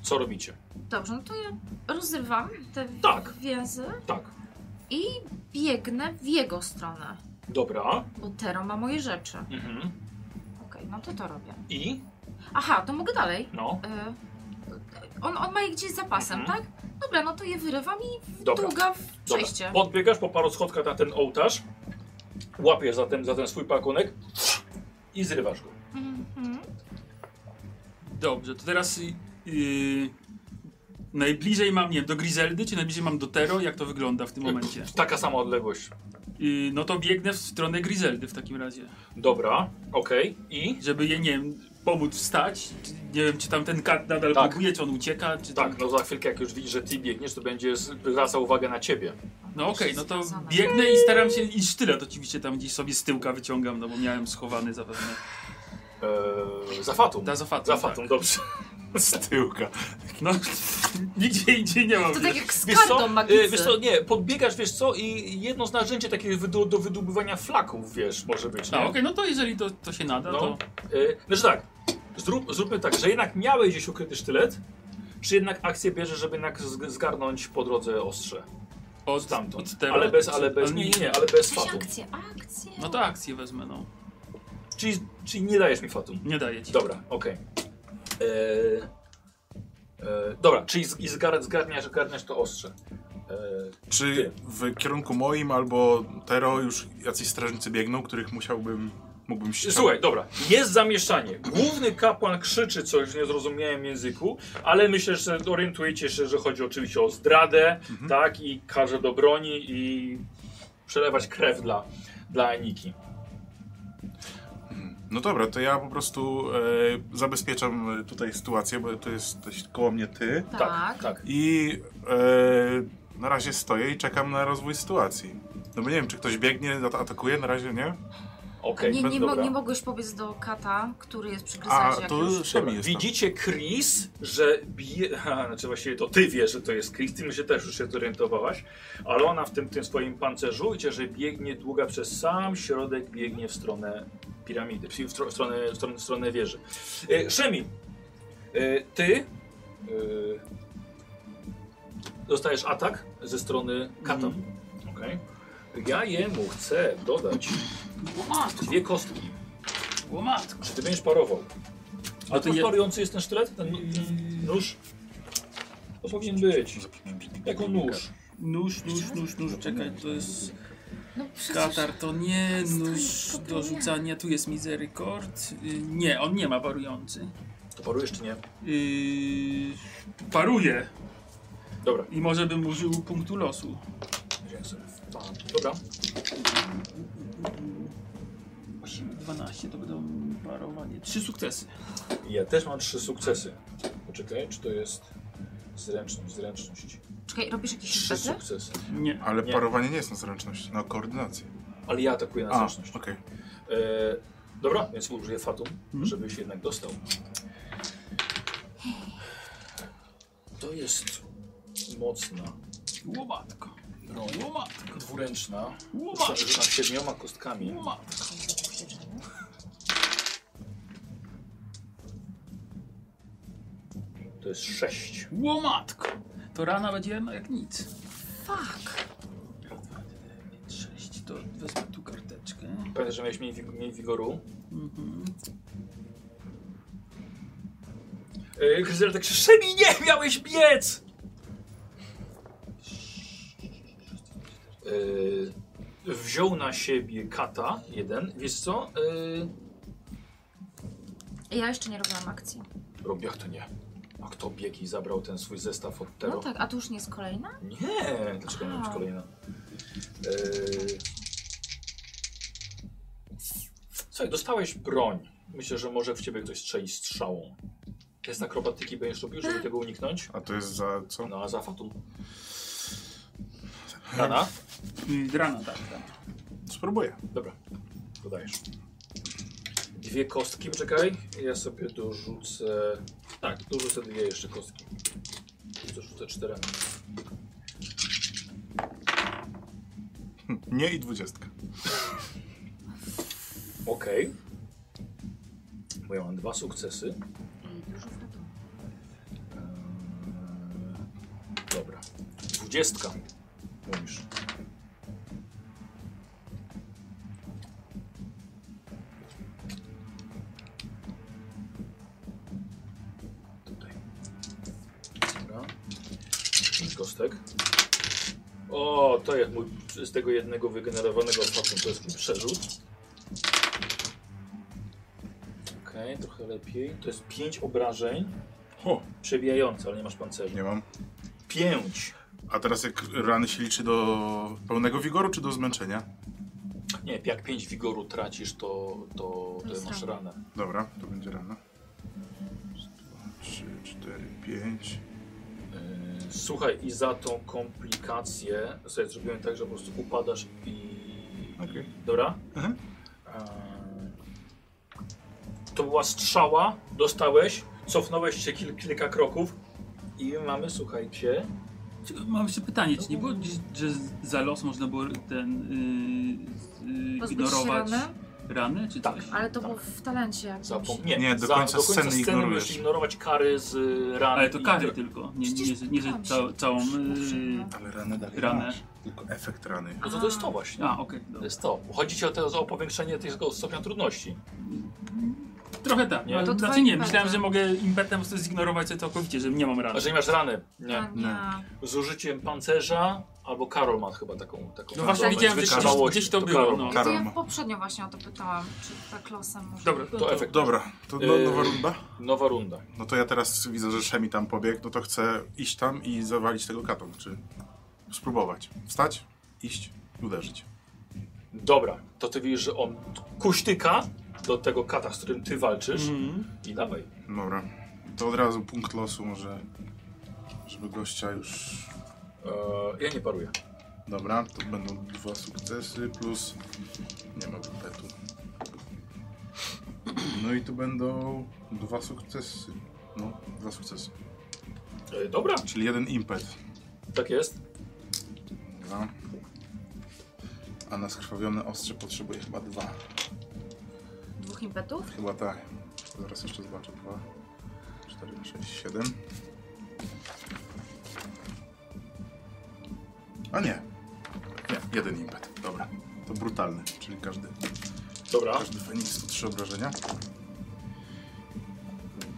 S1: Co robicie?
S3: Dobrze, no to ja rozrywam te
S1: Tak.
S3: więzy
S1: Tak,
S3: i biegnę w jego stronę,
S1: dobra.
S3: bo Tero ma moje rzeczy.
S1: Mhm.
S3: Okej, no to to robię.
S1: I?
S3: Aha, to mogę dalej.
S1: No,
S3: E, on, on ma je gdzieś za pasem,
S1: Mhm.
S3: tak? Dobra, no to je wyrywam i
S1: dobra.
S3: długa w
S1: Dobra.
S3: przejście.
S1: Podbiegasz po paru schodkach na ten ołtarz, łapiesz za ten, za ten swój pakunek i zrywasz go.
S3: Mhm.
S4: Dobrze, to teraz y, y, najbliżej mam, nie wiem, do Grizeldy, czy najbliżej mam do Tero? Jak to wygląda w tym momencie?
S1: Taka sama odległość.
S4: Y, no to biegnę w stronę Grizeldy w takim razie,
S1: Dobra, okej. I?
S4: żeby jej, nie wiem, pomóc wstać. Czy- Nie wiem, czy tam ten kat nadal
S1: Tak.
S4: próbuje, czy on ucieka, czy tam...
S1: Tak, no za chwilkę jak już widzisz, że ty biegniesz, to będzie zwraca uwagę na ciebie.
S4: No okej, no to
S3: Związana.
S4: biegnę i staram się, i sztylet oczywiście tam gdzieś sobie z tyłka wyciągam, no bo miałem schowany zapewne.
S1: Eee, za fatum.
S4: Da, za fatą,
S1: Za
S4: tak.
S1: fatą, dobrze.
S2: Z tyłka.
S4: No, [LAUGHS] nigdzie indziej nie mam.
S3: To
S4: wiesz.
S3: tak jak
S1: [LAUGHS]
S3: z
S1: Wiesz co?
S3: kartą
S1: Y,
S3: magiczną.
S1: wiesz co, nie, podbiegasz, wiesz co, i jedno z narzędzi takie wydu- do wydobywania flaków, wiesz, może być,
S4: A
S1: nie?
S4: okej, no to jeżeli to, to się nada,
S1: No,
S4: to...
S1: y, znaczy tak, zrób, zróbmy tak, że jednak miałeś gdzieś ukryty sztylet, czy jednak akcję bierzesz, żeby jednak zg- zgarnąć po drodze ostrze
S4: Od,
S1: stamtąd,
S4: od tego,
S1: ale bez, ale bez, nie, nie, nie, ale bez
S3: Jakieś
S1: fatum,
S3: akcje, akcje.
S4: No
S1: tak,
S4: to akcję wezmę, no.
S1: czyli, czyli nie dajesz mi fatum.
S4: Nie daję ci.
S1: Dobra, okej. Eee, eee, dobra, czyli z, i zgar, zgarniasz, zgarniasz to ostrze. Eee,
S2: Czy
S1: Ty.
S2: w kierunku moim albo Tero już jacyś strażnicy biegną, których musiałbym, mógłbym ściągnąć?
S1: Słuchaj, dobra, jest zamieszanie. Główny kapłan krzyczy coś w niezrozumiałym języku, ale myślę, że orientujecie się, że chodzi oczywiście o zdradę, tak, i każe do broni i przelewać krew dla, dla Aniki.
S2: No dobra, to ja po prostu e, zabezpieczam e, tutaj sytuację, bo to jest to jest koło mnie ty.
S3: tak.
S1: tak.
S2: I e, na razie stoję i czekam na rozwój sytuacji. No bo nie wiem, czy ktoś biegnie, at- atakuje, na razie nie?
S1: Okej,
S3: nie, nie, mo-
S1: dobra.
S3: nie mogłeś pobiec do kata, który jest przy
S2: A,
S3: gryzacie jak
S2: to
S3: już...
S2: Szemi jest tam.
S1: Widzicie Chris, że bije. [LAUGHS] Ha, znaczy właściwie to ty wiesz, że to jest Chris, ty się też już się zorientowałaś, ale ona w tym, tym swoim pancerzu widzicie, że biegnie długa przez sam środek, biegnie w stronę piramidy, czyli w, tro- w, stronę, w, stronę, w stronę wieży. E, Szemi, e, ty e, dostajesz atak ze strony kata.
S4: Mhm.
S1: Okej. Ja jemu chcę dodać
S4: Łomatko,
S1: dwie kostki.
S4: łomatko.
S1: Czy ty będziesz parował? A
S4: No
S1: to
S4: to
S1: jest
S4: ja-
S1: parujący jest ten sztylet? Ten ten nóż? To powinien być. Jako nóż.
S4: Nóż, nóż, nóż, nóż, czekaj, to jest
S3: No przecież...
S4: katar, to nie,
S3: Stoi
S4: nóż
S3: tylko
S4: do rzucania, tu jest miserykord. Y, Nie, on nie ma parujący.
S1: To parujesz czy nie?
S4: Yy, paruje
S1: Dobra.
S4: i może bym użył punktu losu.
S1: wziąłem sobie w- Dobra.
S4: 8, 12 to będą parowanie. Trzy sukcesy.
S1: Ja też mam trzy sukcesy. Poczekaj, czy to jest zręczność, zręczność.
S3: Czekaj, robisz jakieś
S1: Trzy
S3: rzeczy?
S1: sukcesy.
S4: Nie.
S2: Ale
S1: Nie.
S2: parowanie nie jest na zręczność, na koordynację.
S1: Ale ja atakuję na
S2: A,
S1: zręczność.
S2: okej.
S1: E, dobra, więc użyję Fatum,
S4: Mhm.
S1: żebyś jednak dostał. To jest mocna
S4: Łomatko,
S1: broń,
S4: łomatko,
S1: dwuręczna,
S4: łomatko,
S1: z nad siedmioma kostkami.
S4: łomatko.
S1: To jest sześć.
S4: Łomatko! To rana będzie jedna jak nic.
S3: Fuck.
S4: 6, to wezmę tu karteczkę.
S1: Pamiętaj, że miałeś mniej, wig- mniej wigoru.
S4: Mhm.
S1: Yy, Kryzel tak krzyczy, Szemi, nie miałeś biec! Yy, wziął na siebie kata, jeden. Wiesz co? Yy,
S3: Ja jeszcze nie robiłam akcji. No
S1: rob- jak to nie? A kto biegł i zabrał ten swój zestaw od Tero?
S3: No tak, a tu już nie jest kolejna?
S1: Nie, dlaczego miała być
S3: A.
S1: kolejna? Yy... Słuchaj, dostałeś broń. Myślę, że może w ciebie ktoś strzeli strzałą. Test akrobatyki będziesz robił, żeby tego uniknąć?
S2: A to jest za co?
S1: No a za fatum. Rana?
S4: Mm, Rana, tak, tak.
S2: Spróbuję.
S1: Dobra, dodajesz. Dwie kostki, poczekaj. Ja sobie dorzucę. Tak, dorzucę dwie jeszcze kostki. Dorzucę czterema.
S2: Nie i dwudziestka.
S1: Okej. Bo ja mam dwa sukcesy.
S3: I dużo w dół.
S1: Eee, Dobra. Dwudziestka. Mówisz. Tutaj. Dobra. Pięć kostek. O, to jak mój z tego jednego wygenerowanego ostatnio to jest mój przerzut. Okej, trochę lepiej. To jest pięć obrażeń.
S2: Ho,
S1: Przebijające, ale nie masz pancerza.
S2: nie mam.
S1: Pięć.
S2: A teraz jak rany się liczy do pełnego wigoru czy do zmęczenia?
S1: Nie, jak pięć wigoru tracisz, to, to, to
S3: Jest
S1: masz
S3: rana.
S1: ranę.
S2: Dobra, to będzie rana. Raz, dwa, Trzy, cztery, pięć.
S1: Yy, Słuchaj, i za tą komplikację sobie zrobiłem tak, że po prostu upadasz i...
S2: Okej.
S1: Dobra?
S2: Mhm.
S1: Eee, To była strzała, dostałeś, cofnąłeś się kil, kilka kroków i mamy, słuchajcie...
S4: Czy- Mam jeszcze pytanie, czy nie było, gdzieś, że z- za los można było ten yy, yy,
S3: Pozbyć się
S4: ignorować
S3: rany,
S4: rany czy
S1: Tak.
S4: coś?
S3: ale to
S1: Tak.
S3: było w talencie jakimś.
S1: Zapom- nie,
S2: Nie, do
S1: za,
S2: końca
S1: do końca
S2: sceny
S1: sceny,
S2: ignorujesz.
S1: musisz ignorować kary z y, rany.
S4: Ale to
S1: i-
S4: kary tylko, nie, nie, nie, że- nie że
S3: Przecież
S4: ca, całą... Yy...
S3: przyznam.
S2: Ale ranę dalej
S4: Ranę.
S2: masz. Tylko efekt rany.
S1: No to, to jest to właśnie.
S4: A, okej,
S1: To
S4: dobra.
S1: jest to. Chodzi ci o, to, o powiększenie tego stopnia trudności.
S4: Trochę tak,
S1: Nie?
S4: ale
S3: No To dwa
S4: znaczy nie,
S3: impety.
S4: myślałem, że mogę impetem po prostu zignorować to całkowicie, że nie mam
S1: A
S4: rany.
S1: że nie masz rany. Nie.
S3: A, Tak, nie.
S1: Z użyciem pancerza, albo Karol ma chyba taką. taką
S4: No właśnie
S1: taką
S4: widziałem, że gdzieś-
S1: wytrzymałość.
S4: gdzieś to
S1: To
S4: było,
S1: Karol
S4: no.
S1: ma.
S3: Ja to
S2: Karol
S3: ja
S2: ma.
S3: poprzednio właśnie o to pytałam, czy tak losem może.
S4: Dobra,
S1: To efekt.
S2: Dobra, to no,
S1: Yy.
S2: nowa runda?
S1: Nowa runda.
S2: No to ja teraz widzę, że Szemi tam pobiegł, no to chcę iść tam i zawalić tego katą, czy spróbować. Wstać, iść i uderzyć.
S1: Dobra, to ty widzisz, że on kuśtyka do tego kata, z którym ty walczysz.
S4: Mhm.
S1: I dawaj.
S2: Dobra, to od razu punkt losu może, żeby gościa już...
S1: E, ja nie paruję.
S2: Dobra, to będą dwa sukcesy plus... Nie ma petu. No i tu będą dwa sukcesy. No, dwa sukcesy.
S1: E, dobra,
S2: Czyli jeden impet.
S1: tak jest.
S2: Dobra. A na skrwawione ostrze potrzebuje chyba dwa.
S3: Dwóch impetów?
S2: Chyba tak. Zaraz jeszcze zobaczę. 2, 4, 6, 7. A nie. Nie, jeden impet. Dobra. To brutalny, czyli każdy,
S1: Dobra.
S2: każdy Feniks to 3 obrażenia.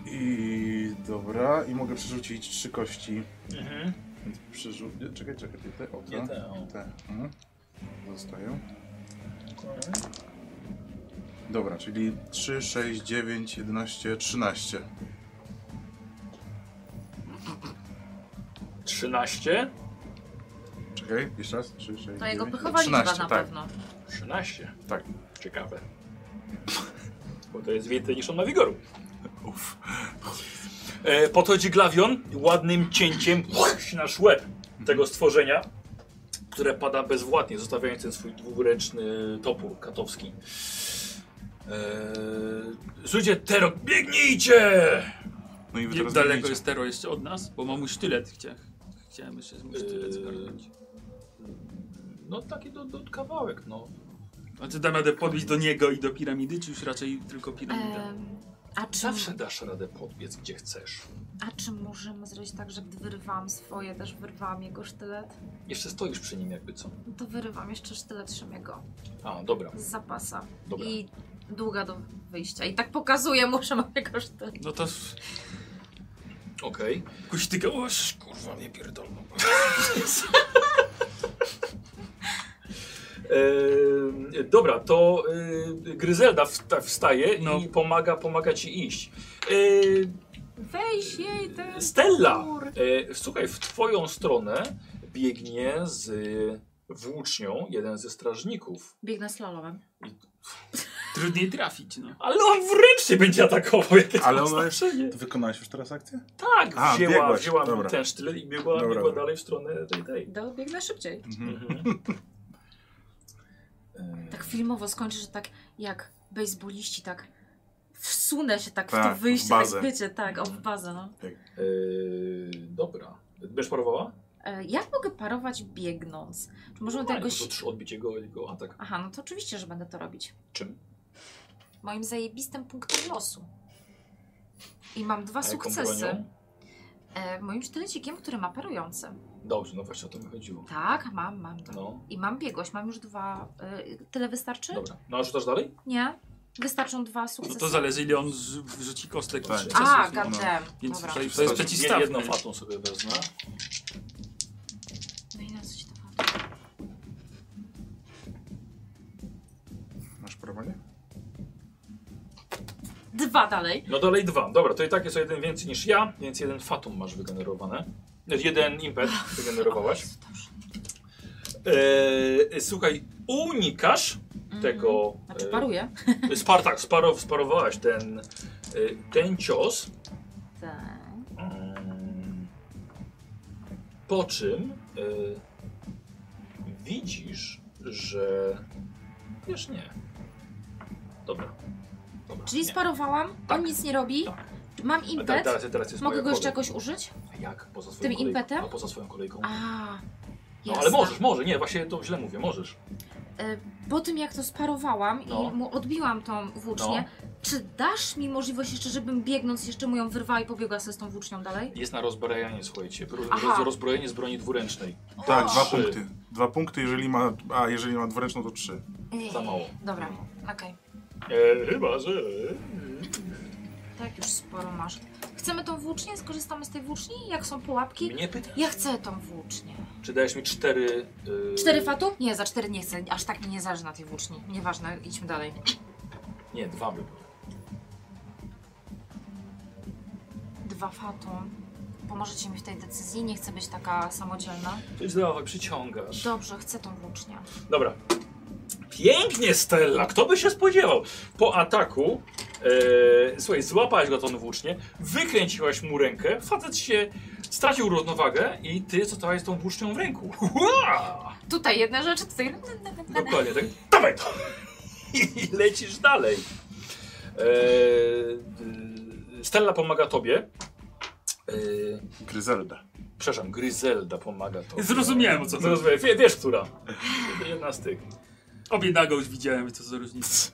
S2: I dobra, i mogę przerzucić trzy kości.
S1: Mhm.
S2: Więc przerzuć. Czekaj, czekaj, te, te, o, te.
S1: Nie te, o.
S2: te. Mhm. Zostają. Dobra, czyli 3, 6, 9, 11, 13.
S1: 13.
S2: Czekaj, jeszcze raz. 3, 6,
S3: To jego
S2: 9,
S3: pychowa liczba na
S2: tak.
S3: pewno.
S1: 13.
S2: Tak.
S1: Ciekawe. [LAUGHS] Bo to jest więcej niż on ma wigoru.
S2: Uff.
S1: E, podchodzi Glawion i ładnym cięciem nasz łeb tego stworzenia, które pada bezwładnie, zostawiając ten swój dwuręczny topór katowski. E, Słuchajcie, Tero, biegnijcie!
S2: No i wy
S4: Jak
S2: teraz
S4: daleko
S2: biegnijcie.
S4: jest Tero jeszcze od nas? Bo mam mój sztylet, chciałem, chciałem jeszcze mój sztylet zgarnąć.
S1: No taki do, do kawałek, no.
S4: A czy dam radę podbić do niego i do piramidy, czy już raczej tylko piramida?
S3: Em, a, czy,
S1: Zawsze dasz radę podbiec, gdzie chcesz.
S3: a czy możemy zrobić tak, że gdy wyrywam swoje, też wyrwałam jego sztylet?
S1: Jeszcze stoisz przy nim jakby co.
S3: No to wyrywam jeszcze sztylet Szymiego
S1: A, dobra,
S3: z zapasa.
S1: dobra.
S3: I długa do wyjścia. I tak pokazuję mu, że mam jego sztylet.
S4: No to w-
S1: Okej.
S4: kuśtyka, oż kurwa, nie
S1: [LAUGHS]
S4: pierdolno.
S1: Eee, dobra, to yy, Gryzelda wsta- wstaje
S4: No.
S1: i pomaga, pomaga ci iść. Eee,
S3: Weź jej ten
S1: Stella!
S3: Kur.
S1: E, słuchaj, w twoją stronę biegnie z e, włócznią jeden ze strażników.
S3: Biegnę slalomem.
S4: Trudniej trafić, no.
S1: Ale on wręcz cię będzie atakował, jakie
S2: Ale
S1: to
S2: ona
S1: znaczenie.
S2: jeszcze. Ty wykonałaś już teraz akcję?
S1: Tak,
S2: A,
S1: wzięła,
S2: biegłaś,
S1: wzięła
S2: dobra.
S1: ten sztylet i biegła,
S2: Dobra,
S1: biegła
S2: dobra.
S1: dalej w stronę tej, tej.
S3: Do, biegnę szybciej.
S2: Mhm.
S1: E,
S3: Tak filmowo skończy, że tak jak bejsboliści, tak wsunę się tak w to
S2: Tak,
S3: wyjście,
S2: w
S3: tak
S2: bazę.
S3: wiecie, tak, o w bazę, no.
S1: Yy, dobra. Będziesz parowała?
S3: E, Jak mogę parować biegnąc? Czy możemy do
S1: Fajnie,
S3: jakiegoś...
S1: No tak, to trzy- odbić jego, jego atak.
S3: Aha, no to oczywiście, że będę to robić.
S1: Czym?
S3: Moim zajebistym punktem losu. I mam dwa
S1: A jaką
S3: sukcesy.
S1: bronią?
S3: E, moim sztylecikiem, który ma parujący.
S1: Dobrze, no właśnie o to mi chodziło.
S3: Tak, mam, mam to.
S1: No,
S3: I mam biegłość, mam już dwa. y, tyle wystarczy?
S1: dobra. No a rzucasz dalej?
S3: Nie? Wystarczą dwa
S4: No
S3: sukcesy.
S4: to zależy ile on z- wrzuci kostek.
S2: Tak.
S4: sukcesów,
S3: A,
S4: nie?
S3: gadem.
S4: Więc
S3: Dobra.
S4: to, to jest
S1: Je-
S4: przeciwstawne.
S1: Jedną fatą sobie wezmę.
S3: No i na co ci to chodzi?
S2: Masz parowanie?
S3: Dwa dalej.
S1: No dalej dwa. Dobra, to i tak jest o jeden więcej niż ja, więc jeden fatum masz wygenerowane. Znaczy, Jeden
S3: [LAUGHS]
S1: impet wygenerowałaś. Eee, słuchaj, unikasz tego.
S3: Znaczy
S1: e,
S3: paruję.
S1: Spar, tak, sparow, sparowałaś ten, e, ten cios.
S3: Tak.
S1: Mm. Po czym e, widzisz, że. Wiesz, nie. Dobra. Dobra.
S3: Czyli
S1: nie.
S3: sparowałam,
S1: Tak.
S3: on nic nie robi.
S1: Tak.
S3: Mam
S1: A te-
S3: impet.
S1: teraz, teraz jest
S3: Mogę
S1: moja
S3: go jeszcze
S1: kolej.
S3: jakoś użyć?
S1: A jak? Poza swoją
S3: Tym
S1: kolejką?
S3: impetem?
S1: A poza swoją kolejką.
S3: A.
S1: no
S3: jasne. Y,
S1: ale możesz, może, nie, właśnie to źle mówię, możesz.
S3: Po tym jak to sparowałam
S1: No.
S3: i mu odbiłam tą włócznię, czy dasz mi możliwość jeszcze, żebym biegnąc jeszcze mu ją wyrwała i pobiegła sobie z tą włócznią dalej?
S1: Jest na rozbrajanie, słuchajcie. Roz,
S3: Aha.
S1: roz, rozbrojenie z broni dwuręcznej.
S2: Tak, dwa
S1: Trzy.
S2: punkty. Dwa punkty, jeżeli ma. A jeżeli ma dwuręczną, to trzy.
S3: Ej,
S1: Za mało.
S3: Dobra, okej.
S1: E, chyba, że...
S3: Tak już sporo masz. Chcemy tą włócznię? Skorzystamy z tej włóczni? Jak są pułapki?
S1: Mnie pyta,
S3: Ja chcę tą włócznię.
S1: czy dajesz mi cztery... y,
S3: Cztery fatu? Nie, za cztery nie chcę. Aż tak mi nie zależy na tej włóczni. Nieważne, idźmy dalej.
S1: Nie, dwa by były.
S3: Dwa fatu. Pomożecie mi w tej decyzji? Nie chcę być taka samodzielna.
S1: Ty zdawaj, przyciągasz.
S3: Dobrze, chcę tą włócznię.
S1: Dobra. Pięknie, Stella! Kto by się spodziewał? Po ataku, e, słuchaj, złapałaś go tą włócznię, wykręciłaś mu rękę, facet się stracił równowagę i ty zostałaś z tą włócznią w ręku. [LAUGHS] Ua!
S3: Tutaj jedna rzecz, tutaj...
S1: Dokładnie tak. Dawaj to! [LAUGHS] I lecisz dalej. E, y, Stella pomaga tobie. E,
S5: Gryzelda.
S1: przepraszam, Gryzelda pomaga tobie.
S4: Zrozumiałem, o co chodzi.
S1: Zrozumiałem. Wie, wiesz, która. Jedna z tych.
S4: Obie nago już widziałem, co za różnica.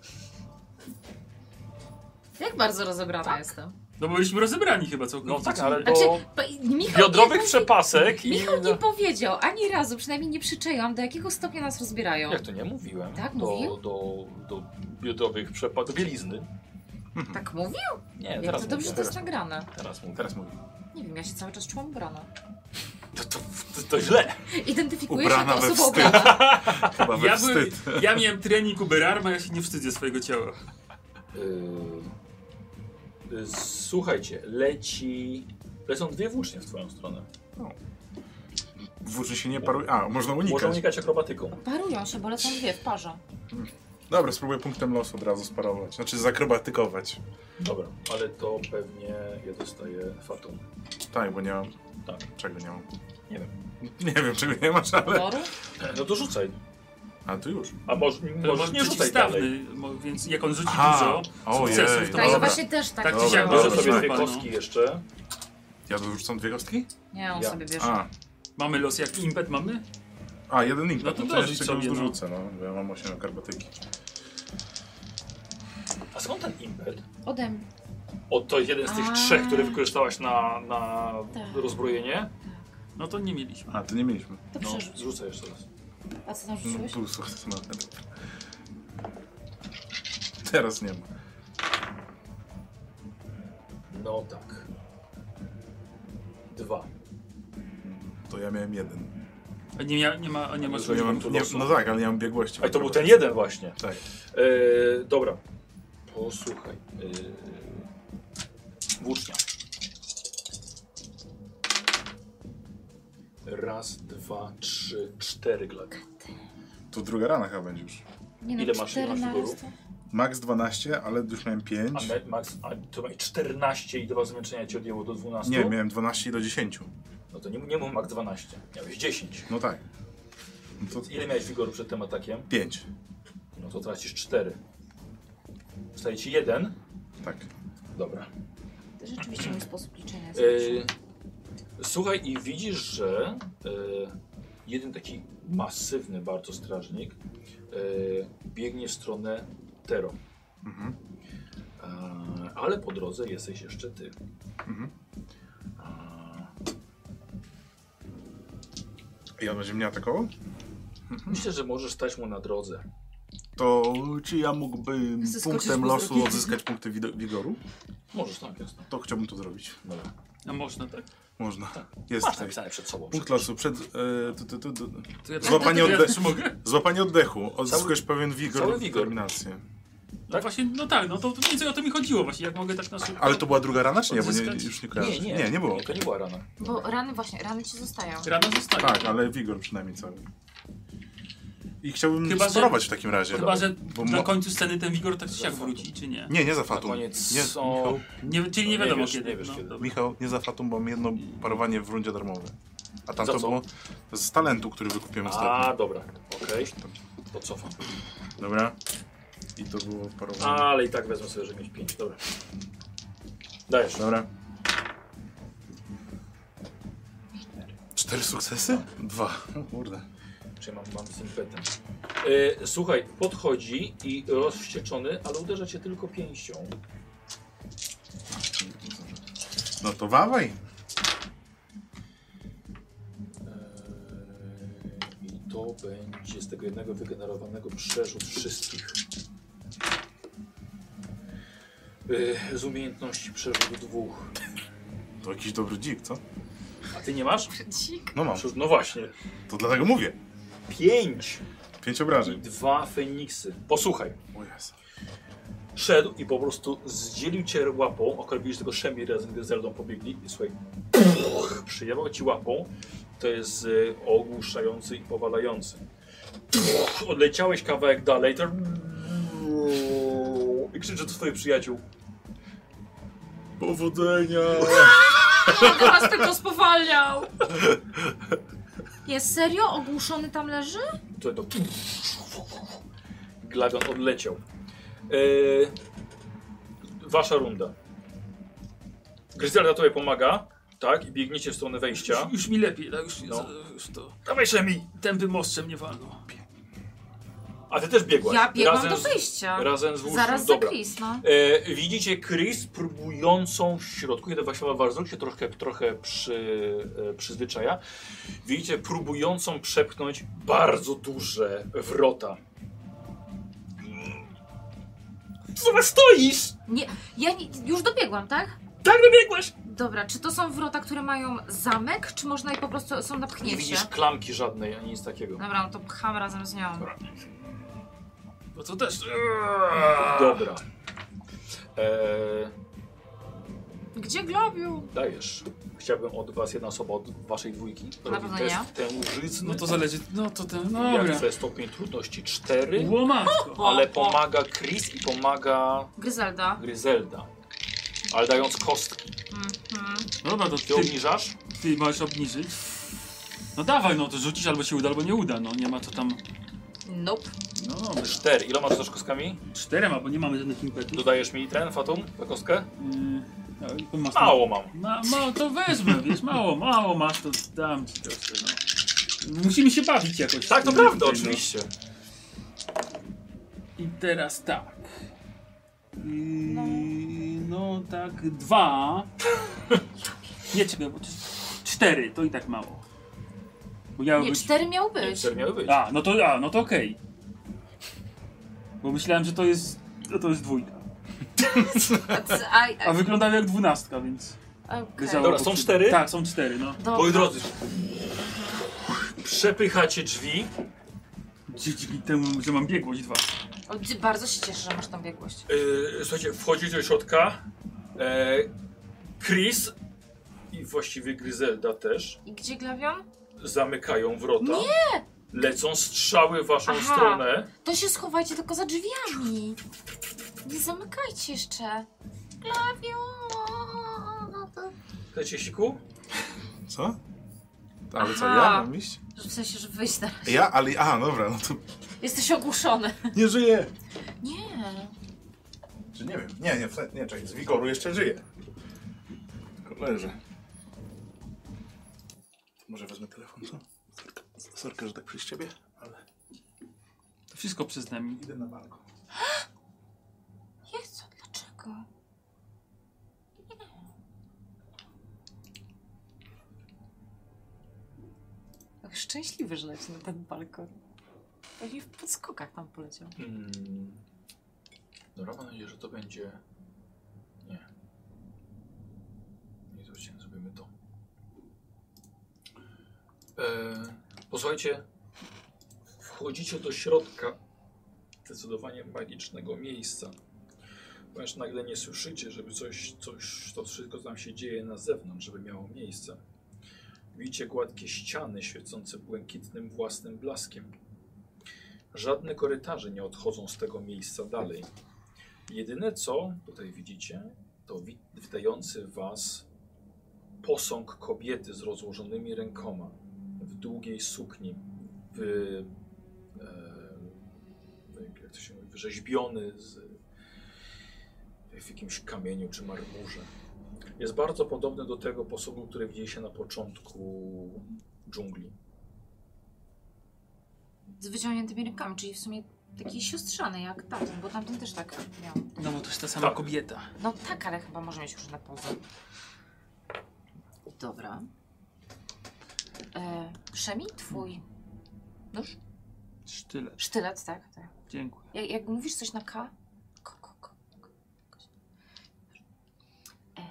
S3: Jak bardzo rozebrana jestem.
S4: No bo byliśmy rozebrani chyba
S1: No
S4: całkowicie.
S1: tak, ale
S3: Znaczy,
S1: do
S3: pa- Michał
S1: biodrowych
S3: nie,
S1: przepasek i...
S3: Michał nie powiedział ani razu, przynajmniej nie przyczaiłam, do jakiego stopnia nas rozbierają.
S1: Jak to nie mówiłem?
S3: Tak,
S1: do,
S3: mówił?
S1: do, do biodrowych przepasek, do bielizny.
S3: Tak mówił?
S1: Nie,
S3: Jak
S1: teraz
S3: to dobrze, że tak-
S1: mówię.
S3: to jest nagrane.
S1: Teraz mówię.
S2: Teraz mówię.
S3: Nie wiem, ja się cały czas czułam ubrana.
S1: To, to, to, to źle.
S3: Identyfikujesz się
S2: Ubrana
S3: jako
S2: we
S3: osoba
S2: wstyd.
S3: ubrana.
S2: [LAUGHS] Chyba we
S4: Ja, byłem,
S2: wstyd.
S4: ja miałem trening Uberarma, ja się nie wstydzę swojego ciała.
S1: Y, y, Słuchajcie, leci. Lecą dwie włócznie w twoją stronę.
S2: Włóczy się nie paruje. A, można
S1: Można
S2: unikać.
S1: unikać akrobatyką.
S3: Parują się, bo lecą dwie w parze.
S2: Dobra, spróbuję punktem losu od razu sparować. Znaczy zakrobatykować.
S1: Dobra, ale to pewnie ja dostaję fatum.
S2: Tak, bo nie mam.
S1: Tak.
S2: Czego nie mam?
S1: Nie wiem.
S2: Nie wiem, czego nie masz, ale.
S3: Doru?
S1: No to rzucaj.
S2: A tu już.
S1: A może,
S4: To
S1: może
S4: może
S1: nie rzucaj dalej.
S4: przeciwstawny, mo- więc jak on rzuci
S2: Aha,
S4: dużo
S2: ojej,
S4: sukcesów,
S3: Tak, ja
S2: No
S4: to
S2: Dobra.
S4: może...
S3: właśnie też tak
S4: Tak,
S2: Dobra,
S4: chciałem,
S2: dobra,
S1: Może
S4: żeby
S1: sobie
S2: tak.
S1: dwie
S4: wypadną.
S1: kostki jeszcze.
S2: Ja dorzucam dwie kostki?
S3: Nie, on
S1: Ja.
S3: sobie bierze.
S2: A,
S4: Mamy los jak impet mamy?
S2: a jeden impet.
S4: No
S2: No
S4: to
S2: to, ja
S4: dorzuć
S2: jeszcze go
S4: sobie, no.
S2: dorzucę, no. bo ja mam 8 akrobatyki.
S1: A skąd ten impet?
S3: Ode mnie.
S1: O, to jeden z tych
S3: A.
S1: trzech, które wykorzystałaś na, na
S3: Tak.
S1: rozbrojenie.
S4: No to nie mieliśmy.
S2: A, to nie mieliśmy.
S3: To
S1: No, Mm,
S3: przerzuć.
S1: zrzucaj jeszcze raz.
S3: A co tam
S2: No,
S3: rzuciłeś?
S2: był sukces, no. [LAUGHS] Teraz nie ma.
S1: No tak. Dwa.
S2: To ja miałem jeden.
S4: A nie, mia, nie ma, a nie ma
S1: Że
S2: To nie mam,
S1: punktu
S2: nie,
S1: losu.
S2: no tak, ale nie mam biegłości.
S1: A to był ten jeden właśnie.
S2: Tak.
S1: E, dobra. Posłuchaj. E, włócznia. Raz, dwa, trzy, cztery glady.
S2: To druga rana chyba będzie już.
S3: Nie, no,
S1: Ile masz-
S3: cztery
S1: masz
S3: na
S1: doru?
S3: raz to-
S2: Max 12, ale już miałem
S1: A
S2: 5.
S1: me- Max, a to ma 14 i dwa zmęczenia ci odjęło do 12?
S2: Nie, miałem 12 do 10.
S1: No to nie, nie mów Max 12. Miałeś 10.
S2: No tak. No to
S1: Ile miałeś wigoru przed tym atakiem?
S2: 5.
S1: No to tracisz 4. Zostaje ci jeden.
S5: Tak.
S1: Dobra.
S3: To rzeczywiście mój sposób liczenia jest
S1: Y,
S3: lepszy.
S1: E, słuchaj i widzisz, że y, jeden taki masywny bardzo strażnik y, biegnie w stronę Tero.
S2: Mhm.
S1: A, ale po drodze jesteś jeszcze ty.
S2: Mhm.
S1: A,
S2: I on będzie mnie atakował?
S1: myślę, że możesz stać mu na drodze.
S2: To czy ja mógłbym
S3: Zyskoczysz
S2: punktem
S3: mu
S2: losu
S3: zdrowie.
S2: odzyskać punkty wido- wigoru?
S1: Możesz, tak, jasne.
S2: To chciałbym to zrobić.
S1: Dobra.
S4: A można tak?
S2: Można.
S1: Masz
S2: Jest tutaj.
S1: napisane przed sobą.
S2: Punkt losu przed... E, tu, tu, tu, tu.
S4: To ja tak-
S2: Złapanie
S4: to ja
S2: odde-
S4: też
S1: Tak?
S4: mogę?
S2: Złapanie oddechu. Odzyskujesz pewien wigor
S1: cały
S2: lub
S1: wigor.
S2: determinację.
S4: No właśnie, no tak, no to, to więcej o to mi chodziło właśnie, jak mogę tak na szybko.
S2: Ale to była druga rana, czy nie? Bo nie,
S4: Odzyskać?
S2: już nie
S1: Nie,
S2: kojarzę.
S1: nie,
S2: nie było.
S1: To nie była rana.
S3: Bo rany właśnie, rany ci zostają.
S4: Rano zostaje.
S2: Tak, ale wigor przynajmniej cały. I chciałbym
S4: Chyba, że-
S2: spróbować w takim razie.
S4: Chyba, że
S2: Bo
S4: na
S2: mo-
S4: końcu sceny ten wigor tak czy siak wróci, czy nie?
S2: Nie, nie za
S1: Na
S2: fatum.
S1: koniec
S2: Nie,
S1: są...
S4: nie czyli nie
S1: No nie
S4: wiadomo
S1: wiesz,
S4: kiedy.
S1: nie wiesz
S4: no,
S1: kiedy.
S4: dobra.
S2: Michał, nie za fatum, bo mam jedno parowanie w rundzie darmowe. A tam
S1: Za
S2: to
S1: co?
S2: było z talentu, który wykupiłem
S1: A,
S2: ostatnio.
S1: dobra, okej. To cofam.
S2: Dobra. I to było parowanie.
S1: Ale i tak wezmę sobie, żeby mieć 5, dobra. Dajesz.
S2: Dobra. Cztery sukcesy? Dwa. O kurde.
S1: Czy mam, mam z impetem. E, słuchaj, podchodzi i rozwścieczony, ale uderza cię tylko pięścią.
S2: No to wawaj.
S1: E, I to będzie z tego jednego wygenerowanego przerzut wszystkich. E, z umiejętności przerzut dwóch.
S2: To jakiś dobry dzik, co?
S1: A ty nie masz?
S3: Dzik.
S2: No mam.
S1: Przecież- No właśnie.
S2: To dlatego mówię.
S1: Pięć
S2: Pięć
S1: i
S2: obrażeń.
S1: dwa Feniksy. Posłuchaj.
S2: O Jezu.
S1: Szedł i po prostu zdzielił cię łapą. Okrobiliście tego Szemi razem, gdy z Zeldą pobiegli. I słuchaj, przyjechał ci łapą. To jest y, ogłuszający i powalający. Odleciałeś kawałek dalej. To... I krzyczy do swoich przyjaciół.
S2: Powodzenia! [LAUGHS]
S3: Będę was tylko spowalniał! Jest serio? Ogłuszony tam leży?
S1: To, to... Glagon odleciał. E... Wasza runda. Gryzelda tobie pomaga. Tak, i biegniecie w stronę wejścia.
S4: Już, już mi lepiej, tak? Już,
S1: No.
S4: z- już to.
S1: Dawaj Szemi!
S4: Tępym mostrzem nie walno.
S1: A ty też biegłaś.
S3: Ja biegłam
S1: razem
S3: do
S1: z-
S3: wyjścia.
S1: Razem z Wulfem.
S3: Zaraz za
S1: Dobra.
S3: Chris, no.
S1: E, widzicie Chris próbującą w środku, kiedy Wasiowa Warzuk się trochę, trochę przy, e, przyzwyczaja, widzicie próbującą przepchnąć bardzo duże wrota. Zobacz, stoisz!
S3: Nie, ja nie, już dobiegłam, tak?
S1: Tak dobiegłaś!
S3: Dobra, czy to są wrota, które mają zamek, czy można je po prostu są na
S1: Nie
S3: pchnięcie?
S1: widzisz klamki żadnej, ani nic takiego.
S3: Dobra, no to pcham razem z nią.
S4: Bo to też.
S3: No.
S1: Dobra. E,
S3: Gdzie Globiu?
S1: dajesz. Chciałbym od was, jedna osoba od waszej dwójki, robi
S3: pewno
S1: test
S3: ja.
S1: tę łużycny.
S4: No to zależy. No to ten.
S1: Jak
S4: Dobra.
S1: chce stopień trudności 4,
S4: Łomatko.
S1: ale pomaga Chris i pomaga
S3: Gryzelda.
S1: Gryzelda. Ale dając kostki.
S3: Mhm.
S4: Dobra, to
S1: Ty
S4: ty,
S1: obniżasz?
S4: ty masz obniżyć. No dawaj, no to rzucisz albo się uda, albo nie uda. No nie ma co tam.
S3: Nope.
S4: No dobra.
S1: 4. Iloma rzucasz kostkami?
S4: Czterema, bo nie mamy żadnych impetów.
S1: Dodajesz mi ten fatum, tę kostkę?
S4: Yy, no i masz tam-
S1: Mało mam.
S4: Ma, mało to wezmę, wiesz, mało, mało masz, to dam ci trochę, no. Musimy się bawić jakoś.
S1: Tak, to
S4: Tutaj,
S1: prawda,
S4: no.
S1: oczywiście.
S4: I teraz tak. Yy, no tak, dwa. Nie, czekaj, bo c- cztery, to i tak mało. Bo miały
S3: Nie,
S4: być...
S3: cztery miał być.
S1: 4 miały być.
S4: A, no to, a, no to okej. Bo myślałem, że to jest, no to jest dwójka.
S3: A, c- a,
S4: A wyglądają jak dwunastka, więc...
S3: a, okej.
S4: leżało
S1: Dobra,
S4: po
S1: są
S4: przy-
S1: cztery?
S4: Tak, są cztery, no.
S3: Dobra.
S1: Moi drodzy. Przepychacie drzwi.
S4: Dzięki temu, że mam biegłość dwa.
S3: O, dzi- bardzo się cieszę, że masz tam biegłość.
S1: Yy, słuchajcie, wchodzicie do środka. E, Chris i właściwie Gryzelda też
S3: I gdzie Glawion?
S1: zamykają wrota. Nie! Lecą strzały w waszą
S3: Aha.
S1: stronę.
S3: To się schowajcie tylko za drzwiami. Nie zamykajcie jeszcze. Glawion!
S1: Chcecie siku?
S2: Co? Ale co,
S3: Aha.
S2: ja mam iść?
S3: W sensie, że wyjść na...
S2: Ja? Ale... A, dobra, no to
S3: Jesteś ogłuszony.
S2: nie żyję.
S3: Nie.
S2: Czy nie? Nie wiem. Nie, nie, wcale- nie, czekaj. Z wigoru jeszcze żyje. Tylko Leży. Może wezmę telefon, co? Sorka, sorka że tak przez ciebie, ale
S4: To wszystko przez nami.
S2: idę na balkon.
S3: Nie co, dlaczego?
S6: Ach, Tak Szczęśliwy, że leci na ten balkon. Pewnie w podskokach tam poleciał.
S1: Mm. Dobra, mam nadzieję, że to będzie... Nie. Nie zwróćcie, zrobimy to. E, posłuchajcie, wchodzicie do środka zdecydowanie magicznego miejsca. Ponieważ nagle nie słyszycie, żeby coś, coś, to wszystko co tam się dzieje na zewnątrz, żeby miało miejsce. Widzicie gładkie ściany świecące błękitnym własnym blaskiem. Żadne korytarze nie odchodzą z tego miejsca dalej. Jedyne co tutaj widzicie, to wi- witający was posąg kobiety z rozłożonymi rękoma w długiej sukni, w, e, jak to się mówi, wyrzeźbiony z, w jakimś kamieniu czy marmurze. Jest bardzo podobny do tego posągu, który widzieliście na początku dżungli.
S3: Z wyciągniętymi rękami, czyli w sumie taki siostrzany jak tamten, bo tamten też tak miał.
S4: No bo to jest ta sama
S1: Tak.
S4: kobieta.
S3: No tak, ale chyba może mieć już na poza. Dobra. E, Przemi, twój nóż?
S4: Sztylet.
S3: Sztylet, tak? tak.
S4: Dziękuję.
S3: Jak, jak mówisz coś na K? Ko, ko, ko, ko, koś. E,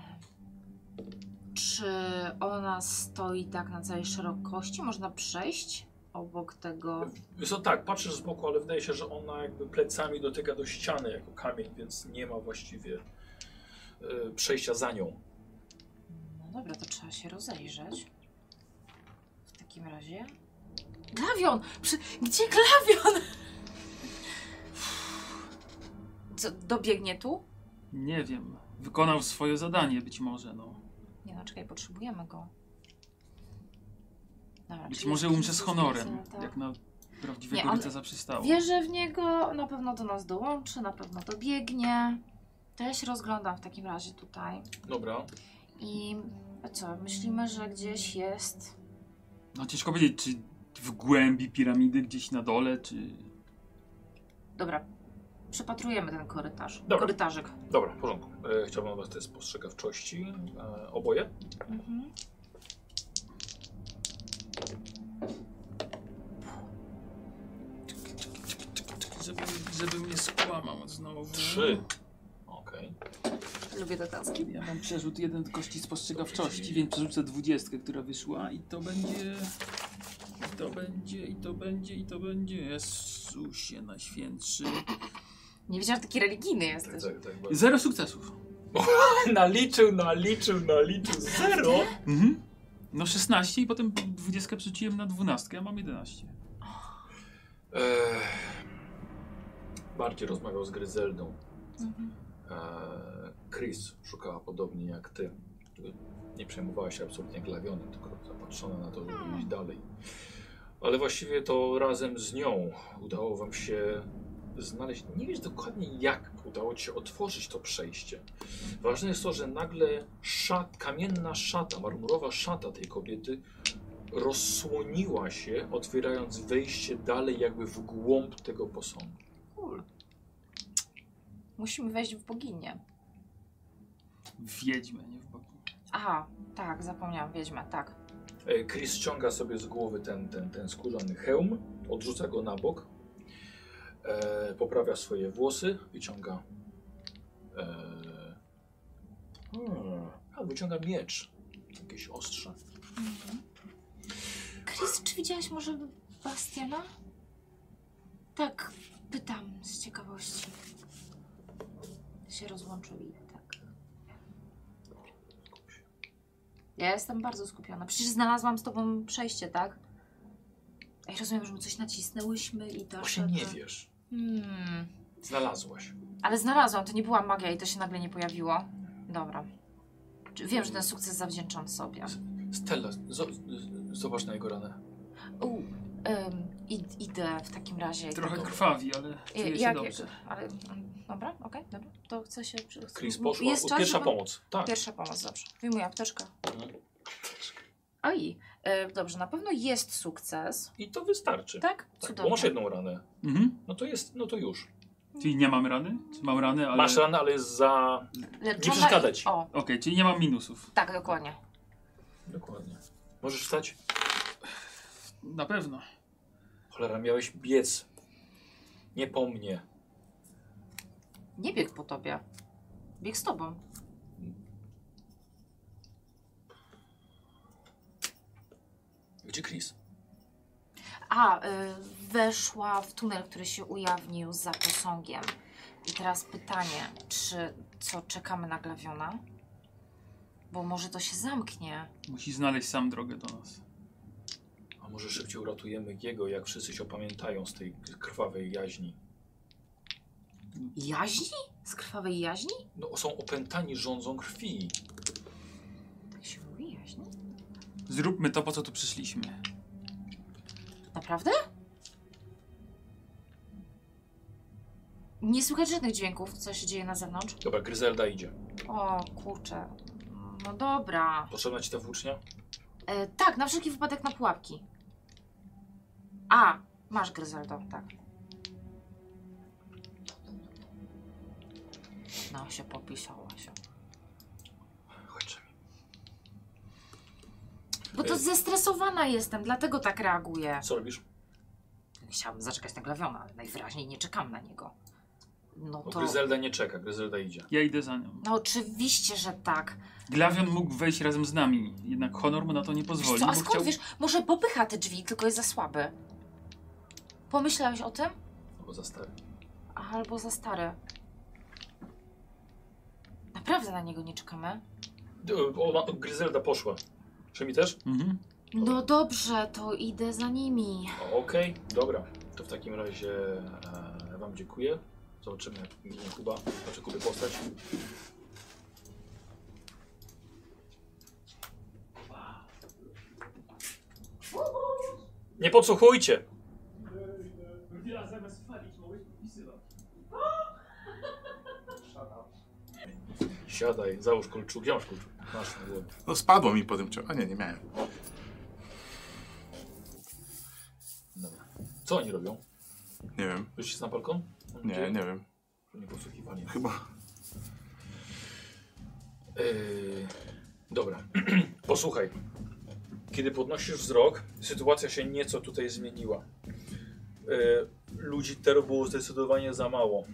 S3: czy ona stoi tak na całej szerokości? Można przejść obok tego?
S1: So, tak, patrzysz z boku, ale wydaje się, że ona jakby plecami dotyka do ściany jako kamień, więc nie ma właściwie e, przejścia za nią.
S3: No dobra, to trzeba się rozejrzeć. W takim razie. Glawion! Przy... Gdzie glawion? [LAUGHS] Co, dobiegnie tu?
S4: Nie wiem. Wykonał swoje zadanie być może, no.
S3: Nie no, czekaj, potrzebujemy go. Dobra,
S4: Być
S3: czyli
S4: może
S3: jest-
S4: umrze z honorem,
S3: jest- tak.
S4: jak na
S3: Nie,
S4: prawdziwego
S3: on-
S4: rycerza przystało.
S3: Wierzę w niego, na pewno do nas dołączy, na pewno dobiegnie. To ja się rozglądam w takim razie tutaj.
S1: Dobra.
S3: I a co, myślimy, że gdzieś jest.
S4: No ciężko powiedzieć, czy w głębi piramidy gdzieś na dole, czy...
S3: Dobra, przepatrujemy ten korytarz.
S1: Dobra.
S3: Korytarzyk.
S1: Dobra, w porządku. E, chciałbym od was test spostrzegawczości. E, oboje?
S3: Mhm.
S4: Żeby, żeby mnie skłamał no znowu.
S1: Trzy. Mm. Okej.
S6: Lubię te taski.
S4: Ja mam przerzut jeden kości spostrzegawczości, więc przerzucę dwudziestkę, która wyszła i to będzie... I to będzie, i to będzie, i to będzie... Jezusie najświętszy.
S3: Nie wiedziałam, że taki religijny
S1: Tak, [LAUGHS]
S3: jesteś.
S1: tak, tak.
S4: Zero sukcesów.
S1: Naliczył, naliczył, naliczył. Zero?
S4: Mhm. No 16 i potem 20 przerzuciłem na 12, a mam 11.
S1: Eee, bardziej rozmawiał z Gryzeldą.
S3: Mhm.
S1: Eee, Chris szukała podobnie jak ty. Nie przejmowała się absolutnie glawionem, tylko zapatrzona na to, żeby iść dalej. Ale właściwie to razem z nią udało wam się znaleźć. Nie wiesz dokładnie jak udało ci się otworzyć to przejście. Ważne jest to, że nagle szat, kamienna szata, marmurowa szata tej kobiety rozsłoniła się, otwierając wejście dalej jakby w głąb tego posągu.
S3: Cool. Musimy wejść w boginię.
S4: Wiedźmy, nie w boku.
S3: Aha, tak, zapomniałam, wiedźma, tak.
S1: E, Chris ściąga sobie z głowy ten, ten, ten skórzany hełm, odrzuca go na bok, e, poprawia swoje włosy, wyciąga. E, hmm, a wyciąga miecz, jakieś ostrze.
S3: Chris, czy widziałaś może Bastiana? Tak, pytam z ciekawości. Się rozłączył i tak. Ja jestem bardzo skupiona. Przecież znalazłam z tobą przejście, tak? Ej, rozumiem, że mu coś nacisnęłyśmy i to.
S1: Właśnie
S3: to-
S1: nie
S3: to-
S1: wiesz.
S3: Hmm.
S1: Znalazłaś.
S3: Ale znalazłam, to nie była magia i to się nagle nie pojawiło. Dobra. Czy- Wiem, że ten sukces zawdzięczam sobie.
S1: Stella, zo- z- zobacz na jego ranę.
S3: U, Ym, id- idę w takim razie. i
S4: Trochę
S3: tego-
S4: krwawi, ale
S3: I-
S4: czuję się
S3: jak,
S4: dobrze.
S3: jak, ale, mm, dobra, okej, dobra. To chcę się...
S1: Chris poszła. Pierwsza
S3: żeby-
S1: pomoc. Tak.
S3: Pierwsza pomoc, dobrze. Wyjmuję apteczkę.
S1: Mhm.
S3: Oj, e, dobrze, na pewno jest sukces,
S1: I to wystarczy.
S3: tak?
S1: Tak, bo masz jedną ranę.
S4: Mhm.
S1: No to jest, no to już.
S4: Czyli nie mam rany? Czy mam rany, ale...
S1: Masz ranę, ale jest za...
S3: Leczona
S1: Nie przeszkadza ci.
S3: I... O,
S4: Okej, czyli nie mam minusów.
S3: tak, dokładnie.
S1: Dokładnie. Możesz wstać?
S4: Na pewno.
S1: Cholera, miałeś biec. Nie po mnie.
S3: Nie bieg po tobie. Bieg z tobą.
S1: Gdzie Chris?
S3: A, y, weszła w tunel, który się ujawnił za posągiem. I teraz pytanie, czy co, czekamy na Glawiona? Bo może to się zamknie.
S4: Musi znaleźć sam drogę do nas.
S1: A może szybciej uratujemy jego, jak wszyscy się opamiętają z tej krwawej jaźni.
S3: Jaźni? Z krwawej jaźni?
S1: No, są opętani rządzą krwi.
S3: Tak się mówi, jaźni?
S4: Zróbmy to, po co tu przyszliśmy.
S3: Naprawdę? Nie słychać żadnych dźwięków, co się dzieje na zewnątrz.
S1: Dobra, Gryzelda idzie.
S3: O kurczę. No dobra.
S1: Potrzebna ci ta włócznia?
S3: E, tak, na wszelki wypadek na pułapki. A, masz Gryzeldo, tak. No się popisała się.
S1: Chodź.
S3: Bo to
S1: E.
S3: zestresowana jestem, dlatego tak reaguję.
S1: Co robisz?
S3: Chciałabym zaczekać na Glawiona, ale najwyraźniej nie czekam na niego. No
S1: No,
S3: to...
S1: Gryzelda nie czeka, Gryzelda idzie.
S4: Ja idę za nią.
S3: No oczywiście, że tak.
S4: Glawion mógł wejść razem z nami, jednak honor mu na to nie
S3: Wiesz
S4: pozwoli.
S3: co, a
S4: bo
S3: skąd
S4: chciał-
S3: wiesz? Może popycha te drzwi, tylko jest za słaby. Pomyślałeś o tym?
S1: No bo za stary.
S3: Albo za stary. Naprawdę na niego nie czekamy?
S1: D- O, ma- Gryzelda poszła. Czy mi też?
S4: Mhm.
S1: Dobra.
S3: No dobrze, to idę za nimi.
S1: O, Okej, dobra. To w takim razie e, wam dziękuję. Zobaczymy jak ginie Kuba. Znaczy Kuby postać. Nie podsłuchujcie! Siadaj, załóż kolczuk. Gdzie masz kolczuk? Masz na głowie.
S2: No spadło mi po tym ciągu. A nie, nie miałem.
S1: Dobra. Co oni robią?
S2: Nie wiem.
S1: Wyszli na balkon?
S2: Nie, nie wiem.
S1: Nie podsłuchiwali.
S2: Chyba.
S1: Yy, dobra, [CLEARS THROAT] posłuchaj. Kiedy podnosisz wzrok, sytuacja się nieco tutaj zmieniła. Yy, ludzi teru było zdecydowanie za mało,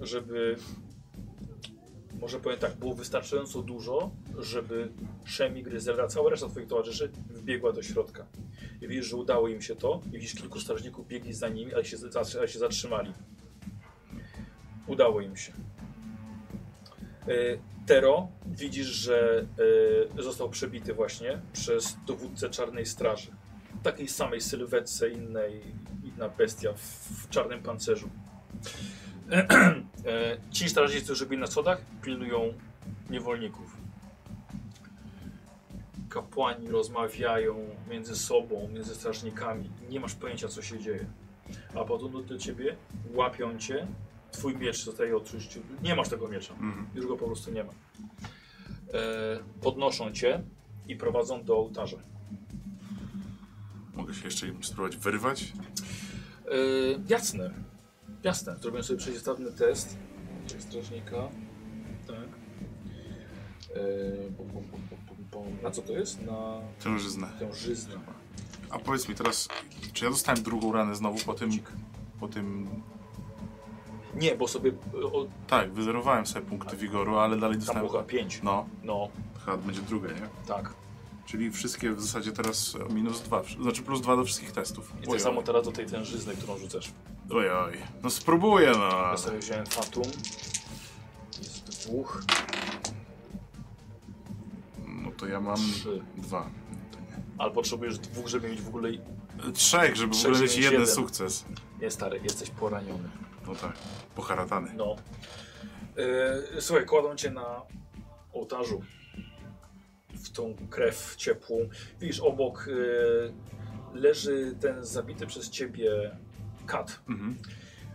S1: żeby. Może powiem tak, było wystarczająco dużo, żeby Szemi, Gryzelda, cała reszta Twoich towarzyszy wbiegła do środka. I widzisz, że udało im się to. I widzisz, kilku strażników biegli za nimi, ale się, zatrzy- ale się zatrzymali. Udało im się. Y, Tero, widzisz, że y, został przebity właśnie przez dowódcę Czarnej Straży. W takiej samej sylwetce, innej, inna bestia w, w czarnym pancerzu. [CLEARS THROAT] E, Ci strażnicy, którzy byli na schodach, pilnują niewolników. Kapłani rozmawiają między sobą, między strażnikami. Nie masz pojęcia, co się dzieje. A potem do, do ciebie łapią cię. Twój miecz zostaje oczywiście. Nie masz tego miecza.
S2: Mhm.
S1: Już go po prostu nie ma. E, podnoszą cię i prowadzą do ołtarza.
S2: Mogę się jeszcze spróbować wyrwać?
S1: E, jasne. Jasne. Zrobię sobie przeciwstawny test. Czyli strażnika. Tak. E, bum, bum, bum, bum, bum, bum. Na co to jest? Na
S2: Tężyznę.
S1: tę żyznę.
S2: A powiedz mi teraz, czy ja dostałem drugą ranę znowu po tym... Po tym...
S1: Nie, bo sobie. O,
S2: Tak, wyzerowałem sobie punkty wigoru, ale dalej
S1: tam
S2: dostałem...
S1: było chyba 5.
S2: No,
S1: No,
S2: chyba będzie druga, nie?
S1: tak.
S2: Czyli wszystkie w zasadzie teraz minus dwa, znaczy plus dwa do wszystkich testów.
S1: I to samo teraz do tej tężyzny, którą rzucasz.
S2: oj, oj. No spróbuję, no.
S1: Ja sobie wziąłem Fatum. Jest dwóch,
S2: No to ja mam
S1: trzy.
S2: dwa. No to nie. E,
S1: Ale potrzebujesz dwóch, żeby mieć w ogóle.
S2: Trzech, żeby
S1: Trzech,
S2: w ogóle mieć
S1: dziewięć,
S2: jeden
S1: jeden.
S2: sukces.
S1: Nie, stary, jesteś poraniony.
S2: No tak, poharatany.
S1: No. Yy, słuchaj, kładą cię na ołtarzu. W tą krew ciepłą. Widzisz obok yy, leży ten zabity przez ciebie kat.
S2: Mhm.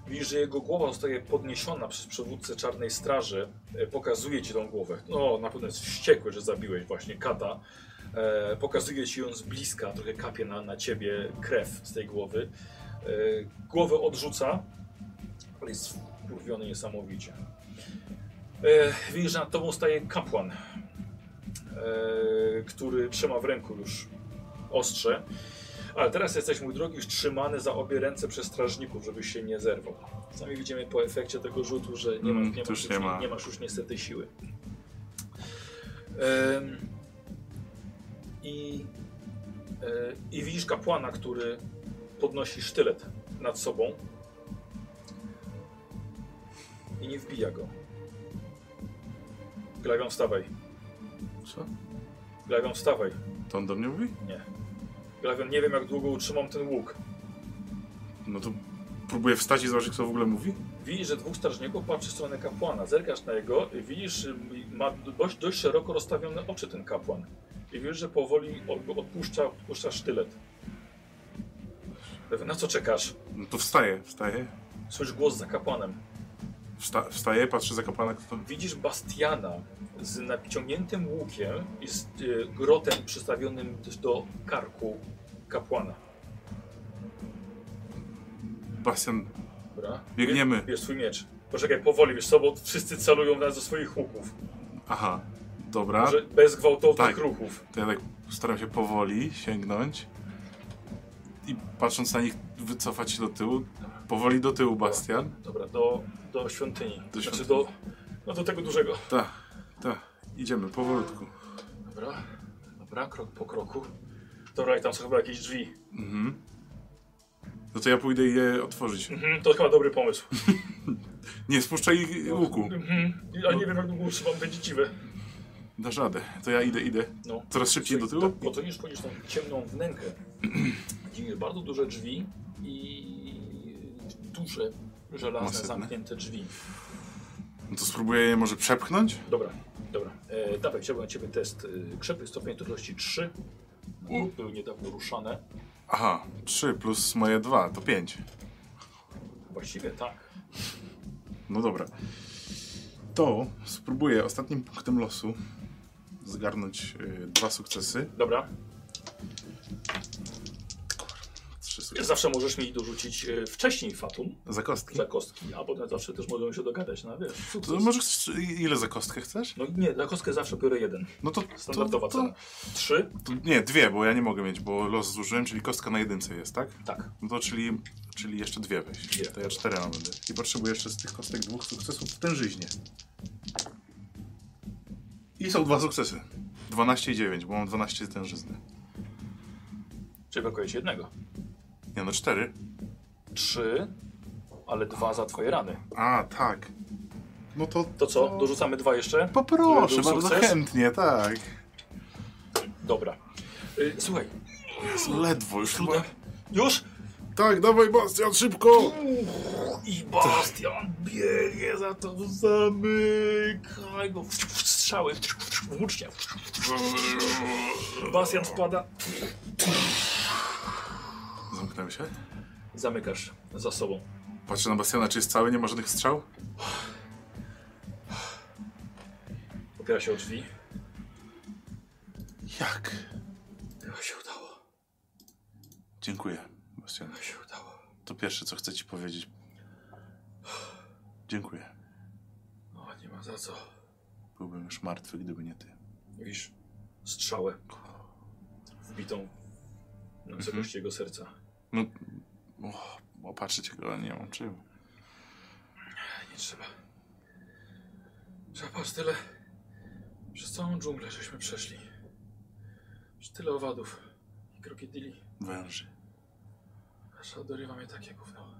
S1: Widzisz, że jego głowa zostaje podniesiona przez przywódcę Czarnej Straży. E, Pokazuje ci tą głowę. No, na pewno jest wściekły, że zabiłeś właśnie kata. E, pokazuje ci ją z bliska, trochę kapie na, na ciebie krew z tej głowy. E, głowę odrzuca, ale jest wkurwiony niesamowicie. E, widzisz, że nad tobą staje kapłan, e, który trzyma w ręku już ostrze. Ale teraz jesteś, mój drogi, już trzymany za obie ręce przez strażników, żebyś się nie zerwał. Sami widzimy po efekcie tego rzutu, że nie,
S2: Mm,
S1: masz, nie,
S2: to
S1: masz,
S2: już
S1: już,
S2: nie ma.
S1: nie masz już niestety siły. Em, i, e, I widzisz kapłana, który podnosi sztylet nad sobą i nie wbija go. Glawion, wstawaj.
S2: Co?
S1: Glawion, wstawaj.
S2: To on do mnie mówi?
S1: Nie. Glawion, nie wiem jak długo utrzymam ten łuk.
S2: No to próbuję wstać i zobaczyć, kto w ogóle mówi.
S1: Widzisz, że dwóch strażników patrzy w stronę kapłana. Zerkasz na jego i widzisz, y, ma dość, dość szeroko rozstawione oczy ten kapłan. I wiesz, że powoli od- odpuszcza, odpuszcza sztylet. Glawion, Na co czekasz?
S2: No to wstaję, wstaję.
S1: Słyszysz głos za kapłanem.
S2: Wsta wstaję, patrzę za kapłana, kto to...
S1: Widzisz Bastiana z naciągniętym łukiem i z y, grotem przystawionym do karku kapłana.
S2: Bastian,
S1: Dobra?
S2: Biegniemy.
S1: Bierz, bierz swój miecz. Poczekaj, powoli, wiesz co, bo wszyscy celują w nas ze swoich łuków.
S2: aha, dobra.
S1: Może bez gwałtownych
S2: Tak.
S1: ruchów.
S2: To ja tak staram się powoli sięgnąć i patrząc na nich wycofać się do tyłu. Powoli do tyłu, Bastian.
S1: Dobra, do, do świątyni.
S2: Do
S1: znaczy
S2: świątyni.
S1: do, no do tego dużego.
S2: Tak, tak. Idziemy, powolutku.
S1: Dobra, dobra, krok po kroku. Dobra, i tam są chyba jakieś drzwi.
S2: Mhm. No to ja pójdę je otworzyć.
S1: Mhm, to chyba dobry pomysł.
S2: Nie spuszczaj ich łuku.
S1: Mhm, ja nie wiem jak długo trzymam, będzie dziwe.
S2: Dasz radę. To ja idę, idę.
S1: No.
S2: Coraz szybciej do
S1: Tak,
S2: tyłu.
S1: Bo to nie szkodzisz tą ciemną wnękę. [CLEARS THROAT] Gdzie jest bardzo duże drzwi i duże, żelazne,
S2: Masywne.
S1: zamknięte drzwi.
S2: No to spróbuję je może przepchnąć?
S1: Dobra, dobra. E, dawaj, chciałbym na ciebie test e, krzepy, stopień trudności 3. No,
S2: Mm.
S1: były niedawno ruszane.
S2: Aha, 3 plus moje 2 to 5.
S1: Właściwie tak.
S2: No dobra. To spróbuję ostatnim punktem losu zgarnąć y, dwa sukcesy.
S1: Dobra,
S2: Trzy sukcesy.
S1: zawsze możesz mi dorzucić e, wcześniej Fatum
S2: Za kostki.
S1: za kostki, a potem zawsze też możemy się dogadać na wiesz, sukces.
S2: To może chcesz, ile za kostkę chcesz?
S1: No i nie, za kostkę zawsze biorę jeden.
S2: No to, to,
S1: Standardowa
S2: to,
S1: cena.
S2: to,
S1: Trzy?
S2: nie, dwie, bo ja nie mogę mieć, bo los zużyłem, czyli kostka na jedynce jest, tak?
S1: Tak.
S2: No to czyli, czyli jeszcze dwie weź.
S1: Dwie.
S2: To ja czterema będę. I potrzebuję jeszcze z tych kostek dwóch sukcesów w tężyźnie. I są dwa sukcesy. 12 i 9, bo mam 12 z tężyzny.
S1: Czyli brakuje ci jednego.
S2: Nie no, cztery.
S1: Trzy, ale dwa za twoje rany.
S2: A, tak. No to...
S1: To co? Dorzucamy dwa jeszcze?
S2: Poproszę,
S1: Który był
S2: bardzo
S1: sukces?
S2: chętnie, tak.
S1: Dobra. Y, Słuchaj,
S2: Jezu, ledwo już chyba.
S1: trudne. Już?
S2: Tak, dawaj Bastian, szybko!
S1: I Bastian biegnie za to, zamykaj go. Strzały, włócznia. Bastian spada.
S2: Zamknąłem się.
S1: Zamykasz za sobą.
S2: Patrzę na Bastiana, czy jest cały, nie ma żadnych strzał?
S1: Opiera się o drzwi.
S2: Jak?
S1: Chyba się udało,
S2: Dziękuję, Bastian.
S1: chyba się udało.
S2: To pierwsze, co chcę ci powiedzieć. Dziękuję.
S1: O, No, nie ma za co.
S2: Byłbym już martwy, gdyby nie ty.
S1: Widzisz strzałę wbitą na wysokości jego serca.
S2: No, o, opatrzę cię, ale nie mam czym.
S1: Nie trzeba. Trzeba patrz tyle. Przez całą dżunglę żeśmy przeszli. Przez tyle owadów i krokodyli.
S2: Węży.
S1: Aż dorywa mnie takie gówno.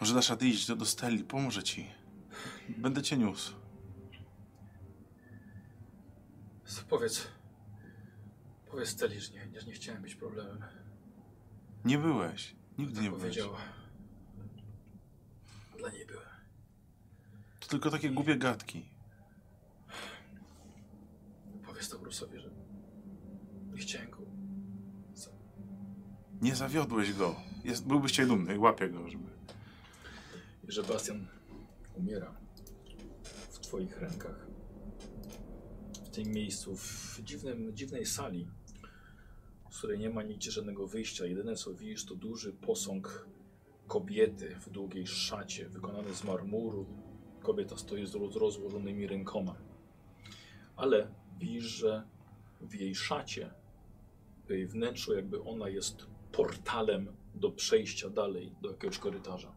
S2: Może dasz radę iść do, do Steli, pomoże ci. Będę cię niósł.
S1: S- Powiedz. Powiedz Steli, że nie, nie, nie chciałem być problemem.
S2: Nie byłeś. Nigdy
S1: Tak
S2: nie byłeś.
S1: powiedziała. Dla niej byłem.
S2: To tylko takie głupie gadki.
S1: Powiedz to Brusowi, że nie chciałem go zabić.
S2: Nie zawiodłeś go. Jest, byłbyś cię dumny. Łapię go, żeby...
S1: że Bastian umiera w Twoich rękach. W tym miejscu, w dziwnym, dziwnej sali, z której nie ma nigdzie żadnego wyjścia. Jedyne co widzisz to duży posąg kobiety w długiej szacie, wykonany z marmuru. Kobieta stoi z roz- rozłożonymi rękoma. Ale widzisz, że w jej szacie, w jej wnętrzu, jakby ona jest portalem do przejścia dalej, do jakiegoś korytarza.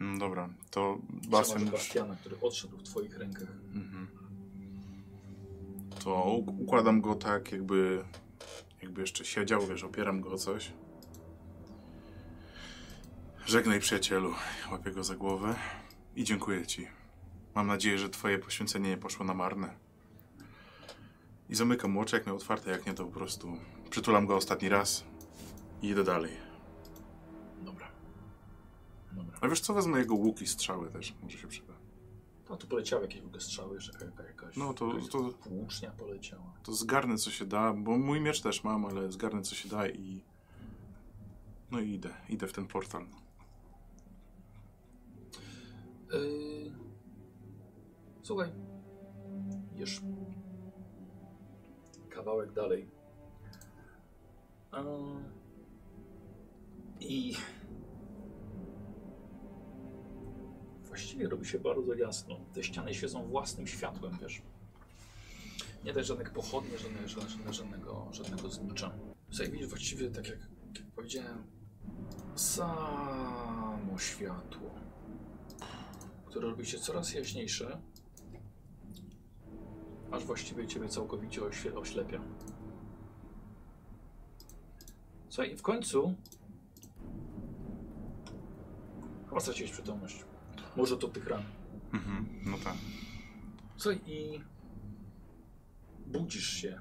S2: Mm, Dobra, to
S1: Basen
S2: Bastian już...
S1: Bastiana, który odszedł w twoich rękach.
S2: Mhm. To u- układam go tak, jakby, jakby jeszcze siedział, wiesz, opieram go o coś. Żegnaj przyjacielu, łapię go za głowę i dziękuję ci. Mam nadzieję, że twoje poświęcenie nie poszło na marne. I zamykam oczy, jak miał otwarte, jak nie to po prostu przytulam go ostatni raz i idę dalej.
S1: Dobra. Dobra.
S2: A wiesz co, wezmę jego łuki, strzały też, może się przyda.
S1: A tu No, poleciały jakieś w ogóle strzały, jeszcze jaka, jakaś.
S2: No to-
S1: jakaś
S2: to-
S1: Włócznia poleciała.
S2: To zgarnę co się da, bo mój miecz też mam, ale zgarnę co się da i. No i idę, idę w ten portal.
S1: Yy... Słuchaj. Jesz. Kawałek dalej. A... I. Właściwie robi się bardzo jasno. Te ściany świecą własnym światłem, wiesz. Nie dać żadnych pochodni, żadne, żadne, żadnego, żadnego znicza. Tutaj widzisz właściwie, tak jak, jak powiedziałem, samo światło które robi się coraz jaśniejsze, aż właściwie ciebie całkowicie oświe- oślepia. Słuchaj, i w końcu chyba straciłeś przytomność. Może to tych ran.
S2: Mhm, no tak.
S1: Słuchaj, i budzisz się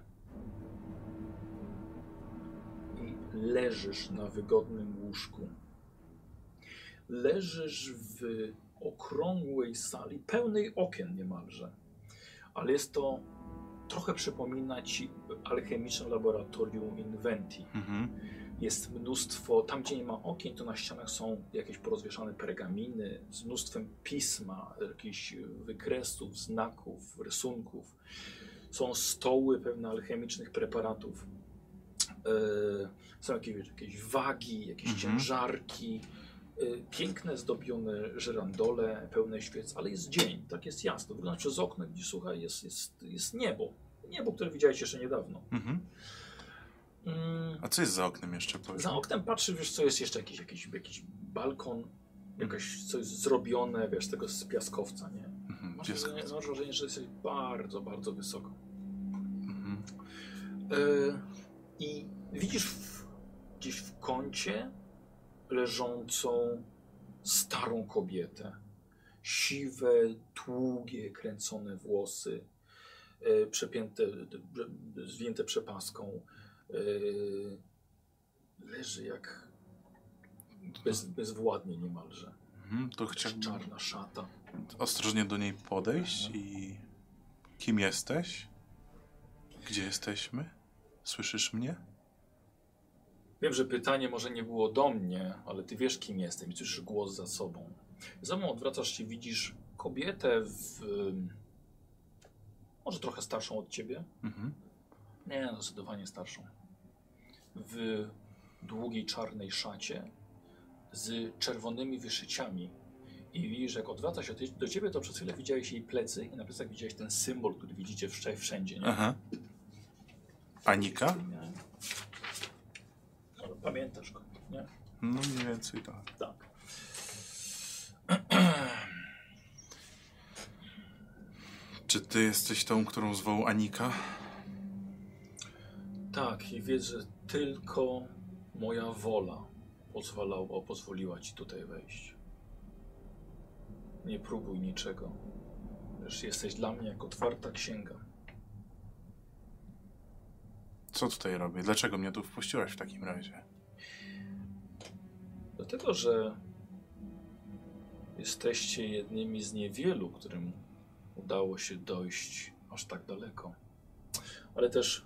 S1: i leżysz na wygodnym łóżku. Leżysz w okrągłej sali, pełnej okien niemalże. Ale jest to, trochę przypomina ci alchemiczne laboratorium Inventi.
S2: Mhm.
S1: Jest mnóstwo, tam gdzie nie ma okien, to na ścianach są jakieś porozwieszane pergaminy z mnóstwem pisma, jakichś wykresów, znaków, rysunków. Są stoły pewne alchemicznych preparatów. Yy, są jakieś, jakieś wagi, jakieś
S2: Mhm.
S1: ciężarki. Yy, piękne zdobione żyrandole, pełne świec, ale jest dzień, tak jest jasno. Wygląda przez okno, gdzie słuchaj, jest, jest, jest niebo. Niebo, które widziałeś jeszcze niedawno.
S2: Mhm.
S1: Mm.
S2: A co jest za oknem jeszcze? Powiedz.
S1: Za oknem patrzy, wiesz, co jest jeszcze jakiś, jakiś, jakiś balkon, jakaś coś zrobione, wiesz, tego z piaskowca, nie?
S2: Mhm.
S1: Masz
S2: Pies.
S1: wrażenie, masz wrażenie, że jesteś bardzo, bardzo wysoko.
S2: Mhm.
S1: E, I widzisz w, gdzieś w kącie leżącą starą kobietę. Siwe, długie, kręcone włosy, e, przepięte, d- d- zwinięte przepaską. E, leży jak bez, bezwładnie niemalże.
S2: Mhm. To chciałbym
S1: Czarna szata.
S2: ostrożnie do niej podejść i. Kim jesteś? Gdzie jesteśmy? Słyszysz mnie?
S1: Wiem, że pytanie może nie było do mnie, ale ty wiesz, kim jestem i słyszysz głos za sobą. Za mną odwracasz się, widzisz kobietę w. ym, Może trochę starszą od ciebie?
S2: Mhm.
S1: Nie, no, zdecydowanie starszą. W długiej czarnej szacie z czerwonymi wyszyciami. I widzisz, jak odwraca się do ciebie, to przez chwilę widziałeś jej plecy i na plecach widziałeś ten symbol, który widzicie wszędzie. wszędzie nie?
S2: Aha. Anika?
S1: Nie. No, Pamiętasz go, nie?
S2: No mniej więcej tak.
S1: Tak.
S2: Czy ty jesteś tą, którą zwołał Anika?
S1: Tak, i wiesz, że tylko moja wola pozwalała, pozwoliła ci tutaj wejść. Nie próbuj niczego. Lecz jesteś dla mnie jak otwarta księga.
S2: Co tutaj robię? Dlaczego mnie tu wpuściłaś w takim razie?
S1: Dlatego, że jesteście jednymi z niewielu, którym udało się dojść aż tak daleko. Ale też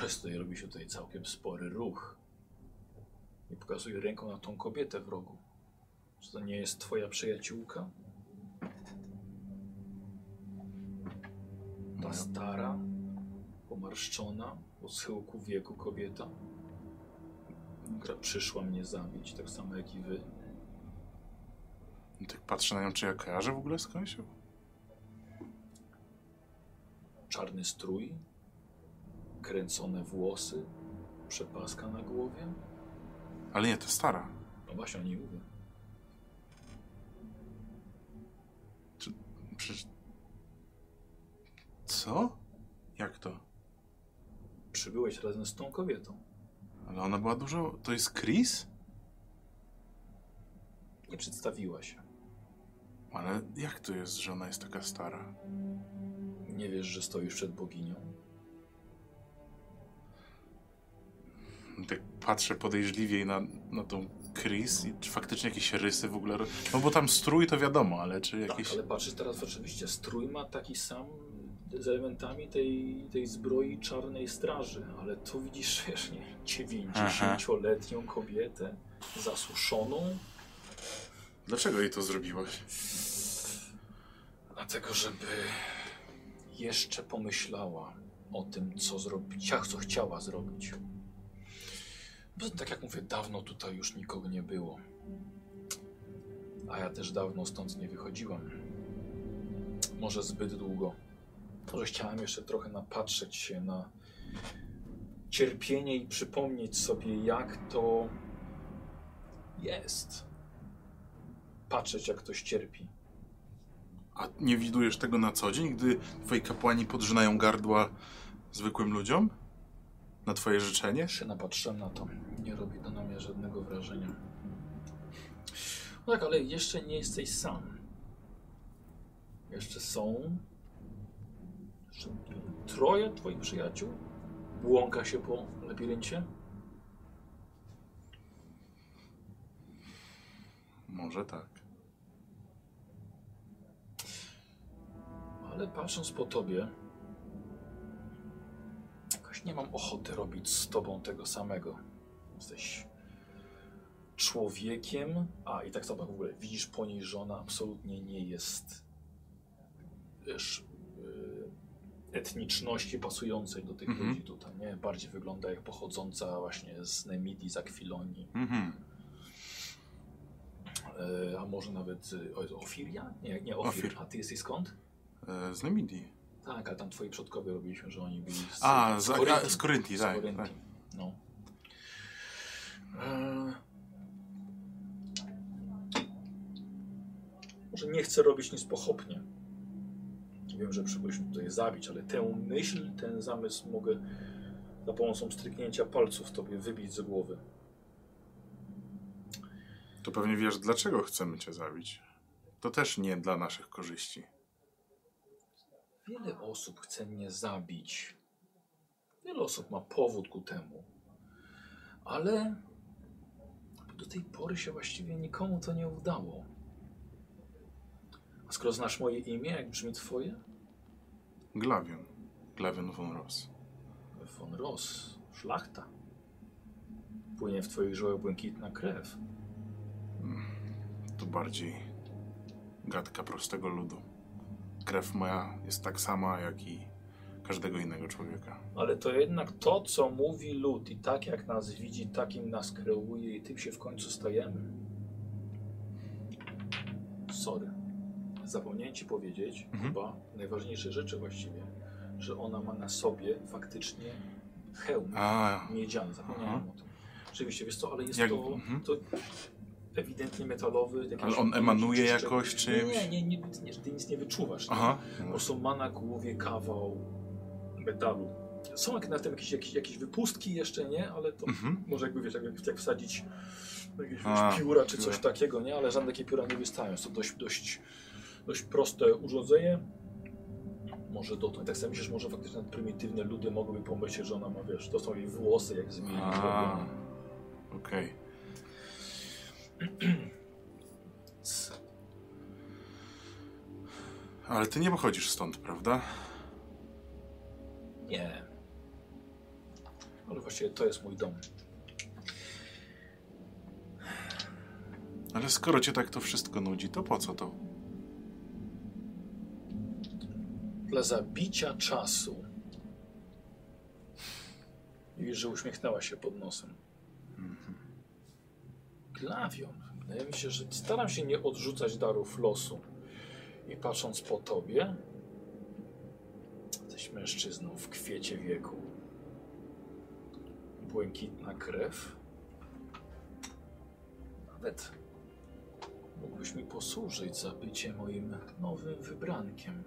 S1: Ale stoi, robi się tutaj całkiem spory ruch. I pokazuje ręką na tą kobietę w rogu. Czy to nie jest twoja przyjaciółka? Ta stara, pomarszczona, o schyłku wieku kobieta, która przyszła mnie zabić, tak samo jak i wy.
S2: I Tak patrzę na nią, czy ja kojarzę w ogóle skądś? ją?
S1: Czarny strój, kręcone włosy, przepaska na głowie.
S2: Ale nie, to stara.
S1: No właśnie, o niej mówię.
S2: Przecież... Co? Jak to?
S1: Przybyłeś razem z tą kobietą.
S2: Ale ona była dużo... To jest Chris?
S1: Nie przedstawiła się.
S2: Ale jak to jest, że ona jest taka stara?
S1: Nie wiesz, że stoisz przed boginią?
S2: I Tak patrzę podejrzliwiej na, na tą Chris i czy faktycznie jakieś rysy w ogóle... ro- No bo tam strój to wiadomo, ale czy jakieś...
S1: Tak, ale patrzysz teraz rzeczywiście, strój ma taki sam z elementami tej, tej zbroi czarnej straży, ale tu widzisz, wiesz, nie, 90-letnią kobietę zasuszoną,
S2: Dlaczego jej to zrobiłaś?
S1: dlatego żeby jeszcze pomyślała o tym, co zrobić, jak co chciała zrobić. Bo tak jak mówię, dawno tutaj już nikogo nie było. A ja też dawno stąd nie wychodziłam. Może zbyt długo. Może chciałem jeszcze trochę napatrzeć się na cierpienie i przypomnieć sobie, jak to jest. Patrzeć, jak ktoś cierpi.
S2: A nie widujesz tego na co dzień, gdy twoi kapłani podżynają gardła zwykłym ludziom? Na twoje życzenie?
S1: Się napatrzyłem na to. Nie robi to na mnie żadnego wrażenia. No tak, ale jeszcze nie jesteś sam. Jeszcze są. Jeszcze troje twoich przyjaciół. Błąka się po labiryncie.
S2: Może tak.
S1: Ale patrząc po tobie, jakoś nie mam ochoty robić z tobą tego samego. Jesteś człowiekiem. A i tak samo w ogóle widzisz po niej, że ona absolutnie nie jest wiesz, y, etniczności pasującej do tych
S2: Mhm.
S1: ludzi tutaj. Nie? Bardziej wygląda jak pochodząca właśnie z Nemidii, z Akwilonii.
S2: Mhm.
S1: Y, a może nawet y, o- Ofiria? Nie, nie Ofir.
S2: Ofir.
S1: A ty jesteś skąd?
S2: E, z Nemidii.
S1: Tak, a tam twoi przodkowie robiliśmy, że oni byli z,
S2: A, z,
S1: Koryntii.
S2: a, z Koryntii,
S1: Z
S2: tak.
S1: Koryntii,
S2: tak.
S1: No. Eee, Może nie chcę robić nic pochopnie. Wiem, że przybyliśmy tutaj zabić, ale tę myśl, ten zamysł mogę za pomocą stryknięcia palców tobie wybić z głowy.
S2: To pewnie wiesz, dlaczego chcemy cię zabić. To też nie dla naszych korzyści.
S1: Wiele osób chce mnie zabić. Wiele osób ma powód ku temu. Ale do tej pory się właściwie nikomu to nie udało. A skoro znasz moje imię, jak brzmi twoje?
S2: Glawion. Glawion von Ross.
S1: Von Ross, szlachta. Płynie w twoich żyłach błękitna krew.
S2: To bardziej gadka prostego ludu. Krew moja jest tak sama, jak i każdego innego człowieka.
S1: Ale to jednak to, co mówi lud i tak jak nas widzi, takim nas kreuje i tym się w końcu stajemy. Sorry. Zapomniałem ci powiedzieć
S2: Mhm.
S1: chyba najważniejsze rzeczy właściwie, że ona ma na sobie faktycznie hełm
S2: A,
S1: miedziany. Zapomniałem
S2: Aha.
S1: o tym. Oczywiście, wiesz co, ale jest
S2: Jak-
S1: to,
S2: mhm.
S1: to ewidentnie metalowy. taki
S2: Ale on
S1: szpieg,
S2: emanuje
S1: czy- czy-
S2: jakoś
S1: Nie,
S2: czymś?
S1: nie, nie, nie, nie, ty nic nie wyczuwasz. nie?
S2: Aha.
S1: Po prostu ma na głowie kawał metalu. Są jak na tym jakieś, jakieś, jakieś wypustki jeszcze, nie? Ale to
S2: Mhm.
S1: może jakby wiesz, jak, jak wsadzić jakieś wiesz,
S2: A,
S1: pióra czy
S2: pióra.
S1: coś takiego, nie? Ale żadne takie pióra nie wystają. Jest to dość, dość, dość proste urządzenie. Może dotąd. Tak sobie myślisz, może faktycznie nawet prymitywne ludy mogłyby pomyśleć, że ona ma, wiesz, to są jej włosy, jak zmienić.
S2: A, Okej. Ale ty nie pochodzisz stąd, prawda?
S1: Nie. Ale właściwie to jest mój dom.
S2: Ale skoro cię tak to wszystko nudzi, to po co to?
S1: Dla zabicia czasu. I Widzisz, że uśmiechnęła się pod nosem. Glawion, wydaje mi się, że staram się nie odrzucać darów losu. I patrząc po tobie, jesteś mężczyzną w kwiecie wieku. Błękitna krew. Nawet mógłbyś mi posłużyć za bycie moim nowym wybrankiem.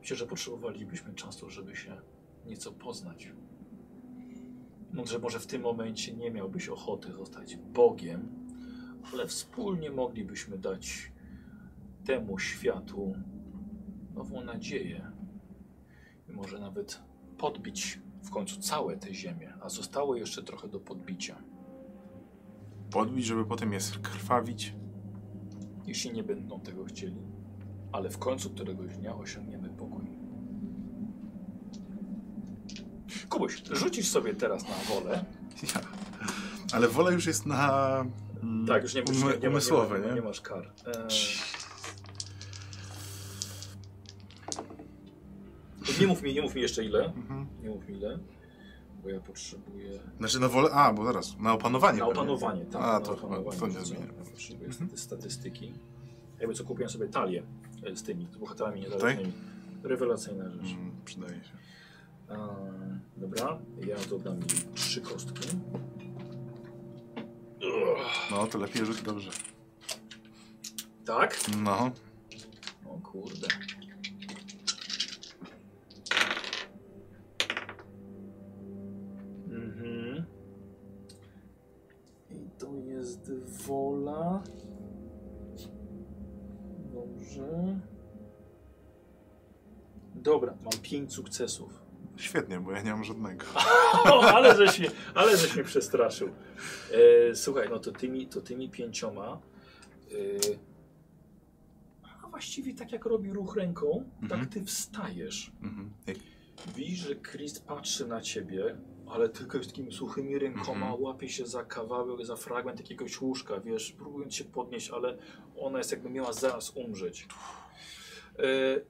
S1: Myślę, że potrzebowalibyśmy czasu, żeby się nieco poznać. Mądrze może w tym momencie nie miałbyś ochoty zostać Bogiem, ale wspólnie moglibyśmy dać temu światu nową nadzieję. I może nawet podbić w końcu całe te ziemię, a zostało jeszcze trochę do podbicia.
S2: Podbić, żeby potem je skrwawić?
S1: Jeśli nie będą tego chcieli, ale w końcu któregoś dnia osiągniemy pokój. Kubuś, rzucisz sobie teraz na wolę.
S2: Ja. Ale wola już jest na... mm,
S1: Tak, już nie musisz.
S2: umy-
S1: nie, nie, ma-
S2: umysłowe,
S1: nie, ma-
S2: nie?
S1: nie masz kar. E... Nie mów mi, nie mów mi jeszcze ile.
S2: Mhm.
S1: Nie mów mi ile. Bo ja potrzebuję.
S2: Znaczy na wolę... A, bo zaraz, na opanowanie.
S1: Na
S2: pewnie.
S1: opanowanie, tak.
S2: A,
S1: na
S2: to chyba-
S1: opanowanie,
S2: to nie
S1: co?
S2: zmienia. Mhm.
S1: Potrzebuję staty- statystyki. Jakby co kupiłem sobie talię e, z tymi z bohaterami niezależnymi. Rewelacyjna rzecz.
S2: Mm, przydaje się.
S1: A, dobra, ja dodam mi trzy kostki. Ugh,
S2: No, to lepiej rzuć dobrze.
S1: tak?
S2: No,
S1: O kurde. Mhm. I to jest wola. Dobrze. Dobra, mam pięć sukcesów.
S2: świetnie, bo ja nie mam żadnego.
S1: O, ale żeś mnie, ale żeś mnie przestraszył. E, słuchaj, no to tymi, to tymi pięcioma. E, a właściwie tak jak robi ruch ręką,
S2: Mhm.
S1: tak ty wstajesz.
S2: Mhm. Jak-
S1: Widzisz, że Chris patrzy na ciebie, ale tylko takimi suchymi rękoma
S2: Mhm.
S1: łapie się za kawałek, za fragment jakiegoś łóżka, wiesz, próbując się podnieść, ale ona jest jakby miała zaraz umrzeć. E,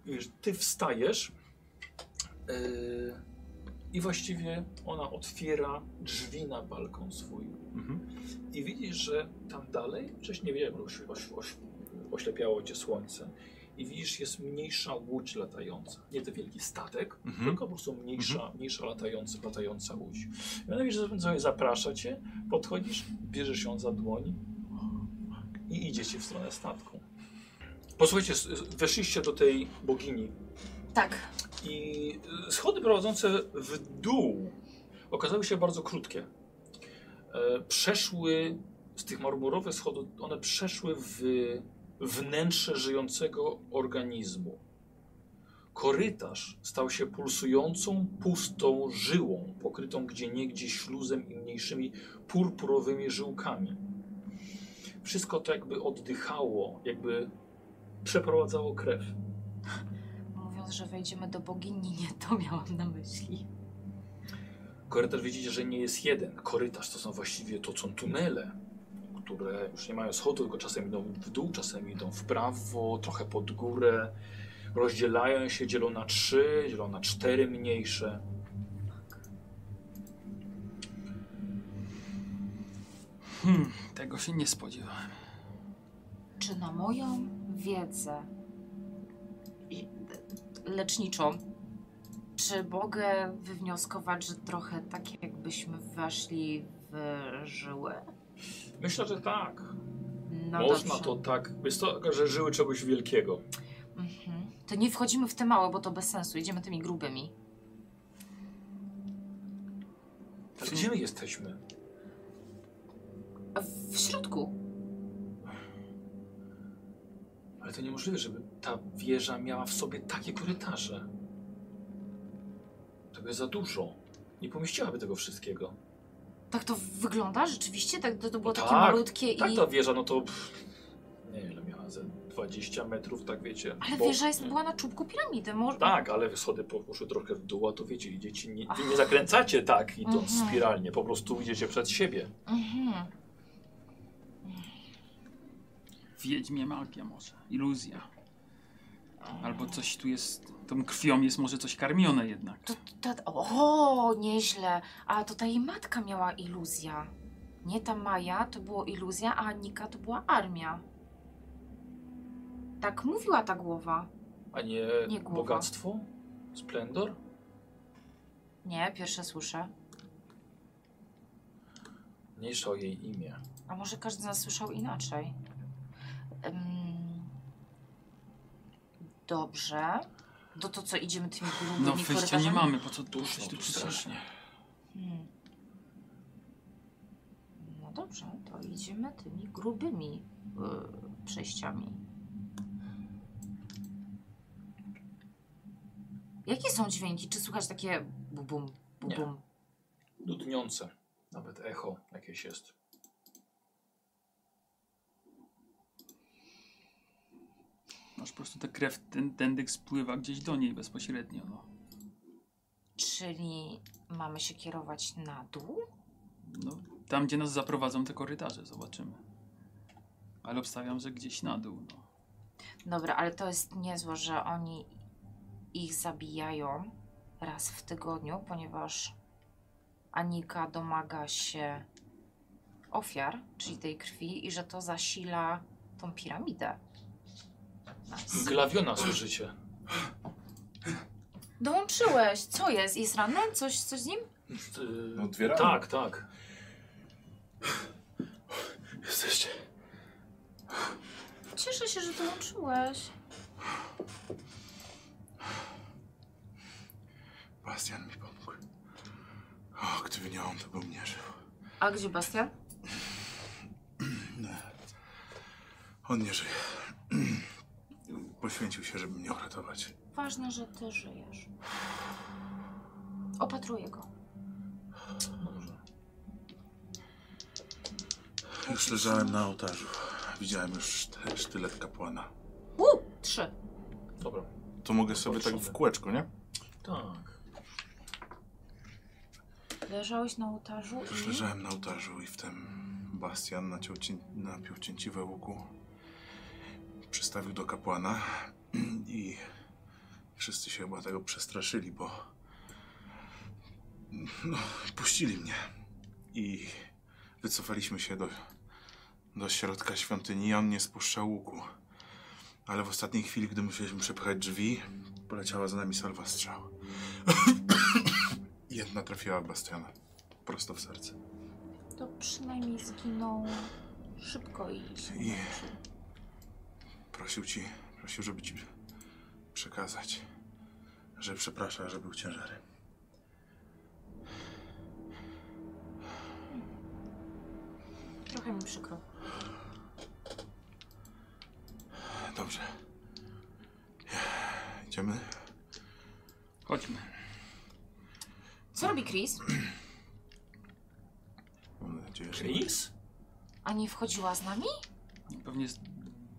S1: wiesz, ty wstajesz e, i właściwie ona otwiera drzwi na balkon swój
S2: Mhm.
S1: i widzisz, że tam dalej, wcześniej nie wiedziałem, oś, oś, oś, oślepiało cię słońce i widzisz, jest mniejsza łódź latająca. Nie ten wielki statek,
S2: Mhm.
S1: tylko po prostu mniejsza, mniejsza latająca, latająca łódź. I ona widzisz, że sobie zaprasza cię, podchodzisz, bierzesz ją za dłoń i idziecie w stronę statku. Posłuchajcie, s- s- weszliście do tej bogini
S3: Tak,
S1: i y, schody prowadzące w dół okazały się bardzo krótkie. E, Przeszły z tych marmurowych schodów, one przeszły w wnętrze żyjącego organizmu. Korytarz stał się pulsującą, pustą żyłą, pokrytą gdzieniegdzie śluzem i mniejszymi purpurowymi żyłkami. Wszystko to jakby oddychało, jakby przeprowadzało krew.
S3: mówiąc, że wejdziemy do bogini, nie to miałam na myśli.
S1: Korytarz widzicie, że nie jest jeden. Korytarz to są właściwie to są tunele, które już nie mają schodu, tylko czasem idą w dół, czasem idą w prawo, trochę pod górę. Rozdzielają się, dzielą na trzy, dzielą na cztery mniejsze.
S4: Hmm, tego się nie spodziewałem.
S3: Czy na moją wiedzę i- leczniczą, czy mogę wywnioskować, że trochę tak jakbyśmy weszli w żyłę?
S1: Myślę, że tak.
S3: No
S1: Można
S3: dobrze.
S1: to tak. Jest to, że żyły czegoś wielkiego.
S3: Mhm. To nie wchodzimy w te małe, bo to bez sensu. Idziemy tymi grubymi. Tak.
S1: Ale gdzie my jesteśmy?
S3: A W środku.
S1: Ale to niemożliwe, żeby ta wieża miała w sobie takie korytarze. Tego jest za dużo. Nie pomieściłaby tego wszystkiego.
S3: Tak to wygląda rzeczywiście? Tak to, to było
S1: No
S3: takie
S1: tak,
S3: malutkie
S1: Tak
S3: i...
S1: ta wieża, no to pff, nie wiem ile miała, ze 20 metrów, tak wiecie.
S3: Ale
S1: bo-
S3: wieża jest, była na czubku piramidy. Może...
S1: Tak, ale schody po- poszły trochę w dół, a to wiecie, idziecie, nie, wy nie zakręcacie tak idąc
S3: Mhm.
S1: spiralnie, po prostu idziecie przed siebie.
S3: Mhm.
S4: Wiedźmie magia może, iluzja. Albo coś tu jest, tą krwią jest może coś karmione jednak.
S3: To, to, to, o, nieźle. A to ta jej matka miała iluzja. Nie ta Maja to było iluzja, a Anika to była armia. Tak mówiła ta głowa.
S1: A nie,
S3: Nie głowa.
S1: bogactwo? Splendor?
S3: Nie, pierwsze słyszę.
S1: Mniejsza o jej imię.
S3: A może każdy z nas słyszał inaczej. Ym... Dobrze. Do to co idziemy tymi grubymi
S4: No wyjścia nie
S3: korytarzami?
S4: mamy, po co tu
S1: Duszno
S4: coś tu
S1: tu
S4: przyszliśmy.
S1: strasznie.
S3: Hmm. No dobrze, to idziemy tymi grubymi y, przejściami. Jakie są dźwięki? Czy słychać takie bubum,
S1: Nie.
S3: bubum?
S1: Dudniące. Nawet echo jakieś jest.
S4: Masz po prostu ta krew, ten tędyk spływa gdzieś do niej bezpośrednio. No.
S3: Czyli mamy się kierować na dół?
S4: No, tam, gdzie nas zaprowadzą te korytarze, zobaczymy. Ale obstawiam, że gdzieś na dół. No.
S3: Dobra, ale to jest niezłe, że oni ich zabijają raz w tygodniu, ponieważ Anika domaga się ofiar, czyli tej krwi, i że to zasila tą piramidę. Nice.
S1: Glawiona słyszycie.
S3: Dołączyłeś! Co jest? Jest ranny? Coś, coś z nim?
S1: Yy,
S5: No, dwie rany.
S1: Tak, tak.
S2: Jesteście.
S3: Cieszę się, że dołączyłeś.
S2: Bastian mi pomógł. O, gdyby nie on, to bym nie żył.
S3: A gdzie Bastian?
S2: On nie żyje. [CLEARS THROAT] Poświęcił się, żeby mnie uratować.
S3: Ważne, że ty żyjesz. Opatruję go.
S1: Dobrze.
S2: Już leżałem na ołtarzu. Widziałem już szty- sztylet kapłana.
S3: Uuu, trzy.
S1: Dobra.
S2: To mogę sobie tak w kółeczku, nie?
S1: Tak.
S3: Leżałeś na ołtarzu
S2: Już
S3: i...
S2: leżałem na ołtarzu i wtem Bastian naciął cię, napił cięciwe łuku. Przystawił do kapłana [CLEARS THROAT] i wszyscy się chyba tego przestraszyli, bo no, puścili mnie. I wycofaliśmy się do, do środka świątyni. On nie spuszczał łuku. Ale w ostatniej chwili, gdy musieliśmy przepchać drzwi, poleciała za nami salwa strzał. [CLEARS THROAT] Jedna trafiła w Bastiana. Prosto w serce.
S3: To przynajmniej zginął szybko i
S2: I prosił ci, prosił, żeby ci przekazać, że przeprasza, że był ciężary.
S3: trochę mi przykro.
S2: Dobrze. Idziemy?
S4: Chodźmy.
S3: Co robi Chris?
S2: Mam nadzieję, że...
S1: Chris?
S3: A nie wchodziła z nami?
S4: Pewnie jest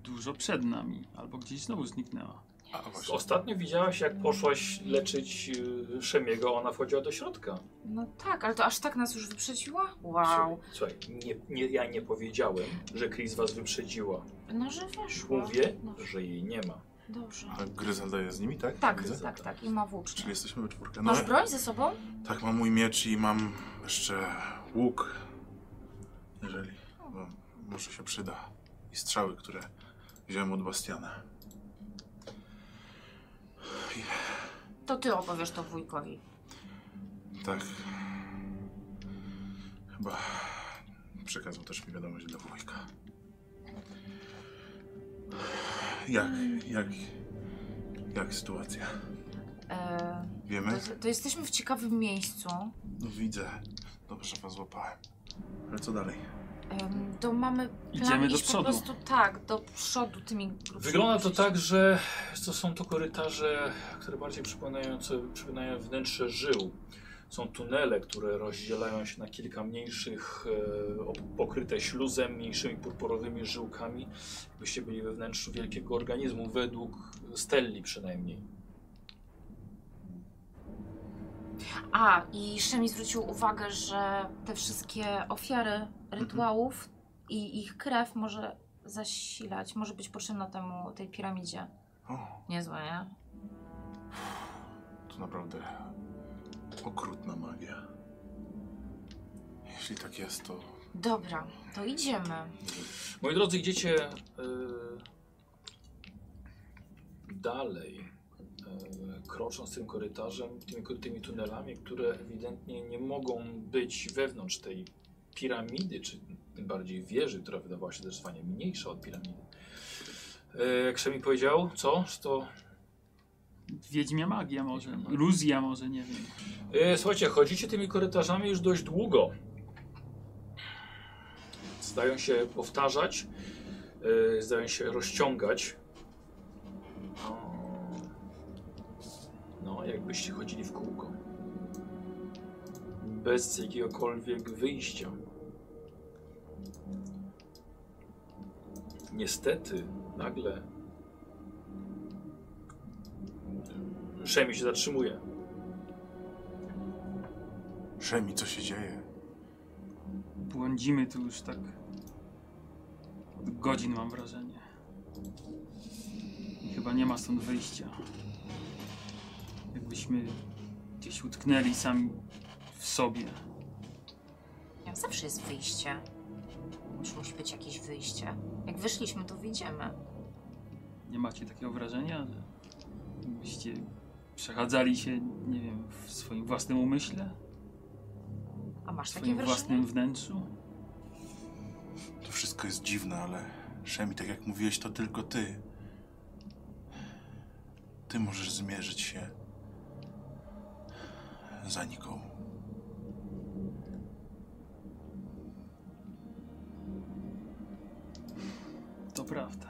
S4: dużo przed nami, albo gdzieś znowu zniknęła.
S2: A, właśnie.
S1: Ostatnio widziałaś, jak poszłaś leczyć yy, Szemiego, ona wchodziła do środka.
S3: No tak, ale to aż tak nas już wyprzedziła? Wow.
S1: Słuchaj, Słuchaj, nie, nie, ja nie powiedziałem, że Chris was wyprzedziła.
S3: No, że weszła.
S1: Mówię,
S3: No,
S1: że jej nie ma.
S3: dobrze.
S2: A Gryzelda jest z nimi, tak?
S3: Tak,
S2: Widzę?
S3: tak, tak. I ma włócznie.
S2: Czyli jesteśmy we czwórkę. No,
S3: Masz broń ze sobą?
S2: tak, mam mój miecz i mam jeszcze łuk. Jeżeli... Bo może się przyda. I strzały, które wziąłem od Bastiana.
S3: To ty opowiesz to wujkowi.
S2: Tak. Chyba przekazał też mi wiadomość dla wujka. Jak, jak, jak sytuacja?
S3: E,
S2: Wiemy?
S3: to, to jesteśmy w ciekawym miejscu.
S2: No widzę. Dobrze was złapałem. Ale co dalej?
S3: Em, to mamy plan
S4: Idziemy do
S3: iść
S4: przodu.
S3: po prostu tak, do przodu tymi grubszymi
S1: Wygląda to
S3: przejściami.
S1: tak, że to są to korytarze, które bardziej przypominają, co- przypominają wnętrze żył. Są tunele, które rozdzielają się na kilka mniejszych, e, op- pokryte śluzem, mniejszymi purpurowymi żyłkami, jakbyście byli we wnętrzu wielkiego organizmu, według Stelli przynajmniej.
S3: A, i Szemi zwrócił uwagę, że te wszystkie
S4: Mhm.
S3: ofiary rytuałów i ich krew może zasilać, może być potrzebna temu, tej piramidzie.
S2: O,
S3: Niezłe, nie?
S2: to naprawdę okrutna magia. Jeśli tak jest, to
S3: Dobra, to idziemy.
S1: Moi drodzy, idziecie e, dalej, e, krocząc tym korytarzem, tymi, tymi tunelami, które ewidentnie nie mogą być wewnątrz tej piramidy, czy tym bardziej wieży, która wydawała się zdecydowanie mniejsza od piramidy. E, Krzemi powiedział, co? Że to
S4: Wiedźmia magia może,
S1: Wiedźmia magia.
S4: iluzja może, nie wiem.
S1: E, Słuchajcie, chodzicie tymi korytarzami już dość długo. Zdają się powtarzać, e, zdają się rozciągać. O. No, jakbyście chodzili w kółko. Bez jakiegokolwiek wyjścia. Niestety, nagle. Szemi się zatrzymuje.
S2: Szemi, co się dzieje?
S4: Błądzimy tu już tak od godzin mam wrażenie. I chyba nie ma stąd wyjścia. Jakbyśmy gdzieś utknęli sami w sobie.
S3: Zawsze jest wyjście. Już musi być jakieś wyjście. Jak wyszliśmy, to wyjdziemy.
S4: Nie macie takiego wrażenia, że jakbyście przechadzali się, nie wiem, w swoim własnym umyśle,
S3: A
S4: w
S3: masz takie
S4: swoim
S3: wrażenie?
S4: własnym wnętrzu?
S2: To wszystko jest dziwne, ale Szemi, tak jak mówiłeś, to tylko ty. Ty możesz zmierzyć się za nikomu.
S4: To prawda.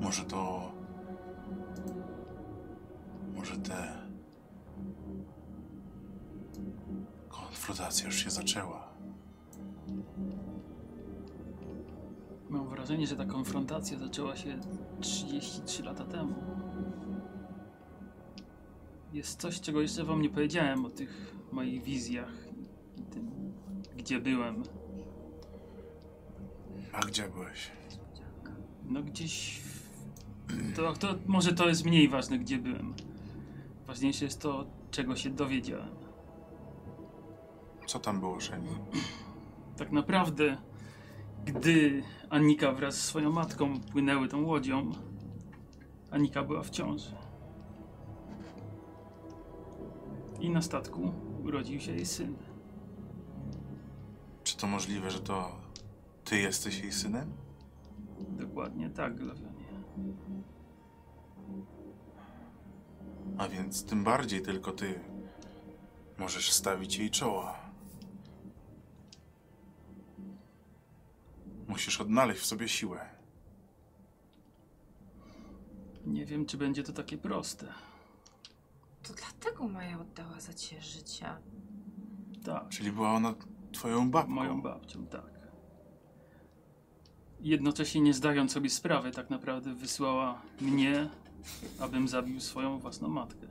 S2: Może to. Może te. Konfrontacja już się zaczęła.
S4: Mam wrażenie, że ta konfrontacja zaczęła się 33 lata temu. Jest coś, czego jeszcze wam nie powiedziałem o tych moich wizjach i tym, gdzie byłem.
S2: A gdzie byłeś?
S4: No gdzieś. w- To, to może to jest mniej ważne, gdzie byłem. Ważniejsze jest to, czego się dowiedziałem.
S2: Co tam było, Szemi?
S4: Tak naprawdę, gdy Anika wraz z swoją matką płynęły tą łodzią, Anika była w ciąży. I na statku urodził się jej syn.
S2: Czy to możliwe, że to ty jesteś jej synem?
S4: Dokładnie tak, Glawionie.
S2: A więc tym bardziej tylko ty możesz stawić jej czoła. Musisz odnaleźć w sobie siłę.
S4: Nie wiem, czy będzie to takie proste.
S3: To dlatego Maja oddała za ciebie życie.
S4: Tak.
S2: Czyli była ona twoją babką.
S4: Moją babcią, tak. Jednocześnie nie zdając sobie sprawy, tak naprawdę wysłała mnie, abym zabił swoją własną matkę.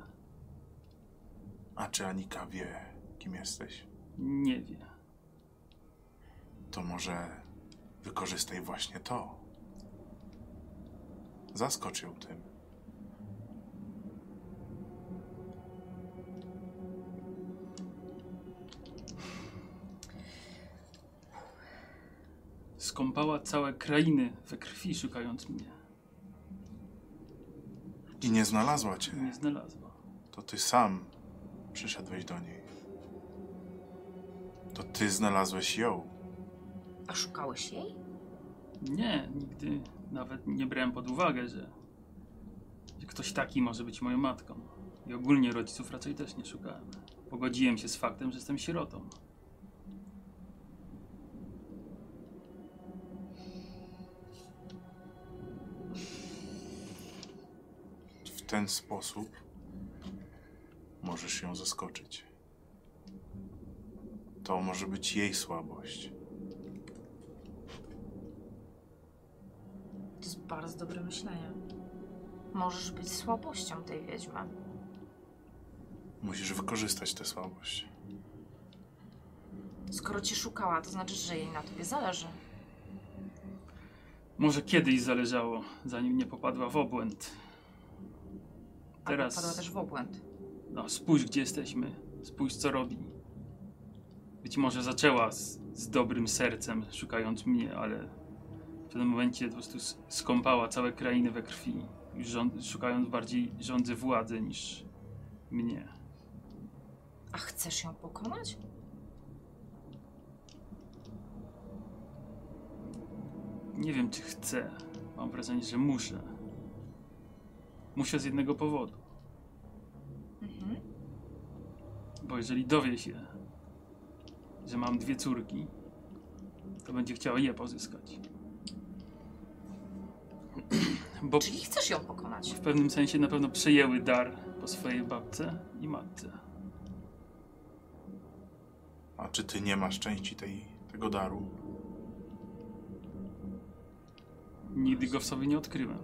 S2: A czy Anika wie, kim jesteś?
S4: Nie wie.
S2: To może wykorzystaj właśnie to. Zaskocz ją tym.
S4: Skąpała całe krainy we krwi, szukając mnie.
S2: I nie znalazła cię.
S4: Nie znalazła.
S2: To ty sam przyszedłeś do niej. To ty znalazłeś ją.
S3: A szukałeś jej?
S4: Nie, nigdy nawet nie brałem pod uwagę, że, że ktoś taki może być moją matką. I ogólnie rodziców raczej też nie szukałem. Pogodziłem się z faktem, że jestem sierotą.
S2: w ten sposób Możesz ją zaskoczyć. To może być jej słabość.
S3: To jest bardzo dobre myślenie. Możesz być słabością tej wiedźmy.
S2: Musisz wykorzystać tę słabość.
S3: Skoro cię szukała, to znaczy, że jej na tobie zależy.
S4: Może kiedyś zależało, zanim nie popadła w obłęd.
S3: A
S4: Teraz-
S3: Teraz... też w obłęd.
S4: No, spójrz, gdzie jesteśmy. Spójrz, co robi. Być może zaczęła z, z dobrym sercem, szukając mnie, ale w tym momencie po prostu s- skąpała całe krainy we krwi, już rząd, szukając bardziej rządzy władzy niż mnie.
S3: A chcesz ją pokonać?
S4: Nie wiem, czy chcę. Mam wrażenie, że muszę. Muszę z jednego powodu.
S3: Mhm.
S4: Bo jeżeli dowie się, że mam dwie córki, to będzie chciała je pozyskać. Bo
S3: Czyli chcesz ją pokonać.
S4: w pewnym sensie na pewno przejęły dar po swojej babce i matce.
S2: A czy ty nie masz części tej, tego daru?
S4: Nigdy go w sobie nie odkryłem.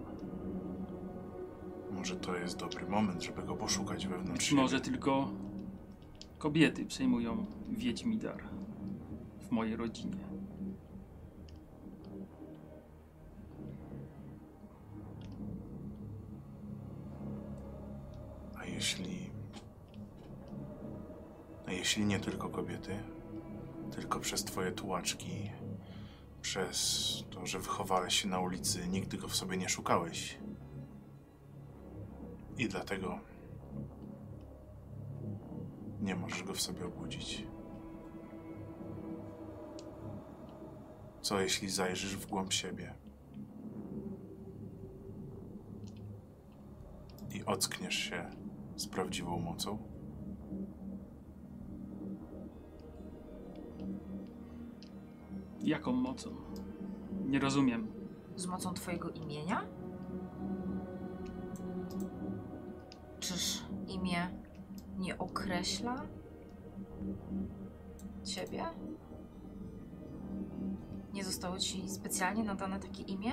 S2: Może to jest dobry moment, żeby go poszukać wewnątrz.
S4: Być
S2: siebie.
S4: może tylko kobiety przejmują wiedźmi dar w mojej rodzinie.
S2: A jeśli. A jeśli nie tylko kobiety, tylko przez twoje tułaczki, przez to, że wychowałeś się na ulicy, nigdy go w sobie nie szukałeś. I dlatego nie możesz go w sobie obudzić. Co jeśli zajrzysz w głąb siebie i ockniesz się z prawdziwą mocą?
S4: Jaką mocą? Nie rozumiem.
S3: Z mocą twojego imienia? Czyż imię nie określa ciebie? Nie zostało ci specjalnie nadane takie imię?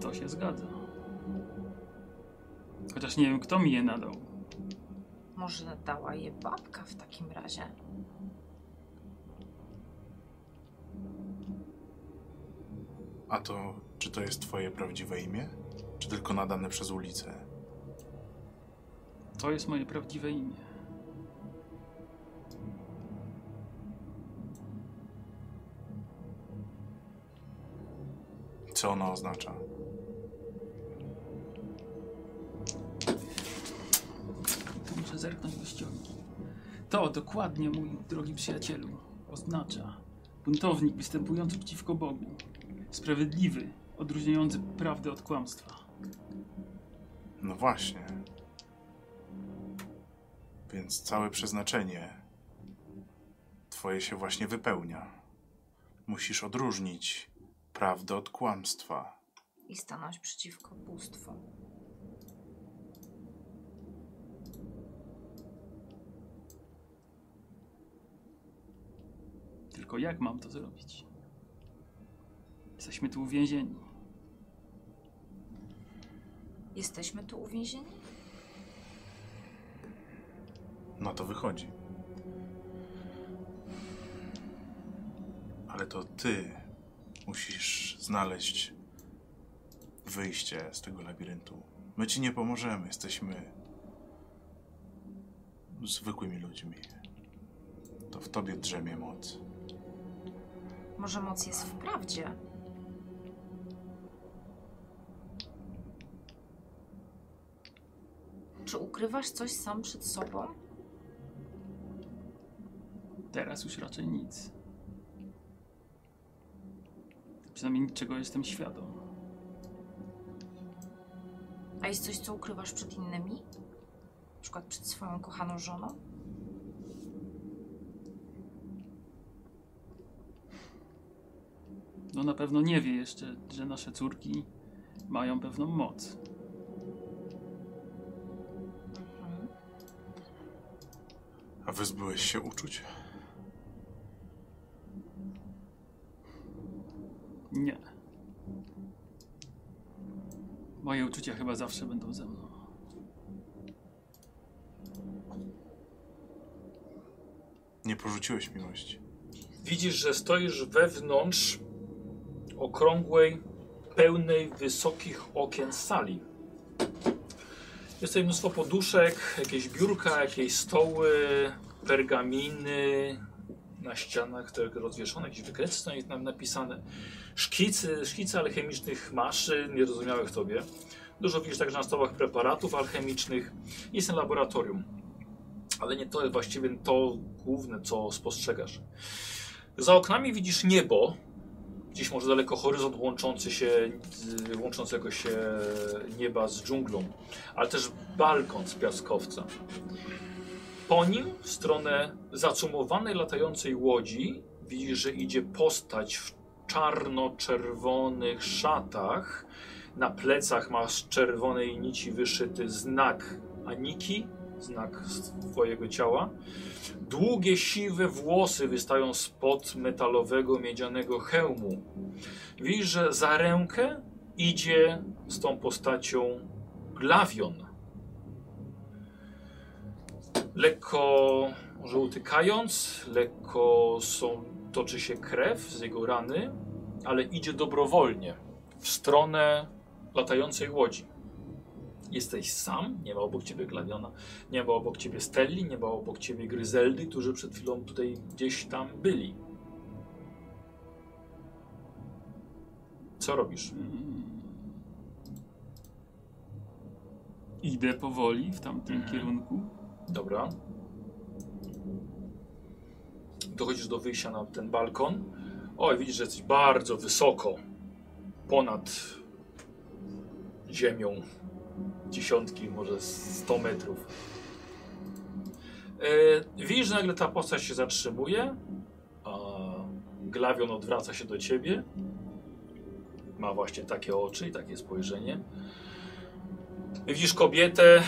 S4: To się zgadza. Chociaż nie wiem, kto mi je nadał.
S3: Może dała je babka w takim razie?
S2: A to, czy to jest twoje prawdziwe imię? Czy tylko nadane przez ulicę?
S4: To jest moje prawdziwe imię.
S2: Co ono oznacza?
S4: Tu muszę zerknąć do ścianki. To dokładnie, mój drogi przyjacielu, oznacza buntownik występujący przeciwko Bogu, sprawiedliwy, odróżniający prawdę od kłamstwa.
S2: No właśnie. Więc całe przeznaczenie twoje się właśnie wypełnia. Musisz odróżnić prawdę od kłamstwa.
S3: I stanąć przeciwko bóstwu.
S4: Tylko jak mam to zrobić? Jesteśmy tu uwięzieni.
S3: Jesteśmy tu uwięzieni?
S2: Na to wychodzi. Ale to ty musisz znaleźć wyjście z tego labiryntu. My ci nie pomożemy, jesteśmy zwykłymi ludźmi. To w tobie drzemie moc.
S3: Może moc jest w prawdzie? Czy ukrywasz coś sam przed sobą?
S4: Teraz już raczej nic. Przynajmniej niczego jestem świadom.
S3: A jest coś, co ukrywasz przed innymi? Na przykład przed swoją kochaną żoną?
S4: No na pewno nie wie jeszcze, że nasze córki mają pewną moc.
S2: A wyzbyłeś się uczuć?
S4: Nie. Moje uczucia chyba zawsze będą ze mną.
S2: Nie porzuciłeś miłości.
S1: Widzisz, że stoisz wewnątrz okrągłej, pełnej wysokich okien sali. Jest tutaj mnóstwo poduszek, jakieś biurka, jakieś stoły, pergaminy na ścianach, które rozwieszone, jakieś wykresy na nich tam napisane, szkicy, szkice alchemicznych maszyn, niezrozumiałych tobie. Dużo widzisz także na stołach preparatów alchemicznych. Jest na laboratorium, ale nie to jest właściwie to główne, co spostrzegasz. Za oknami widzisz niebo. Gdzieś może daleko horyzont łączący się, z- łączącego się nieba z dżunglą, ale też balkon z piaskowca. Po nim w stronę zacumowanej latającej łodzi widzisz, że idzie postać w czarno-czerwonych szatach. Na plecach ma z czerwonej nici wyszyty znak Aniki, znak twojego ciała. Długie, siwe włosy wystają spod metalowego, miedzianego hełmu. Widzisz, że za rękę idzie z tą postacią glawion. Lekko może utykając, lekko są, toczy się krew z jego rany, ale idzie dobrowolnie w stronę latającej łodzi. Jesteś sam, nie ma obok ciebie glawiona. Nie ma obok ciebie Stelli, nie ma obok ciebie Gryzeldy, którzy przed chwilą tutaj gdzieś tam byli. Co robisz?
S4: Mm. Idę powoli w tamtym
S1: Mhm.
S4: kierunku.
S1: Dobra. Dochodzisz do wyjścia na ten balkon. Oj, widzisz, że jesteś bardzo wysoko. Ponad ziemią. Dziesiątki, może 100 metrów. E, widzisz, że nagle ta postać się zatrzymuje. A glawion odwraca się do ciebie. Ma właśnie takie oczy i takie spojrzenie. Widzisz kobietę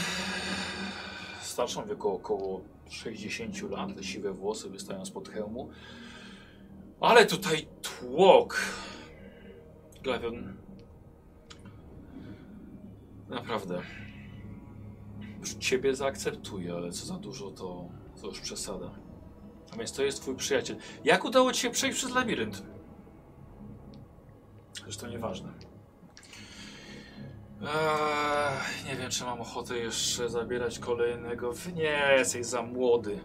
S1: starszą w wieku około 60 lat, te siwe włosy wystają spod hełmu. Ale tutaj tłok. Glawion. Naprawdę. Już ciebie zaakceptuję, ale co za dużo, to, to już przesada. A więc to jest twój przyjaciel. Jak udało ci się przejść przez labirynt? Zresztą nieważne. Ech, nie wiem, czy mam ochotę jeszcze zabierać kolejnego. Wy Nie, jesteś za młody.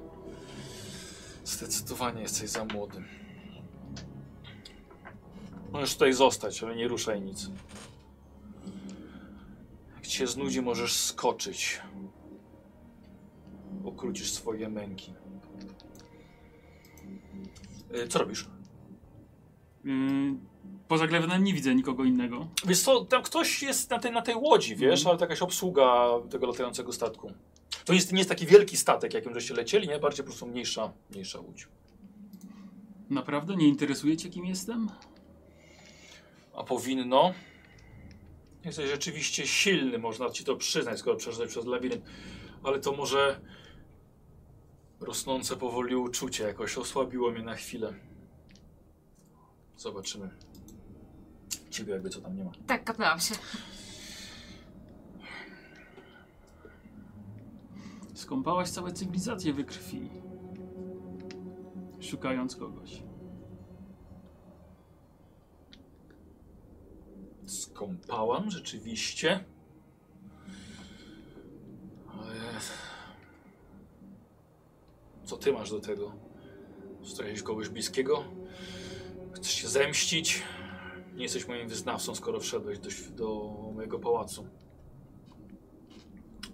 S1: Zdecydowanie jesteś za młody. Możesz tutaj zostać, ale nie ruszaj nic. Jak cię znudzi, możesz skoczyć. Ukrócisz swoje męki. Y, Co robisz?
S4: Yy, poza Glewnem nie widzę nikogo innego.
S1: Wiesz co, tam ktoś jest na tej, na tej łodzi, wiesz, ale to jakaś obsługa tego latającego statku. To jest, nie jest taki wielki statek, jakim żeście lecieli, nie? Bardziej po prostu mniejsza, mniejsza łódź.
S4: Naprawdę? Nie interesuje cię, kim jestem?
S1: A powinno... Jesteś rzeczywiście silny, można ci to przyznać, skoro przeszedłeś przez labirynt. Ale to może... Rosnące powoli uczucie jakoś osłabiło mnie na chwilę. Zobaczymy. Ciebie jakby co tam nie ma.
S3: Tak, kapnęłam się.
S4: Skąpałaś całe cywilizacje we krwi. Szukając kogoś.
S1: Skąpałam rzeczywiście. Ale... Co ty masz do tego? Straciłeś kogoś bliskiego? Chcesz się zemścić? Nie jesteś moim wyznawcą, skoro wszedłeś do, św- do mojego pałacu.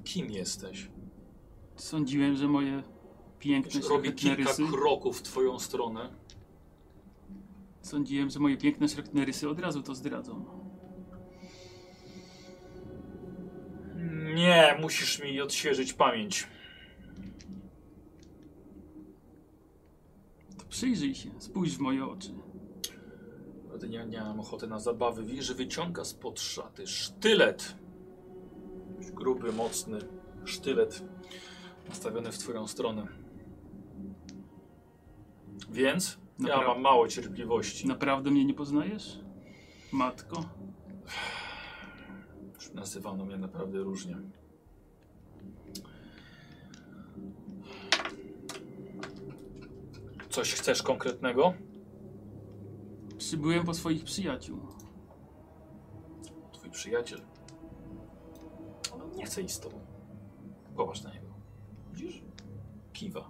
S1: Kim jesteś?
S4: Sądziłem, że moje piękne,
S1: Robię
S4: szlachetne
S1: kilka
S4: rysy...
S1: kroków w twoją stronę.
S4: Sądziłem, że moje piękne, szlachetne rysy od razu to zdradzą.
S1: Nie, musisz mi odświeżyć pamięć.
S4: To przyjrzyj się, spójrz w moje oczy.
S1: Naprawdę nie, nie mam ochoty na zabawy. Widzisz, że wyciąga spod szaty sztylet. Gruby, mocny sztylet nastawiony w twoją stronę. Więc ja
S4: Dobra. No.
S1: mam mało cierpliwości.
S4: Naprawdę mnie nie poznajesz? Matko.
S1: Nazywano mnie naprawdę różnie. Coś chcesz konkretnego?
S4: Przybyłem po swoich przyjaciół.
S1: Twój przyjaciel. On nie chce iść z tobą. Popatrz na niego. Widzisz? Kiwa.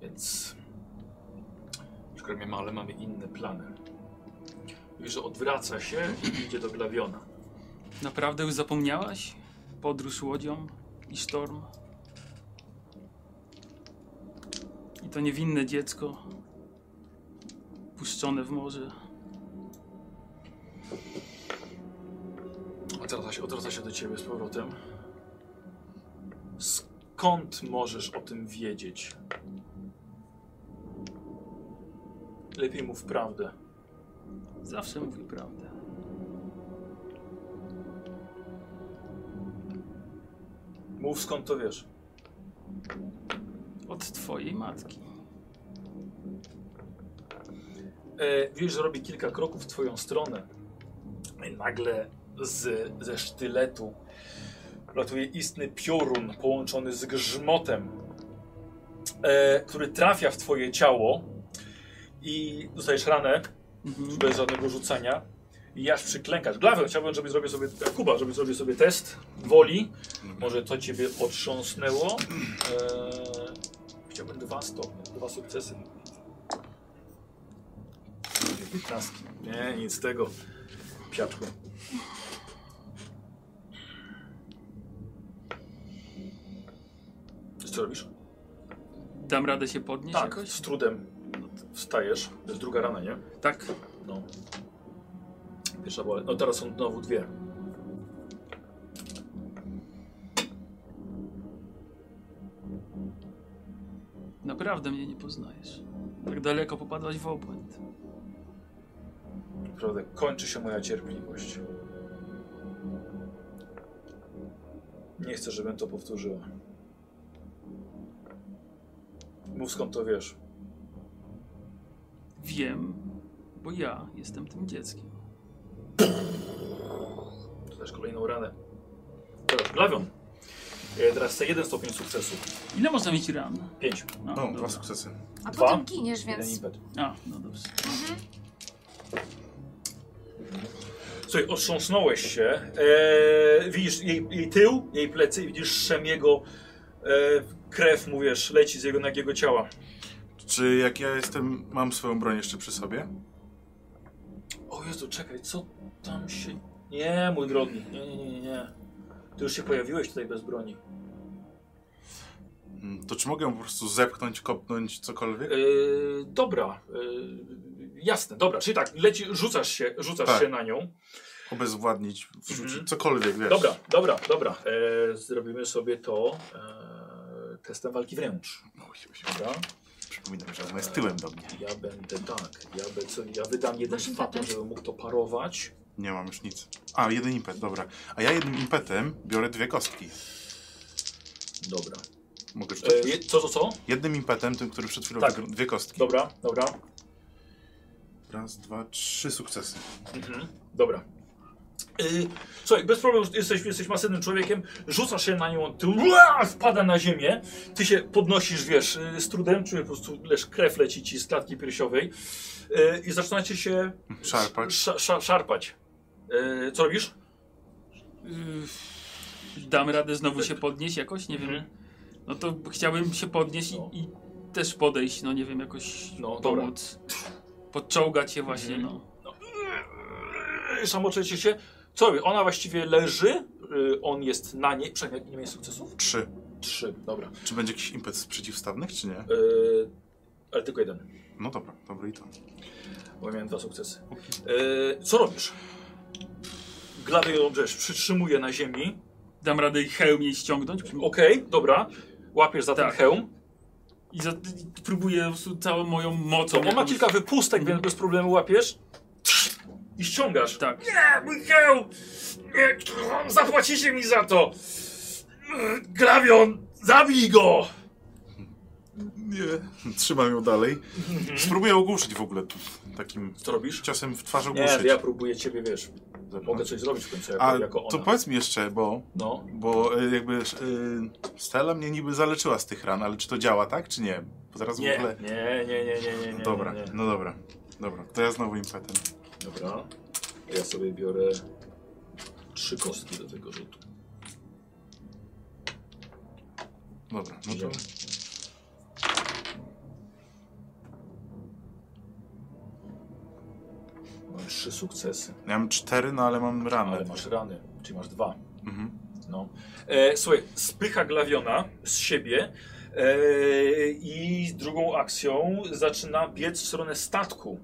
S1: Więc... Przykro mi, ale mamy inne plany. Widzisz, że odwraca się i idzie do Glawiona.
S4: Naprawdę już zapomniałaś? Podróż łodzią i sztorm. I to niewinne dziecko puszczone w morze.
S1: Odwraca się, odwraca się do ciebie z powrotem. Skąd możesz o tym wiedzieć? Lepiej mów prawdę.
S4: Zawsze mówi prawdę.
S1: Mów skąd to wiesz.
S4: Od twojej matki.
S1: E, wiesz, że robi kilka kroków w twoją stronę. I Nagle z, ze sztyletu latuje istny piorun połączony z grzmotem, e, który trafia w twoje ciało i dostajesz ranę.
S4: Mhm.
S1: bez żadnego rzucania. I aż przyklękasz. Glawę chciałbym, żeby zrobił sobie, Kuba, żeby zrobił sobie test woli. Może to ciebie otrząsnęło. Eee, chciałbym dwa stopnie, dwa sukcesy. Piętnastki. Nie, nic z tego. Piaczku. Co robisz?
S4: Dam radę się podnieść
S1: Tak,
S4: jakoś?
S1: z trudem wstajesz. To jest druga rana, nie?
S4: Tak.
S1: No. Pierwsza była. No teraz są znowu dwie.
S4: Naprawdę mnie nie poznajesz. Tak daleko popadłaś w obłęd.
S1: Naprawdę kończy się moja cierpliwość. Nie chcę, żebym to powtórzyła. Mów skąd to wiesz.
S4: Wiem, bo ja jestem tym dzieckiem.
S1: To też kolejną ranę. Teraz glawią. E, Teraz chcę jeden stopień sukcesu.
S4: Ile można mieć ran?
S1: Pięć.
S4: A,
S2: No,
S4: dobra.
S2: dwa sukcesy.
S3: A
S1: Dwa?
S3: potem giniesz,
S1: Jeden
S3: więc
S1: impet.
S4: A, no dobrze.
S1: Słuchaj, otrząsnąłeś się. E, widzisz jej, jej tył, jej plecy i widzisz Szemiego e, krew, mówisz, leci z jego nagiego ciała.
S2: Czy jak ja jestem, mam swoją broń jeszcze przy sobie?
S1: O Jezu, czekaj, co tam się... Nie, mój drogi, nie, nie, nie, nie, nie. Ty już się pojawiłeś tutaj bez broni.
S2: Mm, To czy mogę po prostu zepchnąć, kopnąć, cokolwiek?
S1: Yy, dobra, yy, jasne, dobra, czyli tak, leci, rzucasz się, rzucasz
S2: Tak.
S1: się na nią.
S2: Obezwładnić, wrzucić,
S1: Mhm.
S2: cokolwiek, wiesz.
S1: Dobra, dobra, dobra, yy, zrobimy sobie to yy, testem walki wręcz,
S2: O, No, się- się-
S1: dobra?
S2: Przypominam, że ona jest tyłem do mnie.
S1: Ja będę tak, ja, be, co, ja wydam jeden
S3: Masz
S1: fatum,
S3: impetem?
S1: żebym mógł to parować.
S2: Nie mam już nic. A, jeden impet, dobra. A ja jednym impetem biorę dwie kostki.
S1: Dobra.
S2: Mogę rzucać?
S1: Yy, co, co, co?
S2: Jednym impetem, tym, który przed chwilą
S1: Tak.
S2: wygr- dwie kostki.
S1: Dobra, dobra,
S2: Raz, dwa, trzy sukcesy.
S1: Mhm, dobra. Yy, słuchaj, bez problemu jesteś, jesteś masywnym człowiekiem, rzucasz się na nią, ty ua, wpada na ziemię, ty się podnosisz, wiesz, yy, z trudem, czujesz po prostu, lecz krew leci ci z klatki piersiowej yy, i zaczynacie się
S2: Szarpać.
S1: sz, sz, szarpać. Yy, co robisz?
S4: Yy, dam radę znowu się podnieść jakoś? Nie wiem.
S1: Mhm.
S4: No to chciałbym się podnieść i,
S1: No.
S4: i też podejść, no nie wiem, jakoś
S1: No, dobra.
S4: pomóc. Podczołgać się właśnie,
S1: Mhm.
S4: no.
S1: Yy, Samoczecie się. Co robi? Ona właściwie leży, yy, on jest na niej. Przynajmniej nie mieli sukcesów?
S2: Trzy.
S1: Trzy, dobra.
S2: Czy będzie jakiś impet z przeciwstawnych, czy nie?
S1: Yy, ale tylko jeden,
S2: No dobra, dobra i to.
S1: bo miałem dwa sukcesy. Yy, co robisz? Gladio Rogers przytrzymuje na ziemi.
S4: Dam radę ich hełm jej ściągnąć
S1: Okej, dobra. Łapiesz za
S4: Tak.
S1: ten hełm.
S4: i, za, i próbuję po prostu całą moją mocą.
S1: To on ma
S4: jakąś-
S1: kilka wypustek,
S4: Mhm.
S1: więc bez problemu łapiesz. I ściągasz.
S4: Tak.
S1: Nie, mój hełm! Nie, zapłacicie mi za to! Glawion, Zabij go!
S2: Nie. Trzymam ją dalej.
S1: Mhm.
S2: Spróbuję ogłuszyć w ogóle tu, takim
S1: Co robisz?
S2: ciosem w twarz
S1: Nie,
S2: ogłuszyć.
S1: ja próbuję ciebie, wiesz,
S2: Ze mną.
S1: mogę coś zrobić w końcu jako,
S2: A
S1: jako ona.
S2: to powiedz mi jeszcze, bo,
S1: No,
S2: bo e, jakby e, Stella mnie niby zaleczyła z tych ran, ale czy to działa, tak, czy nie? Bo zaraz w
S1: nie,
S2: ogóle...
S1: nie, nie, nie, nie, nie, nie, nie.
S2: Dobra,
S1: nie, nie.
S2: no dobra. Dobra, to ja znowu impetem.
S1: Dobra. Ja sobie biorę trzy kostki do tego rzutu.
S2: Dobra, no to...
S1: Mam trzy sukcesy,
S2: Ja mam cztery, no ale mam ranę.
S1: ale masz rany, czyli masz dwa.
S2: Mhm.
S1: No. E, słuchaj, spycha glawiona z siebie e, i z drugą akcją zaczyna biec w stronę statku.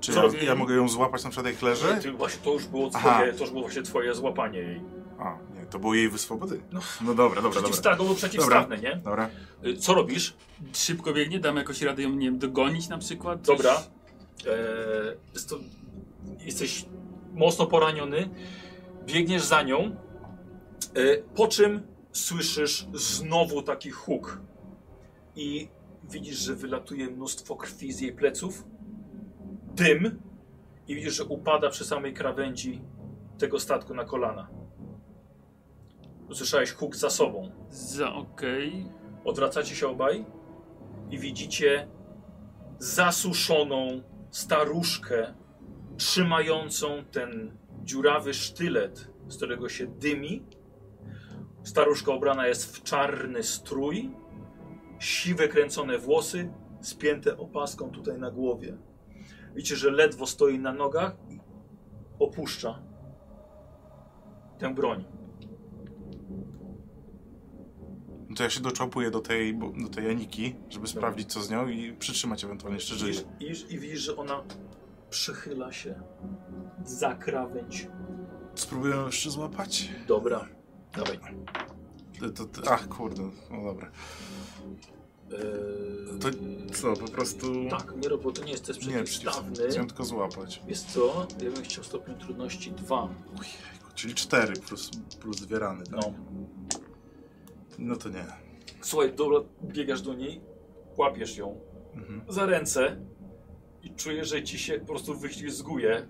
S2: Czy
S1: Co
S2: ja,
S1: robię?
S2: ja mogę ją złapać na przykład jak leży?
S1: Ty, właśnie to już było
S2: Aha.
S1: twoje, to już było właśnie twoje złapanie jej.
S2: A, nie, to było jej wyswobody. No, no dobra, dobra, dobra.
S1: Przeciwsta- no, Przeciwstawne, nie?
S2: Dobra,
S1: Y, Co robisz?
S4: Szybko biegnie, dam jakoś radę ją, nie wiem, dogonić na przykład. coś.
S1: Dobra. E, jest to, jesteś mocno poraniony. Biegniesz za nią. E, po czym słyszysz znowu taki huk. I widzisz, że wylatuje mnóstwo krwi z jej pleców. Dym. I widzisz, że upada przy samej krawędzi tego statku na kolana. Usłyszałeś huk za sobą.
S4: Za okej.
S1: Odwracacie się obaj i widzicie zasuszoną staruszkę trzymającą ten dziurawy sztylet, z którego się dymi. Staruszka ubrana jest w czarny strój, siwe kręcone włosy, spięte opaską tutaj na głowie. Widzicie, że ledwo stoi na nogach i opuszcza tę broń.
S2: no to ja się doczopuję do tej, bo- do tej Aniki, żeby sprawdzić co z nią i przytrzymać ewentualnie jeszcze
S1: Widzisz,
S2: żyje.
S1: widzisz, I widzisz, że ona przychyla się za krawędź.
S2: Spróbuję ją jeszcze złapać?
S1: Dobra. Dawaj.
S2: To, to, to, ach kurde, no dobra.
S1: Eee,
S2: To co, po prostu...
S1: Tak, nie bo to nie jest test
S2: Nie, przecież
S1: przeciwstawny.
S2: chcę ją tylko złapać.
S1: Wiesz co? Ja bym chciał stopień trudności 2.
S2: Tak. Ojejku, Czyli cztery plus, plus dwie rany, tak?
S1: No.
S2: No. no to nie.
S1: Słuchaj, dobra, biegasz do niej, łapiesz ją
S2: Mhm.
S1: za ręce i czujesz, że ci się po prostu wyślizguje.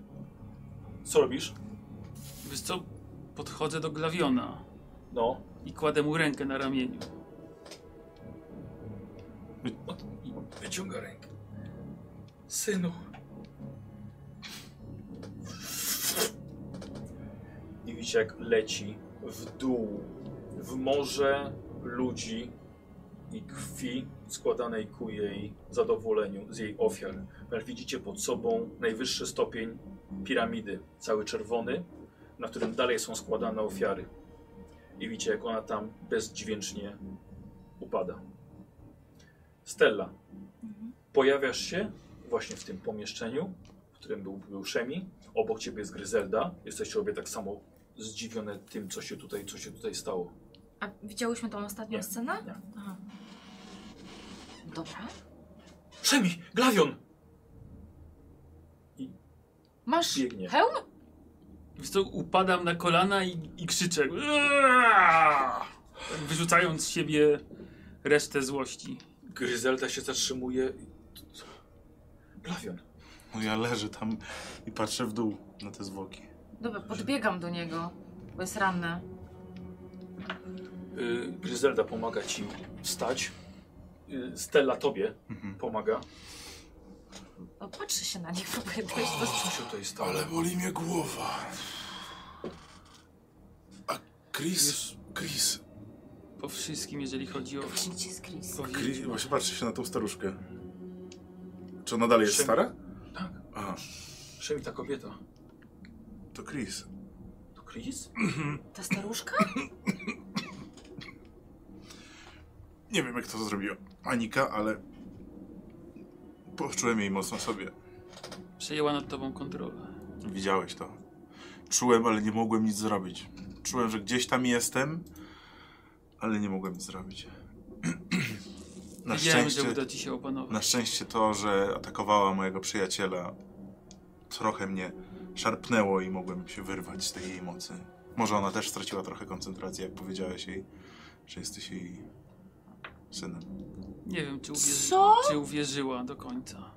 S1: Co robisz?
S4: Wiesz co, podchodzę do Glawiona
S1: No.
S4: i kładę mu rękę na ramieniu.
S1: Wyciąga rękę. Synu. I widzicie, jak leci w dół, w morze ludzi i krwi składanej ku jej zadowoleniu z jej ofiar. Ale widzicie pod sobą najwyższy stopień piramidy, cały czerwony, na którym dalej są składane ofiary. I widzicie, jak ona tam bezdźwięcznie upada. Stella, Pojawiasz się właśnie w tym pomieszczeniu, w którym był, był Szemi. Obok ciebie jest Gryzelda. Jesteście obie tak samo zdziwione tym, co się tutaj, co się tutaj stało.
S3: A widziałyśmy tą ostatnią
S1: Nie,
S3: scenę?
S1: nie.
S3: Aha. Dobra.
S1: Szemi! Glawion!
S3: Masz
S1: Biegnie.
S3: hełm?
S4: Wiesz co, upadam na kolana i, i krzyczę. "Aaah!" Wyrzucając z siebie resztę złości.
S1: Gryzelda się zatrzymuje. Glawion.
S2: No ja leżę tam i patrzę w dół na te zwłoki.
S3: Dobra, podbiegam do niego, bo jest ranny.
S1: Y, Gryzelda pomaga ci wstać. Y, Stella tobie
S2: Mhm.
S1: pomaga.
S3: No, patrzę się na niego, próbuję dojść do...
S1: Co się tutaj stało?
S2: boli mnie głowa. A Chris... Chris...
S4: Po wszystkim, jeżeli chodzi o.
S3: Właśnie, Gdzie jest Chris?
S4: o
S2: Chris właśnie patrzy się na tą staruszkę. Czy ona dalej jest
S1: Szym-
S2: stara?
S1: Tak.
S2: Aha,
S1: Szemi, ta kobieta.
S2: to Chris.
S1: To Chris?
S3: Ta staruszka?
S2: Nie wiem jak to zrobiła Anika, ale... Poczułem jej mocno w sobie.
S4: Przejęła nad tobą kontrolę.
S2: Widziałeś to. Czułem, ale nie mogłem nic zrobić. Czułem, że gdzieś tam jestem, ale nie mogłem nic zrobić. [CLEARS THROAT] Na
S4: Wiedziałem,
S2: szczęście,
S4: że uda ci się opanować.
S2: na szczęście to, że atakowała mojego przyjaciela, trochę mnie szarpnęło i mogłem się wyrwać z tej jej mocy. Może ona też straciła trochę koncentracji, jak powiedziałeś jej, że jesteś jej synem.
S4: Nie wiem, czy, uwierzy...
S3: Co?
S4: czy uwierzyła do końca.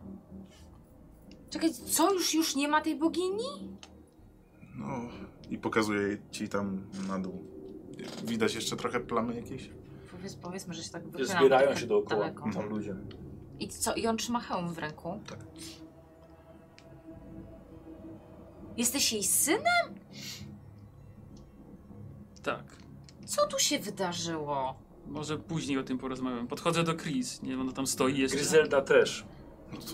S3: Czekaj, co? Już, już nie ma tej bogini?
S2: No,
S5: I pokazuje ci tam na dół.
S2: widać jeszcze trochę plamy jakieś?
S3: Powiedz, powiedzmy, że się tak wychylam.
S1: Zbierają
S3: trochę
S1: się dookoła
S3: daleko.
S1: tam ludzie.
S3: I co? I on trzyma hełm w ręku?
S1: Tak.
S3: Jesteś jej synem?
S4: Tak.
S3: Co tu się wydarzyło?
S4: Może później o tym porozmawiam. Podchodzę do Chris. Nie wiem, ona tam stoi jeszcze.
S1: Gryzelda też.
S2: No to...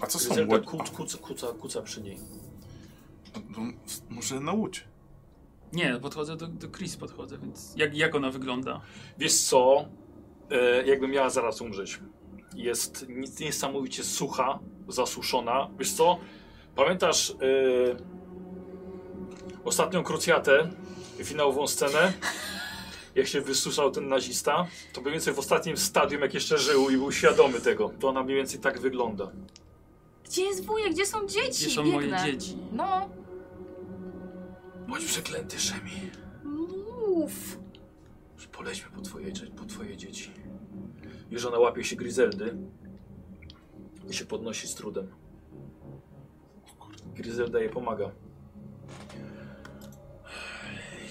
S2: A co są
S1: Gryzelda
S2: łodzi?
S1: ku, kuca, kuca, kuca przy niej.
S2: A, no, Może na łódź.
S4: Nie, podchodzę do, do Chris, podchodzę, więc jak, jak ona wygląda?
S1: Wiesz co? E, jakby miała zaraz umrzeć. Jest nic niesamowicie sucha, zasuszona. Wiesz co? Pamiętasz e, ostatnią krucjatę, finałową scenę? Jak się wysuszał ten nazista, to mniej więcej w ostatnim stadium, jak jeszcze żył i był świadomy tego, to ona mniej więcej tak wygląda.
S3: Gdzie jest wujek? Gdzie są dzieci?
S4: Gdzie są
S3: Biegnę.
S4: moje dzieci?
S3: No,
S1: Bądź przeklęty, Szemi.
S3: mów.
S1: Polećmy po twoje, po twoje dzieci. Już ona łapie się Gryzeldy i się podnosi z trudem. Gryzelda jej pomaga.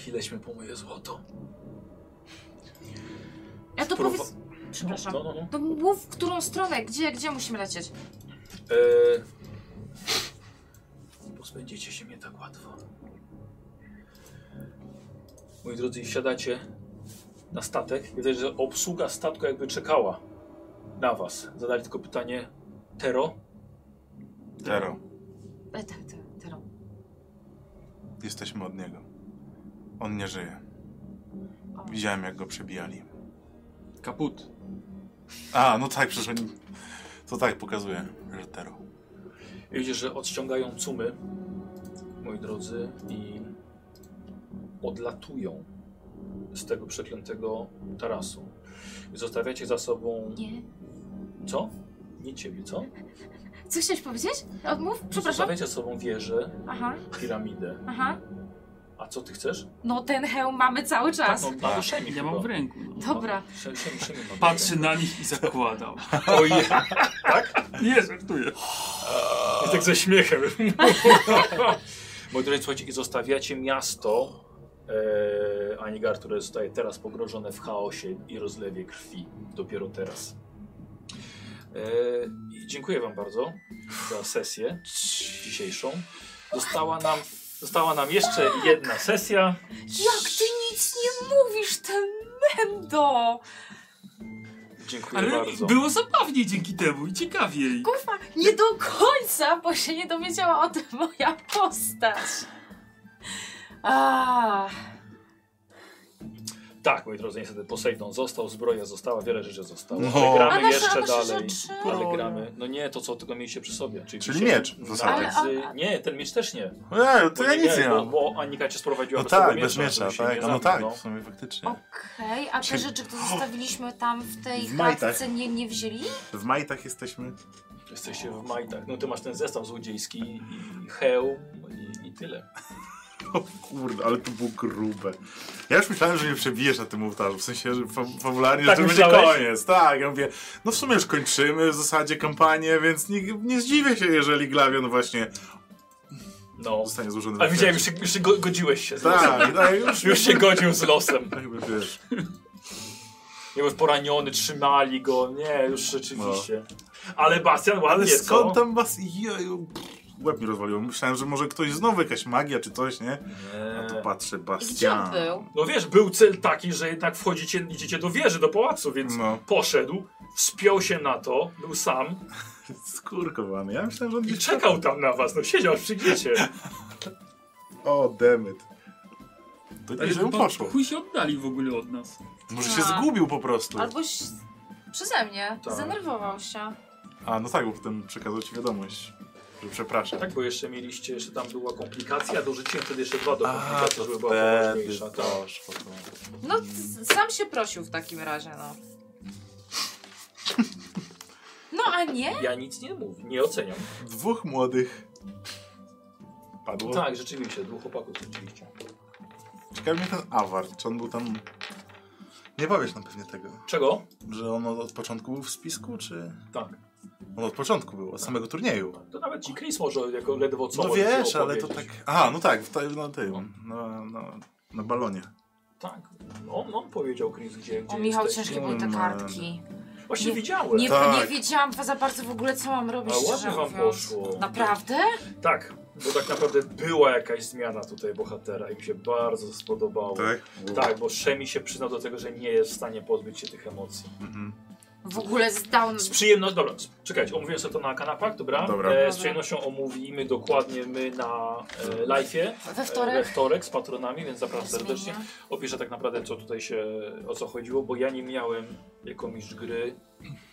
S1: I lećmy po moje złoto.
S3: Ja to
S1: Spróbu-
S3: powiedz... Przepraszam.
S1: No, no, no.
S3: To mów, w którą stronę? Gdzie, gdzie musimy lecieć?
S1: Eee, nie pozbędziecie się mnie tak łatwo. Moi drodzy, wsiadacie na statek. Widać, że obsługa statku jakby czekała na was. Zadali tylko pytanie, Tero,
S2: Tero,
S3: E, tak, tak, teraz.
S2: jesteśmy od niego. On nie żyje.
S3: O.
S2: Widziałem, jak go przebijali.
S4: Kaput.
S2: A, no tak, przecież oni... To tak pokazuje, że Tero.
S1: I Widzicie, że odciągają cumy, moi drodzy, i odlatują z tego przeklętego tarasu. I zostawiacie za sobą.
S3: Nie.
S1: Co? Nie ciebie, co?
S3: Co chciałeś powiedzieć? Odmów? Przepraszam.
S1: Zostawiacie za sobą wieżę,
S3: Aha,
S1: piramidę.
S3: aha.
S1: A co ty chcesz?
S3: No ten hełm mamy cały czas.
S1: No, na duszemi
S4: Tak. Ja mam w ręku. No.
S3: Dobra.
S4: Patrzy na nich i zakładał. [LAUGHS]
S1: Oje.
S4: Nie, żartuję.
S1: I tak ze śmiechem. [LAUGHS] Moi drodzy, słuchajcie, i zostawiacie miasto e, Anigar, które zostaje teraz pogrożone w chaosie i rozlewie krwi. Dopiero teraz. E, i dziękuję Wam bardzo za sesję dzisiejszą. Została nam, została nam jeszcze jedna sesja.
S3: Jak ty nic nie mówisz, ten mendo!
S1: Dziękuję
S4: Ale
S1: bardzo.
S4: było zabawnie dzięki temu i ciekawiej.
S3: Kufa, nie do końca, bo się nie dowiedziała o tym moja postać. A,
S1: Tak, moi drodzy, niestety Poseidon został, zbroja została, wiele rzeczy zostało.
S2: No.
S1: Ale
S3: A
S1: gramy
S3: nasze-
S1: jeszcze
S3: a nasze
S1: dalej.
S3: rzeczy?
S1: Ale gramy. No nie, to co tylko mieliście przy sobie. Czyli,
S2: Czyli
S1: dzisiaj
S2: miecz w
S1: nawet
S2: zasadzie.
S1: z- Nie, ten miecz też nie.
S2: Eee,
S1: Bo
S2: to ja nic nie
S1: bo,
S2: mam.
S1: bo Anika cię sprowadziła
S2: No
S1: bez tego
S2: tak, bez miecza,
S1: żeby się
S2: tak.
S1: nie
S2: No
S1: zabił,
S2: tak,
S1: no.
S2: w sumie faktycznie.
S3: Okej, a te
S2: Czyli-
S3: rzeczy, które zostawiliśmy tam w tej
S5: W majtach.
S3: chatce nie, nie wzięli?
S2: W majtach jesteśmy. [LAUGHS]
S1: Jesteście w majtach. No ty masz ten zestaw złodziejski i hełm no i, i tyle.
S2: Kurde, ale to było grube. Ja już myślałem, że mnie przebijesz na tym ołtarzu, w sensie, że fa fabularnie,
S1: Tak
S2: że to będzie
S1: myślałeś?
S2: koniec. Tak, ja mówię, no w sumie już kończymy w zasadzie kampanię, więc nie, nie zdziwię się, jeżeli Glawion właśnie
S1: No.
S2: zostanie złożony.
S1: A
S2: w
S1: widziałem,
S2: kwiecie.
S1: już, już się go, godziłeś się. z losem.
S2: Tak, tak, już,
S1: Już się godził z losem.
S2: Jakby wiesz.
S1: Nie był poraniony, trzymali go. Nie, już rzeczywiście. Ale Bastian ładnie,
S2: No. Ale skąd
S1: co?
S2: tam was... Jeju, pff, Łeb mi rozwaliło. Myślałem, że może ktoś znowu jakaś magia czy coś, nie? A
S1: Nie.
S2: tu patrzę,
S3: Gdzie on
S2: Bastian.
S3: był?
S1: No wiesz, był cel taki, że jednak wchodzicie, idziecie do wieży, do pałacu, więc
S2: No.
S1: poszedł, wspiął się na to, był sam
S2: [LAUGHS] Skurkowany. Ja myślałem, że on
S1: i czekał tam na was, no siedział aż przyjdziecie.
S5: O, demyt.
S2: To nie, że mu
S4: po-
S2: poszło.
S4: Chuj się oddali w ogóle od nas.
S2: Może się
S3: A.
S2: zgubił po prostu.
S3: Albo ś- przeze mnie.
S1: Tak.
S3: Zdenerwował się.
S2: A, no tak, bo potem przekazał ci wiadomość, że przepraszam.
S1: Tak, bo jeszcze mieliście, jeszcze tam była komplikacja, dorzuciłem wtedy jeszcze dwa do
S2: A,
S1: komplikacji,
S2: to
S1: żeby była
S2: wtedy
S1: poważniejsza. tak.
S2: doszło. to.
S3: No, s- sam się prosił w takim razie, no. No, a nie?
S1: Ja nic nie mówię, nie oceniam.
S2: Dwóch młodych padło.
S1: Tak, rzeczywiście, dwóch chłopaków rzeczywiście.
S2: Ciekawi mnie ten awar, czy on był tam... Nie powiesz nam pewnie tego,
S1: Czego?
S2: że on od od początku był w spisku, czy...
S1: Tak.
S2: On od początku był, od samego turnieju.
S1: To nawet ci Chris może jako ledwo co
S2: No
S1: może
S2: wiesz, ale to
S1: opowiedzieć.
S2: tak... A, no tak, w to, na tym, na, na, na balonie.
S1: Tak. On, on powiedział Chris, gdzie, gdzie
S3: O Michał,
S1: jesteś.
S3: ciężkie były te kartki.
S1: Właśnie
S3: Nie-
S1: widziałem.
S3: Nie, nie
S2: Tak.
S3: wiedziałam za bardzo w ogóle, co mam robić.
S1: A ładnie
S3: szczerze
S1: wam
S3: mówiąc.
S1: poszło.
S3: Naprawdę?
S1: Tak, bo tak naprawdę była jakaś zmiana tutaj bohatera i mi się bardzo spodobało.
S2: Tak?
S1: Tak, bo Szemi się przyznał do tego, że nie jest w stanie pozbyć się tych emocji.
S2: Mhm.
S3: W ogóle zdał...
S1: Z przyjemnością, dobra, z- czekajcie, omówiłem sobie to na kanapach, dobra?
S2: Dobra.
S1: E, z
S6: Dobra.
S1: przyjemnością omówimy dokładnie my na e, live'ie.
S3: We
S1: E, we
S3: wtorek?
S1: wtorek z patronami, więc zapraszam serdecznie.
S3: Zmienia.
S1: Opiszę tak naprawdę, co tutaj się, o co chodziło, bo ja nie miałem jako mistrz gry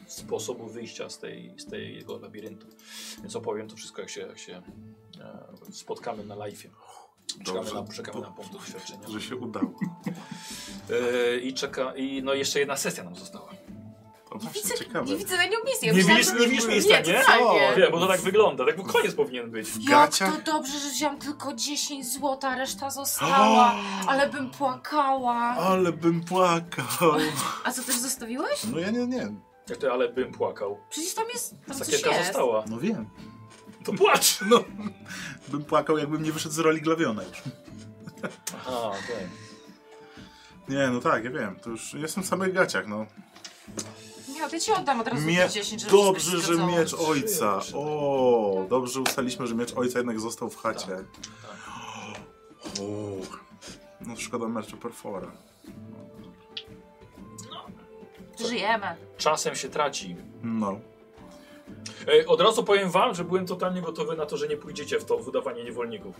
S1: sposobu wyjścia z, tej, z tego labiryntu. Więc opowiem to wszystko, jak się, jak się e, spotkamy na live'ie. Czekamy
S2: Dobrze.
S1: na, czekamy na
S2: To-
S1: punkt doświadczenia.
S2: Że się udało.
S1: E, I czeka, i no jeszcze jedna sesja nam została.
S2: To
S3: Nie
S2: właśnie
S3: No widzę,
S2: ciekawe.
S3: nie widzę na nią miejsca. Ja
S1: Nie
S3: myślałam,
S1: widzisz-
S3: że-
S1: nie widzisz miejsca, nie?
S3: totalnie.
S1: Wiem, bo to tak wygląda, tak bo koniec powinien być.
S2: W
S3: Jak
S2: gaciach?
S3: to dobrze, że wziąłam tylko 10 zł, a reszta
S2: [GASPS]
S3: została. Ale bym płakała.
S2: Ale bym płakał.
S3: A co, też zostawiłeś?
S2: No ja nie, nie.
S1: Jak to, ale bym płakał.
S3: Przecież tam jest... Tam coś
S1: Sakiewka
S3: jest.
S1: została.
S2: No wiem.
S1: To płacz!
S3: [LAUGHS]
S2: No. Bym płakał, jakbym nie wyszedł z roli glawiona już.
S1: Aha, okej.
S2: Nie, no tak, ja wiem. To już jestem w samych gaciach, no.
S3: Nie, to ja ci oddam od razu
S2: Mie-
S3: 10, żeby
S2: dobrze,
S3: się
S2: że
S3: zgadzało.
S2: miecz ojca. O, dobrze ustaliśmy, że miecz ojca jednak został w chacie. O, no szkoda meczu perfora.
S3: Żyjemy.
S1: Czasem się traci.
S2: No.
S1: E, od razu powiem wam, że byłem totalnie gotowy na to, że nie pójdziecie w to wydawanie niewolników.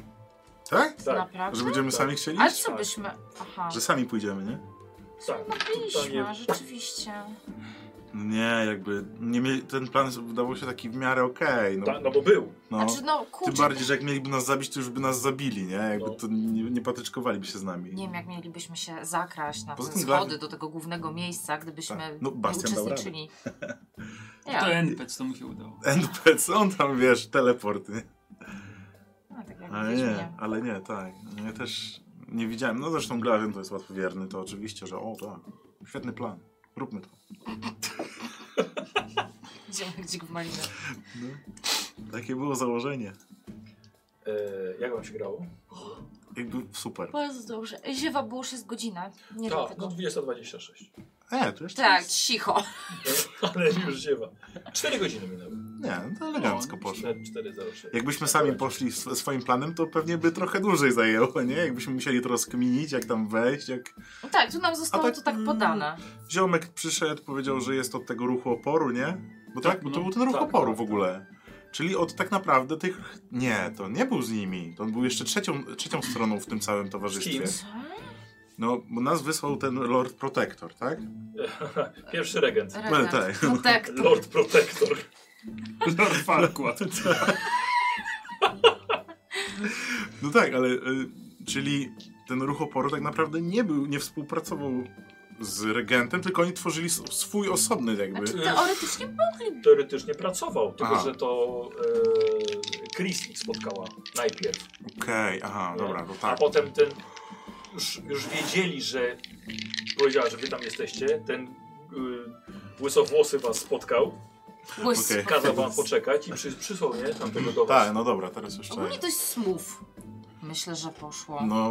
S2: Tak?
S1: Tak,
S3: Naprawdę?
S2: Że będziemy
S1: Tak.
S2: sami chcieli?
S3: Ale
S2: iść?
S3: co byśmy... Aha. No
S2: Że sami pójdziemy, nie?
S1: tak.
S3: Byliśmy,
S1: Totalnie-
S3: rzeczywiście.
S2: No Nie, jakby nie mieli, ten plan wydawał się taki w miarę okej.
S1: Ta,
S2: no,
S1: no bo był.
S2: no.
S3: Znaczy, no
S2: Tym
S3: kurczę,
S2: bardziej, że jak mieliby nas zabić, to już by nas zabili, nie? Jakby
S1: No.
S2: to nie, nie patyczkowaliby się z nami.
S3: nie wiem, jak mielibyśmy się zakraść na te
S2: Poza tym
S3: schody
S2: dla-
S3: do tego głównego miejsca, gdybyśmy
S2: Tak. No,
S3: nie
S2: Bastian dał radę. [LAUGHS]
S3: uczestniczyli.
S4: To
S3: Ja,
S4: NPC, to mu się udało.
S2: NPC, on tam, wiesz, teleport, nie?
S3: no, tak jak
S2: Ale
S3: widzisz
S2: nie,
S3: mnie.
S2: ale nie, tak. No Ja też nie widziałem. No zresztą Glawion to jest łatwowierny, to oczywiście, że o tak, świetny plan. Róbmy to.
S3: Idziemy gdzieś w malinę.
S2: Takie było założenie.
S1: E, jak wam się grało?
S2: Jakby super.
S3: Bardzo dobrze. Ziewa było 6 godzina. Nie tak,
S1: Tak,
S3: tego.
S1: no 2026.
S2: E, to jeszcze
S3: Tak,
S2: jest...
S3: cicho.
S1: [LAUGHS] Ale już ziewa. 4 godziny minęły.
S3: Tak.
S2: Nie, no to elegancko poszło.
S1: 4.06.
S2: Jakbyśmy sami poszli sw- swoim planem, to pewnie by trochę dłużej zajęło, nie? Jakbyśmy musieli to rozkminić, jak tam wejść, jak...
S3: No tak, tu nam zostało
S2: A tak,
S3: to tak
S2: mm,
S3: podane.
S2: Ziomek przyszedł, powiedział, że jest od tego ruchu oporu, nie? Bo tak,
S4: Tak,
S2: bo to
S4: no,
S2: był ten ruch
S1: tak,
S2: oporu
S1: tak,
S2: w ogóle. Czyli od tak naprawdę tych... Nie, to nie był z nimi. To on był jeszcze trzecią, trzecią stroną w tym całym towarzystwie.
S1: Z
S2: No, bo nas wysłał ten Lord Protector, tak?
S1: E, [LAUGHS] Pierwszy regent.
S3: Regent,
S2: tak.
S3: Protektor.
S1: Lord Protector.
S4: Lord Farquaad.
S2: No tak, ale... Y, czyli ten ruch oporu tak naprawdę nie był, nie współpracował z regentem, tylko oni tworzyli s- swój osobny jakby...
S3: Znaczy, teoretycznie
S1: Teoretycznie pracował, tylko
S2: Aha.
S1: że to e, Chris ich spotkała najpierw.
S2: Okej, aha,
S1: Nie?
S2: dobra, to
S1: A
S2: tak.
S1: potem ten. Już, już wiedzieli, że. Powiedziała, że wy tam jesteście. Ten y, łysowłosy was spotkał.
S3: błysk.
S2: Okej.
S1: Kazał wam poczekać i przy, przysłał nie tamtego do was.
S2: Tak, no dobra, teraz już
S3: Ogólnie
S2: czaję.
S3: dość smooth. Myślę, że poszło.
S2: No,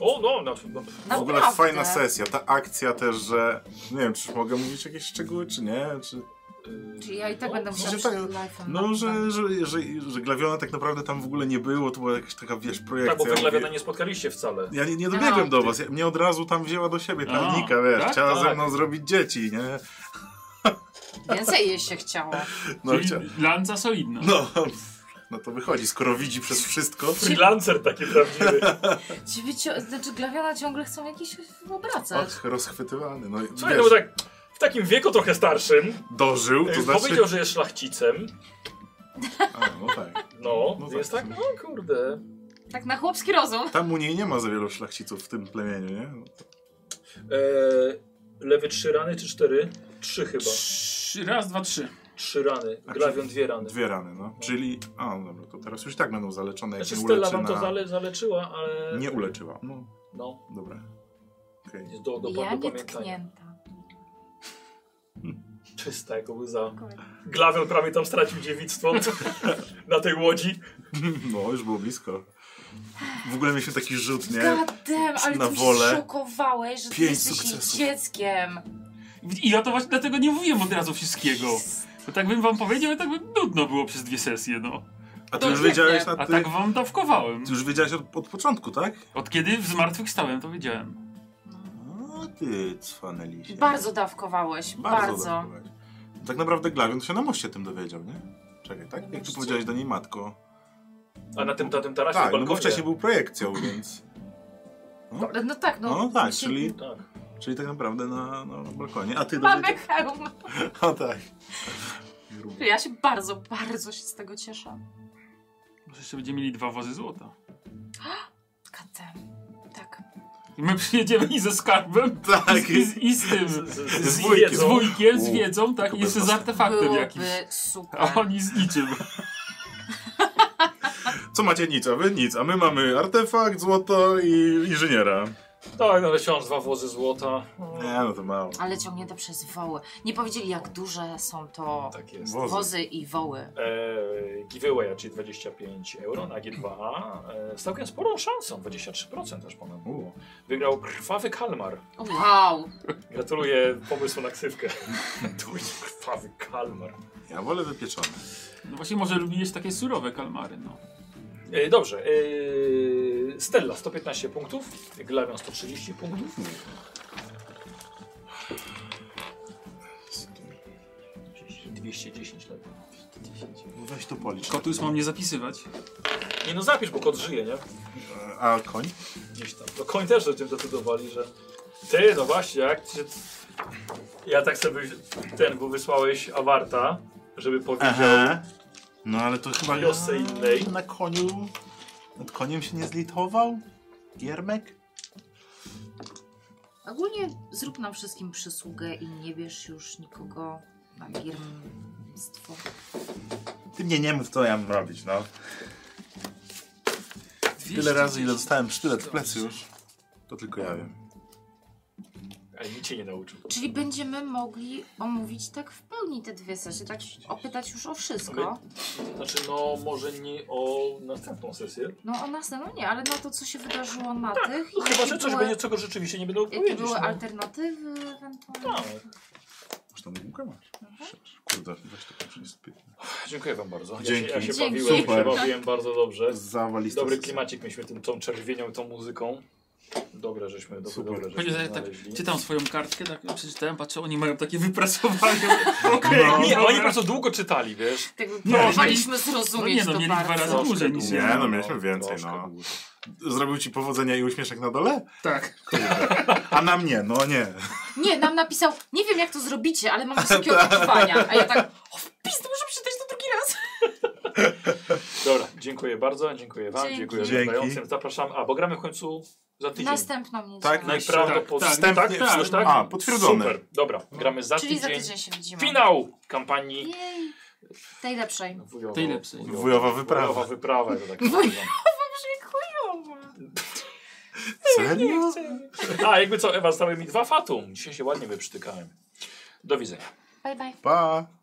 S1: O, no, na, no.
S2: w ogóle
S3: Naprawdę.
S2: fajna sesja, ta akcja też, że... Nie wiem, czy mogę mówić jakieś szczegóły, czy nie, czy...
S3: Czyli ja i tak będę musiała
S2: przecież
S3: przed
S2: tak,
S3: live'em.
S2: No, że, że, że, że Glawiona tak naprawdę tam w ogóle nie było, to była jakaś taka, wiesz, projekcja.
S1: Tak, bo
S2: Ja mówię-
S1: wyglawiana nie spotkaliście wcale.
S2: Ja nie, nie dobiegłem
S3: A,
S2: do was, ja, mnie od razu tam wzięła do siebie ta
S4: A,
S2: Nika, wiesz,
S4: tak?
S2: chciała ze
S1: No, Tak.
S2: mną zrobić dzieci, nie?
S3: Więcej jej się
S2: [LAUGHS]
S3: chciało.
S2: No, chcia...
S4: Czyli lanca solidna.
S2: no, no to wychodzi, skoro widzi przez wszystko.
S1: Freelancer taki prawdziwy.
S2: [LAUGHS]
S3: Ci wycio- znaczy, glawiona ciągle chcą jakieś obracać.
S2: Och, rozchwytywany, no
S1: Słuchaj, no bo
S2: wiesz,
S1: tak w takim wieku trochę starszym.
S2: dożył, to
S1: y,
S2: znaczy...
S1: Powiedział, że jest szlachcicem.
S2: A, no tak.
S1: No,
S2: No tak.
S1: jest tak, no kurde.
S3: Tak na chłopski rozum.
S2: Tam u niej nie ma za wielu szlachciców w tym plemieniu, nie?
S1: E, lewy trzy rany czy cztery? Trzy chyba.
S4: Trzy, raz, dwa, trzy.
S1: Trzy rany.
S2: A,
S1: Glawion
S2: czyli
S1: dwie rany.
S2: Dwie rany, no. Czyli, a no dobra, to teraz już i tak będą zaleczone, jak
S1: Znaczy
S2: nie
S1: Stella
S2: uleczy
S1: wam to
S2: na...
S1: zale, zaleczyła, ale...
S2: Nie uleczyła, no.
S1: No,
S2: Dobra. Okej. [LAUGHS]
S1: jest do, do,
S3: ja
S1: do
S3: nie tak.
S1: pamiętania.
S3: tknięta.
S1: Czysta jak łza. Glawion prawie tam stracił dziewictwo [LAUGHS] na tej łodzi.
S2: No, już było blisko. W ogóle mieliśmy taki rzut, nie?
S3: Gadem, ale
S2: Na
S3: ty
S2: wolę.
S3: mnie szokowałeś, że ty
S2: Pięć
S3: jesteś jej
S2: sukcesów.
S3: dzieckiem.
S4: I ja to właśnie dlatego nie mówiłem od razu wszystkiego. Bo tak bym wam powiedział, i tak by nudno było przez dwie sesje, no.
S2: A ty
S3: To
S2: już
S3: nie
S2: wiedziałeś
S3: wiem.
S2: na
S4: A
S2: ty...
S4: tak wam dawkowałem.
S2: Ty już wiedziałeś od, od początku, tak?
S4: Od kiedy zmartwychwstałem, to wiedziałem.
S2: A ty, cwanelisie.
S3: Bardzo dawkowałeś, bardzo.
S2: dawkowałeś. Tak naprawdę Glawion się na moście tym dowiedział, nie? Czekaj, tak? Jak ty
S3: Moście?
S2: powiedziałeś do niej matko.
S1: A na tym, na tym tarasie
S2: Tak, no bo
S1: balkonie.
S2: wcześniej był projekcją, więc...
S3: No tak, no.
S2: No tak,
S3: się-
S2: czyli,
S1: Tak.
S2: czyli tak naprawdę na, na balkonie. A ty
S3: Mamy
S2: dowiedziałeś...
S3: hełm.
S2: A tak.
S3: Ja się bardzo, bardzo się z tego cieszę.
S4: Może jeszcze będziemy mieli dwa wozy złota.
S3: Gadem. Tak.
S4: I my przyjedziemy i ze skarbem, i,
S2: Tak.
S4: z, i, z, i z tym,
S1: Z,
S4: z,
S1: z, Hmm, z, z
S2: wujkiem.
S1: wiedzą.
S4: wujkiem, z
S2: U,
S4: wiedzą, tak, i
S2: tylko
S4: jeszcze
S2: bez
S4: z
S2: was.
S4: artefaktem
S3: Byłoby
S4: jakimś.
S3: super.
S4: A oni z niczym.
S2: Co macie nic, a wy nic, a my mamy artefakt, złoto i inżyniera.
S1: Tak, no wciąż dwa wozy złota.
S2: Nie, no to mało.
S3: Ale ciągnięte przez woły. Nie powiedzieli, jak duże są to
S1: Tak jest.
S2: Wozy.
S3: wozy i woły.
S1: E, giveaway, czyli 25 euro na G2A e, z całkiem sporą szansą, 23% aż ponad było. Wygrał krwawy kalmar.
S3: Wow!
S1: Gratuluję pomysłu na [LAUGHS] ksywkę. to jest krwawy kalmar.
S2: Ja wolę wypieczone.
S4: No właśnie może lubiłeś takie surowe kalmary, no.
S1: E, dobrze, e, Stella 115 punktów, Glawion 130 punktów. Czyli 210 lepiej.
S2: Weź to policz.
S4: Kotus mam nie zapisywać.
S1: Nie no zapisz, bo kot żyje, nie?
S2: A koń?
S1: gdzieś tam. No koń też o tym decydowali, że ty, no właśnie, jak cię... Ja tak sobie ten, bo wysłałeś Awarta, żeby powiedział
S2: No ale to chyba
S1: Wiosce innej.
S2: Na koniu. Nad koniem się nie zlitował? Giermek?
S3: Ogólnie zrób nam wszystkim przysługę i nie bierz już nikogo na firmstwo.
S2: Ty mnie nie mów, co ja mam robić, no.
S4: 210.
S2: Tyle razy, ile dostałem sztylet w plecy już. To tylko ja wiem.
S1: ale nic cię nie nauczył.
S3: Czyli będziemy mogli omówić tak w pełni te dwie sesje, tak opytać już o wszystko.
S1: Znaczy, no może nie o następną sesję.
S3: No o nas, no nie, ale na to, co się wydarzyło na tych
S1: No
S3: i
S1: chyba, że
S3: jakie
S1: coś
S3: były,
S1: będzie, czego rzeczywiście nie będą
S3: jakie
S1: powiedzieć.
S3: były
S1: no.
S3: alternatywy ewentualnie.
S1: Tak.
S2: Już tą bułkę masz. Kurde, weź to proszę, jest piękne.
S1: Dziękuję wam bardzo. Ja
S2: Dzięki.
S1: się, ja się
S3: Dzięki.
S1: bawiłem, ja się
S2: Super.
S1: bawiłem bardzo dobrze.
S2: Zawalista
S1: Dobry
S2: sesja.
S1: klimacik mieliśmy tym, tą czerwienią, tą muzyką. Dobre żeśmy, dobre,
S2: Super.
S1: dobre żeśmy
S4: Powiedział, że tak,
S1: znaleźli.
S4: czytam swoją kartkę, tak no, przeczytałem, patrzę, oni mają takie wyprasowanie.
S2: [LAUGHS]
S4: Okej,
S2: No.
S1: Nie, oni po
S4: dobra.
S1: prostu długo czytali, wiesz.
S3: Tak
S4: Nie,
S3: próbowaliśmy
S4: no
S3: zrozumieć
S4: nie no,
S3: to
S4: mieli dwa
S3: bardzo.
S4: razy
S1: Troszkę
S4: dłużej niż
S1: dłużej.
S4: ja.
S2: Nie, no mieliśmy więcej,
S1: Troszkę
S2: no.
S1: dłużej.
S2: Zrobił ci powodzenia i uśmieszek na dole?
S4: Tak.
S2: A na mnie, no nie.
S3: Nie, nam napisał, nie wiem jak to zrobicie, ale mam wysokie oczekiwania. A ja tak, o w pizdu, muszę przeczytać to drugi raz.
S1: Dobra, dziękuję bardzo, dziękuję wam,
S3: Dzięki.
S1: dziękuję
S2: Dzięki.
S1: oglądającym. Zapraszam, a bo gramy w końcu za tydzień.
S3: Następną niedzielę.
S2: Tak, naj-
S1: Najprawdopodobniej.
S2: Wstępnie-
S1: tak, tak, tak,
S2: A, potwierdzone.
S1: Super, dobra, gramy za
S3: Czyli
S1: tydzień.
S3: za tydzień się widzimy.
S1: Finał kampanii
S3: Jej. Tej lepszej.
S1: wujowo,
S4: Tej lepszej.
S2: Wujowa wyprawa.
S1: Wujowa wyprawa, to tak
S3: Wujowa.
S1: nazywam.
S2: Serio?
S1: A, jakby co, Ewa, stały mi dwa fatum. Dzisiaj się ładnie wyprztykałem. Do widzenia.
S3: Bye bye.
S2: Pa!